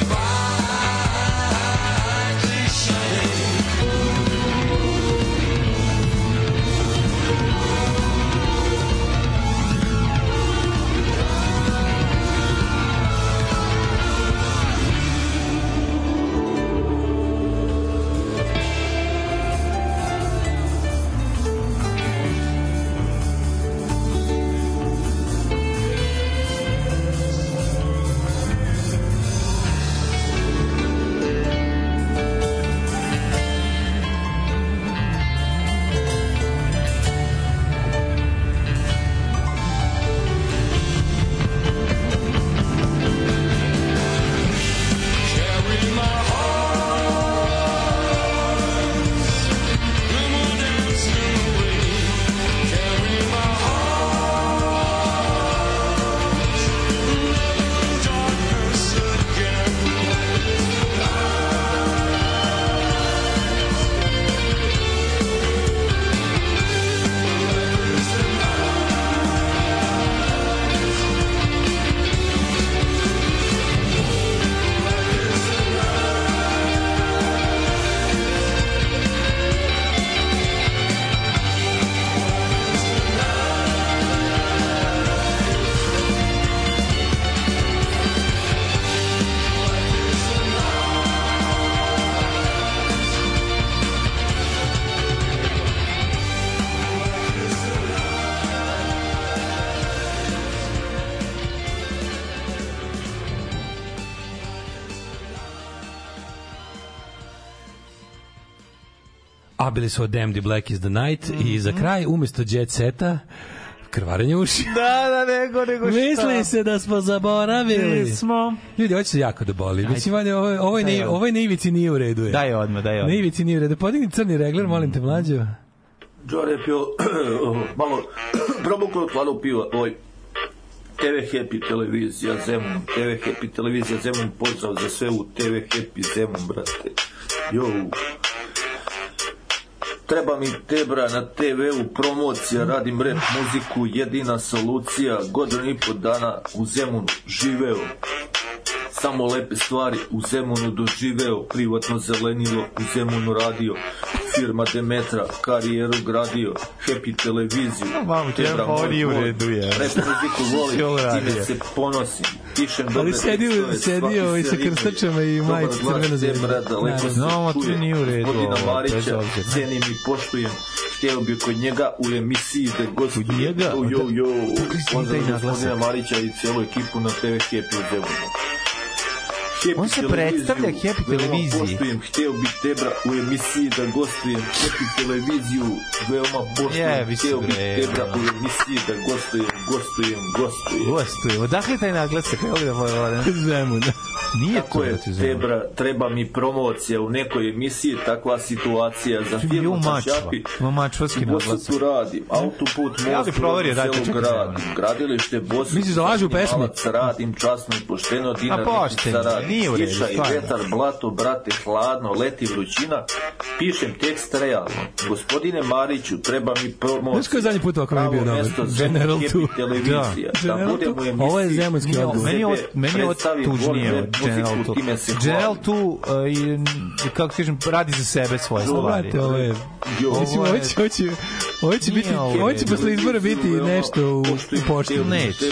S1: Brightly shining.
S8: A bili su od Damned Black is the Night i za kraj, umesto Jet Seta, krvarenje uši.
S9: Da, da, nego, nego šta?
S8: Misli se da smo zaboravili.
S9: Nismo.
S8: Ljudi, ovo će se jako da boli. Mislim, Vanja, ovo, je- ovo, je
S9: Daj
S8: na,
S9: odmah.
S8: ovo je na ivici nije u redu. Je.
S9: Daj odmah, daj
S8: Na
S9: odmah.
S8: ivici nije u redu. Podigni crni regler, molim te, mlađo.
S20: Đore je pio malo, promuklo tlano piva, oj.
S1: TV Happy televizija Zemun, TV Happy televizija Zemun, pozdrav za sve u TV Happy Zemun, brate. Jo. Treba mi tebra na TV-u promocija, radim rap muziku, jedina solucija, godinu i po dana u Zemunu živeo. Samo lepe stvari u Zemunu doživeo, privatno zelenilo u Zemunu radio, firma Demetra, karijeru gradio, Happy televiziju,
S9: Vamo, ti
S1: Tebra,
S9: jedan
S1: moj
S9: favorit u
S1: bor.
S9: redu je.
S1: Rap muziku
S9: Cijelo
S1: volim,
S9: radio.
S1: time se ponosim, pišem dobre
S9: Ali sedi-
S1: tekstove,
S9: sedi
S1: svaki
S9: ovaj
S1: se
S9: sa
S1: rimuje.
S9: krstačama i
S1: Dobar
S9: majici
S1: glas,
S9: crveno zvezda.
S1: Zemra, daleko
S9: Naravno.
S1: se
S9: No, to
S1: čuje.
S9: nije u redu,
S1: Gospodina
S9: ovo, bez
S1: Marića,
S9: obzira.
S1: cenim i poštujem. Htio bi kod njega u emisiji da gostuje. Jo, jo, jo. Pozdrav
S9: taj naglasak.
S1: gospodina Marića i cijelu ekipu na TV Happy u Zemunu.
S9: On se predstavlja Happy televiziji.
S1: Poštujem, htio bi Tebra u emisiji da gostujem Happy televiziju. Veoma
S9: Je,
S1: poštujem,
S9: vi ste
S1: htio bi
S9: bre,
S1: Tebra
S9: ono.
S1: u emisiji da gostujem, gostujem, gostujem.
S9: Gostujem. Odakle taj naglasak? Evo da moj volim. Zemun. Nije
S1: Tako je, Tebra, treba mi promocija u nekoj emisiji, takva situacija za
S9: Bio
S1: firmu
S9: mačva.
S1: Čapi.
S9: Ima mačvarski naglasak.
S1: Bosu tu radim, autoput most,
S9: Ja bi proverio, dajte,
S1: selu
S9: čekaj,
S1: gradim, gradilište Bosu.
S9: Misliš da lažu u
S1: časni
S9: pesmi?
S1: Malac, radim časno i pošteno, dinar
S9: pošteno, nije u redu,
S1: Kiša i
S9: stvarno.
S1: vetar, blato, brate, hladno, leti vrućina. Pišem tekst realno. Gospodine Mariću, treba mi promocija.
S8: Znaš koji je zadnji put ovako meni bio
S1: Pravo
S8: dobar?
S1: mesto, Zemun
S8: General
S1: Happy
S8: 2.
S1: Televizija.
S8: Da.
S1: Da,
S8: General
S1: budem u
S8: 2.
S1: emisiji.
S8: Ovo je zemunski
S1: Nije
S8: odgovor.
S9: Meni je ovo,
S1: sebe
S9: meni je ovo
S1: predstavim,
S9: tužnije
S1: volim
S9: od
S1: muziku,
S9: General tu.
S1: time se
S9: General
S1: hvalim.
S9: tu, e, i, m, kako ti kažem, radi za sebe svoje
S8: Ovo,
S9: stvari.
S8: brate, ovo je... Mislim, ovo će, ovo će, ovo će biti, ovo će posle izbora biti nešto u, u pošti.
S9: Neće.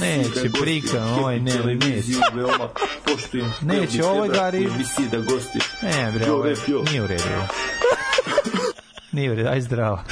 S9: Neće, prika, oj, ne, neće.
S1: veoma poštujem.
S9: Neće, ovo je Gari.
S1: Misli da gosti.
S9: Ne, bre,
S1: Jo,
S9: ovo je,
S1: rep, jo.
S9: nije u redu. ovo. Nije u redu, aj zdravo.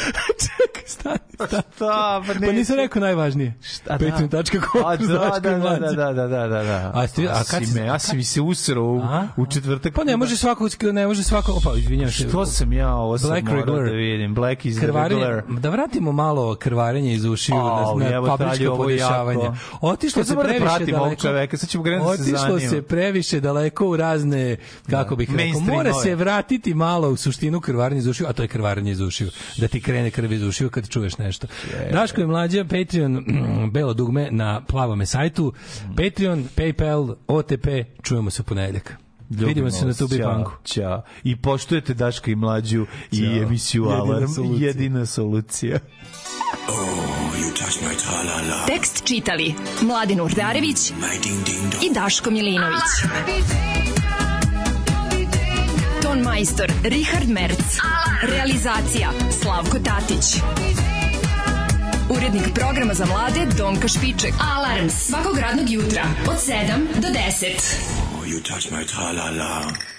S8: Čekaj, stani, stani.
S9: Šta, pa
S8: Pa nisam rekao najvažnije.
S9: A
S8: Šta?
S9: da.
S8: Patreon.com.
S9: A da,
S8: znaš, koji
S9: da, da, da,
S8: mlađe.
S9: da, da, da, da, da.
S8: A ste- a
S9: Ja
S8: kad
S9: si
S8: si-
S9: me, ja si mi se usrao u, u četvrtak.
S8: Pa ne može svako, ne može svako, opa, izvinjam se.
S9: Što sam ja ovo sam
S8: Black
S9: morao
S8: Regular.
S9: da vidim? Black is the
S8: Krvarenje,
S9: regular.
S8: da vratimo malo krvarenje iz ušiju
S9: Au,
S8: na,
S9: jebote,
S8: na
S9: ali
S8: fabričko
S9: ovo je
S8: podešavanje.
S9: jako.
S8: Otišlo
S9: Sad
S8: se
S9: sam morao da
S8: previše
S9: pratim
S8: daleko.
S9: ovog čoveka, sad ćemo krenuti da se
S8: Otišlo
S9: zanima.
S8: se previše daleko u razne, kako bih rekao,
S9: Mainstreamove.
S8: mora se vratiti malo u suštinu krvarenja iz ušiju, a to je krvarenje iz ušiju. Da ti krene krv iz ušiju kad čuješ nešto. Daško je mlađa, Patreon, belo dugme na plavome sajtu. Patreon, Paypal, OTP, čujemo se u ponedeljak.
S9: Ljubimo
S8: Vidimo se na
S9: vas,
S8: Tubi
S9: ćao,
S8: Panku.
S9: Ćao. I poštujete Daška i mlađu i
S8: Ćao.
S9: emisiju
S8: Jedina
S9: Alarm.
S8: solucija.
S9: Jedina solucija.
S18: Oh, you touch my tra-la-la.
S7: Tekst čitali Mladin Urdarević
S18: My ding-ding-dong.
S7: i Daško Milinović. Ton majstor Richard Merc. Realizacija Slavko Tatić. Urednik programa za mlade Donka Špiček. Alarms svakog radnog jutra od 7 do 10.
S18: Oh, you touch my tra-la-la.